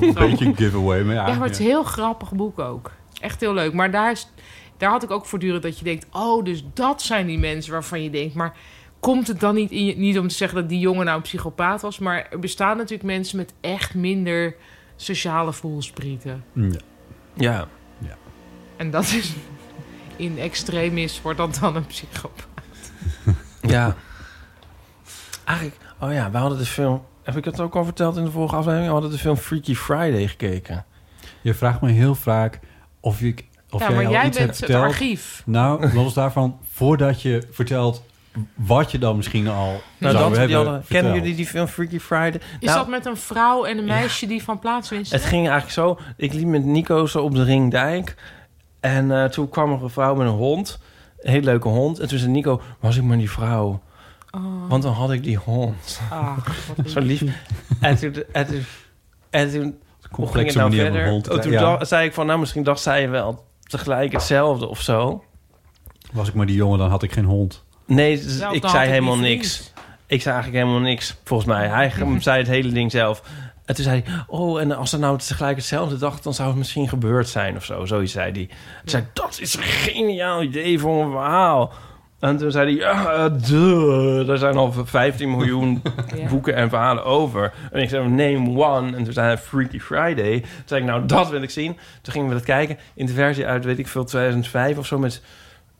Speaker 17: Een beetje een giveaway, maar ja.
Speaker 2: Ja, maar het is een heel grappig boek ook. Echt heel leuk. Maar daar, is, daar had ik ook voortdurend dat je denkt... oh, dus dat zijn die mensen waarvan je denkt... maar komt het dan niet in je... niet om te zeggen dat die jongen nou een psychopaat was... maar er bestaan natuurlijk mensen met echt minder sociale voelsprieten.
Speaker 3: Ja. ja.
Speaker 2: En dat is... in extremis wordt dat dan een psychopaat.
Speaker 3: Ja. Eigenlijk, oh ja, we hadden de film... Heb ik het ook al verteld in de vorige aflevering? We hadden de film Freaky Friday gekeken.
Speaker 4: Je vraagt me heel vaak of ik of
Speaker 2: Ja,
Speaker 4: jij
Speaker 2: maar
Speaker 4: al
Speaker 2: jij
Speaker 4: iets
Speaker 2: bent
Speaker 4: hebt
Speaker 2: het
Speaker 4: verteld.
Speaker 2: archief.
Speaker 4: Nou, los daarvan, voordat je vertelt wat je dan misschien al zou
Speaker 3: Nou, dat we die
Speaker 4: hebben
Speaker 3: hadden, kennen
Speaker 4: verteld.
Speaker 3: jullie die film Freaky Friday?
Speaker 2: Is
Speaker 3: Nou,
Speaker 2: dat met een vrouw en een meisje die van plaats wisten?
Speaker 3: Het ging eigenlijk zo. Ik liep met Nico zo op de Ringdijk. En eh, toen kwam er een vrouw met een hond. Een hele leuke hond. En toen zei Nico, was ik maar die vrouw. Want dan had ik die hond.
Speaker 2: Oh. Ah, wat
Speaker 3: zo lief. En toen... En toen, en toen hoe ging
Speaker 4: complexe
Speaker 3: het nou
Speaker 4: manier om
Speaker 3: verder?
Speaker 4: een hond te
Speaker 3: Oh, toen
Speaker 4: krijgen. Ja.
Speaker 3: dacht- zei ik van, nou misschien dacht zij wel tegelijk hetzelfde of zo.
Speaker 4: Was ik maar die jongen, dan had ik geen hond.
Speaker 3: Nee, dus
Speaker 4: Zelf,
Speaker 3: ik
Speaker 4: dan had
Speaker 3: zei
Speaker 4: ik
Speaker 3: helemaal
Speaker 4: niet
Speaker 3: niks. Ik zei eigenlijk helemaal niks, volgens mij. Hij ge- zei het hele ding zelf. En toen zei hij, oh, en als ze nou tegelijk hetzelfde dacht... dan zou het misschien gebeurd zijn of zo. Zoiets zei hij. Toen zei ik, dat is een geniaal idee voor een verhaal. En toen zei hij, ja, eh, duh, er zijn al 15 miljoen boeken en verhalen over. En ik zei, name one. En toen zei hij, Freaky Friday. Toen zei ik, nou, dat wil ik zien. Toen gingen we dat kijken. In de versie uit, weet ik veel, 2005 of zo... met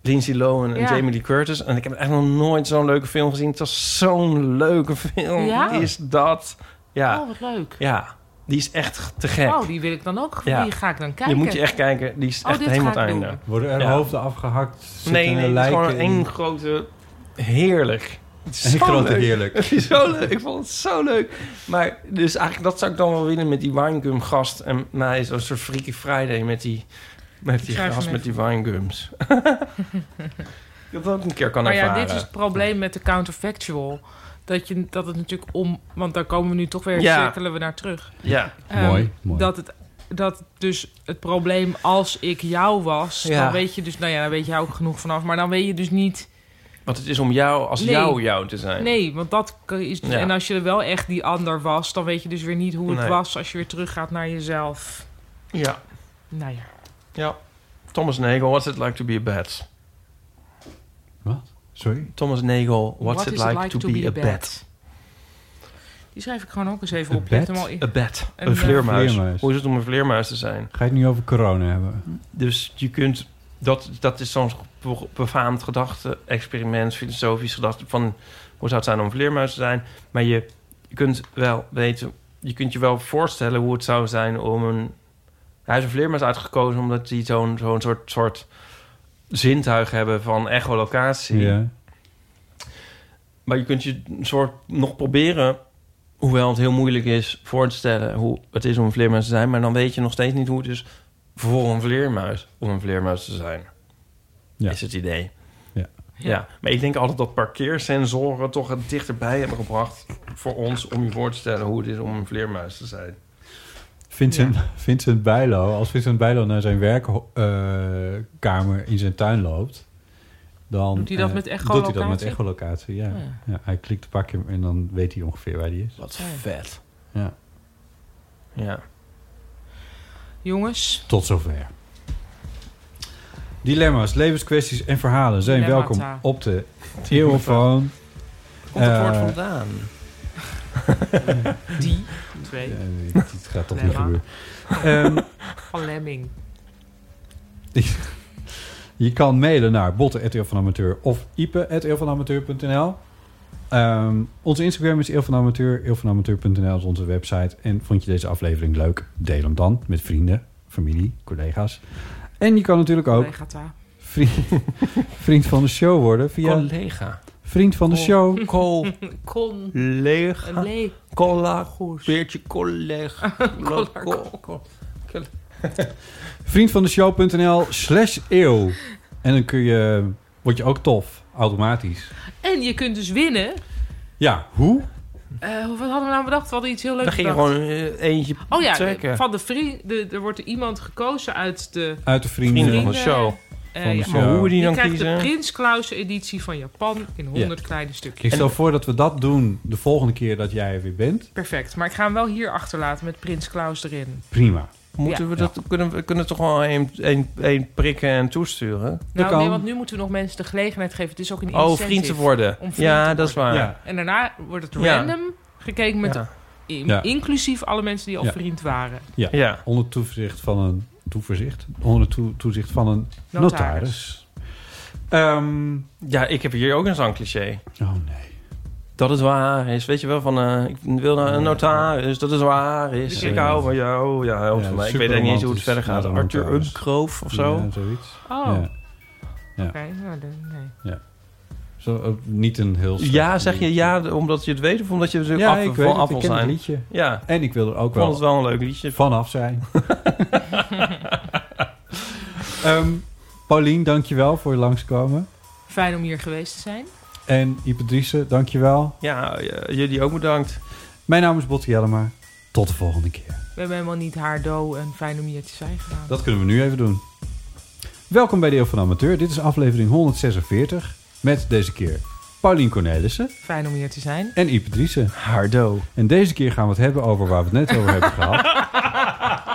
Speaker 3: Lindsay Lohan en
Speaker 2: Ja.
Speaker 3: Jamie Lee Curtis. En ik heb echt nog nooit zo'n leuke film gezien. Het was zo'n leuke film.
Speaker 2: Ja?
Speaker 3: Is dat... Ja.
Speaker 2: Oh, wat leuk.
Speaker 3: Ja, die is echt te gek.
Speaker 2: Oh, die wil ik dan ook.
Speaker 3: Ja.
Speaker 2: Die ga ik dan
Speaker 3: Je
Speaker 2: kijken.
Speaker 3: moet je echt kijken. Die is
Speaker 2: Oh,
Speaker 3: echt
Speaker 2: dit
Speaker 3: helemaal
Speaker 2: ga
Speaker 3: het
Speaker 2: ik
Speaker 3: einde.
Speaker 2: doen.
Speaker 4: Worden er
Speaker 3: Ja.
Speaker 4: hoofden afgehakt? zitten
Speaker 3: Nee, nee, het is
Speaker 4: lijken
Speaker 3: gewoon
Speaker 4: in?
Speaker 3: één grote... Heerlijk. Het is
Speaker 4: Een
Speaker 3: zo
Speaker 4: grote
Speaker 3: leuk.
Speaker 4: heerlijk.
Speaker 3: Het is zo leuk. Ik vond het zo leuk. Maar dus eigenlijk dat zou ik dan wel willen met die winegum gast. En mij zo'n soort Freaky Friday met die, met die
Speaker 2: Ik schrijf
Speaker 3: gast
Speaker 2: hem
Speaker 3: met die winegums. dat dat ook een keer kan
Speaker 2: maar ja,
Speaker 3: ervaren.
Speaker 2: dit is het probleem met de counterfactual. Dat, je, dat het natuurlijk om... Want daar komen we nu toch weer,
Speaker 3: Ja.
Speaker 2: cirkelen we naar terug.
Speaker 3: Ja.
Speaker 2: Ehm,
Speaker 3: Mooi, mooi.
Speaker 2: Dat het... Dat dus het probleem als ik jou was,
Speaker 3: Ja.
Speaker 2: dan weet je dus, nou ja, dan weet je ook genoeg vanaf, maar dan weet je dus niet.
Speaker 3: Want het is om jou als
Speaker 2: Nee.
Speaker 3: jou jou te zijn.
Speaker 2: Nee, want dat kan- is.
Speaker 3: Ja.
Speaker 2: En als je er wel echt die ander was, dan weet je dus weer niet hoe het
Speaker 3: Nee.
Speaker 2: was als je weer teruggaat naar jezelf.
Speaker 3: Ja.
Speaker 2: Nou ja.
Speaker 3: Ja. Thomas Nagel, what's it like to be a bat?
Speaker 4: Wat? Sorry?
Speaker 3: Thomas Nagel, what's
Speaker 2: What
Speaker 3: it
Speaker 2: is it
Speaker 3: like,
Speaker 2: like
Speaker 3: to, be, a bat?
Speaker 2: Die schrijf ik gewoon ook eens even
Speaker 4: Een
Speaker 2: op. Je hebt
Speaker 4: bat?
Speaker 2: hem al in-
Speaker 3: Een bat.
Speaker 2: En,
Speaker 3: Een
Speaker 2: eh,
Speaker 3: vleermuis.
Speaker 4: vleermuis.
Speaker 3: Hoe is het om een vleermuis te zijn?
Speaker 4: Ga je het nu over corona hebben?
Speaker 3: Dus je kunt... Dat, dat is zo'n be- befaamd gedachte-experiment, filosofisch gedachte... van hoe zou het zijn om een vleermuis te zijn? Maar je, je kunt wel weten... Je kunt je wel voorstellen hoe het zou zijn om een... Hij is een vleermuis uitgekozen omdat die zo'n zo'n soort, soort zintuig hebben van echolocatie.
Speaker 4: Ja.
Speaker 3: Maar je kunt je een soort nog proberen, hoewel het heel moeilijk is voor te stellen hoe het is om een vleermuis te zijn, maar dan weet je nog steeds niet hoe het is voor een vleermuis om een vleermuis te zijn. Is het idee.
Speaker 4: Ja.
Speaker 3: Ja. maar ik denk altijd dat parkeersensoren toch het dichterbij hebben gebracht voor ons om je voor te stellen hoe het is om een vleermuis te zijn.
Speaker 4: Vincent, Vincent Bijlo, als Vincent Bijlo naar zijn werkkamer in zijn tuin loopt, dan
Speaker 2: Doet hij dat
Speaker 4: eh,
Speaker 2: met
Speaker 4: Doet hij dat met
Speaker 2: echolocatie?
Speaker 4: echolocatie? Ja.
Speaker 2: Oh
Speaker 4: ja. hij klikt een pakje en dan weet hij ongeveer waar hij is.
Speaker 3: Wat vet.
Speaker 4: Ja.
Speaker 3: Ja.
Speaker 2: Jongens,
Speaker 4: Tot zover. Dilemma's, levenskwesties en verhalen zijn
Speaker 2: Dilemmata.
Speaker 4: welkom op de telefoon.
Speaker 3: Komt het woord
Speaker 4: Eh,
Speaker 3: vandaan?
Speaker 2: die, twee.
Speaker 4: eh, dit gaat toch niet
Speaker 2: Dilemma.
Speaker 4: gebeuren. Ehm,
Speaker 2: Van Lemming.
Speaker 1: Je kan mailen naar botten.eel van Amateur of ipe.eelvanamateur.nl. Ehm onze Instagram is Eel van Amateur. Eelvanamateur.nl is onze website. En vond je deze aflevering leuk? Deel hem dan met vrienden, familie, collega's. En je kan natuurlijk ook
Speaker 2: Collega Ta.
Speaker 1: vriend, vriend van de show worden via...
Speaker 3: Collega.
Speaker 1: Vriend van de show.
Speaker 3: Col.
Speaker 2: Kon.
Speaker 3: Collega.
Speaker 2: Le-
Speaker 3: Cola. Beertje collega. Cola. Cola.
Speaker 1: Vriendvandeshow.nl slash eeuw. En dan kun je, word je ook tof, automatisch.
Speaker 2: En je kunt dus winnen.
Speaker 1: Ja, hoe?
Speaker 2: Eh, wat hadden we nou bedacht? We hadden iets heel leuks
Speaker 3: Daar ging je
Speaker 2: bedacht.
Speaker 3: gewoon eh, eentje
Speaker 2: Oh ja,
Speaker 3: trekken.
Speaker 2: van de vriend, de, er wordt iemand gekozen uit de
Speaker 1: Uit de vrienden.
Speaker 3: Vrienden van de show.
Speaker 2: Eh,
Speaker 3: Van de
Speaker 2: ja.
Speaker 3: show. Maar hoe we die dan
Speaker 2: krijgt
Speaker 3: kiezen?
Speaker 2: de Prins Klaus editie van Japan in 100 kleine
Speaker 1: Ik
Speaker 2: stukjes.
Speaker 1: stel voor dat we dat doen de volgende keer dat jij er weer bent.
Speaker 2: Perfect, maar ik ga hem wel hier achterlaten met Prins Klaus erin.
Speaker 1: Prima.
Speaker 3: Moeten
Speaker 2: Ja.
Speaker 3: we dat kunnen we kunnen we toch wel één, één, één prikken en toesturen?
Speaker 2: Nou, nee, want nu moeten we nog mensen de gelegenheid geven. Het is ook een
Speaker 3: Oh,
Speaker 2: incentive
Speaker 3: vriend te worden.
Speaker 2: om vriend
Speaker 3: Ja,
Speaker 2: te
Speaker 3: dat is
Speaker 2: worden.
Speaker 3: waar. Ja.
Speaker 2: En daarna wordt het
Speaker 3: Ja.
Speaker 2: random gekeken met
Speaker 3: Ja.
Speaker 2: in-
Speaker 1: Ja.
Speaker 2: inclusief alle mensen die al
Speaker 1: Ja.
Speaker 2: vriend waren.
Speaker 1: Ja, onder toezicht van een toeverzicht. Onder toe- toezicht van een notaris.
Speaker 2: Notaris.
Speaker 1: Ehm,
Speaker 3: ja, ik heb hier ook een zangcliché.
Speaker 1: Oh nee.
Speaker 3: Dat het waar is. Weet je wel van eh, ik wil naar een notaris, dat is waar is.
Speaker 1: Ja,
Speaker 3: ik
Speaker 1: ja.
Speaker 3: hou van jou. Ja, helpt
Speaker 1: Ja,
Speaker 3: van mij. Ik weet niet eens hoe het
Speaker 1: superromantisch
Speaker 3: verder gaat.
Speaker 1: naar de
Speaker 3: Arthur
Speaker 1: notaris.
Speaker 3: Umkroof of zo.
Speaker 1: Ja, zoiets.
Speaker 2: Oh.
Speaker 1: Ja. Ja.
Speaker 2: Oké, nou, dan- nee.
Speaker 1: Ja. Zo, eh, niet een heel slecht
Speaker 3: Ja, zeg je ja omdat je het weet of omdat je er
Speaker 1: Ja,
Speaker 3: af,
Speaker 1: ik
Speaker 3: van
Speaker 1: weet
Speaker 3: af
Speaker 1: het. Ik
Speaker 3: wil
Speaker 1: ken
Speaker 3: zijn?
Speaker 1: het liedje.
Speaker 3: Ja.
Speaker 1: En ik wil er ook
Speaker 3: Ik vond
Speaker 1: wel-
Speaker 3: het wel een leuk liedje.
Speaker 1: Vanaf zijn. Ehm Paulien, dankjewel voor je langskomen.
Speaker 2: Fijn om hier geweest te zijn.
Speaker 1: En Ipe Driessen, dankjewel.
Speaker 3: Ja, eh, jullie ook bedankt.
Speaker 1: Mijn naam is Botte Jellema. Tot de volgende keer.
Speaker 2: We hebben helemaal niet haar do en fijn om hier te zijn gedaan.
Speaker 1: Dat kunnen we nu even doen. Welkom bij de Eeuw van de Amateur. Dit is aflevering 146. Met deze keer Paulien Cornelissen.
Speaker 2: Fijn om hier te zijn.
Speaker 1: En Ipe Driessen. Hardo. En deze keer gaan we het hebben over waar we het net over hebben gehad.